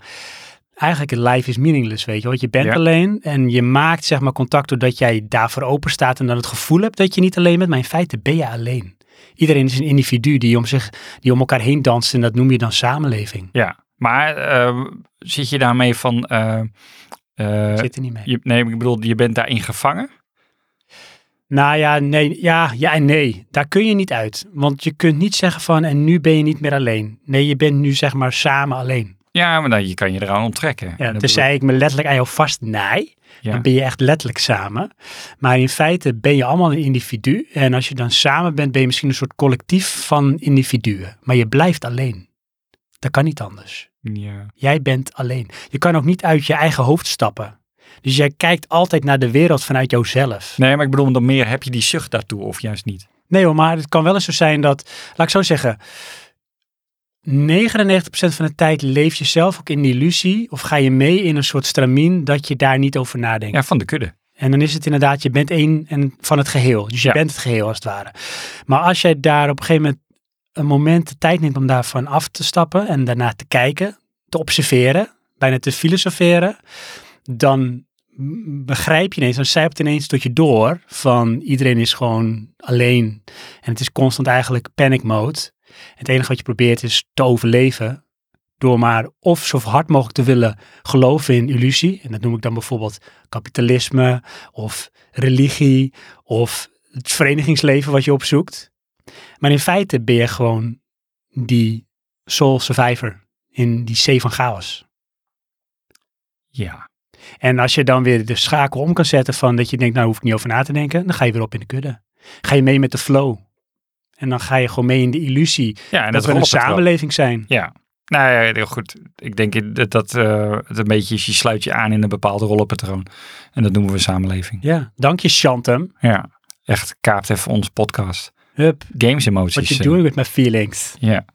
Speaker 1: eigenlijk het life is meaningless, weet je. Want je bent
Speaker 2: Ja.
Speaker 1: alleen en je maakt zeg maar contact doordat jij daarvoor open staat en dan het gevoel hebt dat je niet alleen bent. Maar in feite ben je alleen. Iedereen is een individu die om, zich, die om elkaar heen danst en dat noem je dan samenleving.
Speaker 2: Ja. Maar eh, zit je daarmee van... eh, eh,
Speaker 1: Ik zit er niet mee.
Speaker 2: je, nee, ik bedoel, je bent daarin gevangen?
Speaker 1: Nou ja, nee, ja, ja en nee. Daar kun je niet uit. Want je kunt niet zeggen van en nu ben je niet meer alleen. Nee, je bent nu zeg maar samen alleen.
Speaker 2: Ja, maar dan, je kan je eraan onttrekken.
Speaker 1: Ja,
Speaker 2: En dat
Speaker 1: tenzij ik me letterlijk aan jou vastnaai,
Speaker 2: Ja.
Speaker 1: dan ben je echt letterlijk samen. Maar in feite ben je allemaal een individu. En als je dan samen bent, ben je misschien een soort collectief van individuen. Maar je blijft alleen. Dat kan niet anders.
Speaker 2: bedoel- eh, ja.
Speaker 1: Jij bent alleen. Je kan ook niet uit je eigen hoofd stappen. Dus jij kijkt altijd naar de wereld vanuit jouzelf.
Speaker 2: Nee, maar ik bedoel, dan meer heb je die zucht daartoe of juist niet?
Speaker 1: Nee hoor, maar het kan wel eens zo zijn dat, laat ik zo zeggen, 99% van de tijd leef je zelf ook in die illusie of ga je mee in een soort stramien dat je daar niet over nadenkt.
Speaker 2: Ja, van de kudde.
Speaker 1: En dan is het inderdaad, je bent één en van het geheel. Dus je
Speaker 2: Ja.
Speaker 1: bent het geheel als het ware. Maar als jij daar op een gegeven moment een moment de tijd neemt om daarvan af te stappen en daarna te kijken, te observeren, bijna te filosoferen, dan m- begrijp je ineens, dan zijpt ineens tot je door van iedereen is gewoon alleen en het is constant eigenlijk panic mode. Het enige wat je probeert is te overleven door maar of zo hard mogelijk te willen geloven in illusie. En dat noem ik dan bijvoorbeeld kapitalisme of religie of het verenigingsleven wat je opzoekt. Maar in feite ben je gewoon die soul survivor in die zee van chaos.
Speaker 2: Ja.
Speaker 1: En als je dan weer de schakel om kan zetten van dat je denkt, nou hoef ik niet over na te denken, dan ga je weer op in de kudde. Ga je mee met de flow. En dan ga je gewoon mee in de illusie
Speaker 2: Ja, en
Speaker 1: dat, we een
Speaker 2: rolt het wel.
Speaker 1: samenleving zijn.
Speaker 2: Ja. Nou ja, heel goed. Ik denk dat dat eh, het een beetje is, je sluit je aan in een bepaalde rollenpatroon. En dat noemen we samenleving.
Speaker 1: Ja, dank je Shantem.
Speaker 2: Ja. Echt, kaapt even onze podcast.
Speaker 1: Hup,
Speaker 2: Games emoties.
Speaker 1: what you
Speaker 2: eh,
Speaker 1: doing with my feelings.
Speaker 2: Ja.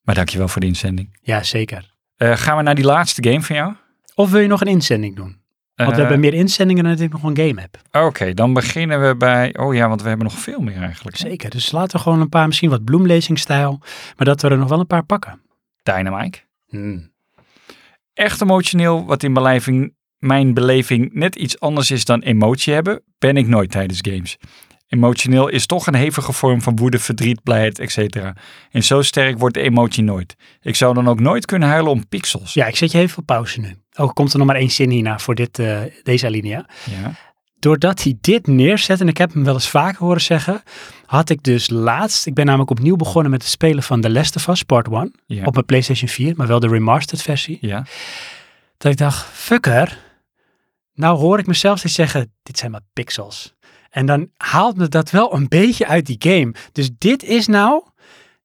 Speaker 2: Maar dankjewel voor de inzending.
Speaker 1: Ja, zeker.
Speaker 2: Eh, gaan we naar die laatste game van jou?
Speaker 1: Of wil je nog een inzending doen? Want we
Speaker 2: Eh,
Speaker 1: hebben meer inzendingen dan dat ik nog een game heb.
Speaker 2: Oké, dan beginnen we bij... Oh ja, want we hebben nog veel meer eigenlijk.
Speaker 1: Zeker. Dus laten we gewoon een paar, misschien wat bloemlezingstijl, maar dat we er nog wel een paar pakken.
Speaker 2: Dynamite. echt emotioneel, wat in beleving, mijn beleving net iets anders is dan emotie hebben, ben ik nooit tijdens games. Emotioneel is toch een hevige vorm van woede, verdriet, blijheid, etc. En zo sterk wordt de emotie nooit. Ik zou dan ook nooit kunnen huilen om pixels.
Speaker 1: Dus Ja, ik zet je even op pauze nu. Ook komt er nog maar één zin hierna voor dit, eh, deze alinea.
Speaker 2: Ja.
Speaker 1: Doordat hij dit neerzet, en ik heb hem wel eens vaker horen zeggen, had ik dus laatst, ik ben namelijk opnieuw begonnen met het spelen van The Last of Us Part 1
Speaker 2: Ja.
Speaker 1: op mijn PlayStation 4, maar wel de remastered versie.
Speaker 2: ja.
Speaker 1: Dat ik dacht, fucker, nou hoor ik mezelf steeds zeggen, dit zijn maar pixels. En dan haalt me dat wel een beetje uit die game. Dus dit is nou,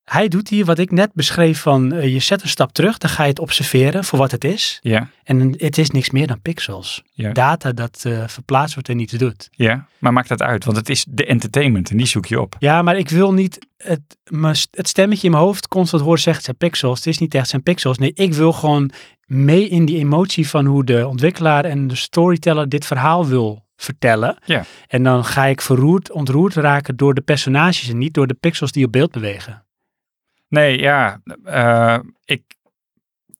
Speaker 1: hij doet hier wat ik net beschreef van, eh, je zet een stap terug, dan ga je het observeren voor wat het is.
Speaker 2: Ja.
Speaker 1: En het is niks meer dan pixels.
Speaker 2: Ja.
Speaker 1: Data dat eh, verplaatst wordt en niets doet.
Speaker 2: Ja. Maar maakt dat uit, want het is de entertainment en die zoek je op.
Speaker 1: Ja, maar ik wil niet het, mijn st- het stemmetje in mijn hoofd constant horen zeggen, het zijn pixels. Het is niet echt, het zijn pixels. Nee, ik wil gewoon mee in die emotie van hoe de ontwikkelaar en de storyteller dit verhaal wil vertellen.
Speaker 2: Ja.
Speaker 1: En dan ga ik verroerd, ontroerd raken door de personages en niet door de pixels die op beeld bewegen.
Speaker 2: Nee, ja, eh, ik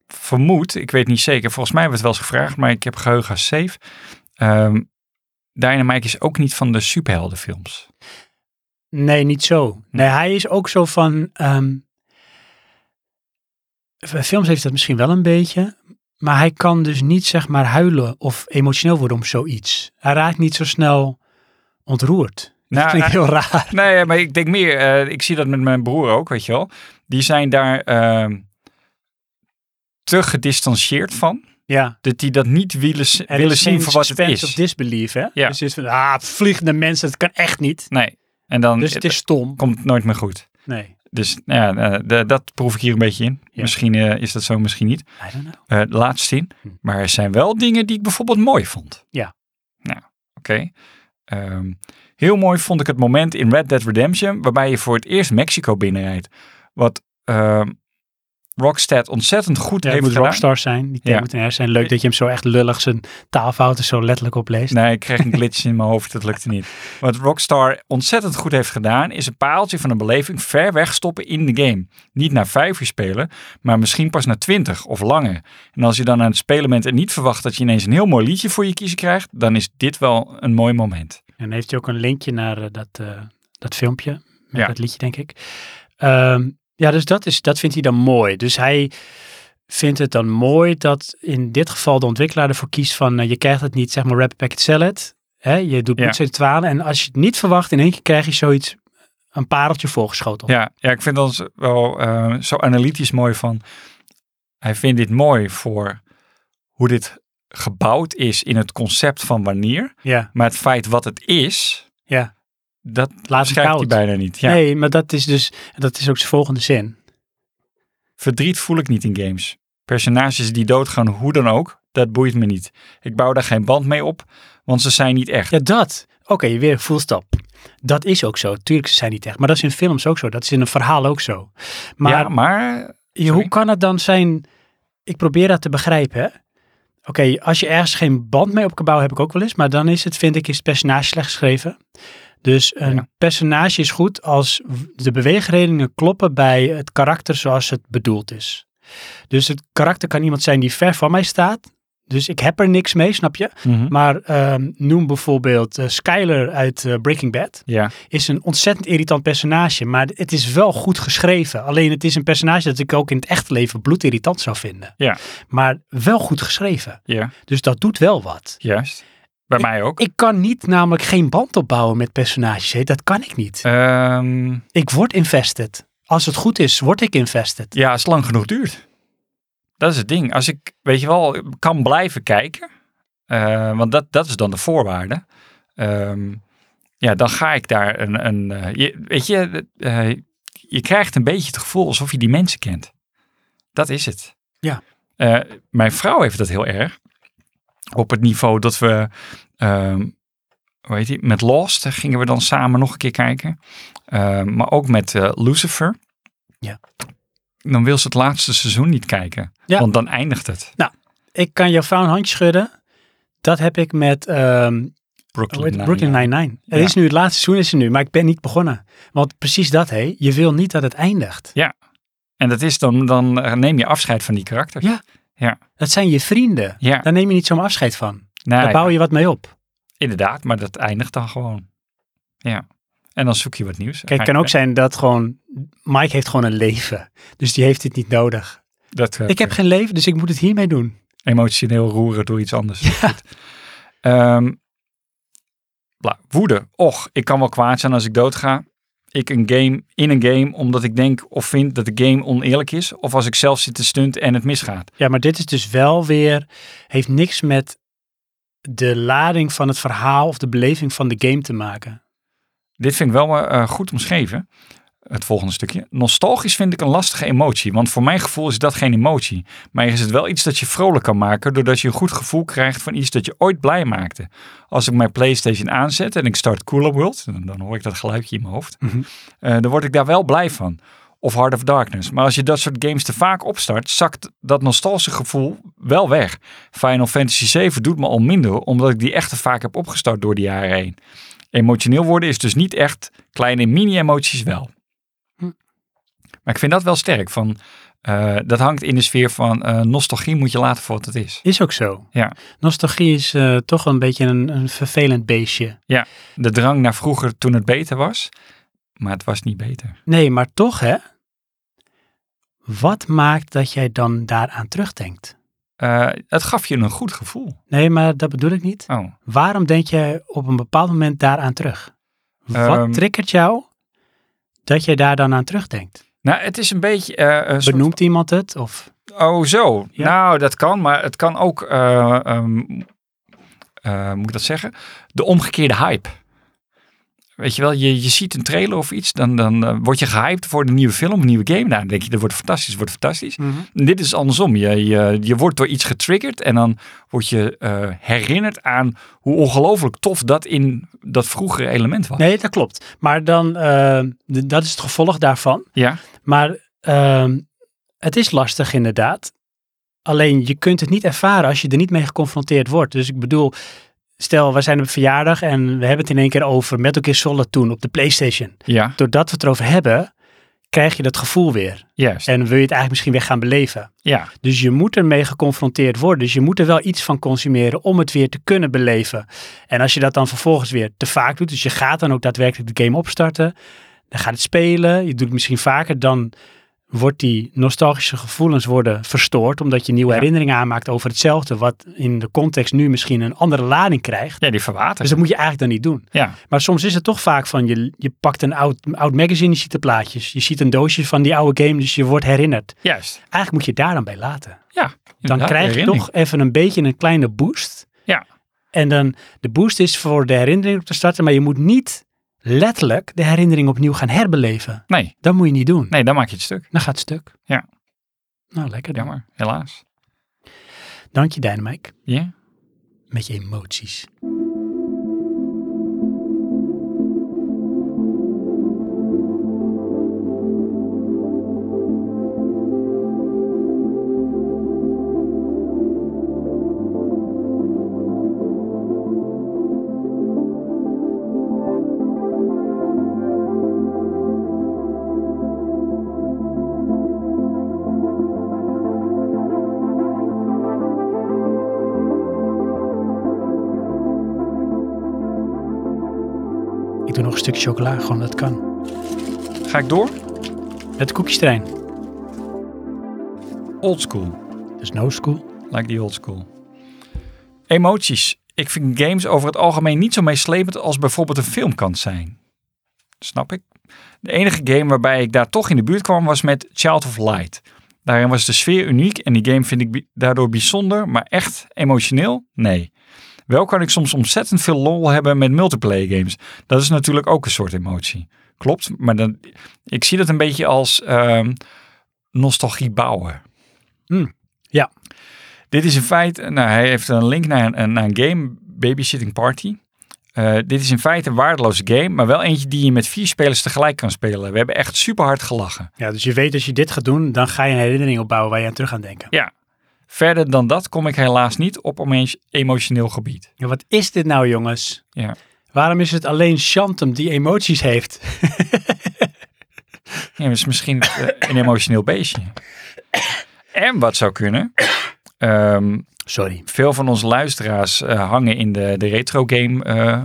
Speaker 2: vermoed, ik weet niet zeker, volgens mij werd het wel eens gevraagd, maar ik heb geheugen als safe. Ehm Dynamite is ook niet van de superheldenfilms.
Speaker 1: Nee, niet zo. Nee, hij is ook zo van... ehm, bij films heeft dat misschien wel een beetje. Maar hij kan dus niet, zeg maar, huilen of emotioneel worden om zoiets. Hij raakt niet zo snel ontroerd.
Speaker 2: Nou,
Speaker 1: dat klinkt
Speaker 2: nou-
Speaker 1: heel raar.
Speaker 2: *laughs* Nee, maar ik denk meer, eh, ik zie dat met mijn broer ook, weet je wel. Die zijn daar ehm, te gedistanceerd van,
Speaker 1: Ja.
Speaker 2: dat die dat niet willen, s-
Speaker 1: Er
Speaker 2: willen
Speaker 1: is
Speaker 2: zien
Speaker 1: geen
Speaker 2: voor wat het
Speaker 1: suspense
Speaker 2: is.
Speaker 1: of disbelief, hè?
Speaker 2: Ja.
Speaker 1: Dus het is van, ah, vliegende mensen, dat kan echt niet.
Speaker 2: Nee, en dan
Speaker 1: Dus het is stom.
Speaker 2: komt het nooit meer goed.
Speaker 1: Nee,
Speaker 2: Dus nou ja, eh, de- dat proef ik hier een beetje in.
Speaker 1: Ja.
Speaker 2: Misschien eh, is dat zo, misschien niet.
Speaker 1: I don't know.
Speaker 2: eh laat zien.
Speaker 1: Hm.
Speaker 2: Maar er zijn wel dingen die ik bijvoorbeeld mooi vond.
Speaker 1: Ja.
Speaker 2: Nou, oké. Ehm, heel mooi vond ik het moment in Red Dead Redemption waarbij je voor het eerst Mexico binnenrijdt. Wat, ehm, Rockstead ontzettend goed
Speaker 1: Ja, het
Speaker 2: heeft
Speaker 1: moet
Speaker 2: gedaan.
Speaker 1: rockstar zijn. Die
Speaker 2: Ja.
Speaker 1: ja. moet een her zijn. Leuk dat je hem zo echt lullig zijn taalfouten zo letterlijk opleest.
Speaker 2: Nee, ik kreeg een glitch in mijn hoofd, dat lukte niet. Wat Rockstar ontzettend goed heeft gedaan, is een paaltje van een beleving ver wegstoppen in de game. Niet na vijf uur spelen, maar misschien pas na twintig of langer. En als je dan aan het spelen bent en niet verwacht dat je ineens een heel mooi liedje voor je kiezen krijgt, dan is dit wel een mooi moment.
Speaker 1: En dan heeft hij ook een linkje naar eh, dat, eh, dat filmpje. Met
Speaker 2: Ja.
Speaker 1: dat liedje, denk ik. Ehm, ja, dus dat, is, dat vindt hij dan mooi. Dus hij vindt het dan mooi dat in dit geval de ontwikkelaar ervoor kiest van... eh, je krijgt het niet, zeg maar, wrap packet salad. Hè? Je doet
Speaker 2: Ja.
Speaker 1: bloed, zweet en tranen. En als je het niet verwacht, in één keer krijg je zoiets... een pareltje voorgeschoteld.
Speaker 2: Ja, ja ik vind dat wel eh, zo analytisch mooi van, hij vindt dit mooi voor hoe dit gebouwd is in het concept van wanneer,
Speaker 1: ja.
Speaker 2: maar het feit wat het is,
Speaker 1: Ja.
Speaker 2: dat
Speaker 1: Laat hem
Speaker 2: schrijft hij
Speaker 1: koud.
Speaker 2: bijna niet. Ja.
Speaker 1: Nee, maar dat is dus... Dat is ook zijn volgende zin.
Speaker 2: Verdriet voel ik niet in games. Personages die doodgaan, hoe dan ook, dat boeit me niet. Ik bouw daar geen band mee op, want ze zijn niet echt.
Speaker 1: Ja, dat. Oké, weer full stop. Dat is ook zo. Tuurlijk, ze zijn niet echt. Maar dat is in films ook zo. Dat is in een verhaal ook zo. Maar
Speaker 2: Ja, maar
Speaker 1: je-
Speaker 2: sorry.
Speaker 1: hoe kan het dan zijn... Ik probeer dat te begrijpen, hè. Oké, als je ergens geen band mee op kan bouwen, heb ik ook wel eens. Maar dan is het, vind ik, is het personage slecht geschreven. Dus een
Speaker 2: Ja.
Speaker 1: personage is goed als w- de beweegredenen kloppen bij het karakter zoals het bedoeld is. Dus het karakter kan iemand zijn die ver van mij staat. Dus ik heb er niks mee, snap je? Maar ehm, noem bijvoorbeeld eh, Skyler uit eh, Breaking Bad.
Speaker 2: ja,
Speaker 1: Is een ontzettend irritant personage. Maar het is wel goed geschreven. Alleen het is een personage dat ik ook in het echte leven bloedirritant zou vinden.
Speaker 2: Ja.
Speaker 1: Maar wel goed geschreven.
Speaker 2: ja,
Speaker 1: Dus dat doet wel wat.
Speaker 2: juist. Bij mij ook.
Speaker 1: Ik kan niet namelijk geen band opbouwen met personages. hè. Dat kan ik niet.
Speaker 2: Ehm,
Speaker 1: Ik word invested. Als het goed is, word ik invested.
Speaker 2: ja, als het lang genoeg duurt. Dat is het ding. Als ik, weet je wel, kan blijven kijken, eh, want dat, dat is dan de voorwaarde. Ehm, ja, dan ga ik daar een, een eh, je, weet je, eh, je krijgt een beetje het gevoel alsof je die mensen kent. Dat is het.
Speaker 1: Ja.
Speaker 2: Eh, mijn vrouw heeft dat heel erg. Op het niveau dat we, ehm, hoe heet die, met Lost eh, gingen we dan samen nog een keer kijken. Ehm, maar ook met eh, Lucifer.
Speaker 1: Ja.
Speaker 2: Dan wil ze het laatste seizoen niet kijken.
Speaker 1: Ja.
Speaker 2: Want dan eindigt het.
Speaker 1: Ik kan jouw vrouw een handje schudden. Dat heb ik met ehm,
Speaker 2: Brooklyn
Speaker 1: Oh, het-
Speaker 2: Nine-Nine.
Speaker 1: Brooklyn Nine-Nine. Er
Speaker 2: Ja.
Speaker 1: is nu, het laatste seizoen is er nu, maar ik ben niet begonnen. Want precies dat, hé. Je wil niet dat het eindigt.
Speaker 2: En dat is dan, dan eh, neem je afscheid van die karakter.
Speaker 1: Ja. Dat zijn je vrienden.
Speaker 2: Ja,
Speaker 1: Daar neem je niet zomaar afscheid van.
Speaker 2: nou,
Speaker 1: Daar bouw je wat mee op.
Speaker 2: inderdaad, maar dat eindigt dan gewoon. Ja. En dan zoek je wat nieuws. Eh,
Speaker 1: Kijk, het kan ook zijn dat gewoon... Mike heeft gewoon een leven. Dus die heeft dit niet nodig.
Speaker 2: Dat, eh,
Speaker 1: Ik heb geen leven, dus ik moet het hiermee doen.
Speaker 2: emotioneel roeren door iets anders. Goed. Ehm, bla, woede. Och, ik kan wel kwaad zijn als ik doodga. Ik een game in een game omdat ik denk of vind dat de game oneerlijk is. Of als ik zelf zit te stunt en het misgaat.
Speaker 1: Ja, maar dit is dus wel weer... Heeft niks met de lading van het verhaal of de beleving van de game te maken.
Speaker 2: Dit vind ik wel eh, goed omschreven. Het volgende stukje. Nostalgisch vind ik een lastige emotie. Want voor mijn gevoel is dat geen emotie. Maar is het wel iets dat je vrolijk kan maken. Doordat je een goed gevoel krijgt van iets dat je ooit blij maakte. Als ik mijn PlayStation aanzet en ik start Cooler World. Dan, dan hoor ik dat geluidje in mijn hoofd.
Speaker 1: Mhm.
Speaker 2: eh, dan word ik daar wel blij van. Of Heart of Darkness. Maar als je dat soort games te vaak opstart. Zakt dat nostalgische gevoel wel weg. Final Fantasy 7 doet me al minder. Omdat ik die echt te vaak heb opgestart door de jaren heen. Emotioneel worden is dus niet echt kleine mini-emoties wel.
Speaker 1: Hm.
Speaker 2: Maar ik vind dat wel sterk. Van, eh, dat hangt in de sfeer van eh, nostalgie moet je laten voor wat het is.
Speaker 1: Is ook zo.
Speaker 2: Ja.
Speaker 1: Nostalgie is eh, toch een beetje een, een vervelend beestje.
Speaker 2: De drang naar vroeger toen het beter was. Maar het was niet beter.
Speaker 1: Nee, maar toch hè? Wat maakt dat jij dan daaraan terugdenkt?
Speaker 2: Eh, het gaf je een goed gevoel.
Speaker 1: Nee, maar dat bedoel ik niet.
Speaker 2: Oh,
Speaker 1: Waarom denk jij op een bepaald moment daaraan terug? Wat
Speaker 2: Ehm.
Speaker 1: triggert jou dat jij daar dan aan terugdenkt?
Speaker 2: nou het is een beetje... eh, een soort-
Speaker 1: Benoemt iemand het? Of
Speaker 2: Oh, zo.
Speaker 1: Ja.
Speaker 2: Nou, dat kan, maar het kan ook, eh, ehm, eh, moet ik dat zeggen? De omgekeerde hype. Weet je wel, je, je ziet een trailer of iets, dan, dan eh, word je gehyped voor een nieuwe film, een nieuwe game. Nou, dan denk je, dat wordt fantastisch, dat wordt fantastisch. En dit is andersom. Je, je, je wordt door iets getriggerd en dan word je eh, herinnerd aan hoe ongelooflijk tof dat in dat vroegere element was.
Speaker 1: Nee, dat klopt. Maar dan, eh, d- dat is het gevolg daarvan.
Speaker 2: Ja,
Speaker 1: Maar ehm, Het is lastig inderdaad. Alleen je kunt het niet ervaren als je er niet mee geconfronteerd wordt. Dus ik bedoel, stel we zijn op een verjaardag en we hebben het in één keer over Metal Gear Solid toen op de Playstation.
Speaker 2: Ja,
Speaker 1: Doordat we het erover hebben, krijg je dat gevoel weer.
Speaker 2: juist.
Speaker 1: En wil je het eigenlijk misschien weer gaan beleven.
Speaker 2: ja,
Speaker 1: Dus je moet ermee geconfronteerd worden. Dus je moet er wel iets van consumeren om het weer te kunnen beleven. En als je dat dan vervolgens weer te vaak doet, dus je gaat dan ook daadwerkelijk de game opstarten, dan gaat het spelen, je doet het misschien vaker, dan wordt die nostalgische gevoelens worden verstoord, omdat je nieuwe
Speaker 2: Ja.
Speaker 1: herinneringen aanmaakt over hetzelfde, wat in de context nu misschien een andere lading krijgt.
Speaker 2: ja, die verwatert.
Speaker 1: Dus dat moet je eigenlijk dan niet doen.
Speaker 2: ja,
Speaker 1: Maar soms is het toch vaak van, je, je pakt een oud, oud magazine, je ziet de plaatjes, je ziet een doosje van die oude game, dus je wordt herinnerd.
Speaker 2: juist.
Speaker 1: Eigenlijk moet je het daar dan bij laten
Speaker 2: Ja,
Speaker 1: dan
Speaker 2: inderdaad,
Speaker 1: krijg je
Speaker 2: herinnering.
Speaker 1: toch even een beetje een kleine boost.
Speaker 2: Ja.
Speaker 1: En dan de boost is voor de herinnering op te starten, maar je moet niet letterlijk de herinnering opnieuw gaan herbeleven.
Speaker 2: Nee,
Speaker 1: Dat moet je niet doen.
Speaker 2: nee, dan maak je het stuk.
Speaker 1: Dan gaat het stuk.
Speaker 2: Ja.
Speaker 1: Nou, lekker dan.
Speaker 2: Jammer, helaas.
Speaker 1: Dank je, Dynamike,
Speaker 2: Ja.
Speaker 1: met je emoties. Ik doe nog een stukje chocola, gewoon dat kan.
Speaker 2: Ga ik door?
Speaker 1: Met de koekjestrein.
Speaker 2: Old school.
Speaker 1: Dat is no school.
Speaker 2: Like the old school. Emoties. Ik vind games over het algemeen niet zo meeslepend als bijvoorbeeld een film kan zijn. Snap ik. De enige game waarbij ik daar toch in de buurt kwam was met Child of Light. Daarin was de sfeer uniek en die game vind ik bi- daardoor bijzonder, maar echt emotioneel? Nee. Wel kan ik soms ontzettend veel lol hebben met multiplayer games. Dat is natuurlijk ook een soort emotie. Klopt, maar dan, ik zie dat een beetje als ehm, nostalgie bouwen. Dit is in feite, nou, hij heeft een link naar een, een- naar een game, Babysitting Party. Eh, dit is in feite een waardeloze game, maar wel eentje die je met vier spelers tegelijk kan spelen. We hebben echt super hard gelachen.
Speaker 1: Ja, dus je weet als je dit gaat doen, dan ga je een herinnering opbouwen waar je aan terug gaat denken.
Speaker 2: Verder dan dat kom ik helaas niet op om eens emotioneel gebied.
Speaker 1: Ja, wat is dit nou, jongens?
Speaker 2: Ja.
Speaker 1: Waarom is het alleen Shantum die emoties heeft? *laughs*
Speaker 2: Ja, dat is misschien eh, een emotioneel beestje. *coughs* En wat zou kunnen, ehm,
Speaker 1: Sorry.
Speaker 2: veel van onze luisteraars eh, hangen in de, de retro game eh,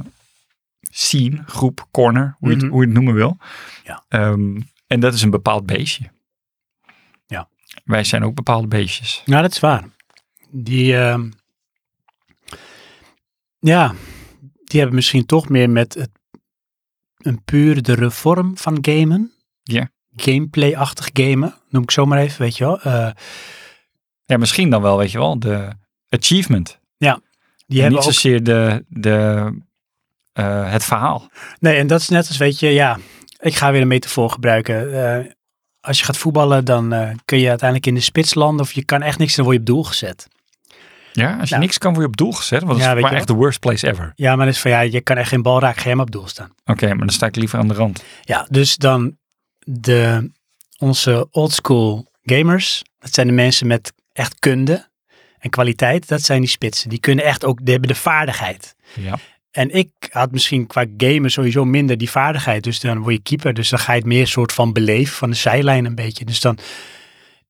Speaker 2: scene, groep, corner, hoe, je,
Speaker 1: Mhm.
Speaker 2: het, hoe je het noemen wil.
Speaker 1: Ja.
Speaker 2: Ehm, en dat is een bepaald beestje.
Speaker 1: Ja.
Speaker 2: Wij zijn ook bepaalde beestjes.
Speaker 1: Nou, dat is waar. Die, ehm, ja, die hebben misschien toch meer met het, een puurdere vorm van gamen.
Speaker 2: Ja.
Speaker 1: Gameplay-achtig gamen, noem ik zo maar even, weet je wel. Eh,
Speaker 2: Ja, misschien dan wel, weet je wel, de achievement.
Speaker 1: die
Speaker 2: En
Speaker 1: hebben
Speaker 2: niet
Speaker 1: ook,
Speaker 2: zozeer de, de, eh, het verhaal.
Speaker 1: nee, en dat is net als, weet je, ja, ik ga weer een metafoor gebruiken. Eh, als je gaat voetballen, dan eh, kun je uiteindelijk in de spits landen of je kan echt niks, dan word je op doel gezet.
Speaker 2: Ja, als je
Speaker 1: Nou.
Speaker 2: niks kan, word je op doel gezet. Want
Speaker 1: Ja,
Speaker 2: dat
Speaker 1: weet
Speaker 2: is maar
Speaker 1: je
Speaker 2: echt de worst place ever.
Speaker 1: Ja, maar dat is van, ja, je kan echt geen bal raken, ga jij maar op doel staan.
Speaker 2: Oké, maar dan sta ik liever aan de rand.
Speaker 1: Ja, dus dan de, onze oldschool gamers, dat zijn de mensen met echt kunde en kwaliteit, dat zijn die spitsen. Die kunnen echt ook, die hebben de vaardigheid.
Speaker 2: Ja.
Speaker 1: En ik had misschien qua gamen sowieso minder die vaardigheid. Dus dan word je keeper. Dus dan ga je het meer soort van beleven van de zijlijn een beetje. Dus dan,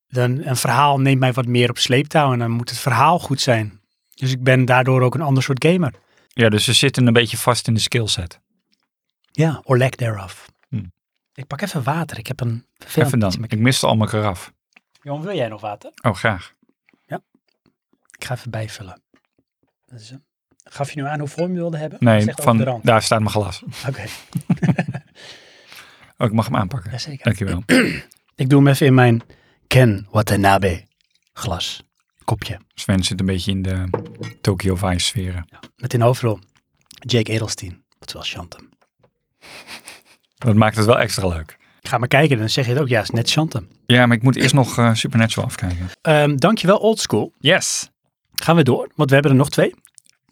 Speaker 1: dan een verhaal neemt mij wat meer op sleeptouw. En dan moet het verhaal goed zijn. Dus ik ben daardoor ook een ander soort gamer.
Speaker 2: ja, dus ze zitten een beetje vast in de skillset.
Speaker 1: Ja, or lack thereof.
Speaker 2: Hmm.
Speaker 1: Ik pak even water. Ik heb een vervelend
Speaker 2: Even dan.
Speaker 1: iets in mijn
Speaker 2: Ik miste al mijn karaf.
Speaker 1: Jon, wil jij nog water?
Speaker 2: Oh, graag.
Speaker 1: Ik ga even bijvullen. Dat is hem. Gaf je nu aan hoe vorm je wilde hebben?
Speaker 2: Nee,
Speaker 1: Zeg over de
Speaker 2: van,
Speaker 1: rand.
Speaker 2: daar staat mijn glas.
Speaker 1: Oké,
Speaker 2: *laughs* Oh, ik mag hem aanpakken.
Speaker 1: ja, zeker.
Speaker 2: Dankjewel.
Speaker 1: Ik doe hem even in mijn Ken Watanabe glas. Kopje.
Speaker 2: Sven zit een beetje in de Tokyo Vice sferen.
Speaker 1: Met in de hoofdrol Jake Edelstein. Oftewel Shantum.
Speaker 2: Dat maakt het wel extra leuk.
Speaker 1: Ga maar kijken, dan zeg je het ook. Ja, het is net Shantum.
Speaker 2: Ja, maar ik moet eerst nog eh, Supernatural afkijken.
Speaker 1: Ehm dankjewel, oldschool.
Speaker 2: Yes.
Speaker 1: Gaan we door, want we hebben er nog twee.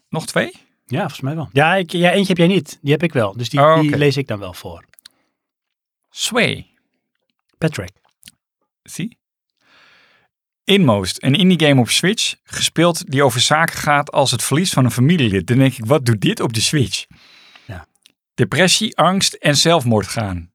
Speaker 2: Nog twee?
Speaker 1: Ja, volgens mij wel. Ja, ik, ja eentje heb jij niet. Die heb ik wel. Dus die,
Speaker 2: Oh,
Speaker 1: die
Speaker 2: oké.
Speaker 1: lees ik dan wel voor.
Speaker 2: Sway.
Speaker 1: Patrick.
Speaker 2: Zie? Inmost, een indie game op Switch, gespeeld die over zaken gaat als het verlies van een familielid. Dan denk ik, wat doet dit op de Switch?
Speaker 1: Ja.
Speaker 2: Depressie, angst en zelfmoord gaan.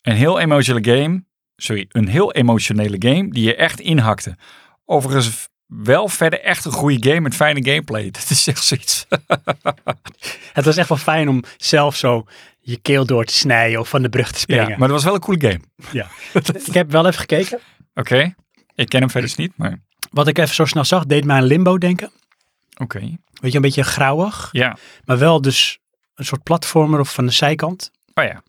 Speaker 2: Een heel emotionele game, sorry, een heel emotionele game die je echt inhakte. Overigens wel verder echt een goede game met fijne gameplay. *laughs* Dat is echt zoiets.
Speaker 1: Het was echt wel fijn om zelf zo je keel door te snijden of van de brug te
Speaker 2: Ja,
Speaker 1: springen.
Speaker 2: maar dat was wel een coole game.
Speaker 1: Ja. ik heb wel even gekeken.
Speaker 2: Oké, ik ken hem verder dus niet, maar
Speaker 1: Wat ik even zo snel zag, deed mij aan Limbo denken.
Speaker 2: oké.
Speaker 1: Weet je, een beetje grauwig.
Speaker 2: Ja,
Speaker 1: Maar wel dus een soort platformer of van de zijkant.
Speaker 2: oh ja.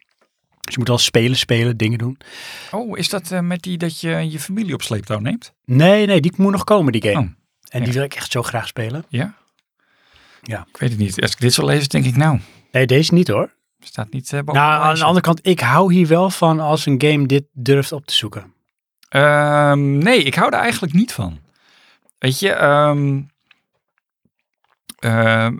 Speaker 1: Dus je moet wel spelen, spelen, dingen doen.
Speaker 2: Oh, is dat eh, met die dat je je familie op sleeptouw neemt?
Speaker 1: Nee, nee, die moet nog komen, die game.
Speaker 2: Oh,
Speaker 1: en die wil ik echt zo graag spelen.
Speaker 2: Ja?
Speaker 1: Ja.
Speaker 2: Ik weet het niet. Als ik dit zo lees, denk ik nou,
Speaker 1: Nee, deze niet hoor.
Speaker 2: staat niet eh, boven
Speaker 1: nou,
Speaker 2: mijn
Speaker 1: aan de
Speaker 2: lijstje.
Speaker 1: andere kant, ik hou hier wel van als een game dit durft op te zoeken.
Speaker 2: Ehm, nee, ik hou er eigenlijk niet van. Weet je, ehm, ehm,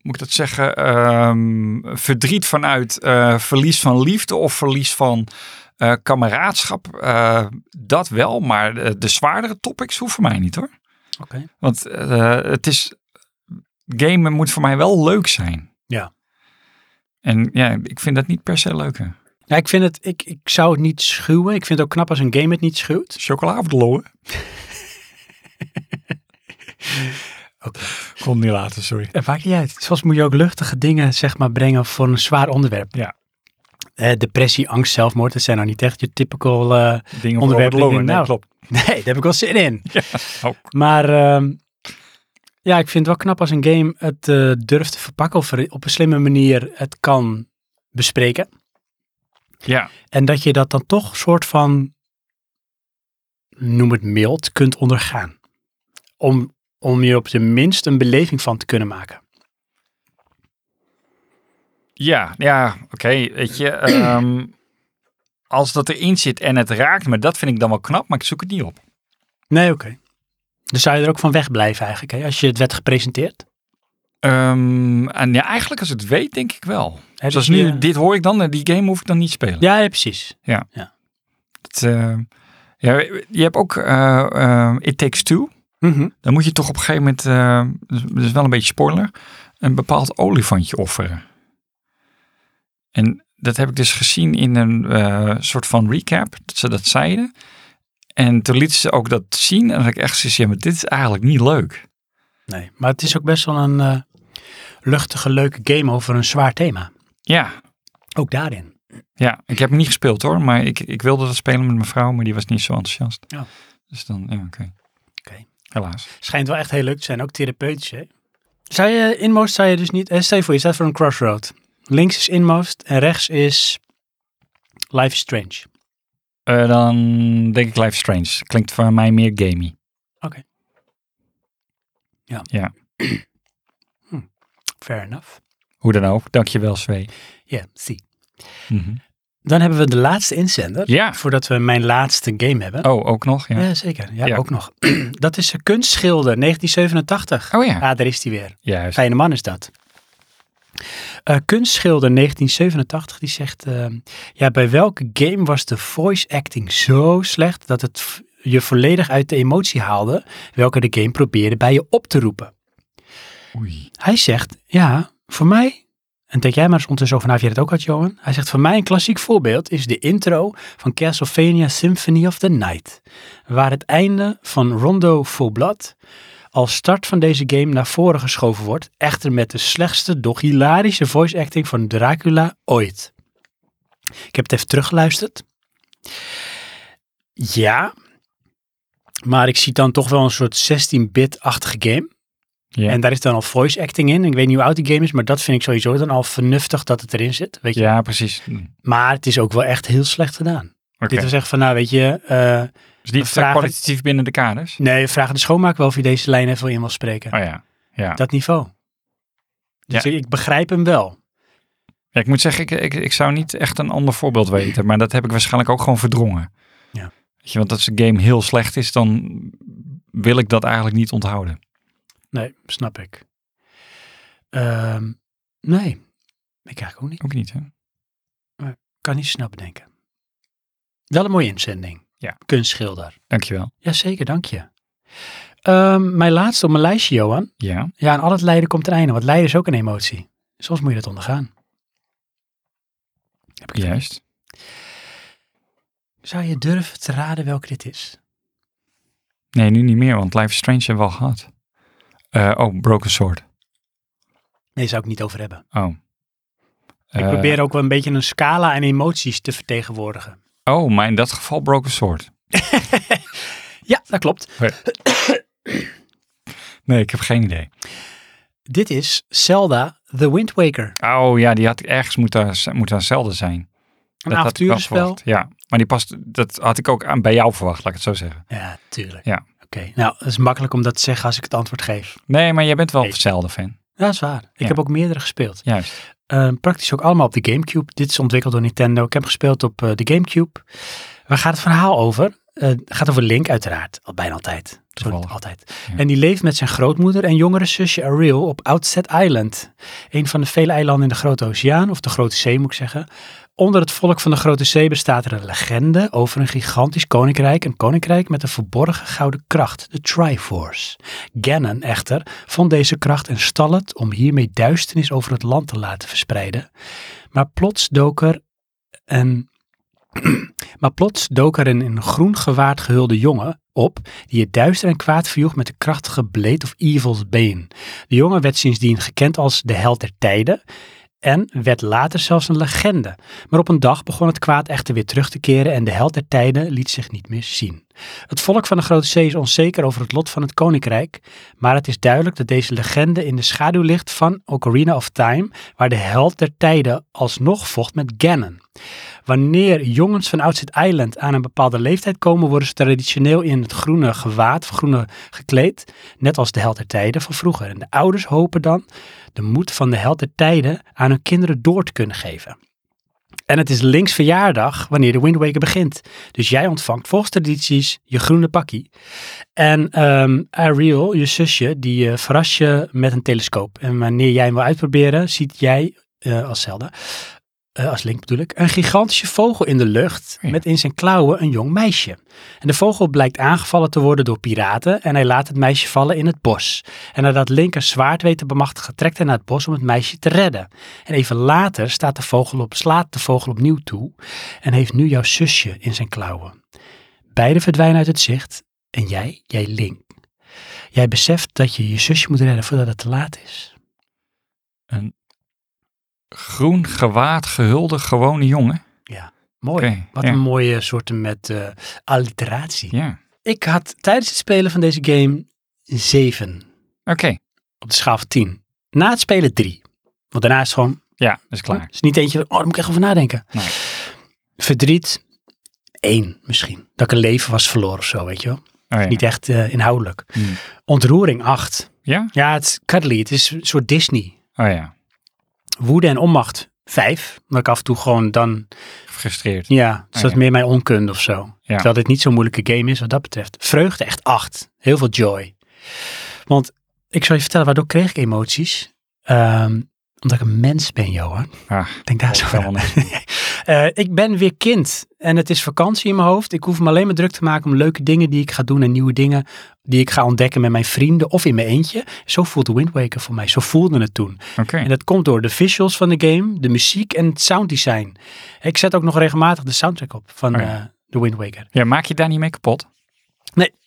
Speaker 2: moet ik dat zeggen? Ehm, verdriet vanuit eh, verlies van liefde of verlies van eh, kameraadschap. eh, dat wel, maar de, de zwaardere topics hoeven mij niet hoor.
Speaker 1: Oké.
Speaker 2: Want eh, het is. Gamen moet voor mij wel leuk zijn.
Speaker 1: Ja.
Speaker 2: En ja, ik vind dat niet per se leuker.
Speaker 1: Ja, ik vind het, ik, ik zou het niet schuwen. Ik vind het ook knap als een game het niet schuwt.
Speaker 2: Chocola of de loe?
Speaker 1: Oké.
Speaker 2: Kon niet later, sorry.
Speaker 1: Het maakt niet uit. Soms moet je ook luchtige dingen zeg maar, brengen voor een zwaar onderwerp.
Speaker 2: Ja.
Speaker 1: Eh, depressie, angst, zelfmoord, dat zijn nou niet echt je typical... eh, Onderwerpen
Speaker 2: Dingen onderwerp
Speaker 1: die-
Speaker 2: loe.
Speaker 1: nou.
Speaker 2: klopt.
Speaker 1: *laughs* Nee, daar heb ik wel zin in.
Speaker 2: Ook.
Speaker 1: Maar ehm, ja, ik vind het wel knap als een game het eh, durft te verpakken of er op een slimme manier het kan bespreken.
Speaker 2: Ja,
Speaker 1: En dat je dat dan toch soort van, noem het mild, kunt ondergaan. Om, om je op zijn minst een beleving van te kunnen maken.
Speaker 2: ja, ja oké. Weet je, ehm, als dat erin zit en het raakt me, dat vind ik dan wel knap, maar ik zoek het niet op.
Speaker 1: Nee, oké. Dus zou je er ook van wegblijven eigenlijk, hè? als je het werd gepresenteerd?
Speaker 2: Ehm, en ja, eigenlijk als ik het weet, denk ik wel.
Speaker 1: Heb
Speaker 2: Zoals
Speaker 1: dus je-
Speaker 2: nu, dit hoor ik dan, en die game hoef ik dan niet spelen.
Speaker 1: Ja, ja, precies.
Speaker 2: Het, eh, ja, je hebt ook eh, eh, It Takes Two.
Speaker 1: Mhm.
Speaker 2: Dan moet je toch op een gegeven moment, eh, dat is- dat is wel een beetje spoiler, een bepaald olifantje offeren. En dat heb ik dus gezien in een eh, soort van recap, dat ze dat zeiden. En toen lieten ze ook dat zien en dan had ik echt zoiets, ja, maar dit is eigenlijk niet leuk.
Speaker 1: Nee, maar het is ook best wel een eh, luchtige, leuke game over een zwaar thema.
Speaker 2: Ja,
Speaker 1: Ook daarin.
Speaker 2: ja, ik heb hem niet gespeeld hoor, maar ik, ik wilde dat spelen met mijn vrouw, maar die was niet zo enthousiast.
Speaker 1: Ja.
Speaker 2: Dus dan, ja, oké.
Speaker 1: Oké.
Speaker 2: Helaas.
Speaker 1: Schijnt wel echt heel leuk te zijn, ook therapeutisch. Hè? Zou je inmost, zou je dus niet... eh, Stel je voor, je staat voor een crossroad. Links is inmost en rechts is Life is Strange.
Speaker 2: Eh, dan denk ik Life is Strange. Klinkt voor mij meer gamey.
Speaker 1: Fair enough.
Speaker 2: Hoe dan ook. Dankjewel, Zwee.
Speaker 1: Ja, zie.
Speaker 2: Mhm.
Speaker 1: Dan hebben we de laatste inzender.
Speaker 2: Ja.
Speaker 1: Voordat we mijn laatste game hebben.
Speaker 2: Oh, ook nog? Ja.
Speaker 1: ja. zeker. Ja,
Speaker 2: Ja.
Speaker 1: ook nog. *clears throat* dat is een kunstschilder, 1987.
Speaker 2: Oh ja.
Speaker 1: Ah, daar is hij weer.
Speaker 2: Juist.
Speaker 1: Fijne man is dat. Eh, kunstschilder 1987, die zegt... eh, ja, bij welke game was de voice acting zo slecht... dat het v- je volledig uit de emotie haalde... welke de game probeerde bij je op te roepen?
Speaker 2: Oei.
Speaker 1: Hij zegt, ja, voor mij... En denk jij maar eens ondertussen over na of jij dat ook had, Johan. Hij zegt, voor mij een klassiek voorbeeld is de intro van Castlevania Symphony of the Night. Waar het einde van Rondo Full Blood als start van deze game naar voren geschoven wordt. Echter met de slechtste, doch hilarische voice acting van Dracula ooit. Ik heb het even teruggeluisterd. Ja, maar ik zie dan toch wel een soort 16-bit-achtige game.
Speaker 2: Ja.
Speaker 1: En daar is dan al voice acting in. Ik weet niet hoe oud die game is, maar dat vind ik sowieso dan al vernuftig dat het erin zit. Weet je?
Speaker 2: ja, precies. Hm.
Speaker 1: Maar het is ook wel echt heel slecht gedaan.
Speaker 2: Oké.
Speaker 1: Dit was echt van, nou weet je, eh,
Speaker 2: Dus die staat
Speaker 1: vragen-
Speaker 2: kwalitatief binnen de kaders?
Speaker 1: nee, vraag aan de schoonmaak wel of je deze lijn even in wil spreken.
Speaker 2: Oh ja. Ja.
Speaker 1: Dat niveau. Dus
Speaker 2: Ja.
Speaker 1: ik begrijp hem wel.
Speaker 2: ja. Ik moet zeggen, ik, ik, ik zou niet echt een ander voorbeeld weten, maar dat heb ik waarschijnlijk ook gewoon verdrongen.
Speaker 1: Ja.
Speaker 2: Weet je, want als een game heel slecht is, dan wil ik dat eigenlijk niet onthouden.
Speaker 1: Nee, snap ik. Ehm, nee, ik eigenlijk ook niet.
Speaker 2: Ook niet, hè?
Speaker 1: Kan niet snel bedenken. Wel een mooie inzending.
Speaker 2: Ja.
Speaker 1: kunstschilder.
Speaker 2: Dankjewel.
Speaker 1: Jazeker, dank je. Ehm, mijn laatste op mijn lijstje, Johan.
Speaker 2: Ja.
Speaker 1: Ja, en al het lijden komt ten einde, want lijden is ook een emotie. Soms moet je dat ondergaan. Heb ik het
Speaker 2: Juist.
Speaker 1: Zou je durven te raden welke dit is?
Speaker 2: Nee, nu niet meer, want Life is Strange hebben we al gehad. Eh, oh, Broken Sword.
Speaker 1: Nee, zou ik niet over hebben.
Speaker 2: Oh.
Speaker 1: ik
Speaker 2: Eh,
Speaker 1: probeer ook wel een beetje een scala aan emoties te vertegenwoordigen.
Speaker 2: Oh, maar in dat geval Broken Sword.
Speaker 1: Ja, dat klopt.
Speaker 2: Nee, ik heb geen idee.
Speaker 1: Dit is Zelda The Wind Waker.
Speaker 2: Oh ja, die had ik ergens moeten, moeten aan Zelda zijn.
Speaker 1: Een
Speaker 2: had ik wel
Speaker 1: avonturenspel.
Speaker 2: verwacht, Ja, maar die past, dat had ik ook aan, bij jou verwacht, laat ik het zo zeggen.
Speaker 1: Ja, tuurlijk.
Speaker 2: Ja.
Speaker 1: Oké, nou, het is makkelijk om dat te zeggen als ik het antwoord geef.
Speaker 2: Nee, maar jij bent wel
Speaker 1: Nee.
Speaker 2: een Zelda-fan.
Speaker 1: Ja, dat is waar. Ik
Speaker 2: Ja.
Speaker 1: heb ook meerdere gespeeld.
Speaker 2: Juist.
Speaker 1: Eh, praktisch ook allemaal op de Gamecube. Dit is ontwikkeld door Nintendo. Ik heb gespeeld op eh, de Gamecube. Waar gaat het verhaal over? Eh, het gaat over Link uiteraard. Al bijna altijd. Zo niet
Speaker 2: Toevallig.
Speaker 1: Altijd.
Speaker 2: Ja.
Speaker 1: En die leeft met zijn grootmoeder en jongere zusje Ariel op Outset Island. Een van de vele eilanden in de Grote Oceaan, of de Grote Zee moet ik zeggen. Onder het volk van de Grote Zee bestaat er een legende over een gigantisch koninkrijk. Een koninkrijk met een verborgen gouden kracht, de Triforce. Ganon echter vond deze kracht en stal het om hiermee duisternis over het land te laten verspreiden. Maar plots dook er een, *clears throat* maar plots dook er een in groen gewaad gehulde jongen op die het duister en kwaad verjoeg met de krachtige Blade of Evil's Bane. De jongen werd sindsdien gekend als de held der tijden en werd later zelfs een legende. Maar op een dag begon het kwaad echter weer terug te keren en de held der tijden liet zich niet meer zien. Het volk van de Grote Zee is onzeker over het lot van het koninkrijk, maar het is duidelijk dat deze legende in de schaduw ligt van Ocarina of Time, waar de held der tijden alsnog vocht met Ganon. Wanneer jongens van Outset Island aan een bepaalde leeftijd komen, worden ze traditioneel in het groene gewaad, of groene gekleed, net als de held der tijden van vroeger. En de ouders hopen dan de moed van de held der tijden aan hun kinderen door te kunnen geven. En het is links verjaardag wanneer de Wind Waker begint. Dus jij ontvangt volgens tradities je groene pakkie. En ehm, Ariel, je zusje, die eh, verrast je met een telescoop. En wanneer jij hem wil uitproberen, ziet jij eh, als Zelda, eh, als Link bedoel ik, een gigantische vogel in de lucht
Speaker 2: Ja.
Speaker 1: met in zijn klauwen een jong meisje. En de vogel blijkt aangevallen te worden door piraten en hij laat het meisje vallen in het bos. En nadat Link een zwaard weet te bemachtigen, trekt hij naar het bos om het meisje te redden. En even later staat de vogel op, slaat de vogel opnieuw toe en heeft nu jouw zusje in zijn klauwen. Beiden verdwijnen uit het zicht en jij, jij Link. Jij beseft dat je je zusje moet redden voordat het te laat is.
Speaker 2: Groen gewaad gehulde gewone jongen.
Speaker 1: Mooi.
Speaker 2: Oké,
Speaker 1: Wat
Speaker 2: ja.
Speaker 1: een mooie soorten met eh, alliteratie.
Speaker 2: Ja.
Speaker 1: Ik had tijdens het spelen van deze game 7
Speaker 2: Oké.
Speaker 1: op de schaal van 10. Na het spelen 3. Want daarna is het gewoon
Speaker 2: Ja, dat is klaar.
Speaker 1: Het is niet eentje, van, oh, daar moet ik echt over nadenken.
Speaker 2: Nee.
Speaker 1: Verdriet, één misschien. Dat ik een leven was verloren of zo, weet je wel.
Speaker 2: Oh, ja.
Speaker 1: Niet echt eh, inhoudelijk.
Speaker 2: Hmm. Ontroering,
Speaker 1: Ontroering, acht.
Speaker 2: Ja?
Speaker 1: Ja, het is cuddly. Het is een soort Disney.
Speaker 2: Oh ja.
Speaker 1: Woede en onmacht, vijf. Omdat ik af en toe gewoon dan,
Speaker 2: Gefrustreerd.
Speaker 1: ja, dus
Speaker 2: Ah,
Speaker 1: dat is
Speaker 2: ja.
Speaker 1: meer mijn onkunde of zo. Terwijl dit niet zo'n moeilijke game is wat dat betreft. Vreugde, echt acht. Heel veel joy. Want ik zal je vertellen, waardoor kreeg ik emoties? Ehm, omdat ik een mens ben, Johan.
Speaker 2: Ah,
Speaker 1: ik denk daar
Speaker 2: dat
Speaker 1: zo
Speaker 2: kan wel
Speaker 1: aan. *laughs* Eh, ik ben weer kind en het is vakantie in mijn hoofd. Ik hoef me alleen maar druk te maken om leuke dingen die ik ga doen en nieuwe dingen die ik ga ontdekken met mijn vrienden of in mijn eentje. Zo voelt de Wind Waker voor mij. Zo voelde het toen.
Speaker 2: Oké.
Speaker 1: En dat komt door de visuals van de game, de muziek en het sounddesign. Ik zet ook nog regelmatig de soundtrack op van
Speaker 2: Oh
Speaker 1: eh
Speaker 2: ja.
Speaker 1: de Wind Waker.
Speaker 2: Ja, maak je daar niet mee kapot?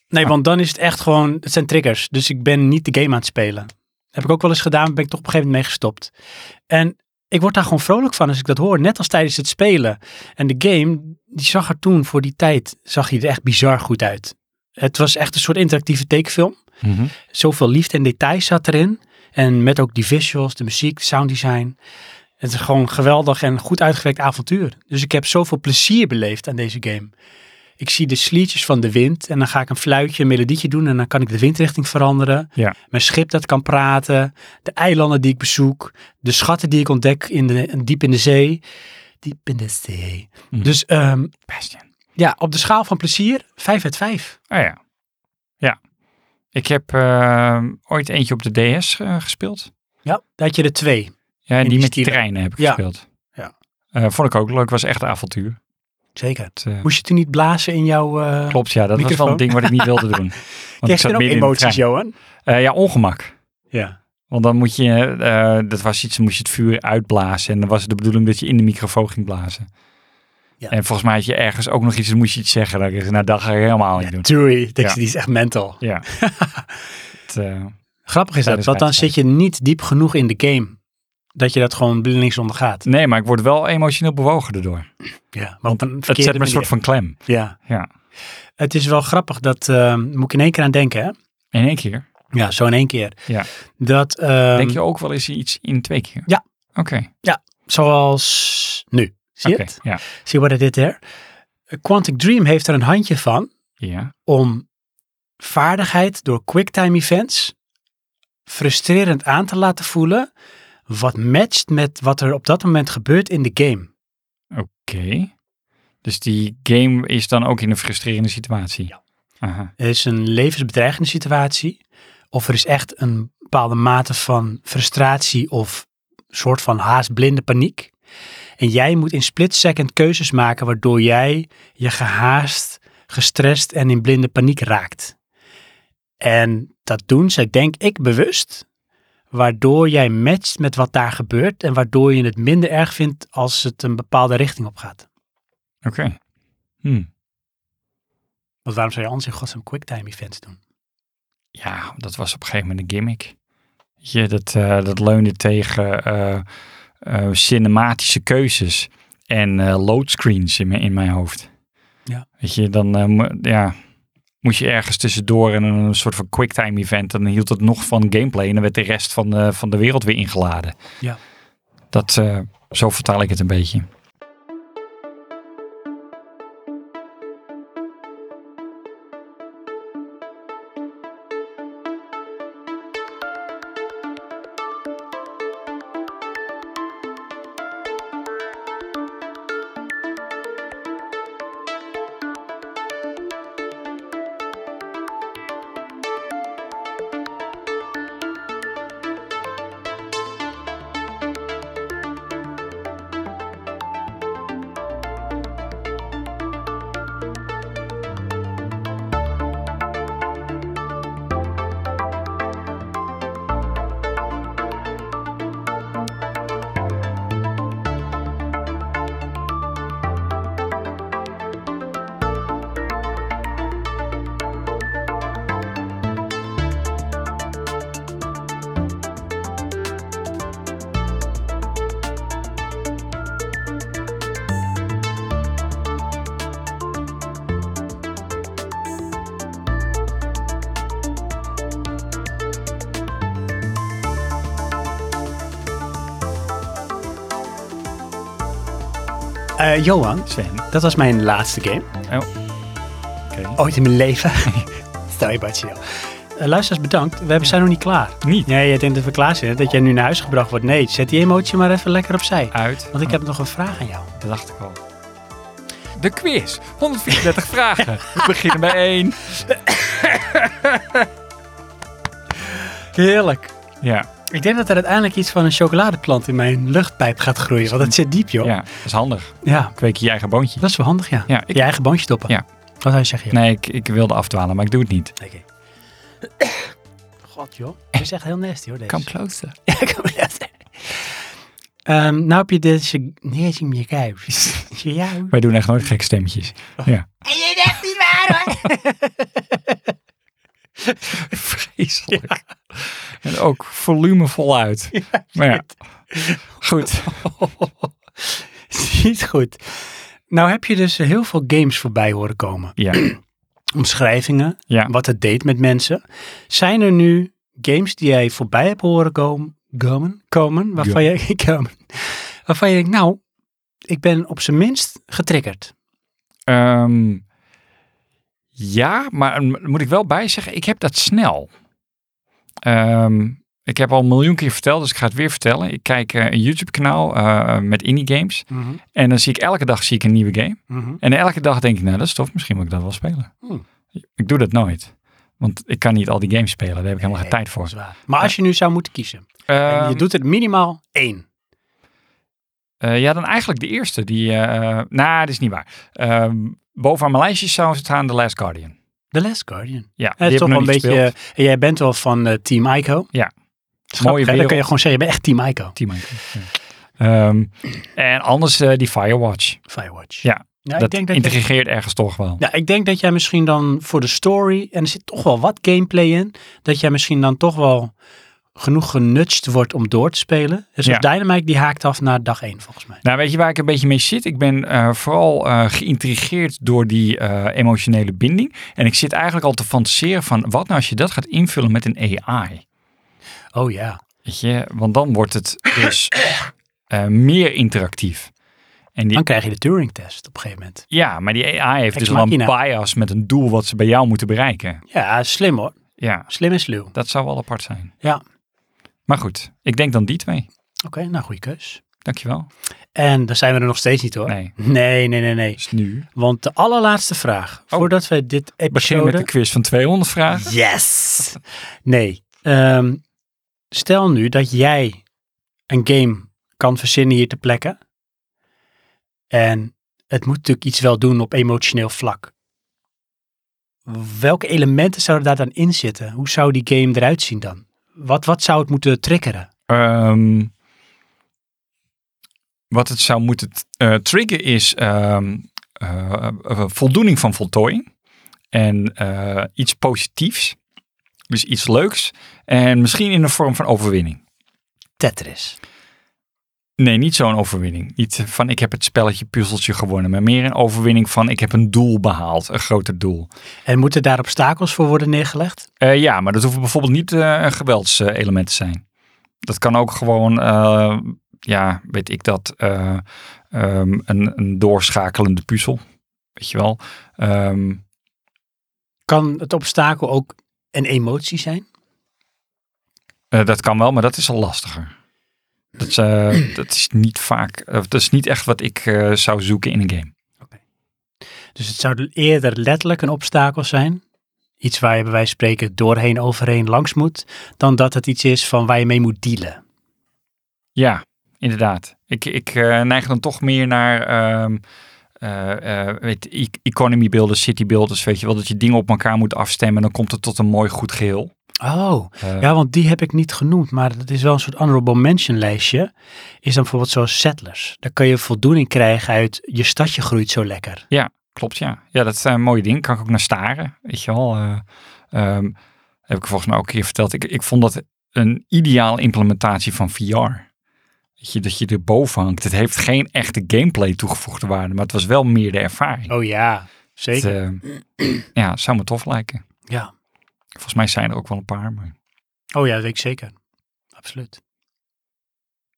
Speaker 1: Nee, want dan is het echt gewoon, het zijn triggers. Dus ik ben niet de game aan het spelen. Heb ik ook wel eens gedaan, ben ik toch op een gegeven moment mee gestopt. En ik word daar gewoon vrolijk van als ik dat hoor, net als tijdens het spelen. En de game, die zag er toen voor die tijd, zag hij er echt bizar goed uit. Het was echt een soort interactieve tekenfilm. Zoveel liefde en detail zat erin. En met ook die visuals, de muziek, de sounddesign. Het is gewoon een geweldig en goed uitgewerkt avontuur. Dus ik heb zoveel plezier beleefd aan deze game. Ik zie de sliertjes van de wind en dan ga ik een fluitje, een melodietje doen en dan kan ik de windrichting veranderen.
Speaker 2: Ja.
Speaker 1: Mijn schip dat kan praten, de eilanden die ik bezoek, de schatten die ik ontdek in de, diep in de zee. Diep in de zee.
Speaker 2: Mm.
Speaker 1: Dus ehm,
Speaker 2: Bastian.
Speaker 1: ja, op de schaal van plezier, 5 uit 5.
Speaker 2: Oh ja. Ja. Ik heb eh, ooit eentje op de DS eh, gespeeld.
Speaker 1: Ja. Dat je er twee.
Speaker 2: Ja, en
Speaker 1: In
Speaker 2: die
Speaker 1: die
Speaker 2: met die
Speaker 1: stijl.
Speaker 2: treinen heb ik
Speaker 1: Ja.
Speaker 2: gespeeld.
Speaker 1: Ja.
Speaker 2: Eh, vond ik ook leuk. Was echt een avontuur.
Speaker 1: Zeker.
Speaker 2: Het, eh,
Speaker 1: Moest je toen niet blazen in jouw... eh
Speaker 2: Klopt, ja. Dat was wel
Speaker 1: Microfoon.
Speaker 2: een ding wat ik niet wilde
Speaker 1: *laughs*
Speaker 2: doen. Want ik
Speaker 1: Krijg je
Speaker 2: zat
Speaker 1: dan ook
Speaker 2: midden in de
Speaker 1: emoties,
Speaker 2: trein.
Speaker 1: Johan?
Speaker 2: Eh, ja, ongemak.
Speaker 1: Ja.
Speaker 2: Want dan moet je, eh, dat was iets, dan moest je het vuur uitblazen. En dan was het de bedoeling dat je in de microfoon ging blazen.
Speaker 1: Ja.
Speaker 2: En volgens mij had je ergens ook nog iets, dan moest je iets zeggen. Dan, nou, dat ga ik helemaal
Speaker 1: *laughs*
Speaker 2: niet doen.
Speaker 1: Doei. Dat
Speaker 2: Ja.
Speaker 1: Die is echt mental.
Speaker 2: Ja. het, eh,
Speaker 1: Grappig is dat,
Speaker 2: Tijdens
Speaker 1: want dan zit
Speaker 2: wedstrijd.
Speaker 1: je niet diep genoeg in de game. Dat je dat gewoon blindelings ondergaat.
Speaker 2: nee, maar ik word wel emotioneel bewogen daardoor.
Speaker 1: Ja, maar op een
Speaker 2: Het
Speaker 1: verkeerde
Speaker 2: zet me een soort van klem.
Speaker 1: manier. Ja.
Speaker 2: Ja.
Speaker 1: Het is wel grappig, dat eh, moet ik in één keer aan denken, hè?
Speaker 2: In één keer.
Speaker 1: Ja, zo in één keer.
Speaker 2: Ja.
Speaker 1: Dat, ehm,
Speaker 2: Denk je ook wel eens iets in twee keer?
Speaker 1: Ja.
Speaker 2: Oké.
Speaker 1: zoals nu. Zie je
Speaker 2: Oké,
Speaker 1: het?
Speaker 2: Ja.
Speaker 1: Zie je wat I did there? Eh, Quantic Dream heeft er een handje van
Speaker 2: ja.
Speaker 1: om vaardigheid door quicktime events frustrerend aan te laten voelen wat matcht met wat er op dat moment gebeurt in de game.
Speaker 2: Oké. Dus die game is dan ook in een frustrerende situatie?
Speaker 1: Ja.
Speaker 2: Aha.
Speaker 1: Er is een levensbedreigende situatie of er is echt een bepaalde mate van frustratie of soort van haast blinde paniek. En jij moet in split second keuzes maken waardoor jij je gehaast, gestrest en in blinde paniek raakt. En dat doen zij denk ik bewust, waardoor jij matcht met wat daar gebeurt en waardoor je het minder erg vindt als het een bepaalde richting op gaat.
Speaker 2: Oké. Hm.
Speaker 1: Want waarom zou je anders in godsnaam quicktime events doen?
Speaker 2: Ja, dat was op een gegeven moment een gimmick. Je, dat, eh, dat leunde tegen eh, eh, cinematische keuzes en eh loadscreens in, mijn- in mijn hoofd.
Speaker 1: Ja.
Speaker 2: Weet je, dan eh, mo- ja, moest je ergens tussendoor en een soort van quicktime event. Dan hield het nog van gameplay en dan werd de rest van de, van de wereld weer ingeladen.
Speaker 1: Ja.
Speaker 2: Dat, eh, zo vertaal ik het een beetje.
Speaker 1: Eh, Johan,
Speaker 2: Sven,
Speaker 1: dat was mijn laatste game.
Speaker 2: Oh. oké.
Speaker 1: ooit in mijn leven. *laughs* Stel je Bartje. Eh luisteraars, bedankt. We hebben- zijn nog niet klaar.
Speaker 2: Niet.
Speaker 1: Nee, jij denkt dat we klaar zijn. hè? Dat jij nu naar huis gebracht wordt. Nee, zet die emotie maar even lekker opzij.
Speaker 2: Uit.
Speaker 1: Want ik heb nog een vraag aan jou.
Speaker 2: Dat dacht ik al. De quiz. 134 *laughs* vragen. We beginnen bij 1.
Speaker 1: Heerlijk.
Speaker 2: Ja,
Speaker 1: Ik denk dat er uiteindelijk iets van een chocoladeplant in mijn luchtpijp gaat groeien. Want dat zit diep, joh.
Speaker 2: ja, dat is handig.
Speaker 1: Ja,
Speaker 2: Kweek je je eigen boontje.
Speaker 1: Dat is wel handig, ja.
Speaker 2: Ja, ik-
Speaker 1: Je eigen boontje doppen.
Speaker 2: Ja. Nou.
Speaker 1: Wat zou je zeggen, joh?
Speaker 2: Nee, ik, ik wilde afdwalen, maar ik doe het niet.
Speaker 1: Nee. *coughs* God, joh. Dat is echt heel nasty, hoor, deze.
Speaker 2: *laughs* closer.
Speaker 1: *laughs* Ehm, nou heb je deze... Nee, zie je kuis. *laughs* Ja, hoor.
Speaker 2: Wij doen echt nooit gekke stemmetjes. Ja.
Speaker 3: En je zegt niet waar hoor.
Speaker 2: *laughs* Vreselijk. En ook volume voluit. maar *laughs* ja. Goed.
Speaker 1: *laughs* Niet goed. Nou heb je dus heel veel games voorbij horen komen.
Speaker 2: Ja.
Speaker 1: Omschrijvingen,
Speaker 2: Ja.
Speaker 1: wat het deed met mensen. Zijn er nu games die jij voorbij hebt horen komen, komen, komen waarvan, je, *laughs* komen waarvan je denkt, nou, ik ben op zijn minst getriggerd.
Speaker 2: Ehm, ja, maar m- moet ik wel bij zeggen, ik heb dat snel. Ehm, ik heb al een miljoen keer verteld, dus ik ga het weer vertellen. Ik kijk eh, een YouTube-kanaal eh, met indie games. En dan zie ik elke dag zie ik een nieuwe game. En elke dag denk ik, nou dat is tof, misschien moet ik dat wel spelen.
Speaker 1: Hmm.
Speaker 2: Ik doe dat nooit. Want ik kan niet al die games spelen, daar heb ik helemaal geen
Speaker 1: Nee,
Speaker 2: tijd voor.
Speaker 1: Zwaar. Maar als je nu zou moeten kiezen, en
Speaker 2: Ehm,
Speaker 1: je doet het minimaal één.
Speaker 2: Eh, ja, dan eigenlijk de eerste. Die, eh nou, dat is niet waar. Ehm, bovenaan mijn lijstje zou staan The Last Guardian.
Speaker 1: The Last Guardian.
Speaker 2: Ja,
Speaker 1: Het
Speaker 2: die
Speaker 1: is
Speaker 2: heb ik
Speaker 1: toch
Speaker 2: nog
Speaker 1: wel een
Speaker 2: niet
Speaker 1: beetje.
Speaker 2: gespeeld.
Speaker 1: eh, jij bent wel van eh, Team Ico.
Speaker 2: Mooie
Speaker 1: Grappig, hè? Dan kun je
Speaker 2: wereld.
Speaker 1: gewoon zeggen, je bent echt Team Ico.
Speaker 2: Team Ico, ja. Ehm, en anders eh, die Firewatch.
Speaker 1: Firewatch.
Speaker 2: Ja,
Speaker 1: ja ik
Speaker 2: dat
Speaker 1: denk dat je-
Speaker 2: integreert ergens toch wel.
Speaker 1: Ja, ik denk dat jij misschien dan voor de story, en er zit toch wel wat gameplay in, dat jij misschien dan toch wel genoeg genutst wordt om door te spelen. Dus
Speaker 2: Ja.
Speaker 1: Dynamite die haakt af na dag 1 volgens mij.
Speaker 2: Nou, weet je waar ik een beetje mee zit? Ik ben eh, vooral eh, geïntrigeerd door die eh, emotionele binding. En ik zit eigenlijk al te fantaseren van wat nou als je dat gaat invullen met een AI?
Speaker 1: Oh ja.
Speaker 2: Weet je, want dan wordt het dus eh, meer interactief. En die,
Speaker 1: Dan krijg je de Turing test op een gegeven moment.
Speaker 2: ja, maar die AI heeft
Speaker 1: Ex
Speaker 2: dus wel een
Speaker 1: machina.
Speaker 2: bias met een doel wat ze bij jou moeten bereiken.
Speaker 1: Ja, slim hoor.
Speaker 2: Ja,
Speaker 1: Slim en sluw. Oké,
Speaker 2: dat zou wel apart zijn.
Speaker 1: Ja.
Speaker 2: Maar goed, ik denk dan die twee.
Speaker 1: nou goede keus.
Speaker 2: Dankjewel.
Speaker 1: En dan zijn we er nog steeds niet hoor.
Speaker 2: Nee,
Speaker 1: Nee, nee, nee, nee.
Speaker 2: dus nu.
Speaker 1: Want de allerlaatste vraag, voordat we dit
Speaker 2: Oh. Beginnen met de
Speaker 1: episode...
Speaker 2: quiz van 200 vragen.
Speaker 1: Yes! Nee. Ehm, stel nu dat jij een game kan verzinnen hier te plekken. En het moet natuurlijk iets wel doen op emotioneel vlak. Welke elementen zouden daar dan in zitten? Hoe zou die game eruit zien dan? Wat, wat zou het moeten triggeren?
Speaker 2: Ehm, wat het zou moeten t- eh, triggeren is ehm, eh, eh, voldoening van voltooiing. En eh, iets positiefs. Dus iets leuks. En misschien in de vorm van overwinning.
Speaker 1: Tetris.
Speaker 2: Nee, niet zo'n overwinning. Niet van ik heb het spelletje puzzeltje gewonnen. Maar meer een overwinning van ik heb een doel behaald. Een groter doel.
Speaker 1: En moeten daar obstakels voor worden neergelegd?
Speaker 2: Eh, ja, maar dat hoeft bijvoorbeeld niet eh, een geweldselement te zijn. Dat kan ook gewoon, eh, ja, weet ik dat, eh, ehm, een, een doorschakelende puzzel. Weet je wel. Ehm,
Speaker 1: Kan het obstakel ook een emotie zijn?
Speaker 2: eh, dat kan wel, maar dat is al lastiger. Dat, is, eh, dat is niet vaak, eh, dat is niet echt wat ik eh, zou zoeken in een game.
Speaker 1: Dus het zou eerder letterlijk een obstakel zijn. Iets waar je bij wijze van spreken doorheen, overheen, langs moet. Dan dat het iets is van waar je mee moet dealen.
Speaker 2: Ja, inderdaad. Ik, ik eh, neig dan toch meer naar ehm, eh, eh, weet, e- economy builders, city builders, weet je wel, dat je dingen op elkaar moet afstemmen en dan komt het tot een mooi goed geheel.
Speaker 1: Oh,
Speaker 2: Eh,
Speaker 1: ja, want die heb ik niet genoemd. Maar dat is wel een soort honorable mention lijstje. Is dan bijvoorbeeld zoals Settlers. Daar kun je voldoening krijgen uit je stadje groeit zo lekker.
Speaker 2: Klopt, ja. Ja, dat zijn mooie dingen. Kan ik ook naar staren, weet je wel. Eh, ehm, heb ik volgens mij ook een keer verteld. Ik, ik vond dat een ideale implementatie van VR. Weet je, dat je erboven hangt. Het heeft geen echte gameplay toegevoegde waarde, maar het was wel meer de ervaring.
Speaker 1: Oh ja,
Speaker 2: Het,
Speaker 1: zeker.
Speaker 2: eh, ja, zou me tof lijken.
Speaker 1: Ja.
Speaker 2: Volgens mij zijn er ook wel een paar. Maar...
Speaker 1: Oh ja, dat weet ik zeker. Absoluut.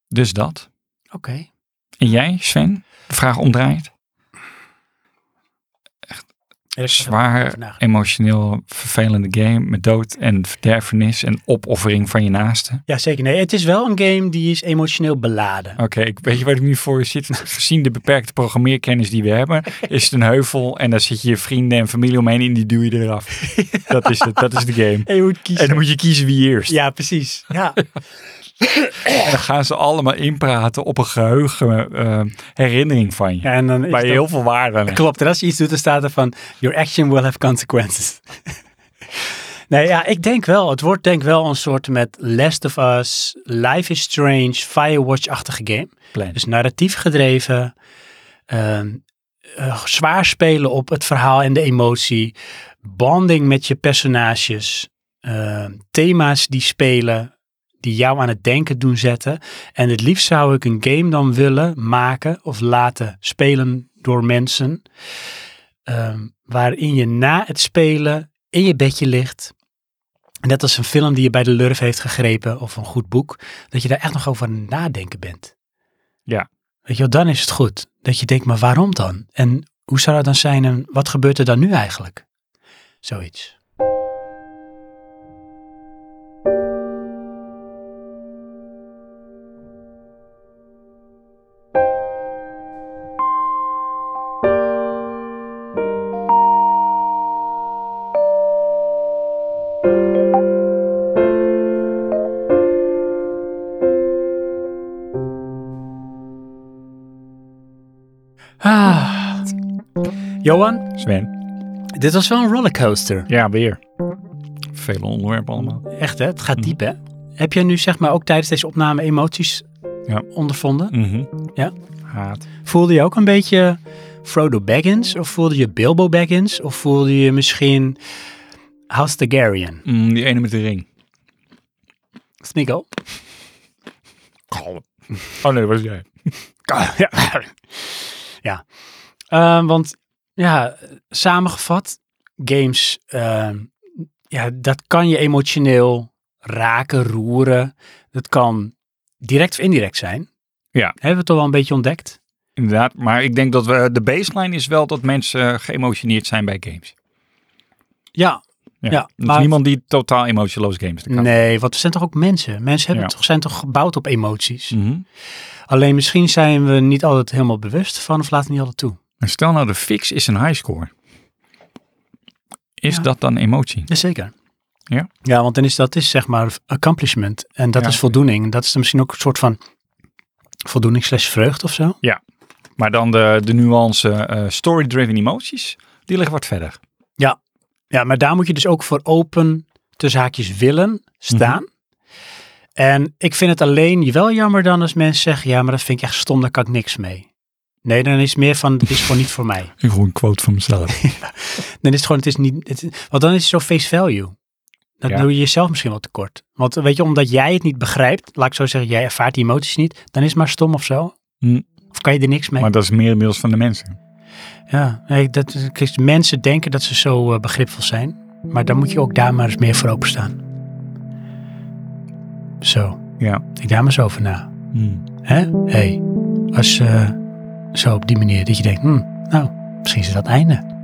Speaker 2: Dus dat.
Speaker 1: Oké.
Speaker 2: En jij, Sven? De vraag omdraait. Zwaar
Speaker 1: Even nagedacht.
Speaker 2: emotioneel vervelende game met dood en verderfenis en opoffering van je naasten.
Speaker 1: Ja, zeker. Nee, het is wel een game die is emotioneel beladen.
Speaker 2: Oké, ik weet je waar ik nu voor zit? Gezien de beperkte programmeerkennis die we hebben, is het een heuvel en daar zit je je vrienden en familie omheen en die duw je eraf. Dat is het, dat is de game.
Speaker 1: En je moet kiezen.
Speaker 2: En dan moet je kiezen wie eerst.
Speaker 1: Ja, precies. Ja.
Speaker 2: En dan gaan ze allemaal inpraten op een geheugen eh, herinnering van je.
Speaker 1: Ja, en dan is
Speaker 2: waar je
Speaker 1: dat-
Speaker 2: heel veel waarde aan hebt.
Speaker 1: *laughs* Klopt, en als je iets doet, dan staat er van... Your action will have consequences. *laughs* nee, ja, ik denk wel. Het wordt denk ik wel een soort met Last of Us, Life is Strange, Firewatch-achtige game.
Speaker 2: Plan.
Speaker 1: Dus narratief gedreven. ehm, eh, zwaar spelen op het verhaal en de emotie. Bonding met je personages. ehm, thema's die spelen. Die jou aan het denken doen zetten. En het liefst zou ik een game dan willen maken of laten spelen door mensen. ehm, waarin je na het spelen in je bedje ligt. Net als een film die je bij de lurf heeft gegrepen of een goed boek. Dat je daar echt nog over aan het nadenken bent. Weet je wel, dan is het goed. Dat je denkt, maar waarom dan? En hoe zou dat dan zijn en wat gebeurt er dan nu eigenlijk? Zoiets. Ah. Johan,
Speaker 2: Sven.
Speaker 1: dit was wel een rollercoaster.
Speaker 2: Ja, weer. Vele onderwerpen allemaal.
Speaker 1: Echt hè, het gaat diep hè. Heb jij nu zeg maar ook tijdens deze opname emoties
Speaker 2: Ja.
Speaker 1: ondervonden? Ja.
Speaker 2: Mhm. Haat.
Speaker 1: Voelde je ook een beetje Frodo Baggins? Of voelde je Bilbo Baggins? Of voelde je misschien House Targaryen?
Speaker 2: Mm, die ene met de ring.
Speaker 1: Snigo?
Speaker 2: Kalm. Oh nee, dat was jij.
Speaker 1: *laughs* ja. ja. Ehm, want ja, samengevat, games, ehm, ja, dat kan je emotioneel raken, roeren. Dat kan direct of indirect zijn.
Speaker 2: Ja.
Speaker 1: Hebben we het al wel een beetje ontdekt?
Speaker 2: Inderdaad, maar ik denk dat we, de baseline is wel dat mensen eh, geëmotioneerd zijn bij games.
Speaker 1: Ja.
Speaker 2: Ja,
Speaker 1: Ja,
Speaker 2: Er is
Speaker 1: maar-
Speaker 2: niemand die totaal emotieloos games kan.
Speaker 1: Nee, want we zijn toch ook mensen? Mensen hebben
Speaker 2: Ja.
Speaker 1: toch, zijn toch gebouwd op emoties?
Speaker 2: Mhm.
Speaker 1: Alleen misschien zijn we niet altijd helemaal bewust van of laten we niet altijd toe.
Speaker 2: En stel nou, de fix is een highscore. Is
Speaker 1: Ja.
Speaker 2: dat dan emotie?
Speaker 1: Jazeker.
Speaker 2: Ja?
Speaker 1: Ja, want dan is dat is zeg maar accomplishment. En dat
Speaker 2: Ja,
Speaker 1: is voldoening. Dat is dan misschien ook een soort van voldoening slash vreugd of zo.
Speaker 2: Maar dan de, de nuance eh, story-driven emoties, die liggen wat verder.
Speaker 1: Ja, maar daar moet je dus ook voor open tussen haakjes willen staan.
Speaker 2: Mhm.
Speaker 1: En ik vind het alleen wel jammer dan als mensen zeggen, ja, maar dat vind ik echt stom, daar kan ik niks mee. Nee, dan is het meer van, het is gewoon niet voor mij.
Speaker 2: Gewoon een quote van mezelf.
Speaker 1: Dan is het gewoon, het is niet, het- want dan is het zo face value. Dan
Speaker 2: Ja.
Speaker 1: doe je jezelf misschien wel tekort. Want weet je, omdat jij het niet begrijpt, laat ik zo zeggen, jij ervaart die emoties niet, dan is het maar stom of zo.
Speaker 2: Hm.
Speaker 1: Of kan je er niks mee?
Speaker 2: Maar dat is meer inmiddels van de mensen.
Speaker 1: Ja, nee, dat, kijk, mensen denken dat ze zo eh, begripvol zijn. Maar dan moet je ook daar maar eens meer voor openstaan. Zo,
Speaker 2: Ja.
Speaker 1: ik daar maar eens over na.
Speaker 2: Mm.
Speaker 1: Hè? hey, als eh, zo op die manier dat je denkt, hm, nou, misschien is dat het einde.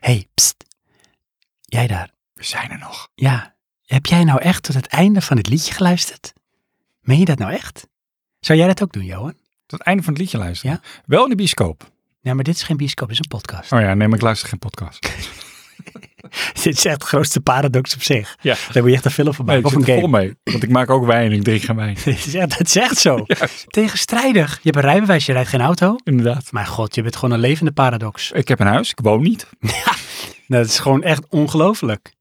Speaker 1: hey, pst, jij daar.
Speaker 2: We zijn er nog.
Speaker 1: Ja, heb jij nou echt tot het einde van het liedje geluisterd? Meen je dat nou echt? Zou jij dat ook doen, Johan?
Speaker 2: Tot het einde van het liedje luisteren.
Speaker 1: Ja.
Speaker 2: Wel in de bioscoop.
Speaker 1: Nee, maar dit is geen bioscoop, dit is een podcast.
Speaker 2: Oh ja, nee, maar ik luister geen podcast.
Speaker 1: *laughs* dit is echt de grootste paradox op zich.
Speaker 2: Ja.
Speaker 1: Daar moet je echt een film van
Speaker 2: Nee,
Speaker 1: maken.
Speaker 2: ik
Speaker 1: of
Speaker 2: zit
Speaker 1: een
Speaker 2: er vol
Speaker 1: game.
Speaker 2: mee. Want ik maak ook wijn en ik drink geen wijn.
Speaker 1: *laughs* Dit is echt- Dat is echt zo.
Speaker 2: *laughs* Juist.
Speaker 1: Tegenstrijdig. Je hebt een rijbewijs, je rijdt geen auto.
Speaker 2: Inderdaad.
Speaker 1: Maar god, je bent gewoon een levende paradox.
Speaker 2: Ik heb een huis, ik woon niet.
Speaker 1: Nou, Dat is gewoon echt ongelooflijk.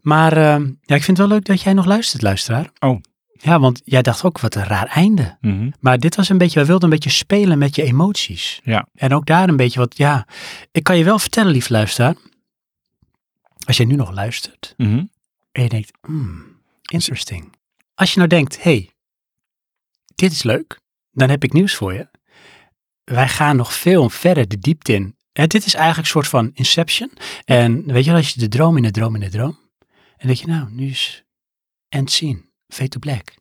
Speaker 1: Maar ehm, ja, ik vind het wel leuk dat jij nog luistert, luisteraar.
Speaker 2: Oh.
Speaker 1: Ja, want jij dacht ook, wat een raar einde.
Speaker 2: Mhm.
Speaker 1: Maar dit was een beetje, wij wilden een beetje spelen met je emoties.
Speaker 2: Ja.
Speaker 1: En ook daar een beetje wat, ja. Ik kan je wel vertellen, lief luisteraar. Als jij nu nog luistert
Speaker 2: Mhm.
Speaker 1: en je denkt, hmm, interesting. Als je nou denkt, hey, dit is leuk. Dan heb ik nieuws voor je. Wij gaan nog veel verder de diepte in. Hè, dit is eigenlijk een soort van inception. En weet je wel, als je de droom in de droom in de droom. En denk je, nou, nu is end scene, fade to black.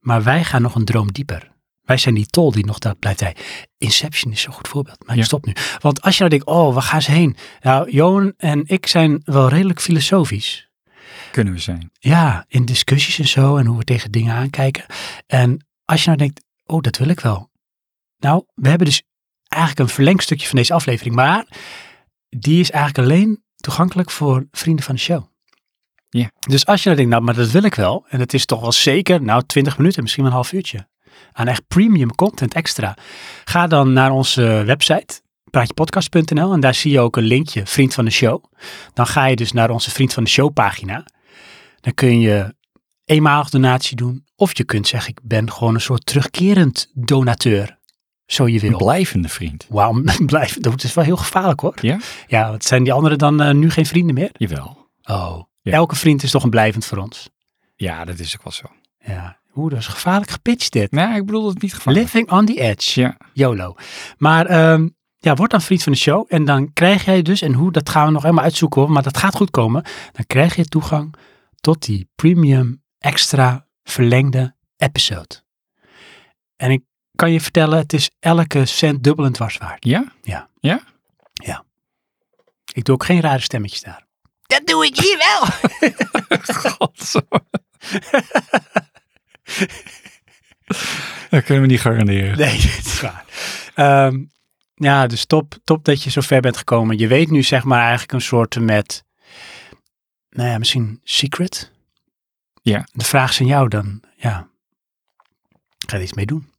Speaker 1: Maar wij gaan nog een droom dieper. Wij zijn die tol die nog daar blijft hij. Inception is zo'n goed voorbeeld, maar
Speaker 2: Ja.
Speaker 1: ik stop nu. Want als je nou denkt, oh, waar gaan ze heen? Nou, Johan en ik zijn wel redelijk filosofisch.
Speaker 2: Kunnen we zijn.
Speaker 1: Ja, in discussies en zo en hoe we tegen dingen aankijken. En als je nou denkt, oh, dat wil ik wel. Nou, we hebben dus eigenlijk een verlengstukje van deze aflevering, maar die is eigenlijk alleen toegankelijk voor vrienden van de show.
Speaker 2: Ja.
Speaker 1: Dus als je nou denkt, nou, maar dat wil ik wel. En het is toch wel zeker, nou, 20 minuten, misschien wel een half uurtje. Aan echt premium content extra. Ga dan naar onze website, praatjepodcast.nl. En daar zie je ook een linkje, vriend van de show. Dan ga je dus naar onze vriend van de show pagina. Dan kun je eenmalig donatie doen. Of je kunt zeggen, ik ben gewoon een soort terugkerend donateur. Zo je
Speaker 2: Een
Speaker 1: wil.
Speaker 2: blijvende vriend.
Speaker 1: Wauw, *laughs* blijf. Dat is wel heel gevaarlijk hoor.
Speaker 2: Ja?
Speaker 1: Ja, wat zijn die anderen dan eh, nu geen vrienden meer?
Speaker 2: Jawel.
Speaker 1: Oh,
Speaker 2: Ja.
Speaker 1: elke vriend is toch een blijvend voor ons.
Speaker 2: Ja, dat is ook wel zo.
Speaker 1: Ja, oeh, dat is gevaarlijk gepitcht dit.
Speaker 2: Nou, ik bedoel het niet gevaarlijk.
Speaker 1: Living on the edge.
Speaker 2: Ja.
Speaker 1: YOLO. Maar ehm, ja, word dan vriend van de show. En dan krijg jij dus, en hoe, dat gaan we nog helemaal uitzoeken hoor. Maar dat gaat goed komen. Dan krijg je toegang tot die premium extra verlengde episode. En ik kan je vertellen, het is elke cent dubbel en dwars waard.
Speaker 2: Ja?
Speaker 1: Ik doe ook geen rare stemmetjes daar.
Speaker 3: Dat doe ik hier wel.
Speaker 2: God, *laughs* dat kunnen we niet garanderen.
Speaker 1: Nee, *laughs* dit is waar. Ehm, ja, dus top, top dat je zo ver bent gekomen. Je weet nu zeg maar eigenlijk een soort met, nou ja, misschien secret.
Speaker 2: Ja.
Speaker 1: De vraag is aan jou dan, ja, ga je er iets mee doen?